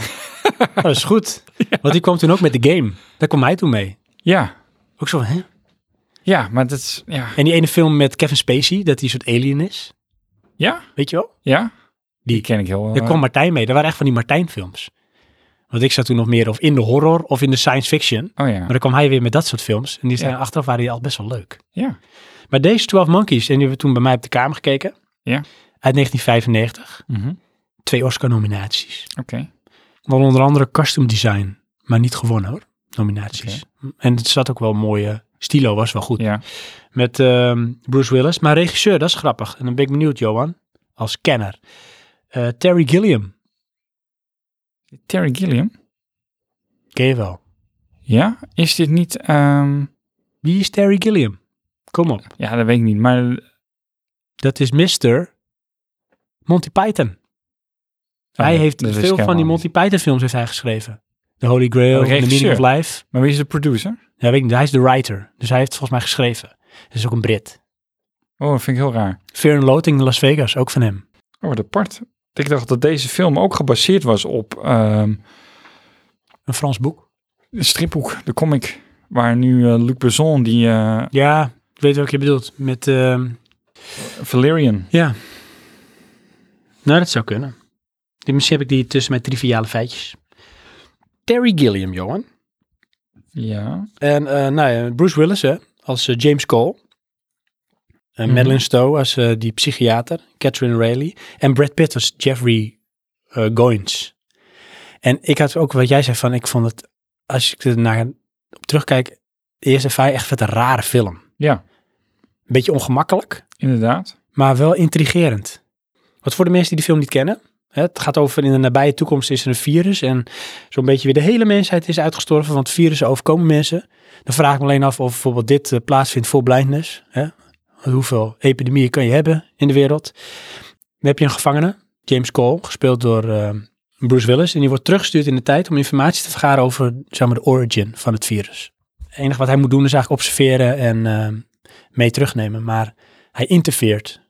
C: dat is goed. Want die kwam toen ook met de game. Daar kwam hij toen mee.
A: Ja.
C: Ook zo van, hè?
A: Ja, maar dat is... Ja?
C: En die ene film met Kevin Spacey, dat hij een soort alien is.
A: Ja?
C: Weet je wel?
A: Ja?
C: Die-
A: Die ken ik heel...
C: Daar
A: eh,
C: kwam Martijn mee. Dat waren echt van die Martijn films. Want ik zat toen nog meer of in de horror of in de science fiction.
A: Oh ja.
C: Maar dan kwam hij weer met dat soort films. En die zijn
A: Ja.
C: achteraf waren die al best wel leuk.
A: Ja.
C: Maar deze 12 Monkeys, en die hebben we toen bij mij op de kamer gekeken.
A: Ja.
C: Uit 1995.
A: Mhm.
C: Twee Oscar-nominaties.
A: Oké.
C: Wel onder andere costume design, maar niet gewonnen hoor. Nominaties. En het zat ook wel mooie. Stilo was wel goed.
A: Ja.
C: Met ehm, Bruce Willis. Maar regisseur, dat is grappig. En dan ben ik benieuwd, Johan. Als kenner. Eh, Terry Gilliam.
A: Terry Gilliam?
C: Ken je wel.
A: Ja? Is dit niet... ehm,
C: Wie is Terry Gilliam? Kom op.
A: Ja, dat weet ik niet. Maar...
C: Dat is Mr. Monty Python. hij
A: nee,
C: heeft
A: Oh dat wist ik
C: veel van die
A: helemaal
C: Monty Python films heeft hij geschreven. The Holy Grail,
A: Oh,
C: The Meaning of
A: regisseur.
C: Life.
A: Maar wie is de producer?
C: Ja, weet ik niet. Hij is de writer. Dus hij heeft volgens mij geschreven. Hij is ook een Brit.
A: Oh, dat vind ik heel raar.
C: Fear and Loathing in Las Vegas, ook van hem.
A: Oh, wat apart. Ik dacht dat deze film ook gebaseerd was op ehm
C: Een Frans boek.
A: een stripboek, de comic. Waar nu eh, Luc Besson, die eh,
C: Ja, ik weet wat je bedoelt. Met, ehm,
A: Valerian.
C: ja. Nou, dat zou kunnen. Die- Misschien heb ik die tussen mijn triviale feitjes. Terry Gilliam, Johan.
A: Ja.
C: En eh, nou ja, Bruce Willis hè, als eh, James Cole. En
A: Mhm.
C: Madeline Stowe als eh, die psychiater. Catherine Rayleigh. En Brad Pitt als Jeffrey eh, Goins. En ik had ook wat jij zei van, ik vond het, als ik er naar op terugkijk, de eerste vijf echt vet een rare film.
A: Ja,
C: Een beetje ongemakkelijk,
A: inderdaad.
C: maar wel intrigerend. Wat voor de mensen die de film niet kennen. hè, Het gaat over in de nabije toekomst is er een virus en zo'n beetje weer de hele mensheid is uitgestorven, want virussen overkomen mensen. Dan vraag ik me alleen af of bijvoorbeeld dit eh, plaatsvindt voor blindness. Hè? Hoeveel epidemieën kan je hebben in de wereld? Dan heb je een gevangene, James Cole, gespeeld door eh, Bruce Willis. En die wordt teruggestuurd in de tijd om informatie te vergaren over zeg maar, de origin van het virus. Het enige wat hij moet doen is eigenlijk observeren en eh, mee terugnemen. Maar hij interveert.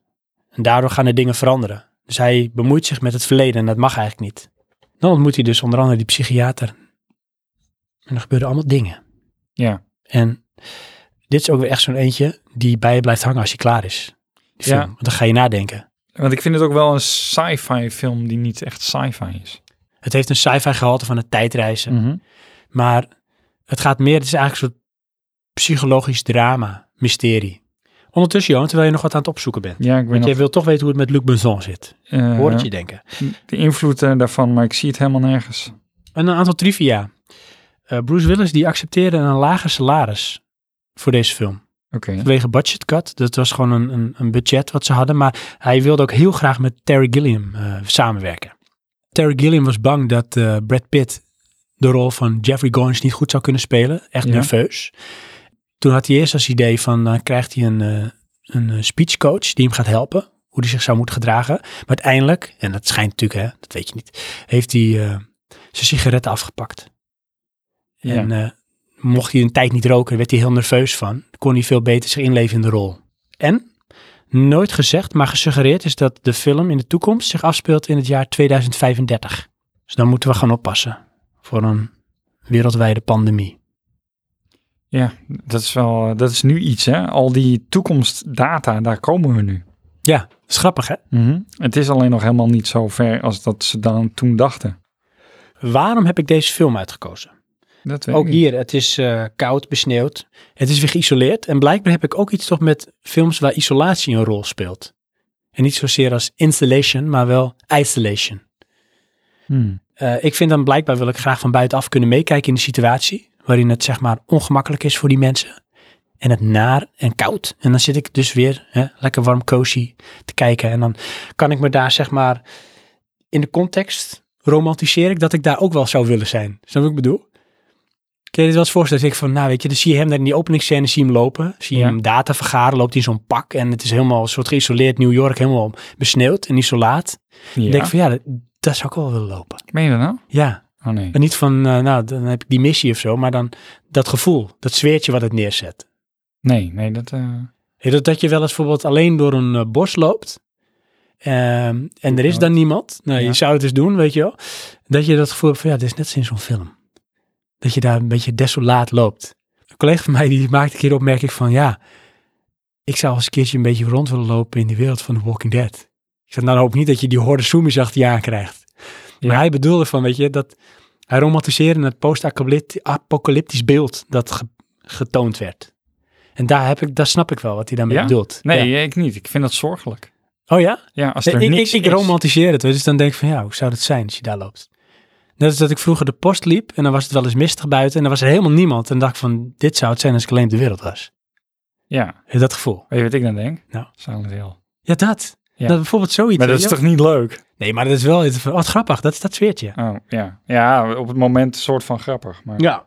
C: En daardoor gaan de dingen veranderen. Dus hij bemoeit zich met het verleden en dat mag eigenlijk niet. Dan ontmoet hij dus onder andere die psychiater. En er gebeuren allemaal dingen.
A: Ja.
C: En dit is ook weer echt zo'n eentje die bij je blijft hangen als je klaar is. Die film.
A: Ja.
C: Want dan ga je nadenken.
A: Want ik vind het ook wel een sci-fi film die niet echt sci-fi is. Mhm.
C: Het heeft een sci-fi gehalte van het tijdreizen.
A: Mm.
C: Maar het gaat meer, het is eigenlijk een soort psychologisch drama, mysterie. Ondertussen, Johan, terwijl je nog wat aan het opzoeken bent.
A: Ja, ik weet
C: Want
A: nog,
C: jij wil toch weten hoe het met Luc Benson zit.
A: eh,
C: Hoor het je denken.
A: de invloed eh, daarvan, maar ik zie het helemaal nergens.
C: En een aantal trivia. Eh, Bruce Willis die accepteerde een lager salaris voor deze film.
A: Oké.
C: Vanwege budget cut. Dat was gewoon een, een, een budget wat ze hadden. Maar hij wilde ook heel graag met Terry Gilliam eh, samenwerken. Terry Gilliam was bang dat eh, Brad Pitt de rol van Jeffrey Goins niet goed zou kunnen spelen. Echt
A: Ja.
C: nerveus. Toen had hij eerst als idee van dan krijgt hij een, eh, een eh, speechcoach die hem gaat helpen. Hoe hij zich zou moeten gedragen. Maar uiteindelijk, en dat schijnt natuurlijk hè, dat weet je niet. Heeft hij eh, zijn sigaretten afgepakt.
A: Ja.
C: En eh, mocht hij een tijd niet roken, werd hij heel nerveus van. Kon hij veel beter zich inleven in de rol. En, nooit gezegd, maar gesuggereerd is dat de film in de toekomst zich afspeelt in het jaar 2035. Dus dan moeten we gaan oppassen voor een wereldwijde pandemie.
A: Ja, dat is wel, eh, dat is nu iets hè. Al die toekomstdata, daar komen we nu.
C: Ja, dat is grappig hè?
A: Het is alleen nog helemaal niet zo ver als dat ze dan toen dachten.
C: Waarom heb ik deze film uitgekozen?
A: Dat weet
C: ook
A: ik niet.
C: hier, het is eh, koud, besneeuwd. Het is weer geïsoleerd. En blijkbaar heb ik ook iets toch met films waar isolatie een rol speelt. En niet zozeer als installation, maar wel isolation.
A: Hmm.
C: Eh, ik vind dan blijkbaar wil ik graag van buitenaf kunnen meekijken in de situatie. Waarin het zeg maar ongemakkelijk is voor die mensen. En het naar en koud. En dan zit ik dus weer hè, lekker warm cozy te kijken. En dan kan ik me daar zeg maar in de context romantiseer ik dat ik daar ook wel zou willen zijn. Snap je wat ik bedoel? Kun je dit wel eens voorstellen? Dat ik van, nou weet je, dan zie je hem daar in die openingsscène, zie je hem lopen. Zie je
A: Ja.
C: hem data vergaren, loopt hij in zo'n pak. En het is helemaal een soort geïsoleerd New York, helemaal besneeuwd en isolaat.
A: Ja.
C: Ik denk van, ja, dat, dat zou ik wel willen lopen.
A: Meen je dat nou?
C: Ja,
A: Oh nee.
C: en niet van, eh, nou, dan heb ik die missie of zo, maar dan dat gevoel, dat zweertje wat het neerzet.
A: Nee, nee, dat... eh,
C: Weet je, Dat, dat je wel eens bijvoorbeeld alleen door een eh, bos loopt ehm, en er is dan niemand. Nou,
A: Ja.
C: je zou het dus doen, weet je wel. Dat je dat gevoel hebt van, ja, dit is net als in zo'n film. Dat je daar een beetje desolaat loopt. Een collega van mij die maakte een keer de opmerking van, ja, ik zou als een keertje een beetje rond willen lopen in die wereld van The Walking Dead. Ik zeg, nou dan hoop ik niet dat je die horde zoomies achter je aankrijgt. Maar
A: Ja.
C: hij bedoelde van, weet je, dat hij romantiseerde het post-apocalyptisch beeld dat ge- getoond werd. En daar, heb ik, daar snap ik wel wat hij daarmee
A: Ja?
C: bedoelt.
A: nee,
C: Ja.
A: ik niet. Ik vind dat zorgelijk.
C: Oh ja?
A: Ja, als
C: Ik,
A: er
C: ik,
A: niks
C: ik, ik
A: is.
C: romantiseer het. hoor. Dus dan denk ik van, ja, hoe zou dat zijn als je daar loopt? Net als dat ik vroeger de post liep en dan was het wel eens mistig buiten en dan was er helemaal niemand. En dan dacht ik van, dit zou het zijn als ik alleen op de wereld was.
A: Ja,
C: Dat gevoel.
A: weet je wat ik dan denk?
C: Nou.
A: Silent Hill.
C: Ja, dat.
A: Ja.
C: Dat bijvoorbeeld zoiets.
A: Maar dat
C: weet
A: is
C: je
A: toch niet leuk?
C: wel. Nee, maar dat is wel, het- wat grappig, dat is dat sfeertje.
A: Oh, ja. Ja, op het moment een soort van grappig. Maar...
C: Ja.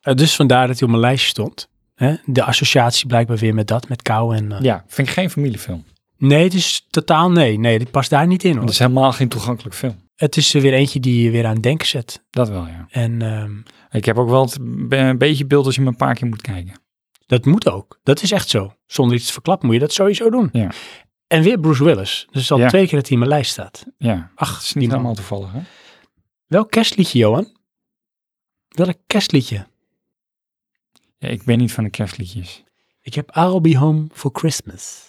C: Eh, dus vandaar dat hij op mijn lijstje stond. Hè? De associatie blijkbaar weer met dat, met kou en... eh,
A: Ja, vind ik geen familiefilm.
C: Nee, het is totaal nee. Nee, dit past daar niet in hoor.
A: Dat is helemaal geen toegankelijk film.
C: Het is er weer eentje die je weer aan het denken zet.
A: Dat wel, ja.
C: En ehm,
A: Ik heb ook wel het, be- een beetje beeld als je me een paar keer moet kijken.
C: dat moet ook. Dat is echt zo. Zonder iets te verklappen moet je dat sowieso doen.
A: Ja.
C: En weer Bruce Willis. Dus al
A: Ja.
C: twee keer dat hij in mijn lijst staat.
A: Ja,
C: Ach,
A: het is niet
C: man.
A: helemaal toevallig. Hè?
C: Welk kerstliedje, Johan? Welk kerstliedje?
A: Ja, ik ben niet van de kerstliedjes.
C: Ik heb I'll Be Home for Christmas.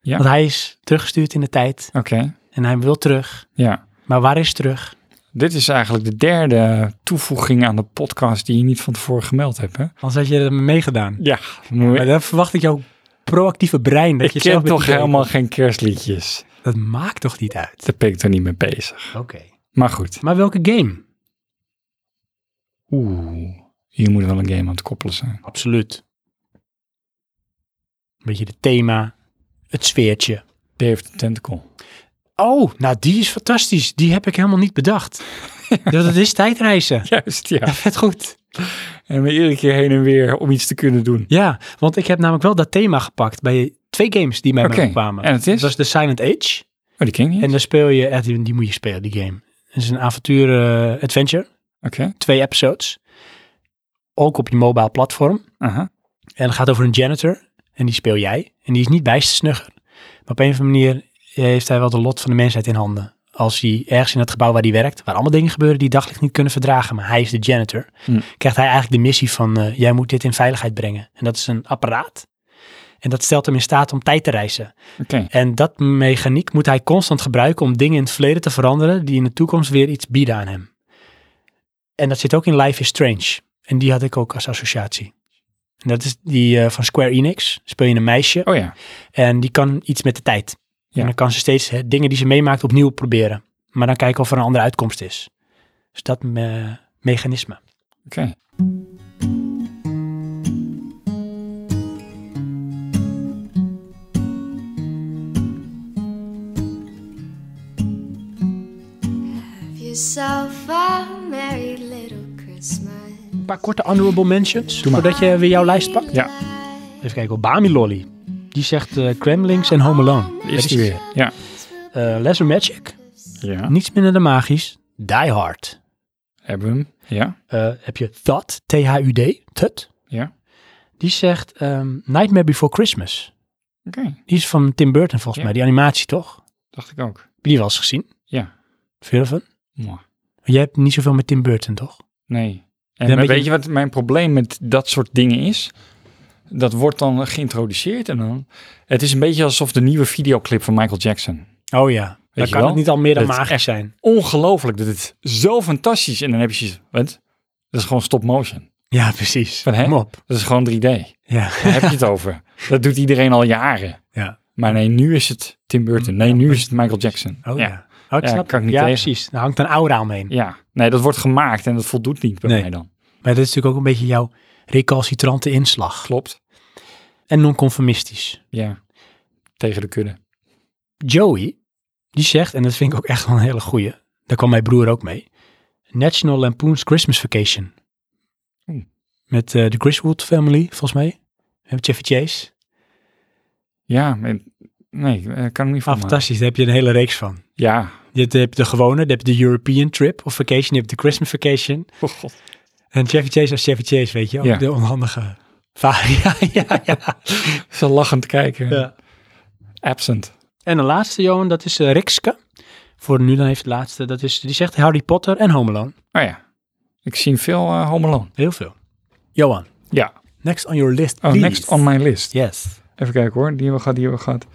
A: Ja.
C: Want hij is teruggestuurd in de tijd
A: Oké,
C: en hij wil terug.
A: ja.
C: Maar waar is terug?
A: Dit is eigenlijk de derde toevoeging aan de podcast die je niet van tevoren gemeld hebt, hè?
C: Anders had je er meegedaan.
A: Ja,
C: Maar dan verwacht ik jouw proactieve brein. Dat
A: ik
C: je
A: ken
C: zelf met
A: toch
C: die-
A: helemaal geen kerstliedjes.
C: Dat maakt toch niet uit?
A: Daar ben ik toch niet mee bezig.
C: Oké.
A: Maar goed.
C: Maar welke game?
A: Oeh, hier moet wel een game aan te koppelen zijn.
C: Absoluut. Een beetje het thema, het sfeertje.
A: Dave the Tentacle.
C: Oh, nou die is fantastisch. Die heb ik helemaal niet bedacht. Dus dat is tijdreizen.
A: Juist, ja.
C: Vet goed.
A: En we iedere keer heen en weer om iets te kunnen doen.
C: Ja, want ik heb namelijk wel dat thema gepakt bij twee games die mij
A: Oké,
C: kwamen.
A: en het is?
C: Dat is The Silent Age.
A: Oh, die ken ik niet.
C: En daar speel je, echt, die die moet je spelen, die game. Het is een avontuur eh, adventure.
A: Oké,
C: Twee episodes. Ook op je mobile platform.
A: aha.
C: En het gaat over een janitor. En die speel jij. En die is niet bijster snugger. Maar op een of andere manier eh, heeft hij wel de lot van de mensheid in handen. Als hij ergens in het gebouw waar hij werkt, waar allemaal dingen gebeuren die daglicht niet kunnen verdragen, maar hij is de janitor,
A: Hm.
C: krijgt hij eigenlijk de missie van eh, jij moet dit in veiligheid brengen. En dat is een apparaat. En dat stelt hem in staat om tijd te reizen.
A: Oké,
C: En dat mechaniek moet hij constant gebruiken om dingen in het verleden te veranderen die in de toekomst weer iets bieden aan hem. En dat zit ook in Life is Strange. En die had ik ook als associatie. En dat is die eh, van Square Enix. Speel je een meisje
A: oh ja.
C: en die kan iets met de tijd.
A: Ja.
C: En dan kan ze steeds hè, dingen die ze meemaakt opnieuw proberen. Maar dan kijken of er een andere uitkomst is. Dus dat me- mechanisme.
A: Oké.
G: Have yourself a merry little Christmas.
C: Een paar korte honorable mentions.
A: maar.
C: Voordat je weer jouw lijst pakt.
A: Ja.
C: Even kijken, oh, Bami Lolly. Die zegt eh Kremlings en Home Alone.
A: Is die weer? Ja.
C: Eh, Lesser Magic.
A: Ja.
C: Niets minder dan magisch. Die Hard.
A: Hebben we hem? Ja.
C: Eh, heb je Thud. T-H-U-D. Thud.
A: Ja.
C: Die zegt ehm, Nightmare Before Christmas.
A: Oké,
C: Die is van Tim Burton volgens
A: Ja.
C: mij. Die animatie toch? Heb
A: dacht ik ook.
C: je die wel eens gezien?
A: Ja.
C: Veel van?
A: Mwah.
C: Jij hebt niet zoveel met Tim Burton, toch?
A: Nee. En
C: Ja,
A: maar
C: beetje-
A: weet je wat mijn probleem met dat soort dingen is? Dat wordt dan geïntroduceerd en dan... Het is een beetje alsof de nieuwe videoclip van Michael Jackson.
C: Oh ja. dan
A: je
C: kan
A: wel?
C: het niet al meer dan
A: Dat is
C: magisch
A: echt-
C: zijn.
A: Ongelooflijk, dat het zo fantastisch. En dan heb je zoiets, wat? Dat is gewoon stop motion.
C: Ja, precies.
A: Van, hè?
C: Kom op.
A: Dat is gewoon 3D. Daar
C: Ja.
A: heb je het over. Dat doet iedereen al jaren.
C: ja.
A: Maar nee, nu is het Tim Burton. Nee, nu is het Michael Jackson.
C: Oh ja.
A: ja.
C: Oh, ik
A: Ja, kan
C: snap
A: ik
C: het.
A: niet
C: Ja,
A: tegen.
C: precies. Daar hangt een aura omheen.
A: Ja. nee, dat wordt gemaakt en dat voldoet niet bij
C: Nee.
A: mij dan.
C: Maar dat is natuurlijk ook een beetje jouw recalcitrante inslag.
A: Klopt.
C: En nonconformistisch.
A: Ja, tegen de kudde.
C: Joey, die zegt, en dat vind ik ook echt wel een hele goeie. Daar kwam mijn broer ook mee. National Lampoon's Christmas Vacation.
A: Oeh.
C: Met eh, de Griswold family, volgens mij. En Chevy Chase. Ah,
A: Ja, maar- nee, eh, kan ik niet van
C: Ah,
A: maken.
C: fantastisch. Daar heb je een hele reeks van.
A: Ja.
C: Je hebt- je hebt de gewone, dan heb je de European trip of vacation, je hebt de Christmas vacation.
A: Oh god.
C: En Chevy Chase als Chevy Chase, weet je, ook
A: Ja.
C: de onhandige vader. Ja, ja, ja,
A: Ze lachend kijken.
C: ja.
A: Absent.
C: En de laatste, Johan, dat is eh, Rikske. Voor nu dan heeft het laatste, dat is, die zegt Harry Potter en Home Alone.
A: Oh ja. Ik zie veel eh Home Alone.
C: Heel veel. Johan,
A: Ja.
C: next on your list,
A: Oh,
C: please.
A: next on my list.
C: Yes.
A: Even kijken hoor. Die hebben we gehad, die hebben we gehad.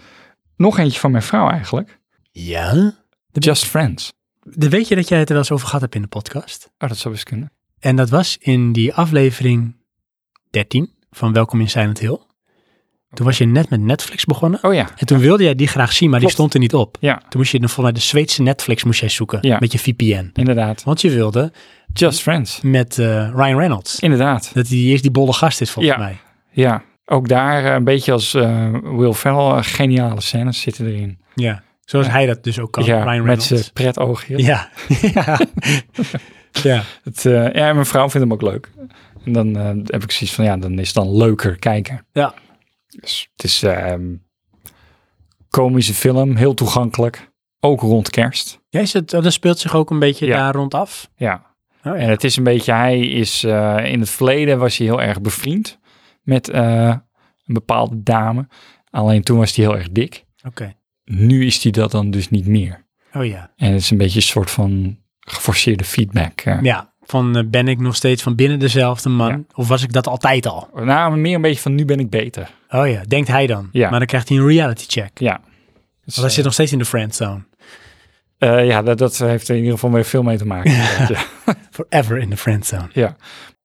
A: Nog eentje van mijn vrouw eigenlijk.
C: Ja?
A: Just Friends.
C: Dan weet je dat jij het er wel eens over gehad hebt in de podcast.
A: Oh, dat zou eens kunnen.
C: En dat was in die aflevering 13 van Welkom in Silent Hill. Toen was je net met Netflix begonnen.
A: Oh ja.
C: En toen wilde jij die graag zien, maar
A: Klopt.
C: die stond er niet op.
A: Ja,
C: Toen moest je dan vanuit de Zweedse Netflix moest jij zoeken
A: Ja.
C: met je VPN.
A: inderdaad.
C: Want je wilde
A: Just Friends.
C: met eh, Ryan Reynolds.
A: Inderdaad.
C: Dat hij eerst die bolle gast is volgens
A: Ja.
C: mij.
A: Ja. Ook daar eh, een beetje als eh, Will Ferrell. eh, geniale scènes zitten erin.
C: Ja. Zoals hij dat dus ook kan,
A: ja,
C: Ryan
A: met
C: Reynolds.
A: zijn pretoogjes.
C: ja. ja. ja.
A: Het, eh, ja, en mijn vrouw vindt hem ook leuk. En dan eh, heb ik zoiets van, ja, dan is het dan leuker kijken.
C: Ja.
A: Dus het is eh, een komische film, heel toegankelijk. Ook rond kerst.
C: Ja, is het, oh, dat speelt zich ook een beetje
A: Ja.
C: daar rondaf.
A: Ja.
C: Oh,
A: En het is een beetje, hij is eh, in het verleden was hij heel erg bevriend met eh, een bepaalde dame. Alleen toen was hij heel erg dik.
C: Oké.
A: nu is die dat dan dus niet meer.
C: Oh ja.
A: En het is een beetje een soort van geforceerde feedback. eh.
C: Ja, van eh, ben ik nog steeds van binnen dezelfde man?
A: Ja.
C: Of was ik dat altijd al?
A: Nou, meer een beetje van nu ben ik beter.
C: Oh ja, denkt hij dan.
A: Ja.
C: Maar dan krijgt hij een reality check.
A: Ja. Dus,
C: Want hij zit nog steeds in de friendzone.
A: eh, eh, ja, dat, dat heeft er in ieder geval weer veel mee te maken. ja.
C: Forever in de friendzone.
A: Ja.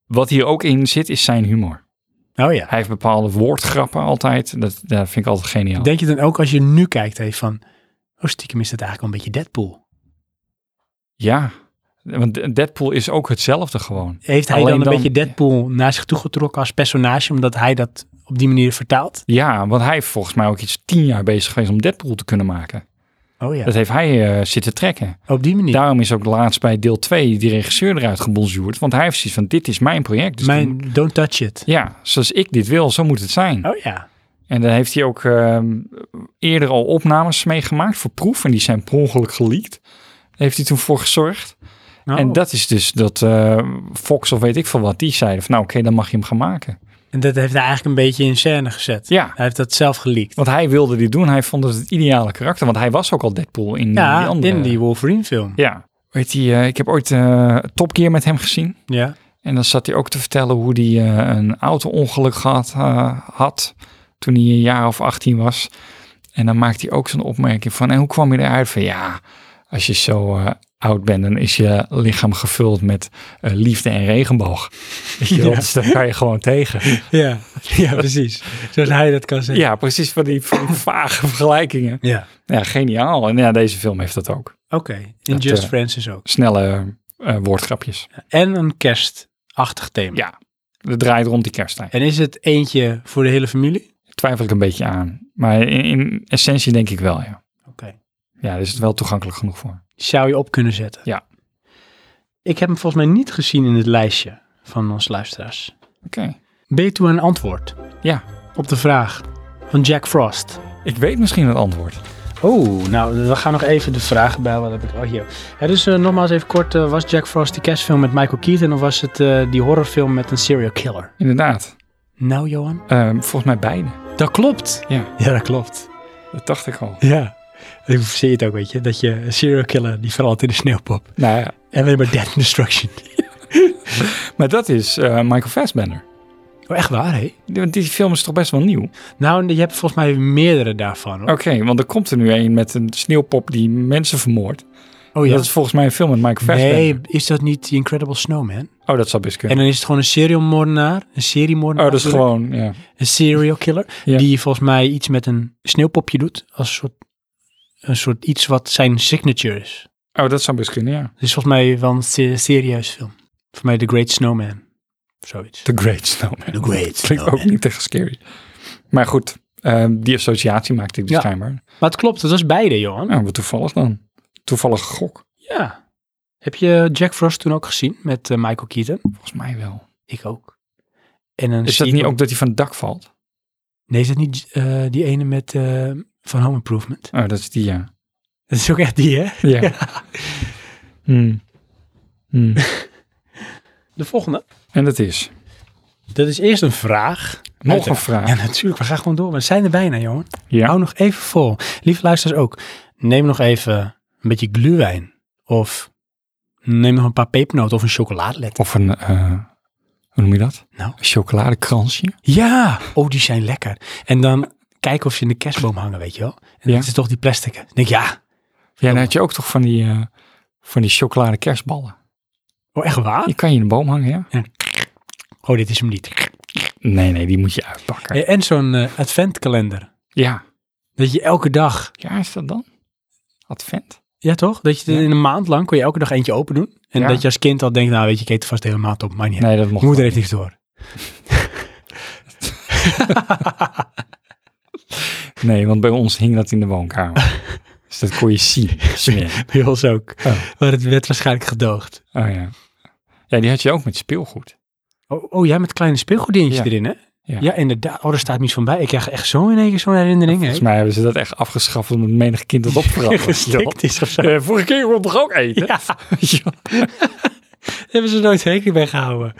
A: Wat hier ook in zit, is zijn humor.
C: Oh ja.
A: Hij heeft bepaalde woordgrappen altijd. Dat, dat vind ik altijd geniaal.
C: Denk je dan ook als je nu kijkt even van, oh stiekem is het eigenlijk wel een beetje Deadpool.
A: Ja, want Deadpool is ook hetzelfde gewoon.
C: Heeft hij
A: Alleen
C: dan een
A: dan-
C: beetje Deadpool naar zich toegetrokken als personage, omdat hij dat op die manier vertaalt?
A: Ja, want hij is volgens mij ook iets tien jaar bezig geweest om Deadpool te kunnen maken.
C: Oh ja,
A: Dat heeft hij eh, zitten trekken.
C: op die manier.
A: Daarom is ook laatst bij deel 2 die regisseur eruit gebonjourd. Want hij heeft zoiets van, dit is mijn project. Dus
C: Mijn
A: dan-
C: don't touch it.
A: ja, zoals ik dit wil, zo moet het zijn.
C: Oh ja.
A: En dan heeft hij ook ehm, eerder al opnames meegemaakt voor proef. En die zijn per ongeluk geleakt. Daar heeft hij toen voor gezorgd.
C: Oh.
A: En dat is dus dat eh, Fox of weet ik veel wat, die zeiden van nou oké, dan mag je hem gaan maken.
C: En dat heeft hij eigenlijk een beetje in scène gezet.
A: Ja.
C: Hij heeft dat zelf geleakt.
A: Want hij wilde dit doen. Hij vond het het ideale karakter. Want hij was ook al Deadpool in die
C: Ja,
A: andere.
C: in die Wolverine film.
A: Ja. Weet die, eh, ik heb ooit eh Top Gear met hem gezien.
C: Ja.
A: En dan zat hij ook te vertellen hoe hij eh, een auto-ongeluk gehad, eh, had toen hij een jaar of 18 was. En dan maakt hij ook zo'n opmerking van, en hoe kwam je eruit? Van ja, als je zo eh, oud bent, dan is je lichaam gevuld met eh, liefde en regenboog. Weet je, wel, dus daar kan je gewoon tegen.
C: Ja. ja, precies. Zoals hij dat kan zeggen.
A: Ja, precies van die, van die vage vergelijkingen.
C: Ja.
A: Ja, geniaal. En ja, deze film heeft dat ook.
C: Oké, in
A: Dat,
C: Just
A: eh,
C: Friends is ook.
A: Snelle eh, woordgrapjes.
C: En een kerstachtig thema.
A: Ja, het draait rond die kersttijd.
C: En is het eentje voor de hele familie?
A: Twijfel ik een beetje aan. Maar in, in essentie denk ik wel, ja.
C: Oké.
A: Ja, daar is het wel toegankelijk genoeg voor.
C: Zou je op kunnen zetten?
A: Ja.
C: Ik heb hem volgens mij niet gezien in het lijstje van onze luisteraars.
A: Oké.
C: Ben je toe aan een antwoord
A: Ja,
C: op de vraag van Jack Frost?
A: ik weet misschien het antwoord.
C: Oh, nou, we gaan nog even de vragen bij. Wat heb ik? Oh, hier. Ja, dus eh, nogmaals even kort. eh, was Jack Frost die kerstfilm met Michael Keaton of was het eh, die horrorfilm met een serial killer?
A: Inderdaad.
C: Nou, Johan.
A: Ehm, volgens mij beide.
C: Dat klopt.
A: Ja,
C: Ja, dat klopt.
A: dat dacht ik al.
C: Ja. Ik zie het ook, weet je. Dat je een serial killer die verandert in de sneeuwpop.
A: Nou ja,
C: En alleen maar death and destruction.
A: maar dat is eh, Michael Fassbender.
C: Oh, echt waar, hè?
A: Die, want die film is toch best wel nieuw? Oké,
C: Nou, je hebt volgens mij meerdere daarvan. Hoor.
A: want er komt er nu een met een sneeuwpop die mensen vermoordt.
C: Oh
A: Dat is volgens mij een film met Michael Fassbender.
C: Nee, is dat niet The Incredible Snowman?
A: Oh, dat zou best
C: En
A: kunnen.
C: dan is het gewoon een serial moordenaar, een seriemoordenaar.
A: oh, dat is
C: bedoel ik.
A: gewoon, ja.
C: Een serial killer,
A: Ja.
C: die volgens mij iets met een sneeuwpopje doet. Als een soort, een soort iets wat zijn signature is.
A: Oh, dat zou best kunnen, ja.
C: Het is volgens mij wel een se- serieus film. Voor mij The Great Snowman. Of zoiets.
A: The Great Snowman.
C: The Great
A: Klinkt ook niet echt scary. Maar goed, ehm, die associatie maakte ik dus
C: Ja.
A: schijnbaar.
C: Maar het klopt, het was beide, Johan.
A: Nou, wat toevallig dan. Toevallig gok.
C: Ja. Heb je Jack Frost toen ook gezien met eh, Michael Keaton?
A: Volgens mij wel.
C: Ik ook. En een
A: Is dat niet
C: sequel-
A: ook dat hij van het dak valt?
C: Nee, is dat niet eh, die ene met eh, van Home Improvement?
A: Oh, dat is die, ja.
C: Dat is ook echt die, hè?
A: Ja. Hmm. Hmm.
C: De volgende.
A: En dat is.
C: Dat is eerst een vraag.
A: Nog
C: Uiteraard.
A: een vraag.
C: Ja, natuurlijk. We gaan gewoon door. We zijn er bijna, jongen.
A: Ja.
C: Hou nog even vol. Lieve luisteraars ook. Neem nog even een beetje gluwijn. Of neem nog een paar pepernoten of een chocoladelet.
A: Of een, eh, hoe noem je dat?
C: Nou.
A: Een chocoladekransje.
C: Ja! Oh, die zijn lekker. En dan kijken of ze in de kerstboom hangen, weet je wel. En
A: Ja.
C: dat is toch die plastic. Ik denk, ja.
A: Ja, dan had je ook toch van die, eh, van die chocolade kerstballen.
C: Oh, echt waar?
A: Die kan je in de boom hangen, ja?
C: Oh, dit is hem niet.
A: Nee, nee, die moet je uitpakken. Ja.
C: En zo'n eh, adventkalender.
A: Ja,
C: Dat je elke dag
A: is dat dan? Advent?
C: Ja, toch? Dat je
A: Ja.
C: in een maand lang kon je elke dag eentje open doen. En
A: Ja.
C: dat je als kind al denkt, nou weet je, ik eet er vast de hele maand op. Maar niet. uit.
A: Nee, dat mocht
C: Mijn moeder
A: wel
C: heeft niks door.
A: niet. Nee, want bij ons hing dat in de woonkamer. dus dat kon je zien. Smeren.
C: Bij ons ook.
A: Oh.
C: Maar het werd waarschijnlijk gedoogd.
A: Oh ja. Ja, die had je ook met speelgoed.
C: Oh, oh ja, met kleine speelgoeddingetjes
A: Ja.
C: erin, hè?
A: Ja.
C: Ja. inderdaad. Oh, daar staat niets van bij. Ik krijg echt zo in één keer zo'n herinnering. hè?
A: Volgens mij hebben ze dat echt afgeschaft omdat menig kind dat opveranderd
C: Gestikt is of zo.
A: vorige keer wilde toch ook eten?
C: Ja, daar hebben ze nooit rekening mee gehouden.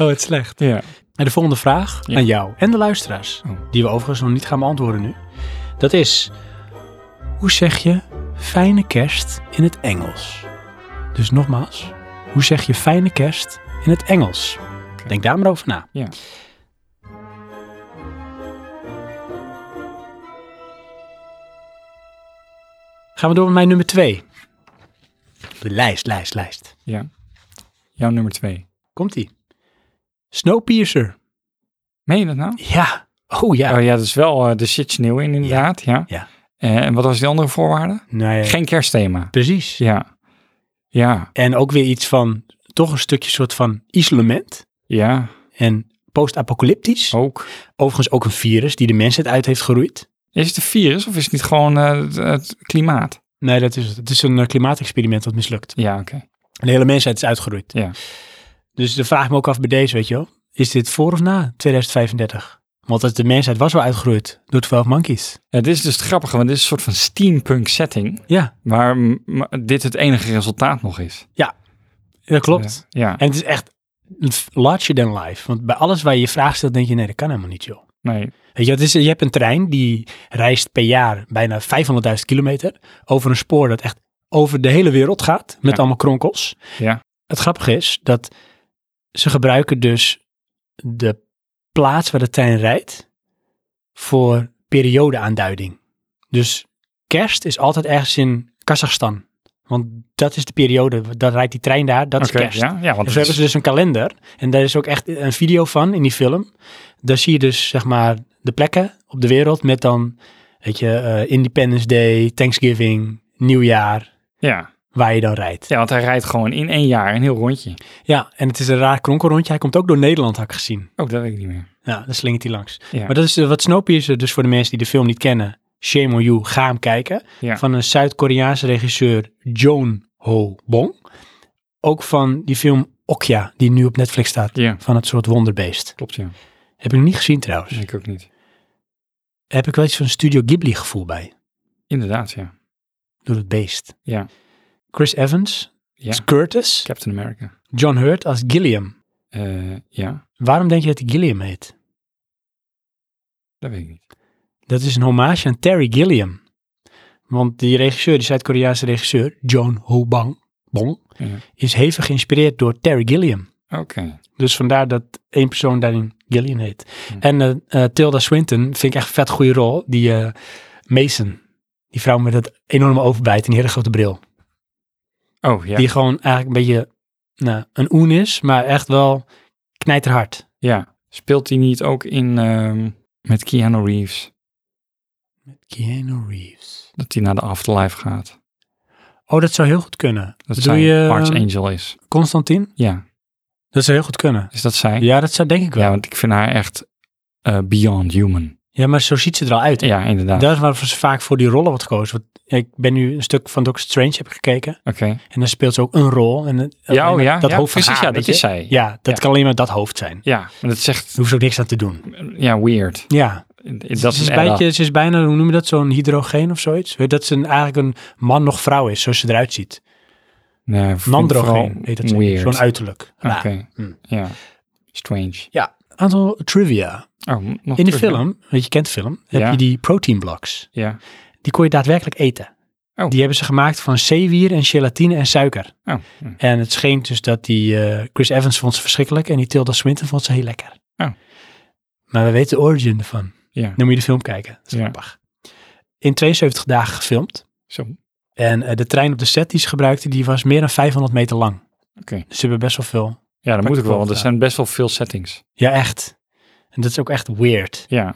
C: Oh, het is slecht.
A: ja.
C: En de volgende vraag
A: Ja.
C: aan jou en de luisteraars,
A: Oh.
C: die we overigens nog niet gaan beantwoorden nu. Dat is, Hoe zeg je fijne kerst in het Engels? Dus nogmaals, hoe zeg je fijne kerst in het Engels? Denk daar maar over na.
A: Ja.
C: Gaan we door met mijn nummer twee. De lijst, lijst, lijst.
A: Ja. Jouw nummer twee.
C: Komt-ie. Snowpiercer.
A: Meen je dat nou?
C: Ja. Oh ja.
A: Oh ja, dat is wel, eh, er zit sneeuw in inderdaad, ja.
C: Ja.
A: Eh, en wat was die andere voorwaarde?
C: Nou ja,
A: Geen kerstthema.
C: precies.
A: Ja. Ja,
C: En ook weer iets van, toch een stukje soort van isolement.
A: ja,
C: En post-apocalyptisch.
A: ook.
C: Overigens ook een virus die de mensheid uit heeft geroeid.
A: Is het een virus of is het niet gewoon eh, het, het klimaat?
C: Nee, dat is het. Het is een eh, klimaatexperiment dat mislukt.
A: Ja, oké.
C: De hele mensheid is uitgeroeid.
A: Ja.
C: Dus dan vraag ik me ook af bij deze, weet je wel. Is dit voor of na 2035? Want het- de mensheid was wel uitgeroeid door 12 monkeys.
A: Het is dus het grappige, want dit is een soort van steampunk setting,
C: Ja,
A: waar mm, m- dit het enige resultaat nog is.
C: dat klopt.
A: Ja, ja.
C: En het is echt larger than life. Want bij alles waar je je vraag stelt, denk je, nee, dat kan helemaal niet, joh.
A: nee.
C: Weet je, het is, je hebt een trein die reist per jaar bijna 500.000 kilometer over een spoor dat echt over de hele wereld gaat, met
A: Ja.
C: allemaal kronkels.
A: Ja.
C: Het grappige is dat ze gebruiken dus de plaats waar de trein rijdt voor periodeaanduiding. Dus kerst is altijd ergens in Kazachstan, want dat is de periode, dan rijdt die trein daar, dat
A: Oké,
C: is kerst.
A: ja, ja, want
C: En zo
A: het
C: hebben
A: is-
C: ze dus een kalender. En daar is ook echt een video van in die film. Daar zie je dus, zeg maar, de plekken op de wereld met dan, weet je, eh, Independence Day, Thanksgiving, Nieuwjaar,
A: ja.
C: waar je dan rijdt.
A: ja, want hij rijdt gewoon in één jaar een heel rondje.
C: Ja, en het is een raar kronkelrondje. Hij komt ook door Nederland, had ik gezien.
A: Ook dat weet ik niet meer.
C: Ja, daar slingert hij langs.
A: Ja.
C: Maar dat is eh, wat Snowpiercer, dus voor de mensen die de film niet kennen, shame on you, ga hem kijken.
A: Ja.
C: Van een Zuid-Koreaanse regisseur, Joon Ho Bong. Ook van die film Okja, die nu op Netflix staat.
A: Ja,
C: Van het soort wonderbeest.
A: klopt ja. Dus
C: Heb ik nog niet gezien trouwens.
A: Ik ook niet.
C: Heb ik wel iets van Studio Ghibli gevoel bij.
A: Inderdaad, ja.
C: Door het beest.
A: Ja.
C: Chris Evans
A: Ja.
C: als Curtis.
A: Captain America.
C: John Hurt als Gilliam.
A: Eh, ja,
C: Waarom denk je dat hij Gilliam heet?
A: dat weet ik niet.
C: Dat is een hommage aan Terry Gilliam. Want die regisseur, die Zuid-Koreaanse regisseur, John Ho Bang, Bong,
A: Ja.
C: is hevig geïnspireerd door Terry Gilliam.
A: Oké.
C: Dus vandaar dat één persoon daarin Gilliam heet.
A: Hm.
C: En eh, eh, Tilda Swinton vind ik echt een vet goede rol. Die eh, Mason, die vrouw met dat enorme overbijt en die hele grote bril.
A: Oh, ja.
C: Die gewoon eigenlijk een beetje nou, een oen is, maar echt wel knijterhard.
A: Ja. Speelt hij niet ook in ehm, met Keanu Reeves?
C: Keanu Reeves.
A: Dat hij naar de afterlife gaat.
C: Oh, dat zou heel goed kunnen.
A: Dat
C: Bedoel
A: zij
C: je eh, ehm,
A: Archangel is.
C: Constantine?
A: Ja.
C: Dat zou heel goed kunnen.
A: Is dat zij?
C: Ja, dat zou denk ik wel.
A: Ja,
C: Ja,
A: want ik vind haar echt eh, beyond human.
C: maar zo ziet ze er al uit.
A: Ja, inderdaad.
C: Daar is waarvoor ze vaak voor die rollen wordt gekozen. Want ik ben nu een stuk van Doctor Strange heb ik gekeken.
A: Oké.
C: En daar speelt ze ook een rol. En het-
A: Ja,
C: alleen
A: oh
C: maar
A: ja,
C: dat
A: ja,
C: hoofd van
A: precies,
C: haar,
A: ja, dat
C: weet je.
A: is zij.
C: Ja, dat
A: Ja.
C: kan alleen maar dat hoofd zijn. Daar
A: Ja, maar dat zegt,
C: hoeft ze ook niks aan te doen.
A: ja, weird.
C: Ja,
A: Dat
C: ze, is
A: Dus is
C: een
A: Ella.
C: beetje, ze is bijna, hoe noem je dat, zo'n hydrogeen of zoiets? Weet je, Dat ze een, eigenlijk een man nog vrouw is, zoals ze eruit ziet.
A: Nee, ik vind het
C: Nandrogeen
A: vooral
C: heet dat zeker.
A: Weird.
C: Zo'n uiterlijk.
A: Oké.
C: Raar. Hm.
A: Hm. Ja. Strange.
C: Aantal trivia.
A: Oh, nog
C: In de
A: terug, hè?
C: film, want je kent de film, heb
A: Ja.
C: je die protein blocks.
A: Ja.
C: Die kon je daadwerkelijk eten.
A: Oh.
C: Die hebben ze gemaakt van zeewier en gelatine en suiker.
A: Oh, hm.
C: En het scheen dus dat die eh, Chris Evans vond ze verschrikkelijk en die Tilda Swinton vond ze heel lekker.
A: Oh.
C: Maar we weten de origin ervan.
A: ja.
C: Dan moet je de film kijken. Dat
A: Ja.
C: is grappig. In 72 dagen gefilmd.
A: Zo. Oké.
C: En eh, de trein op de set die ze gebruikten, die was meer dan 500 meter lang. Dus ze hebben best wel veel
A: Ja, dat moet ik wel, want er
C: Ja.
A: zijn best wel veel settings.
C: Ja, echt. En dat is ook echt weird.
A: Ja.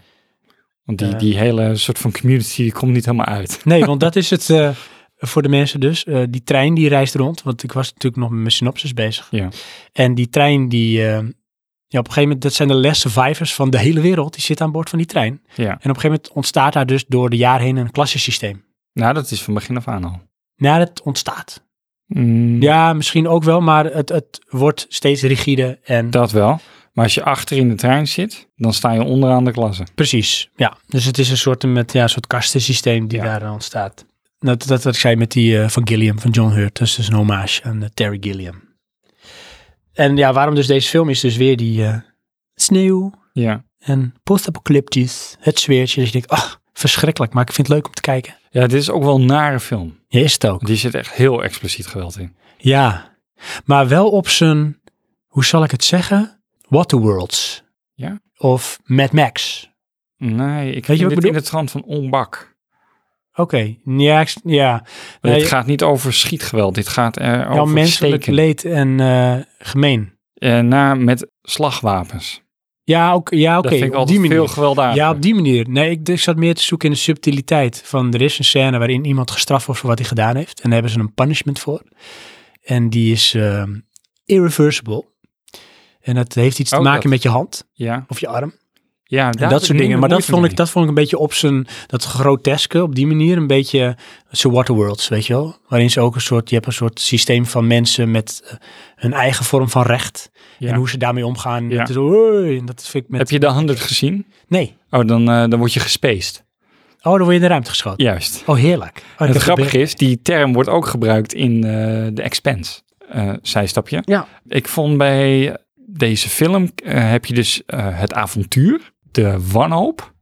A: Want die,
C: Eh.
A: die hele soort van community die komt niet helemaal uit.
C: Nee, want dat is het eh, voor de mensen dus. Eh, die trein die reist rond, want ik was natuurlijk nog met mijn synopsis bezig.
A: Ja.
C: En die trein die, eh, ja, op een gegeven moment, dat zijn de last survivors van de hele wereld. Die zitten aan boord van die trein.
A: Ja.
C: En op een gegeven moment ontstaat daar dus door de jaren heen een klassensysteem.
A: Nou, dat is van begin af aan al.
C: Nou, dat ontstaat.
A: Mm,
C: Ja, misschien ook wel, maar het, het wordt steeds rigide en...
A: Dat wel. Maar als je achter in de trein zit, dan sta je onderaan de klasse.
C: Precies, ja. Dus het is een soort, met, ja, een soort kastensysteem die
A: Ja.
C: daar ontstaat. Dat, dat wat ik zei met die eh, van Gilliam, van John Hurt. Dat is dus een hommage aan eh, Terry Gilliam. En ja, waarom dus deze film is dus weer die eh, sneeuw
A: Ja.
C: en post-apocalyptisch. Het zweertje dat je denkt, ach, verschrikkelijk, maar ik vind het leuk om te kijken.
A: Ja, dit is ook wel een nare film.
C: Ja, is het ook.
A: Die zit echt heel expliciet geweld in.
C: Ja, maar wel op zijn, hoe zal ik het zeggen? Waterworlds.
A: Ja.
C: of Mad Max.
A: Nee, ik
C: wat
A: vind dit
C: ik bedoel?
A: in de trant van onbak.
C: Oké, ja, ik s- ja. Nee,
A: dit gaat niet over schietgeweld. Dit gaat eh,
C: jouw
A: over
C: menselijk
A: steken.
C: leed en eh, gemeen.
A: Eh, na met slagwapens.
C: Ja, ook, ja oké,
A: dat vind ik
C: op die
A: altijd
C: manier.
A: veel gewelddadig.
C: Ja, op die manier. Nee, ik, ik zat meer te zoeken in de subtiliteit. Van er is een scène waarin iemand gestraft wordt voor wat hij gedaan heeft. En daar hebben ze een punishment voor. En die is ehm, irreversible. En dat heeft iets te
A: Oh,
C: maken
A: dat.
C: met je hand
A: ja.
C: of je arm.
A: ja
C: En dat soort dingen. Maar dat vond, ik, dat vond ik een beetje op zijn, dat groteske, op die manier een beetje zo Waterworlds, weet je wel. Waarin ze ook een soort, je hebt een soort systeem van mensen met eh, hun eigen vorm van recht.
A: Ja.
C: En hoe ze daarmee omgaan.
A: Ja.
C: Het is, "Oei", en dat vind ik met,
A: Heb je de 100 gezien?
C: nee.
A: Oh, dan, eh, dan word je gespaced.
C: Oh, dan word je in de ruimte geschoten.
A: Juist.
C: Oh, heerlijk. Oh,
A: En
C: dat
A: het grappige
C: gebeurt.
A: is, die term wordt ook gebruikt in eh, de The Expanse. eh, zijstapje.
C: Ja.
A: Ik vond bij deze film eh, heb je dus eh, het avontuur, de wanhoop,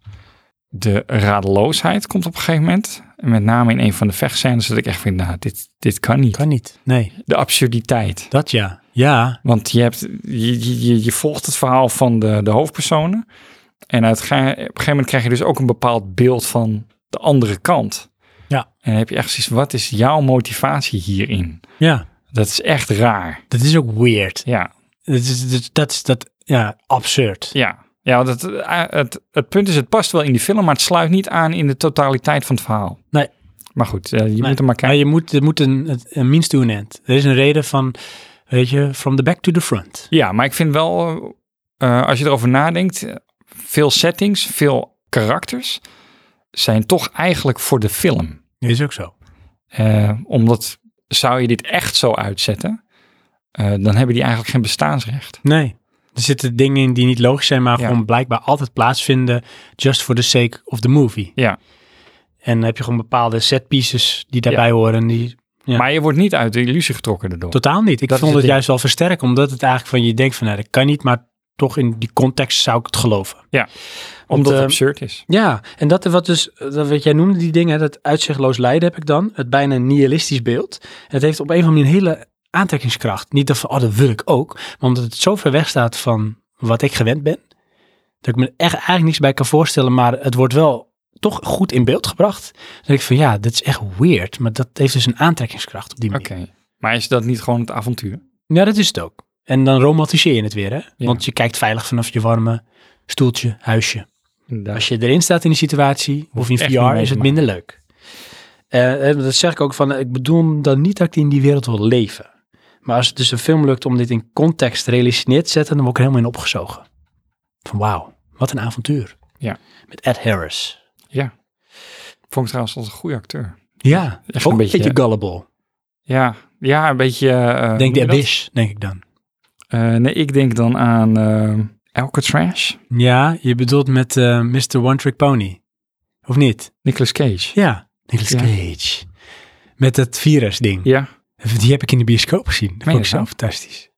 A: de radeloosheid komt op een gegeven moment. En met name in een van de vechtscènes dat ik echt vind, nou, dit, dit kan niet.
C: Kan niet. Nee,
A: De absurditeit.
C: dat ja. Ja,
A: Want je, hebt, je, je- je, je volgt het verhaal van de, de hoofdpersonen. En uit, op een gegeven moment krijg je dus ook een bepaald beeld van de andere kant.
C: Ja.
A: En dan heb je echt zoiets, wat is jouw motivatie hierin?
C: ja.
A: Dat is echt raar.
C: Dat is ook weird.
A: Ja,
C: Dat is, dat, dat is dat, ja, absurd.
A: ja. Ja, want het, eh, het, het punt is, het past wel in die film, maar het sluit niet aan in de totaliteit van het verhaal.
C: Nee.
A: Maar goed, eh, je
C: Nee.
A: moet er maar
C: Maar
A: kijken.
C: je moet, er moet een, het- een means to an end. Er is een reden van, weet je, from the back to the front.
A: Ja, maar ik vind wel, eh, eh, als je erover nadenkt, eh, veel settings, veel karakters zijn toch eigenlijk voor de film.
C: Dat is ook zo.
A: Eh, omdat zou je dit echt zo uitzetten, eh, dan hebben die eigenlijk geen bestaansrecht.
C: Nee. Er zitten dingen in die niet logisch zijn, maar
A: Ja.
C: gewoon blijkbaar altijd plaatsvinden. Just for the sake of the movie.
A: Ja.
C: En dan heb je gewoon bepaalde setpieces die daarbij horen. en Die, Ja.
A: Maar je wordt niet uit de illusie getrokken daardoor.
C: totaal niet. Ik
A: Dat is het
C: vond het
A: ding.
C: juist wel versterken, omdat het eigenlijk van je denkt van, nou, dat kan niet, maar toch in die context zou ik het geloven.
A: omdat het
C: eh,
A: absurd is.
C: Ja, en dat wat dus, dat wat jij noemde, die dingen, dat uitzichtloos lijden heb ik dan, het bijna nihilistisch beeld. En het heeft op een of andere manier een hele aantrekkingskracht. Niet dat van, oh, dat wil ik ook, maar omdat het zo ver weg staat van wat ik gewend ben, dat ik me echt eigenlijk niks bij kan voorstellen, maar het wordt wel toch goed in beeld gebracht. Dan denk ik van, ja, dit is echt weird, maar dat heeft dus een aantrekkingskracht op die manier.
A: Oké. Maar is dat niet gewoon het avontuur?
C: Ja, dat is het ook. En dan romantiseer je het weer, hè?
A: Ja.
C: Want je kijkt veilig vanaf je warme stoeltje, huisje.
A: Inderdaad.
C: Als je erin staat in die situatie, of in
A: echt
C: VR,
A: niet mee
C: is
A: te
C: het minder leuk. Eh, eh, dat zeg ik ook van, eh, ik bedoel dan niet dat ik in die wereld wil leven. Maar als het dus een film lukt om dit in context realistisch neer te zetten, dan word ik er helemaal in opgezogen. Van wauw, wat een avontuur.
A: Ja.
C: Met Ed Harris.
A: Ja. Vond ik trouwens als een goede acteur.
C: Ja,
A: Echt
C: ook
A: een
C: een
A: beetje-
C: beetje, gullible.
A: Ja, ja een beetje... eh,
C: Denk de
A: hoe noem je dat?
C: Abyss, denk ik dan.
A: Eh, nee, ik denk dan aan eh Alcatraz,
C: Ja, je bedoelt met eh, Mr. One Trick Pony. Of niet?
A: Nicolas Cage.
C: Ja, Nicolas
A: Ja.
C: Cage. Met dat virus ding.
A: Ja.
C: Die heb ik in de bioscoop gezien. Dat
A: Meen
C: vond
A: je
C: ik zo
A: dat?
C: fantastisch.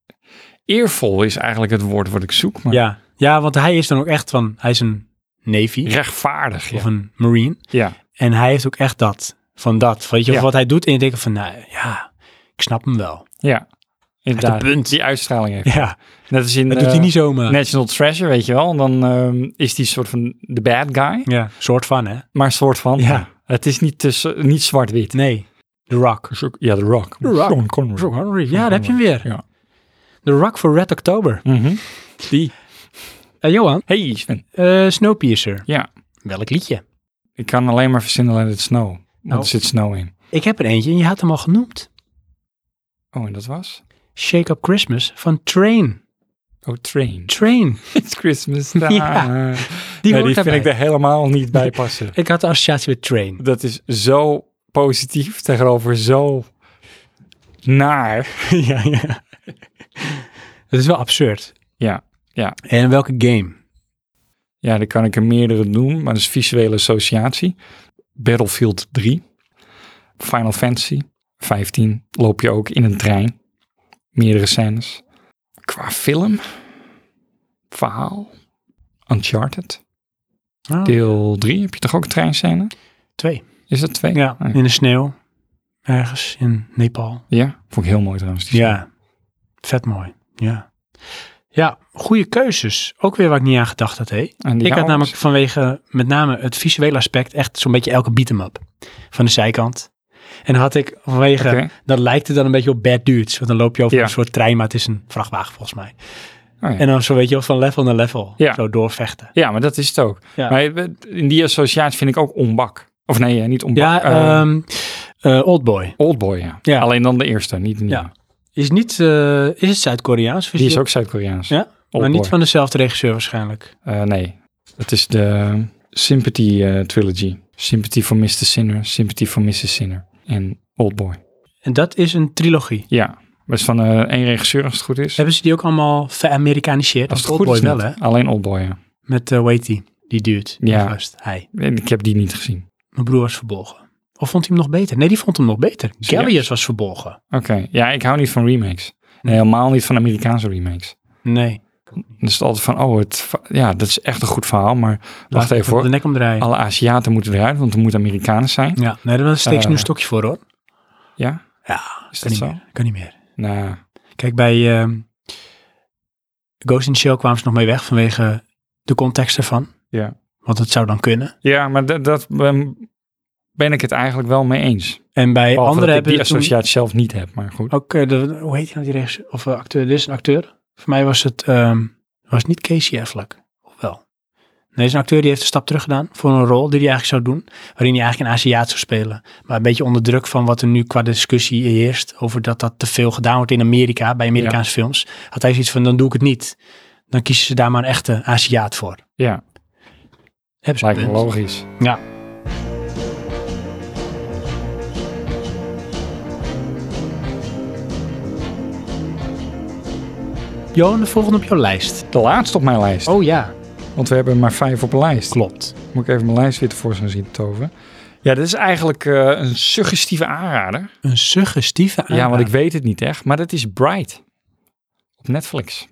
A: Eervol is eigenlijk het woord wat ik zoek, maar
C: Ja. ja, want hij is dan ook echt van, hij is een Navy
A: rechtvaardig.
C: of
A: Ja.
C: een Marine.
A: ja.
C: En hij heeft ook echt dat, van dat. Weet je,
A: Ja.
C: wat hij doet en je denkt van, nou ja, ik snap hem wel.
A: Ja. Inderdaad.
C: punt.
A: Die uitstraling heeft.
C: Ja,
A: Net als in...
C: dat doet
A: eh,
C: hij niet zomaar.
A: National Treasure, weet je wel. En dan ehm, is die soort van de bad guy.
C: Ja, soort van hè.
A: Maar een soort van.
C: Ja.
A: Het is niet, tussen, niet zwart-wit.
C: Nee, The Rock.
A: Is ook- Ja, The Rock.
C: The Rock.
A: Sean Connery.
C: Ja, daar heb je hem weer.
A: Ja.
C: The Rock voor Red October.
A: Mhm. Die.
C: Eh, Johan,
A: Hey Sven.
C: eh, Snowpiercer.
A: Ja.
C: Welk liedje?
A: Ik kan alleen maar verzinnen Let It Snow. Want
C: Nou.
A: er zit snow in.
C: Ik heb er eentje en je had hem al genoemd.
A: Oh, en dat was?
C: Shake Up Christmas van Train.
A: Oh, Train.
C: Train.
A: It's Christmas time.
C: Ja,
A: die, nee,
C: hoort
A: die vind
C: daarbij.
A: ik er helemaal niet bij passen.
C: Ik had de associatie met Train.
A: dat is zo positief tegenover zo naar.
C: ja, ja. Dat is wel absurd.
A: Ja, ja.
C: En welke game?
A: Ja, dan kan ik er meerdere doen, maar dat is visuele associatie. Battlefield 3, Final Fantasy 15, loop je ook in een trein. Meerdere scènes. Qua film, verhaal, Uncharted,
C: Ah,
A: Deel 3 heb je toch ook een treinscène?
C: Twee.
A: Is dat twee?
C: Ja,
A: Ah,
C: in de sneeuw. Ergens in Nepal.
A: ja. Vond ik heel mooi trouwens. die
C: Ja, vet mooi. Ja. Ja, goede keuzes. Ook weer waar ik niet aan gedacht had, hé.
A: scène. En die
C: Ik
A: ouders.
C: had namelijk vanwege met name het visuele aspect echt zo'n beetje elke beat 'em up van de zijkant. En had ik vanwege,
A: Oké.
C: dat lijkt het dan een beetje op Bad Dudes, want dan loop je over
A: Ja.
C: een soort trein, maar het is een vrachtwagen volgens mij.
A: Oh ja.
C: En dan zo weet je wel, van level naar level,
A: Ja.
C: zo doorvechten.
A: Ja, maar dat is het ook.
C: Ja.
A: Maar in die associatie vind ik ook onbak. Of nee, eh, niet onbak.
C: Ja,
A: eh,
C: ehm, eh, Oldboy.
A: Oldboy, ja.
C: ja.
A: Alleen dan de eerste, niet de nieuwe.
C: Ja. Is, niet, eh, is het Zuid-Koreaans?
A: Die is ook Zuid-Koreaans.
C: Ja, maar
A: Oldboy.
C: niet van dezelfde regisseur waarschijnlijk.
A: Eh, nee, dat is de Sympathy eh, Trilogy. Sympathy for Mr. Sinner, Sympathy for Mrs. Sinner en Oldboy.
C: En dat is een trilogie.
A: Ja, dat is van eh één regisseur als het goed is.
C: Hebben ze die ook allemaal ver-Amerikaniseerd?
A: Als het
C: Want
A: goed is
C: Oldboy wel,
A: niet.
C: hè?
A: Alleen Oldboy, ja.
C: Met uh, die, die duurt.
A: Ja.
C: Ja. Gast, hij.
A: En Ik heb die niet gezien.
C: Mijn broer was verbolgen. Of vond hij hem nog beter? Nee, die vond hem nog beter. Gallius was verbolgen.
A: Oké, ja, ik hou niet van remakes.
C: Hm.
A: En helemaal niet van Amerikaanse remakes.
C: Nee.
A: Dan is het altijd van, oh, het, va- ja, dat is echt een goed verhaal, maar wacht even
C: De
A: hoor.
C: nek omdraaien.
A: Alle Aziaten moeten eruit, want er moeten Amerikanen zijn.
C: Ja, nee, daar steek ze nu
A: Eh,
C: een stokje voor hoor.
A: Ja?
C: Ja,
A: Is dat
C: kan niet,
A: zo?
C: meer. kan niet meer.
A: Nou,
C: Kijk, bij ehm, Ghost in the Shell kwamen ze nog mee weg vanwege de context ervan.
A: Ja.
C: Want het zou dan kunnen.
A: ja, maar dat, dat ben, ben ik het eigenlijk wel mee eens.
C: En bij
A: Behalve dat Oh,
C: anderen
A: ik
C: hebben
A: die
C: toen-
A: associatie zelf niet heb, maar goed.
C: Ook, eh, de, hoe heet hij nou die regisseur? Of eh, acteur, dit is een acteur. Voor mij was het, ehm, was het niet Casey Affleck. Of wel? Nee, het is een acteur die heeft een stap terug gedaan voor een rol die hij eigenlijk zou doen. Waarin hij eigenlijk een Aziat zou spelen. Maar een beetje onder druk van wat er nu qua discussie heerst. Over dat dat te veel gedaan wordt in Amerika, bij Amerikaanse films. Had hij zoiets van, dan doe ik het niet. Dan kiezen ze daar maar een echte Aziat voor.
A: Ja,
C: Hebben ze een
A: lijkt me
C: punt.
A: logisch.
C: Ja. Johan, de volgende op jouw lijst.
A: De laatste op mijn lijst.
C: Oh ja,
A: Want we hebben maar vijf op de lijst.
C: klopt.
A: Moet ik even mijn lijst weer tevoorschijn zien toven. Ja, dit is eigenlijk eh, een suggestieve aanrader.
C: Een suggestieve aanrader.
A: Ja, want ik weet het niet echt. Maar dat is Bright. Op Netflix.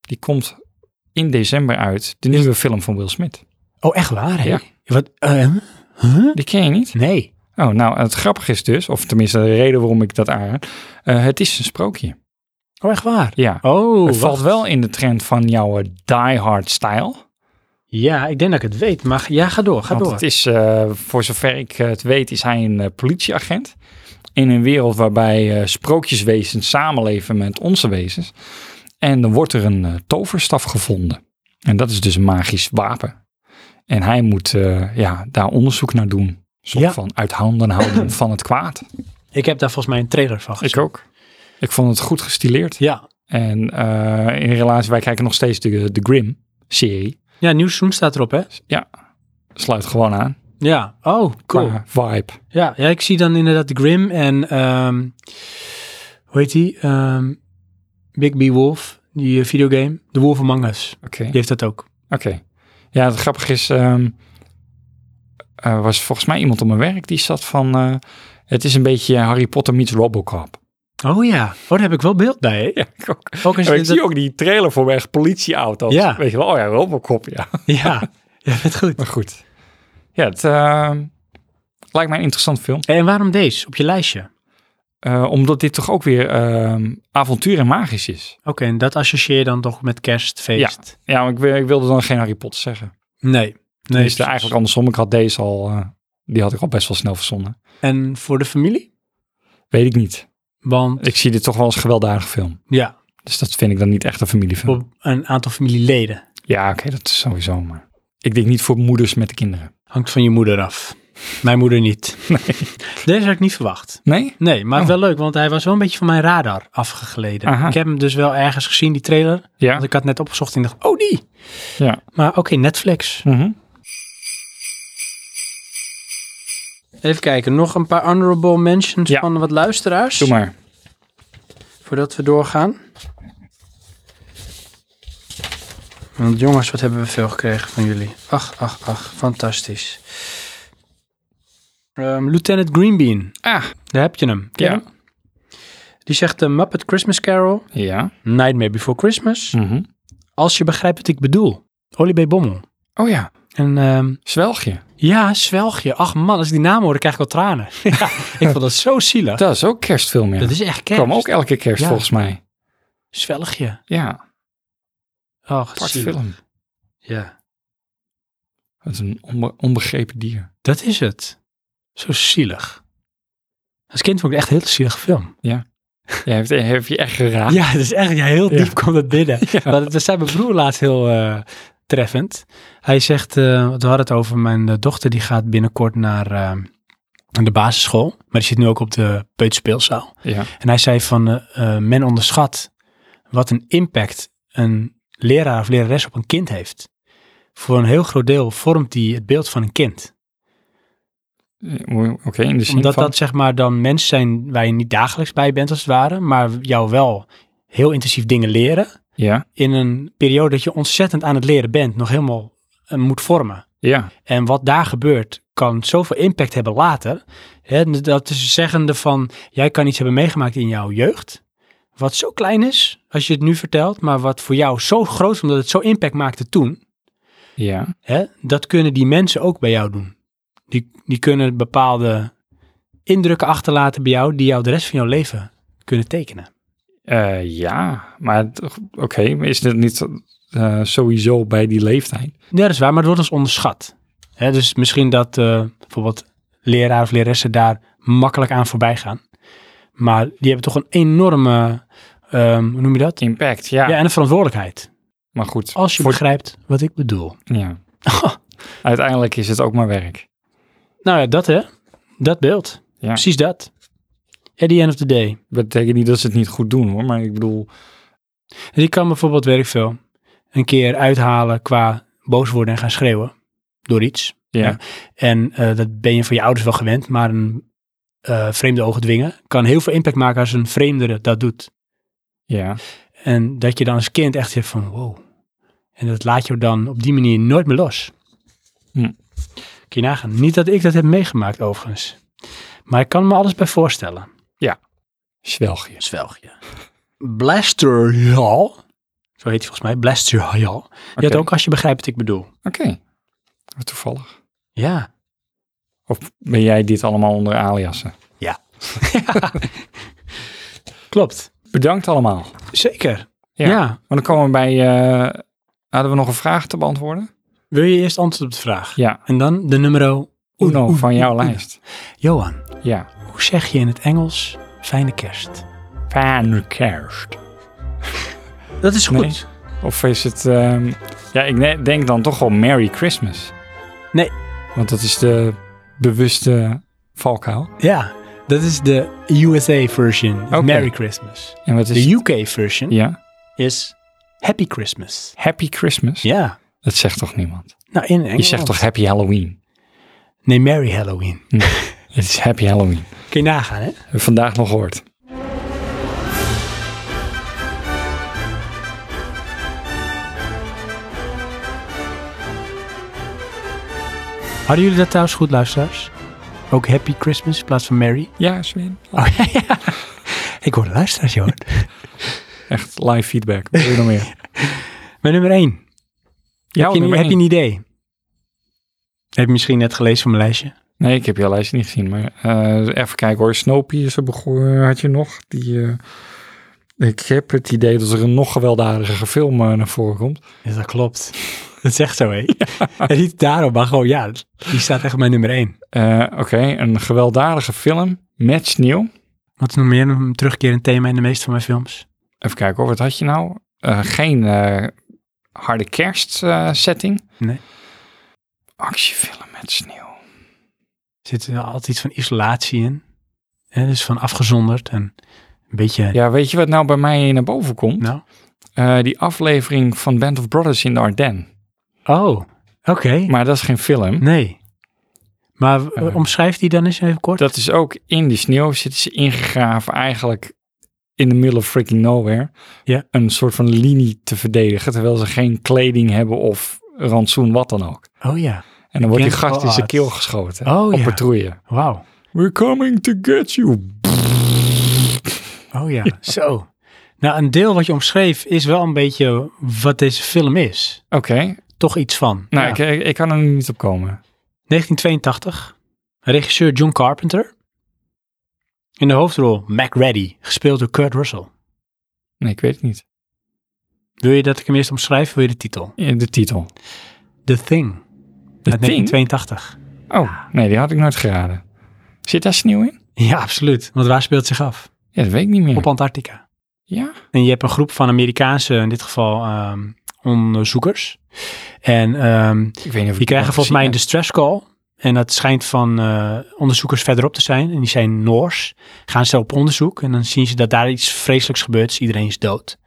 A: Die komt in december uit. De nieuwe film van Will Smith.
C: Oh, echt waar, hè?
A: Ja.
C: Wat, eh, huh?
A: Die ken je niet?
C: Nee.
A: Oh, nou, het grappige is dus, of tenminste de reden waarom ik dat aanraad. eh, het is een sprookje.
C: Oh, echt waar?
A: Ja.
C: Oh,
A: het valt
C: wacht.
A: wel in de trend van jouw eh, die-hard stijl.
C: Ja, ik denk dat ik het weet, maar ja, ga door, ga
A: Want
C: door.
A: het is, eh, voor zover ik eh, het weet, is hij een eh, politieagent. In een wereld waarbij eh, sprookjeswezens samenleven met onze wezens. En dan wordt er een eh, toverstaf gevonden. En dat is dus een magisch wapen. En hij moet eh, ja, daar onderzoek naar doen. Een soort
C: Ja.
A: van uit handen houden van het kwaad.
C: Ik heb daar volgens mij een trailer van gezien.
A: ook. Ik vond het goed gestileerd.
C: Ja.
A: En eh, in relatie, wij kijken nog steeds de, de Grim-serie.
C: Ja, nieuw seizoen staat erop, hè?
A: Sluit gewoon aan.
C: Ja. Oh, cool.
A: Qua Vibe.
C: Ja, ja, ik zie dan inderdaad de Grim en ehm, hoe heet die? Ehm, Big B Wolf, die eh, videogame. De Wolf Among Us,
A: Oké.
C: die heeft dat ook.
A: Oké. Ja, het grappige is, ehm, er was volgens mij iemand op mijn werk die zat van, eh, het is een beetje Harry Potter meets Robocop.
C: Oh ja, oh, daar heb ik wel beeld bij. hè?
A: Ja, ik ook.
C: Ook als
A: En
C: je
A: ik
C: dat-
A: zie ook die trailer voor weg, politieauto's.
C: Ja.
A: Weet je wel, oh ja, Robocop, ja.
C: Ja, ja, vet goed.
A: Maar goed. Ja, het ehm, lijkt mij een interessant film.
C: En waarom deze op je lijstje? Oké,
A: Eh, omdat dit toch ook weer ehm, avontuur en magisch is.
C: en dat associeer je dan toch met kerstfeest?
A: Ja, maar ik, wil- ik wilde dan geen Harry Potter zeggen.
C: Nee. Nee,
A: Nee, is het eigenlijk andersom. Ik had deze al, eh, die had ik al best wel snel verzonnen.
C: En voor de familie?
A: Weet ik niet.
C: Want
A: Ik zie dit toch wel als een gewelddadige film.
C: ja,
A: Dus dat vind ik dan niet echt een familiefilm.
C: voor een aantal familieleden.
A: Ja, oké, dat is sowieso maar. Ik denk niet voor moeders met de kinderen.
C: Hangt van je moeder af. Mijn moeder niet. Deze had ik niet verwacht.
A: Nee?
C: Nee, maar
A: Oh.
C: wel leuk, want hij was wel een beetje van mijn radar afgegleden.
A: Aha.
C: Ik heb hem dus wel ergens gezien, die trailer.
A: Ja.
C: Want ik had net opgezocht en dacht, oh die.
A: Ja.
C: Maar oké, Netflix.
A: Mhm.
C: Even kijken, nog een paar honorable mentions
A: Ja.
C: van wat luisteraars.
A: Doe maar.
C: Voordat we doorgaan. Want jongens, wat hebben we veel gekregen van jullie. Ach, ach, ach, fantastisch. Ehm, Lieutenant Greenbean,
A: Ah,
C: daar heb je hem. Ken je
A: ja.
C: hem? Die zegt de Muppet Christmas Carol,
A: Ja.
C: Nightmare Before Christmas.
A: Mhm.
C: Als je begrijpt wat ik bedoel. Olly B. Bommel.
A: Oh ja.
C: En ehm,
A: Zwelgje.
C: ja, zwelgje. Ach man, als ik die naam hoor, dan krijg ik al tranen. ja, ik vond dat zo zielig.
A: Dat is ook kerstfilm, ja.
C: Dat is echt kerst.
A: kwam ook elke kerst
C: Ja.
A: volgens mij.
C: Zwelgje.
A: Ja,
C: Oh,
A: apart
C: zielig.
A: film.
C: Ja.
A: Dat is een onbe- onbegrepen dier.
C: Dat is het. Zo zielig. Als kind vond ik het echt een heel zielige film.
A: Jij heeft, heb je echt geraakt.
C: Ja, dat is echt ja, heel diep
A: Ja.
C: kwam dat binnen.
A: Ja.
C: Maar dat dat zei mijn broer laatst heel eh, treffend. Hij zegt, eh, want we hadden het over mijn eh, dochter, die gaat binnenkort naar eh, de basisschool. Maar die zit nu ook op de peuterspeelzaal.
A: Ja.
C: En hij zei van, eh, eh, men onderschat wat een impact een leraar of lerares op een kind heeft. Voor een heel groot deel vormt die het beeld van een kind.
A: Eh, Oké, in de zin
C: Omdat
A: van...
C: dat zeg maar dan mensen zijn waar je niet dagelijks bij bent als het ware. Maar jou wel heel intensief dingen leren
A: Ja,
C: in een periode dat je ontzettend aan het leren bent, nog helemaal eh, moet vormen.
A: ja,
C: En wat daar gebeurt, kan zoveel impact hebben later. Hè, dat is zeggende van, jij kan iets hebben meegemaakt in jouw jeugd, wat zo klein is, als je het nu vertelt, maar wat voor jou zo groot is, omdat het zo impact maakte toen.
A: ja.
C: Hè, dat kunnen die mensen ook bij jou doen. Die, die kunnen bepaalde indrukken achterlaten bij jou, die jou de rest van jouw leven kunnen tekenen.
A: Eh, ja, maar toch- oké, maar is dit niet eh, sowieso bij die leeftijd?
C: Ja, dat is waar, maar het wordt ons onderschat. Hè, dus misschien dat eh, bijvoorbeeld leraar of leraressen daar makkelijk aan voorbij gaan. Maar die hebben toch een enorme, ehm, hoe noem je dat?
A: Impact, ja. Oh.
C: Ja, en een verantwoordelijkheid.
A: Maar goed,
C: Als je begrijpt wat ik bedoel.
A: ja. uiteindelijk is het ook maar werk.
C: Nou ja, dat hè. Dat beeld.
A: Ja.
C: Precies dat. At the end of the day.
A: Dat betekent niet dat ze het niet goed doen hoor, maar ik bedoel,
C: En die kan bijvoorbeeld, weet Dus ik veel, een keer uithalen qua boos worden en gaan schreeuwen. Door iets.
A: ja.
C: Ja. En eh, dat ben je van je ouders wel gewend, maar een eh, vreemde ogen dwingen kan heel veel impact maken als een vreemdere dat doet.
A: ja.
C: En dat je dan als kind echt zegt van wow. En dat laat je dan op die manier nooit meer los.
A: Hm.
C: Kun je nagaan. Niet dat ik dat heb meegemaakt overigens. Maar ik kan me alles bij voorstellen.
A: Zwelgje.
C: Zwelgje. Blaster Hall. Zo heet hij volgens mij. Blaster Hall. Je had
A: Oké.
C: ook als je begrijpt wat ik bedoel.
A: Oké, Wat toevallig.
C: Ja.
A: Of ben jij dit allemaal onder aliasen?
C: Klopt.
A: Bedankt allemaal.
C: Zeker.
A: Ja.
C: ja.
A: Maar dan komen we bij, eh, hadden we nog een vraag te beantwoorden?
C: Wil je eerst antwoord op de vraag?
A: Ja,
C: En dan de nummer
A: Uno van jouw lijst.
C: Johan,
A: Ja.
C: hoe zeg je in het Engels fijne kerst?
A: Fijne kerst.
C: Dat is
A: goed. Of is het... ehm, ja, ik ne- denk dan toch wel Merry Christmas.
C: Nee.
A: Want dat is de bewuste valkuil.
C: Ja, dat is de USA version.
A: Oké.
C: Merry Christmas.
A: En wat is...
C: De UK version
A: ja,
C: is Happy Christmas.
A: Happy Christmas.
C: Ja.
A: Dat zegt toch niemand?
C: Nou, in Engels.
A: Je zegt toch Happy Halloween?
C: Nee, Merry Halloween.
A: Het is Happy Halloween.
C: Kun je nagaan, hè?
A: Hebben we vandaag nog gehoord.
C: Hadden jullie dat trouwens goed, luisteraars? Ook Happy Christmas in plaats van Merry?
A: Ja, Sven.
C: Oh, ja, ja. Ik hoor de luisteraars, Johan.
A: Echt live feedback. Wat wil je nog meer?
C: Mijn nummer 1.
A: Jouw
C: heb, je,
A: nummer
C: heb je
A: één.
C: een idee? Heb je misschien net gelezen van mijn lijstje?
A: Nee, ik heb jouw lijstje niet gezien. Maar eh, even kijken hoor. Snowpiercer begon, had je nog. Die, eh, ik heb het idee dat er een nog gewelddadigere film eh, naar voren komt.
C: Ja, dat klopt. Dat zegt zo, hé. En niet daarom, maar gewoon, ja, die staat echt op mijn nummer één.
A: Eh, Oké, een gewelddadige film met sneeuw.
C: Wat is nog meer een terugkerend thema in de meeste van mijn films?
A: Even kijken hoor, wat had je nou? Eh, geen eh, harde kerst eh, setting.
C: Nee.
A: Actiefilm met sneeuw.
C: Er zit wel altijd iets van isolatie in. Hè, dus van afgezonderd en een beetje...
A: Ja, weet je wat nou bij mij naar boven komt?
C: Nou?
A: Eh, die aflevering van Band of Brothers in de Ardennen.
C: Oh, oké. Oh.
A: Maar dat is geen film.
C: Nee. Maar w-
A: Eh.
C: omschrijf die dan eens even kort.
A: Dat is ook in de sneeuw zitten ze ingegraven eigenlijk in de middle of freaking nowhere.
C: Ja.
A: Een soort van linie te verdedigen, terwijl ze geen kleding hebben of rantsoen, wat dan ook.
C: Oh ja.
A: En dan wordt die
C: ken het
A: gast in
C: wel
A: zijn
C: uit.
A: keel geschoten.
C: Oh,
A: op
C: ja.
A: patrouille.
C: Wauw.
A: We're coming to get you.
C: Oh ja. Zo. Nou, een deel wat je omschreef is wel een beetje wat deze film is.
A: Oké,
C: toch iets van.
A: Nou,
C: Ja.
A: ik, ik, ik kan er nu niet op komen.
C: 1982, regisseur John Carpenter. In de hoofdrol Mac Reddy, gespeeld door Kurt Russell.
A: Nee, ik weet het niet.
C: Wil je dat ik hem eerst omschrijf? Wil je de titel?
A: Eh, De titel.
C: The Thing.
A: De
C: uit
A: Thing?
C: 1982.
A: Oh, nee, die had ik nooit geraden. Zit daar sneeuw in?
C: Ja, absoluut. Want waar speelt het zich af?
A: Ja, dat weet ik niet meer.
C: Op Antarctica.
A: Ja?
C: En je hebt een groep van Amerikaanse, in dit geval ehm, onderzoekers. En ehm,
A: Ik weet niet of ik
C: die krijgen
A: dat
C: volgens mij een
A: gezien
C: distress call. En dat schijnt van eh, onderzoekers verderop te zijn. En die zijn Noors. Gaan ze op onderzoek. En dan zien ze dat daar iets vreselijks gebeurt. Dus iedereen is dood.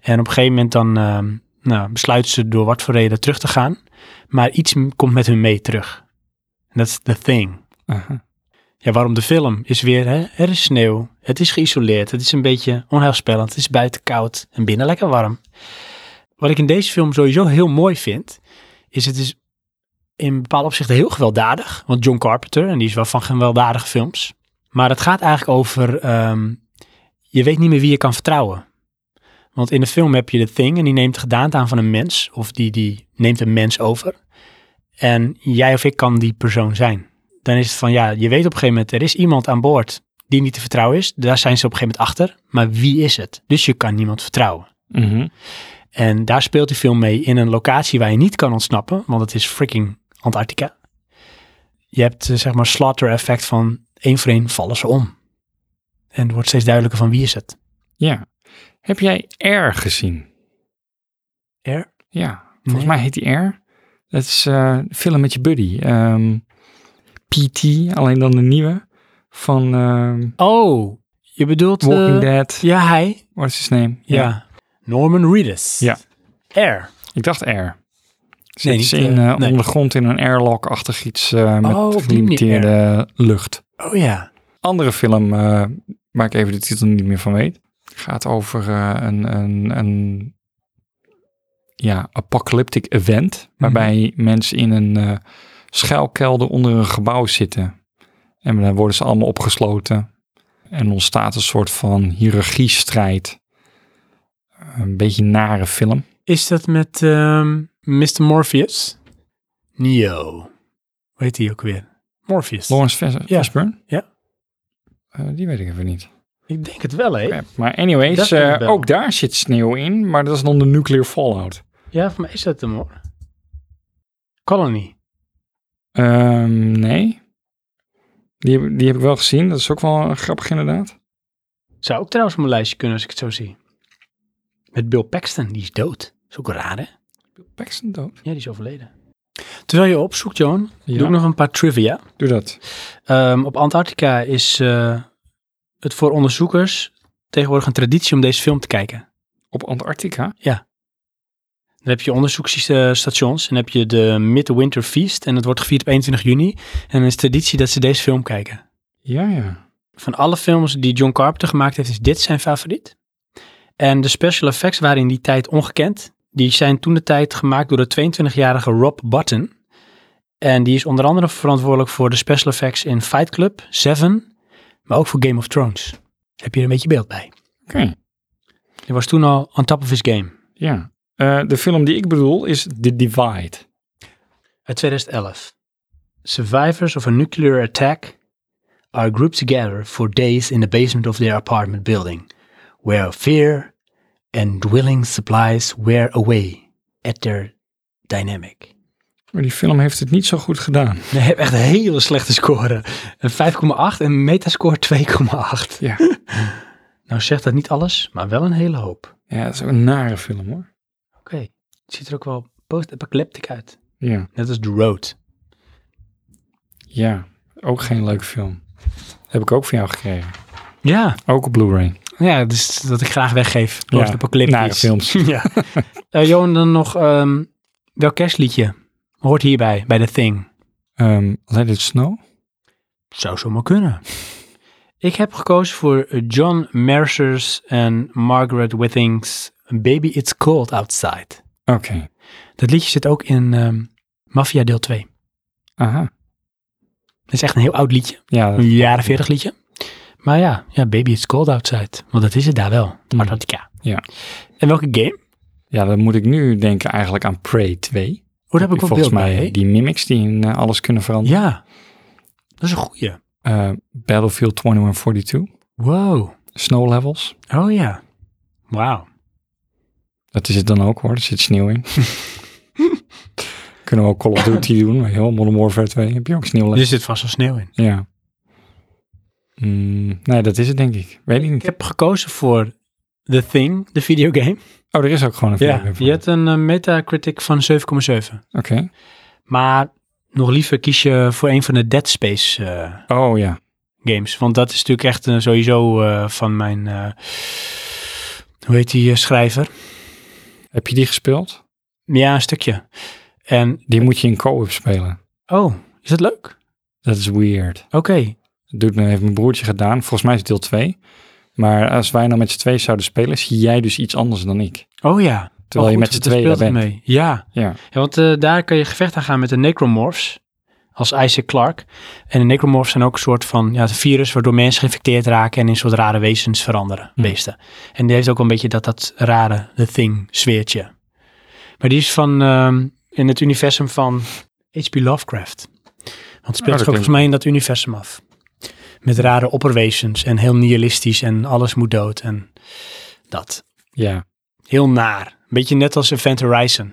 C: En op een gegeven moment dan ehm, nou, besluiten ze door wat voor reden terug te gaan. Maar iets m- komt met hun mee terug. En dat is The Thing.
A: heb. Aha.
C: Ja, waarom de film? Is weer, hè? er is sneeuw, het is geïsoleerd, het is een beetje onheilspellend, het is buiten koud en binnen lekker warm. Wat ik in deze film sowieso heel mooi vind, is het is in bepaalde opzichten heel gewelddadig. Want John Carpenter, en die is wel van gewelddadige films. Maar het gaat eigenlijk over, ehm, je weet niet meer wie je kan vertrouwen. Want in de film heb je de thing en die neemt de gedaante aan van een mens. Of die, die neemt een mens over. En jij of ik kan die persoon zijn dan is het van ja, je weet op een gegeven moment, er is iemand aan boord die niet te vertrouwen is. Daar zijn ze op een gegeven moment achter. Maar wie is het? Dus je kan niemand vertrouwen.
A: Mhm.
C: En daar speelt hij veel mee in een locatie waar je niet kan ontsnappen, want het is freaking Antarctica. Je hebt eh, zeg maar slaughter effect van één voor één vallen ze om. En het wordt steeds duidelijker van wie is het.
A: Ja. Heb jij R gezien?
C: Er?
A: Ja. Volgens
C: Nee.
A: mij heet die R. Dat is eh film met je buddy. Ehm, PT, alleen dan de nieuwe. Van ehm,
C: Oh, je bedoelt... eh,
A: Walking Dead.
C: Ja, hij.
A: What is his name?
C: Ja. Norman Reedus.
A: Ja.
C: Er.
A: Ik dacht R. Zit
C: Nee,
A: ze
C: niet,
A: in, eh,
C: eh, nee.
A: onder de grond in een airlock-achtig iets eh, met
C: Oh, op die
A: gelimiteerde lucht.
C: Oh ja.
A: Andere film, eh, waar ik even de titel niet meer van weet, gaat over eh, een, een, een ja, apocalyptic
C: Mhm.
A: event, waarbij mensen in een eh, schuilkelder onder een gebouw zitten. En dan worden ze allemaal opgesloten. En ontstaat een soort van hiërarchiestrijd. Een beetje nare film.
C: Is dat met ehm, Mr. Morpheus? Neo. Hoe heet die ook weer? Morpheus.
A: Lawrence Vers
C: Ja.
A: Fishburne?
C: Ja.
A: Eh, die weet ik even niet.
C: ik denk het wel, hè?
A: Ja, Maar anyways,
C: Dat vind ik
A: eh,
C: wel.
A: ook daar zit sneeuw in, maar dat is dan de nuclear fallout.
C: Ja, voor mij is dat hem, hoor. Colony.
A: Ehm, nee. Die heb, die heb ik wel gezien. Dat is ook wel eh, grappig inderdaad.
C: Zou ook trouwens op mijn lijstje kunnen als ik het zo zie. Met Bill Paxton, die is dood. Is ook raar, hè?
A: Paxton dood.
C: Ja, die is overleden. Terwijl je opzoekt, Johan,
A: Ja.
C: doe ik nog een paar trivia.
A: Doe dat.
C: Ehm, op Antarctica is eh, het voor onderzoekers tegenwoordig een traditie om deze film te kijken.
A: Op Antarctica.
C: Dan heb je onderzoeksstations en heb je de Midwinter Feast. En dat wordt gevierd op 21 juni. En dan is het traditie dat ze deze film kijken.
A: Ja, ja.
C: Van alle films die John Carpenter gemaakt heeft, is dit zijn favoriet. En de special effects waren in die tijd ongekend. Die zijn toen de tijd gemaakt door de 22-jarige Rob Button. En die is onder andere verantwoordelijk voor de special effects in Fight Club, Seven, maar ook voor Game of Thrones. Heb je er een beetje beeld bij?
A: Oké.
C: Die was toen al on top of his game.
A: Ja. Eh, de film die ik bedoel is The Divide.
C: uit 2011. Survivors of a nuclear attack are grouped together for days in the basement of their apartment building, where fear and dwindling supplies wear away at their dynamic.
A: Maar die film heeft het niet zo goed gedaan.
C: Hij heeft echt een hele slechte score. Een 5,8 en metascore 2,8.
A: Ja.
C: nou zegt dat niet alles, maar wel een hele hoop.
A: Ja, dat is ook een nare film hoor.
C: Oké, het ziet er ook wel post-apocalyptic uit.
A: Ja.
C: Net als The Road.
A: Ja. Ook geen leuke film. Heb ik ook van jou gekregen.
C: Ja,
A: Ook op Blu-ray.
C: ja dus dat ik graag weggeef.
A: nare Nou,
C: Post-apocalyptisch.
A: films.
C: ja. Eh, Johan, dan nog ehm welk kerstliedje hoort hierbij, bij The Thing?
A: Ehm, Let It Snow.
C: Zou zomaar kunnen. Ik heb gekozen voor eh, John Mercer's en Margaret Withings Baby It's Cold Outside.
A: Oké.
C: Dat liedje zit ook in ehm Mafia deel 2.
A: Aha.
C: Dat is echt een heel oud liedje,
A: Ja, dat-
C: een jaren 40 liedje. Maar ja, ja, Baby It's Cold Outside, want dat is het daar wel,
A: Mm.
C: Antarctica.
A: Ja.
C: En welke game?
A: Ja, dan moet ik nu denken eigenlijk aan Prey 2.
C: Oh, daar heb ik ook
A: Volgens
C: beeld
A: mij eh,
C: bij. hè?
A: die mimics die in eh, alles kunnen veranderen.
C: Ja, dat is een goeie.
A: Eh, Battlefield 2142,
C: Wow.
A: snow levels.
C: Oh ja. Wauw.
A: Dat is het dan ook hoor, er zit sneeuw in. kunnen we ook Call of Duty doen, heel Modern Warfare 2, heb je ook sneeuw
C: Er zit vast wel sneeuw in.
A: Ja. Mm, nee, dat is het denk ik. Weet ik
C: Ik
A: niet.
C: heb gekozen voor The Thing, de videogame.
A: Oh, er is ook gewoon een
C: Ja,
A: video van.
C: je hebt een eh, Metacritic van 7,7.
A: Oké.
C: Maar nog liever kies je voor een van de Dead Space eh,
A: Oh ja.
C: games. Want dat is natuurlijk echt eh, sowieso eh, van mijn, eh, hoe heet die eh, schrijver?
A: Heb je die gespeeld?
C: Ja, een stukje. En,
A: Die moet je in co-op spelen.
C: oh, is dat leuk?
A: Dat is weird.
C: Oké.
A: Dat doet me, heeft mijn broertje gedaan. Volgens mij is het deel 2. Maar als wij nou met z'n twee zouden spelen, zie jij dus iets anders dan ik.
C: Oh ja.
A: Terwijl je
C: Oh,
A: met
C: goed,
A: z'n
C: dat
A: tweeën daar
C: speelt
A: bent.
C: het Mee. Ja.
A: Ja.
C: Ja, want eh, daar kan je gevecht aan gaan met de necromorphs. Als Isaac Clarke. En de necromorphs zijn ook een soort van ja, het virus waardoor mensen geïnfecteerd raken en in soort rare wezens veranderen,
A: Hm.
C: beesten. En die heeft ook wel een beetje dat, dat rare The Thing sfeertje. Maar die is van ehm, in het universum van H.P. Lovecraft. Want het
A: Ah, dat
C: speelt zich ook
A: klinkt-
C: volgens mij in dat universum af. Met rare opperwezens en heel nihilistisch en alles moet dood en dat.
A: Ja,
C: Heel naar. Beetje net als Event Horizon.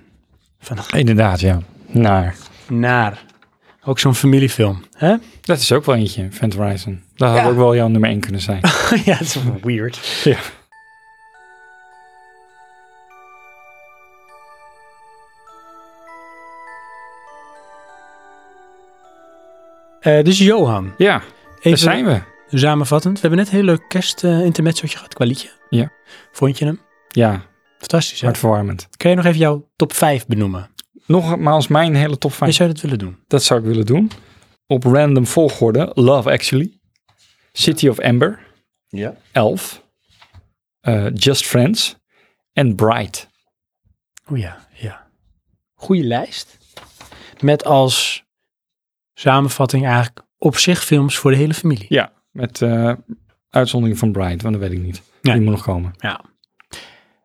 C: Van
A: inderdaad, ja. Naar.
C: naar. Ook zo'n familiefilm. Hè?
A: Dat is ook wel eentje, Vent Horizon. Dat had ook wel jouw nummer 1 kunnen zijn.
C: ja, dat is wel weird.
A: ja.
C: Eh, dus Johan,
A: ja, daar
C: even
A: zijn we.
C: samenvattend. We hebben net een heel leuk kerst eh, intermezzootje gehad qua liedje.
A: Ja.
C: Vond je hem?
A: Ja,
C: Fantastisch, hè?
A: hartverwarmend.
C: Kun je nog even jouw top 5 benoemen?
A: Nogmaals, mijn hele top 5.
C: Hoe zou je dat willen doen?
A: Dat zou ik willen doen. Op random volgorde. Love Actually. City of Amber.
H: Ja.
A: Elf. eh, Just Friends. En Bright.
C: Oh ja, ja. Goeie lijst. Met als samenvatting eigenlijk op zich films voor de hele familie.
A: Ja, met eh, uitzondering van Bright, want dat weet ik niet.
C: Nee.
A: Die moet nog komen.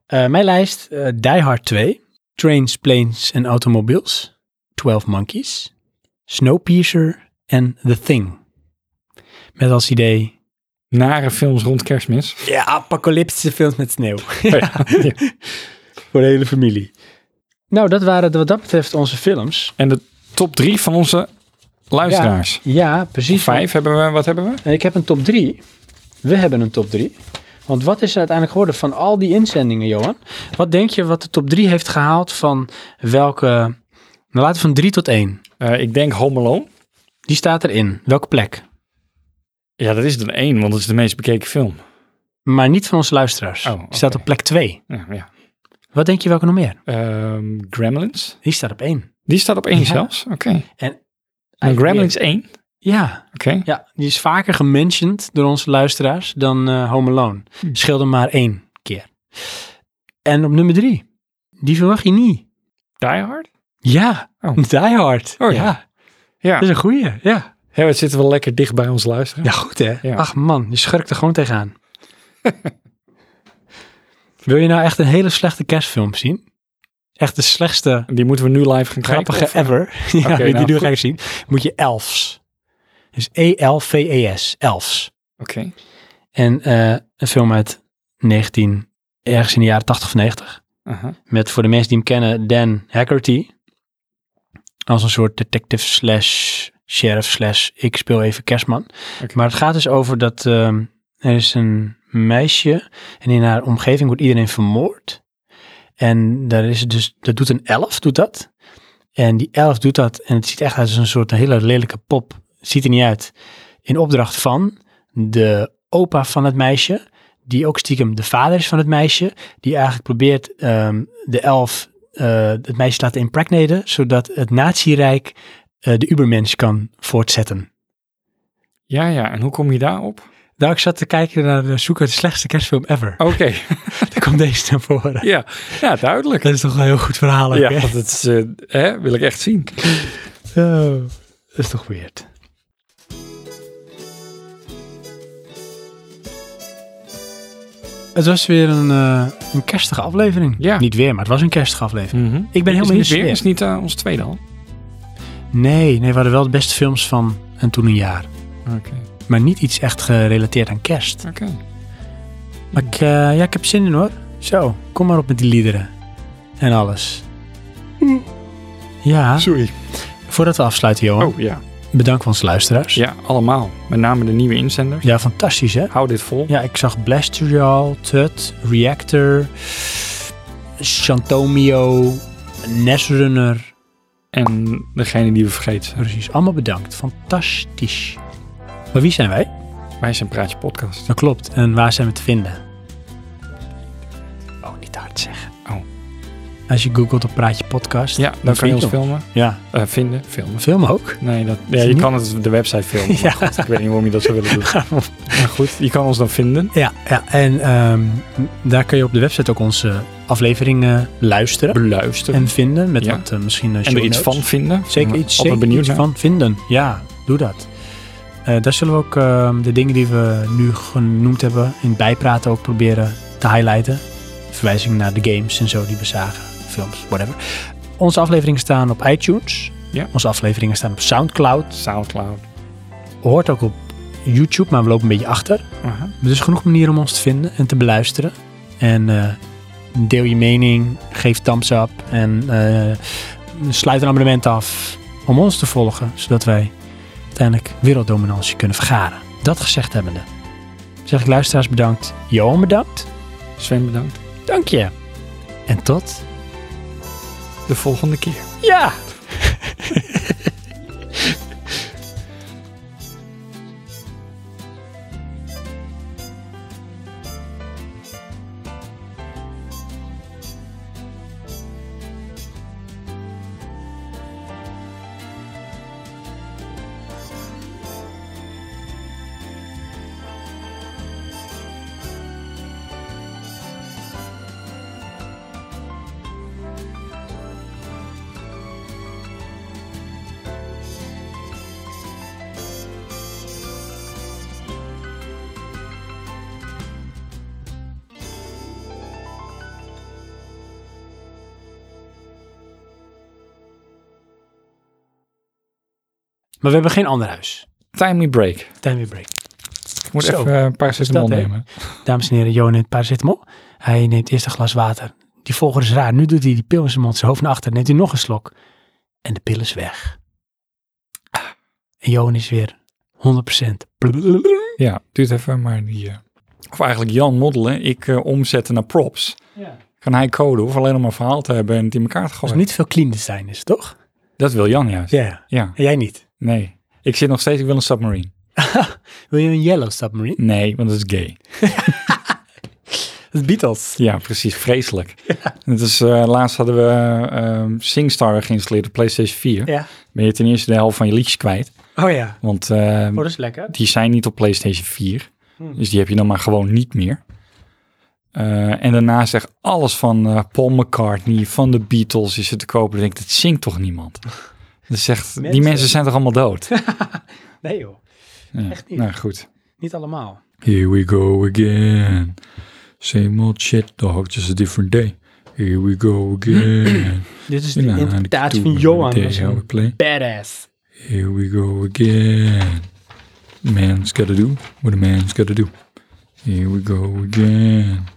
C: Eh, mijn lijst, eh, Die Hard 2, Trains, Planes en Automobiles, 12 Monkeys, Snowpiercer en The Thing. Met als idee,
A: Nare films rond kerstmis.
C: ja, apocalyptische films met sneeuw.
A: Ja.
C: Voor de hele familie. Nou, dat waren de- wat dat betreft onze films.
A: En de top drie van onze luisteraars.
C: Ja, precies.
A: Vijf hebben we, wat hebben we?
C: En ik heb een top 3. We hebben een top 3. Want wat is er uiteindelijk geworden van al die inzendingen, Johan? Wat denk je wat de top 3 heeft gehaald van welke... Nou, laten we van 3 tot 1.
A: Eh, ik denk Home Alone.
C: Die staat erin. Welke plek?
A: Ja, dat is er één, want dat is de meest bekeken film.
C: Maar niet van onze luisteraars.
A: Oh,
C: Die staat
A: oké.
C: op plek 2.
A: Ja, ja.
C: Wat denk je welke nog meer?
A: Ehm, Gremlins.
C: Die staat op 1.
A: Die staat op één
C: Ja.
A: zelfs. Oké.
C: En-
A: En Gremlins 1. Oké.
C: Ja. ja, die is vaker gementioned door onze luisteraars dan eh, Home Alone.
A: Hm.
C: Scheelde maar één keer. En op nummer 3. Die verwacht je niet.
A: Die Hard?
C: Ja,
A: Oh.
C: Die Hard.
A: Oh, ja. Ja.
C: Dat is een goeie. Ja.
A: Ja, we zitten wel lekker dicht bij ons luisteren.
C: Ja, goed hè.
A: Dus- Ja.
C: Ach man, je schurkt er gewoon tegenaan. Wil je nou echt een hele slechte kerstfilm zien? Echt de slechtste
A: Die moeten we nu live gaan
C: grappige
A: kijken. of-
C: ever. ja,
A: Oké,
C: die
A: nou,
C: doe ik
A: goed.
C: eigenlijk zien. Moet je elfs. Dus E-L-V-E-S. E Elfs.
A: Oké.
C: En eh, een film uit 19, ergens in de jaren 80 of 90.
A: Aha.
C: Met voor de mensen die hem kennen, Dan Hackerty. Als een soort detective slash sheriff slash ik speel even kerstman.
A: Oké.
C: Maar het gaat dus over dat ehm, er is een meisje en in haar omgeving wordt iedereen vermoord. En daar is het dus, dat doet een elf, doet dat. En die elf doet dat en het ziet echt uit als een soort een hele lelijke pop. Ziet er niet uit. In opdracht van de opa van het meisje, die ook stiekem de vader is van het meisje, die eigenlijk probeert ehm, de elf, eh, het meisje te laten impregnaten, zodat het nazi-rijk eh, de ubermensch kan voortzetten.
A: Ja, ja. En hoe kom je daarop?
C: Nou, ik zat te kijken naar de zoeker de slechtste kerstfilm ever.
A: Oké.
C: Daar komt deze naar voren.
A: Oh. ja. ja, duidelijk.
C: Dat is toch een heel goed verhaal. ook,
A: Ja,
C: hè?
A: want dat is, eh, hè, wil ik echt zien.
C: Oh, dat is toch weird. Het was weer een, eh, een kerstige aflevering.
A: Ja.
C: Niet weer, maar het was een kerstige aflevering.
H: Mhm.
C: Ik ben
A: is
C: helemaal in de
A: niet weer,
C: sfeer.
A: is niet eh, ons tweede al.
C: Nee, nee, we hadden wel de beste films van en toen een jaar.
A: Oké,
C: Maar niet iets echt gerelateerd aan kerst.
A: oké.
C: Maar ik, eh, ja, ik heb zin in hoor. Zo, kom maar op met die liederen. En alles. Ja,
A: Sorry.
C: voordat we afsluiten Johan.
A: Oh ja.
C: Bedankt onze luisteraars.
A: Ja, allemaal. Met name de nieuwe inzenders.
C: Ja, fantastisch hè.
A: Hou dit vol.
C: Ja, ik zag Blastrial, Tut, Reactor, Chantomio, Nesrunner.
A: En degene die we vergeten.
C: Precies, allemaal bedankt. Fantastisch. Maar wie zijn wij?
A: Wij zijn Praatje Podcast.
C: Dat klopt. En waar zijn we te vinden? Oh, niet hard zeggen.
A: Oh.
C: Als je googelt op Praatje Podcast.
A: Ja, dan kan je ons filmen.
C: Ja,
A: Eh, vinden. Filmen.
C: film ook.
A: Nee, dat, ja, je
C: niet?
A: kan het, de website filmen. maar
C: Ja.
A: goed, ik weet niet waarom je dat zou willen doen. Maar goed, je kan ons dan vinden.
C: Ja, ja. en ehm, daar kun je op de website ook onze eh, afleveringen eh, luisteren
A: Beluisteren.
C: en vinden. Met
A: Ja.
C: wat eh, misschien eh,
A: En,
C: show
A: er iets
C: notes.
A: van vinden.
C: Zeker iets,
A: Altijd
C: zeker
A: benieuwd
C: iets
A: naar.
C: van vinden. Ja, doe dat. Eh, daar zullen we ook ehm, de dingen die we nu genoemd hebben in het bijpraten ook proberen te highlighten. Verwijzing naar de games en zo die we zagen, films, whatever. Onze afleveringen staan op iTunes.
A: Ja.
C: Onze afleveringen staan op SoundCloud.
A: Soundcloud.
C: Hoort ook op YouTube, maar we lopen een beetje achter.
A: Aha.
C: Dus genoeg manieren om ons te vinden en te beluisteren. En eh, deel je mening, geef thumbs up en eh, sluit een abonnement af om ons te volgen, zodat wij uiteindelijk werelddominantie kunnen vergaren. Dat gezegd hebbende, zeg ik luisteraars bedankt, Johan bedankt,
A: Sven, bedankt.
C: dank je. En tot,
A: De volgende keer.
C: ja! Maar we hebben geen ander huis.
A: Timely break.
C: Time we break.
A: Ik moet
C: Zo.
A: even eh, een paar
C: dat, hè?
A: nemen.
C: Dames en heren, Johan neemt paracetamol. Hij neemt eerst een glas water. Die volger is raar. Nu doet hij die pil in zijn mond, zijn hoofd naar achter. Neemt hij nog een slok. En de pil is weg. En Johan is weer 100%.
A: Ja, duurt even, maar die... eh, of eigenlijk Jan moddelen, ik eh, omzetten naar props. Kan hij coden, hoef alleen om een verhaal te hebben en het in elkaar te
C: Dus
A: gooien.
C: niet veel clean design is, het, toch?
A: Dat wil Jan juist. Ja.
C: En jij niet.
A: nee. Ik zit nog steeds, ik wil een submarine.
C: Wil je een Yellow Submarine?
A: Nee, want dat is gay.
C: Dat is Beatles.
A: Ja, precies. Vreselijk. Het is, eh, laatst hadden we ehm, Singstar geïnstalleerd op PlayStation 4.
C: Ja.
A: Ben je ten eerste de helft van je liedjes kwijt.
C: Oh ja.
A: Want ehm,
C: Oh, dat is lekker.
A: die zijn niet op PlayStation 4.
C: Hmm.
A: Dus die heb je dan maar gewoon niet meer. Eh, en daarnaast echt alles van eh, Paul McCartney, van de Beatles is er te kopen. Dan denk ik, dat zingt toch niemand? Dat is echt, die
C: Mensen.
A: mensen zijn toch allemaal dood?
C: Nee joh,
A: Ja.
C: Echt niet.
A: Nou goed.
C: niet allemaal.
A: Here we go again. Same old shit dog, just a different day. Here we go again.
C: Dit is de
A: Ja,
C: interpretatie
A: ik
C: van
A: doe
C: Johan.
A: day
C: Dat is
A: how we
C: een
A: play.
C: badass.
A: Here we go again. Man's gotta do what a man's gotta do. Here we go again.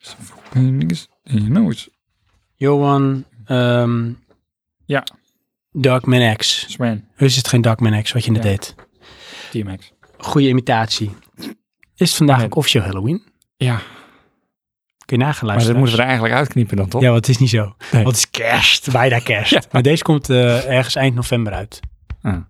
A: So fucking niggas, you know it's
C: Johan, ehm
A: Ja.
C: Darkman X.
A: Swan,
C: Dus is het geen Darkman X wat je net
A: Ja.
C: deed.
A: DMX.
C: Goede imitatie. Is het vandaag
A: Nee.
C: ook officieel Halloween?
A: Ja,
C: Kun je
A: maar dat
C: nageluisterd
A: moeten we er eigenlijk uitknippen dan toch?
C: Ja, want het is niet zo.
A: Nee.
C: Want het is kerst, bijna kerst.
A: Ja.
C: Maar deze komt eh, ergens eind november uit.
A: Ah.